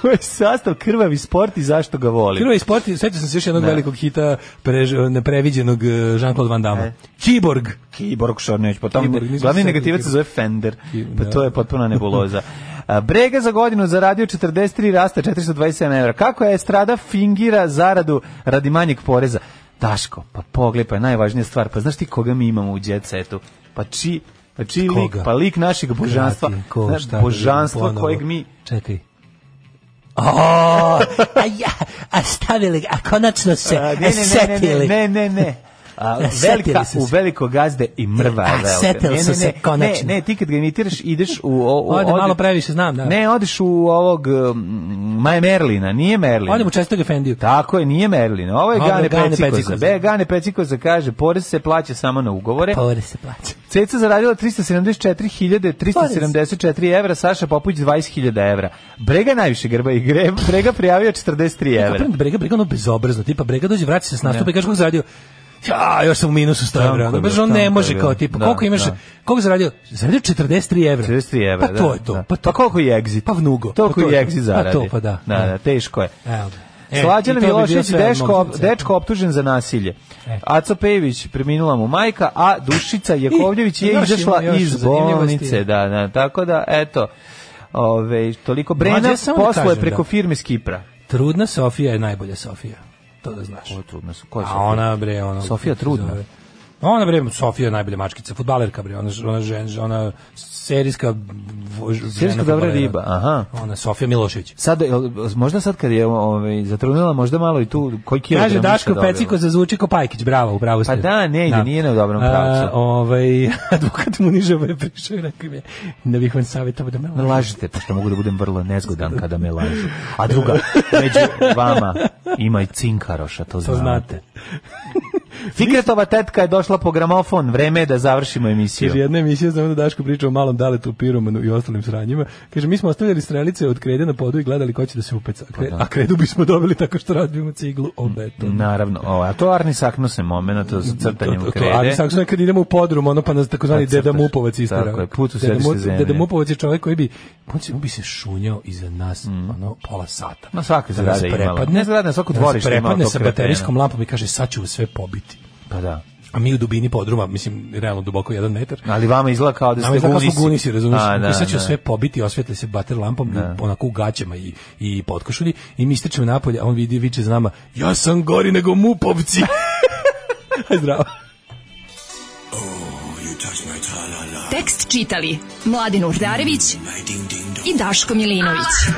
Speaker 7: moj sastav krvavi sport i zašto ga volim.
Speaker 6: Krvavi sport, sećam se još jednog
Speaker 7: Da.
Speaker 6: velikog hita prež, nepreviđenog eh, e, Jean-Claude Van Damme. Kiborg.
Speaker 7: E. Kiborg Šornjeć, pa tamo
Speaker 6: Kiborg, nismo
Speaker 7: glavni
Speaker 6: se
Speaker 7: negativac se
Speaker 6: setili.
Speaker 7: zove Fender,
Speaker 6: Ki-
Speaker 7: pa
Speaker 6: da.
Speaker 7: to je potpuna nebuloza. A, Brega za godinu zaradio 43 rasta 427 evra. Kako je Estrada fingira zaradu radi manjeg poreza? Daško, pa pogledaj, pa je najvažnija stvar. Pa znaš ti koga mi imamo u jet setu? Pa či, pa či lik,
Speaker 6: Koga?
Speaker 7: pa lik našeg božanstva.
Speaker 6: Krati, ko,
Speaker 7: Znaš,
Speaker 6: šta,
Speaker 7: božanstva
Speaker 6: ponovo.
Speaker 7: kojeg mi...
Speaker 6: Čekaj. O, a ja, a stavili, a konačno se
Speaker 7: A, ne, ne, ne, ne, ne, ne, ne. A, velika,
Speaker 6: Setili su se.
Speaker 7: u veliko gazde i mrva je
Speaker 6: A,
Speaker 7: velika.
Speaker 6: setili
Speaker 7: Ne, ne,
Speaker 6: su se
Speaker 7: ne,
Speaker 6: konačno.
Speaker 7: Ne, ne, ti kad ga imitiraš, ideš u... O, u
Speaker 6: Ode
Speaker 7: ode-
Speaker 6: malo previše, znam, da.
Speaker 7: Ne, odeš u ovog mm, Maja Merlina, nije Merlina.
Speaker 6: Odem u čestog Efendiju.
Speaker 7: Tako je, nije Merlin. Ovo je
Speaker 6: Ovo je
Speaker 7: Gane,
Speaker 6: Gane
Speaker 7: Pecikoza.
Speaker 6: Pecikoza.
Speaker 7: Be, Gane Pecikoza kaže, porez se plaća samo na ugovore.
Speaker 6: Porez se plaća.
Speaker 7: Ceca zaradila 374.374 evra, Saša Popuć 20.000 evra. Brega najviše grba i gre, Brega prijavio 43 evra.
Speaker 6: Napravim brega, brega ono bezobrazno, tipa brega dođe, vraća se s nastupa
Speaker 7: Ne.
Speaker 6: i kaže kako zaradio, ja, još sam u minusu 100
Speaker 7: Tanko
Speaker 6: evra,
Speaker 7: je
Speaker 6: ono,
Speaker 7: bio,
Speaker 6: baš on
Speaker 7: tanko je
Speaker 6: ne može
Speaker 7: bio.
Speaker 6: kao tipa,
Speaker 7: Da,
Speaker 6: koliko imaš,
Speaker 7: da.
Speaker 6: koliko zaradio, zaradio 43 evra,
Speaker 7: 43 evra,
Speaker 6: pa to
Speaker 7: da,
Speaker 6: je to,
Speaker 7: da.
Speaker 6: pa to,
Speaker 7: Pa koliko je exit?
Speaker 6: pa vnugo,
Speaker 7: Toliko
Speaker 6: pa to
Speaker 7: i
Speaker 6: je
Speaker 7: exit
Speaker 6: to.
Speaker 7: zaradi.
Speaker 6: Pa to, pa da.
Speaker 7: Da, da, teško je.
Speaker 6: Evo ga. E,
Speaker 7: Slađana
Speaker 6: i to bi bio
Speaker 7: Milošević,
Speaker 6: sve
Speaker 7: dečko,
Speaker 6: mog
Speaker 7: op-
Speaker 6: srca.
Speaker 7: dečko optužen za nasilje.
Speaker 6: E.
Speaker 7: Aco Pejević, preminula mu majka, a Dušica Jakovljević je
Speaker 6: još
Speaker 7: izašla
Speaker 6: imamo još
Speaker 7: iz
Speaker 6: zanimljivosti.
Speaker 7: bolnice. Da, da, tako da, eto, ove, toliko.
Speaker 6: Mlađe,
Speaker 7: Brena
Speaker 6: ja samo da
Speaker 7: posluje
Speaker 6: kažem,
Speaker 7: preko
Speaker 6: da.
Speaker 7: firme s Kipra.
Speaker 6: Trudna Sofija je najbolja Sofija. To da znaš.
Speaker 7: Ko trudna su? Ko je
Speaker 6: A
Speaker 7: Sofija?
Speaker 6: Pa ona bre, ona
Speaker 7: Sofija trudna?
Speaker 6: Zove. Ona bre, Sofija je najbolja mačkica, fudbalerka bre, ona ona žen, ona serijska vo- žena
Speaker 7: Serijska dobra
Speaker 6: fudbalera.
Speaker 7: riba, aha.
Speaker 6: Ona Sofija Milošević.
Speaker 7: Sad, jel, možda sad kad je ovaj, zatrudnila, možda malo i tu, koji kilogram
Speaker 6: Kaže
Speaker 7: više
Speaker 6: Daško
Speaker 7: dobila?
Speaker 6: Peciko zazvuči ko Pajkić, bravo, bravo ste.
Speaker 7: Pa da, ne ide, nije na dobrom
Speaker 6: A,
Speaker 7: pravcu.
Speaker 6: ovaj, advokat mu nižava je prišao i rekao mi je, da bih vam savjetovao da me
Speaker 7: Ne
Speaker 6: lažete.
Speaker 7: lažite, pošto mogu da budem vrlo nezgodan kada me lažu. A druga, među vama ima i cinkaroša, to
Speaker 6: To
Speaker 7: znate.
Speaker 6: znate.
Speaker 7: Fikretova tetka je došla po gramofon, vreme je da završimo
Speaker 6: Kaže,
Speaker 7: emisiju.
Speaker 6: jedna emisija znamo da Daško priča o malom daletu, piromanu i ostalim sranjima. Kaže, mi smo ostavljali strelice od krede na podu i gledali ko će da se upeca. A, kre-
Speaker 7: Pa
Speaker 6: a kredu bismo dobili tako što razbijemo ciglu o beton.
Speaker 7: Naravno, o, a to Arni Sakno se momena, to sa crtanjem
Speaker 6: To- to- to-
Speaker 7: krede.
Speaker 6: Ali sad kad idemo u podrum, ono pa nas takozvani
Speaker 7: Pa crtaš.
Speaker 6: Deda Mupovac istera.
Speaker 7: Tako je, put u
Speaker 6: Deda
Speaker 7: središte
Speaker 6: Mu-
Speaker 7: zemlje.
Speaker 6: Deda Mupovac je čovjek koji bi, on, se- on bi se šunjao iza nas
Speaker 7: Mm.
Speaker 6: ono, pola sata.
Speaker 7: Na svake
Speaker 6: Da nas
Speaker 7: zgrade imala.
Speaker 6: prepadne.
Speaker 7: Ne zgrade, na svako
Speaker 6: Da nas
Speaker 7: dvorište imala
Speaker 6: Prepadne
Speaker 7: tog
Speaker 6: sa
Speaker 7: kretena.
Speaker 6: baterijskom lampom i kaže, sad ću vas sve pobiti.
Speaker 7: Pa da.
Speaker 6: A mi u dubini podruma, mislim, realno duboko jedan metar,
Speaker 7: Ali vama izgleda kao da ste
Speaker 6: Nama je
Speaker 7: gunisi.
Speaker 6: tako smo gunisi, razumiješ?
Speaker 7: A, da,
Speaker 6: I sad ću
Speaker 7: da.
Speaker 6: sve pobiti, osvetli se bater lampom, i onako u gaćama i, i potkošulji, i mi istrčemo napolje, a on vidi, viče za nama, ja sam gori nego mupovci. Aj, Zdravo.
Speaker 13: Tekst čitali Mladin Urdarević i Daško Milinović.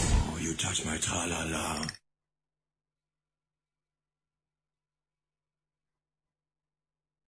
Speaker 1: You touch my tra-la-la.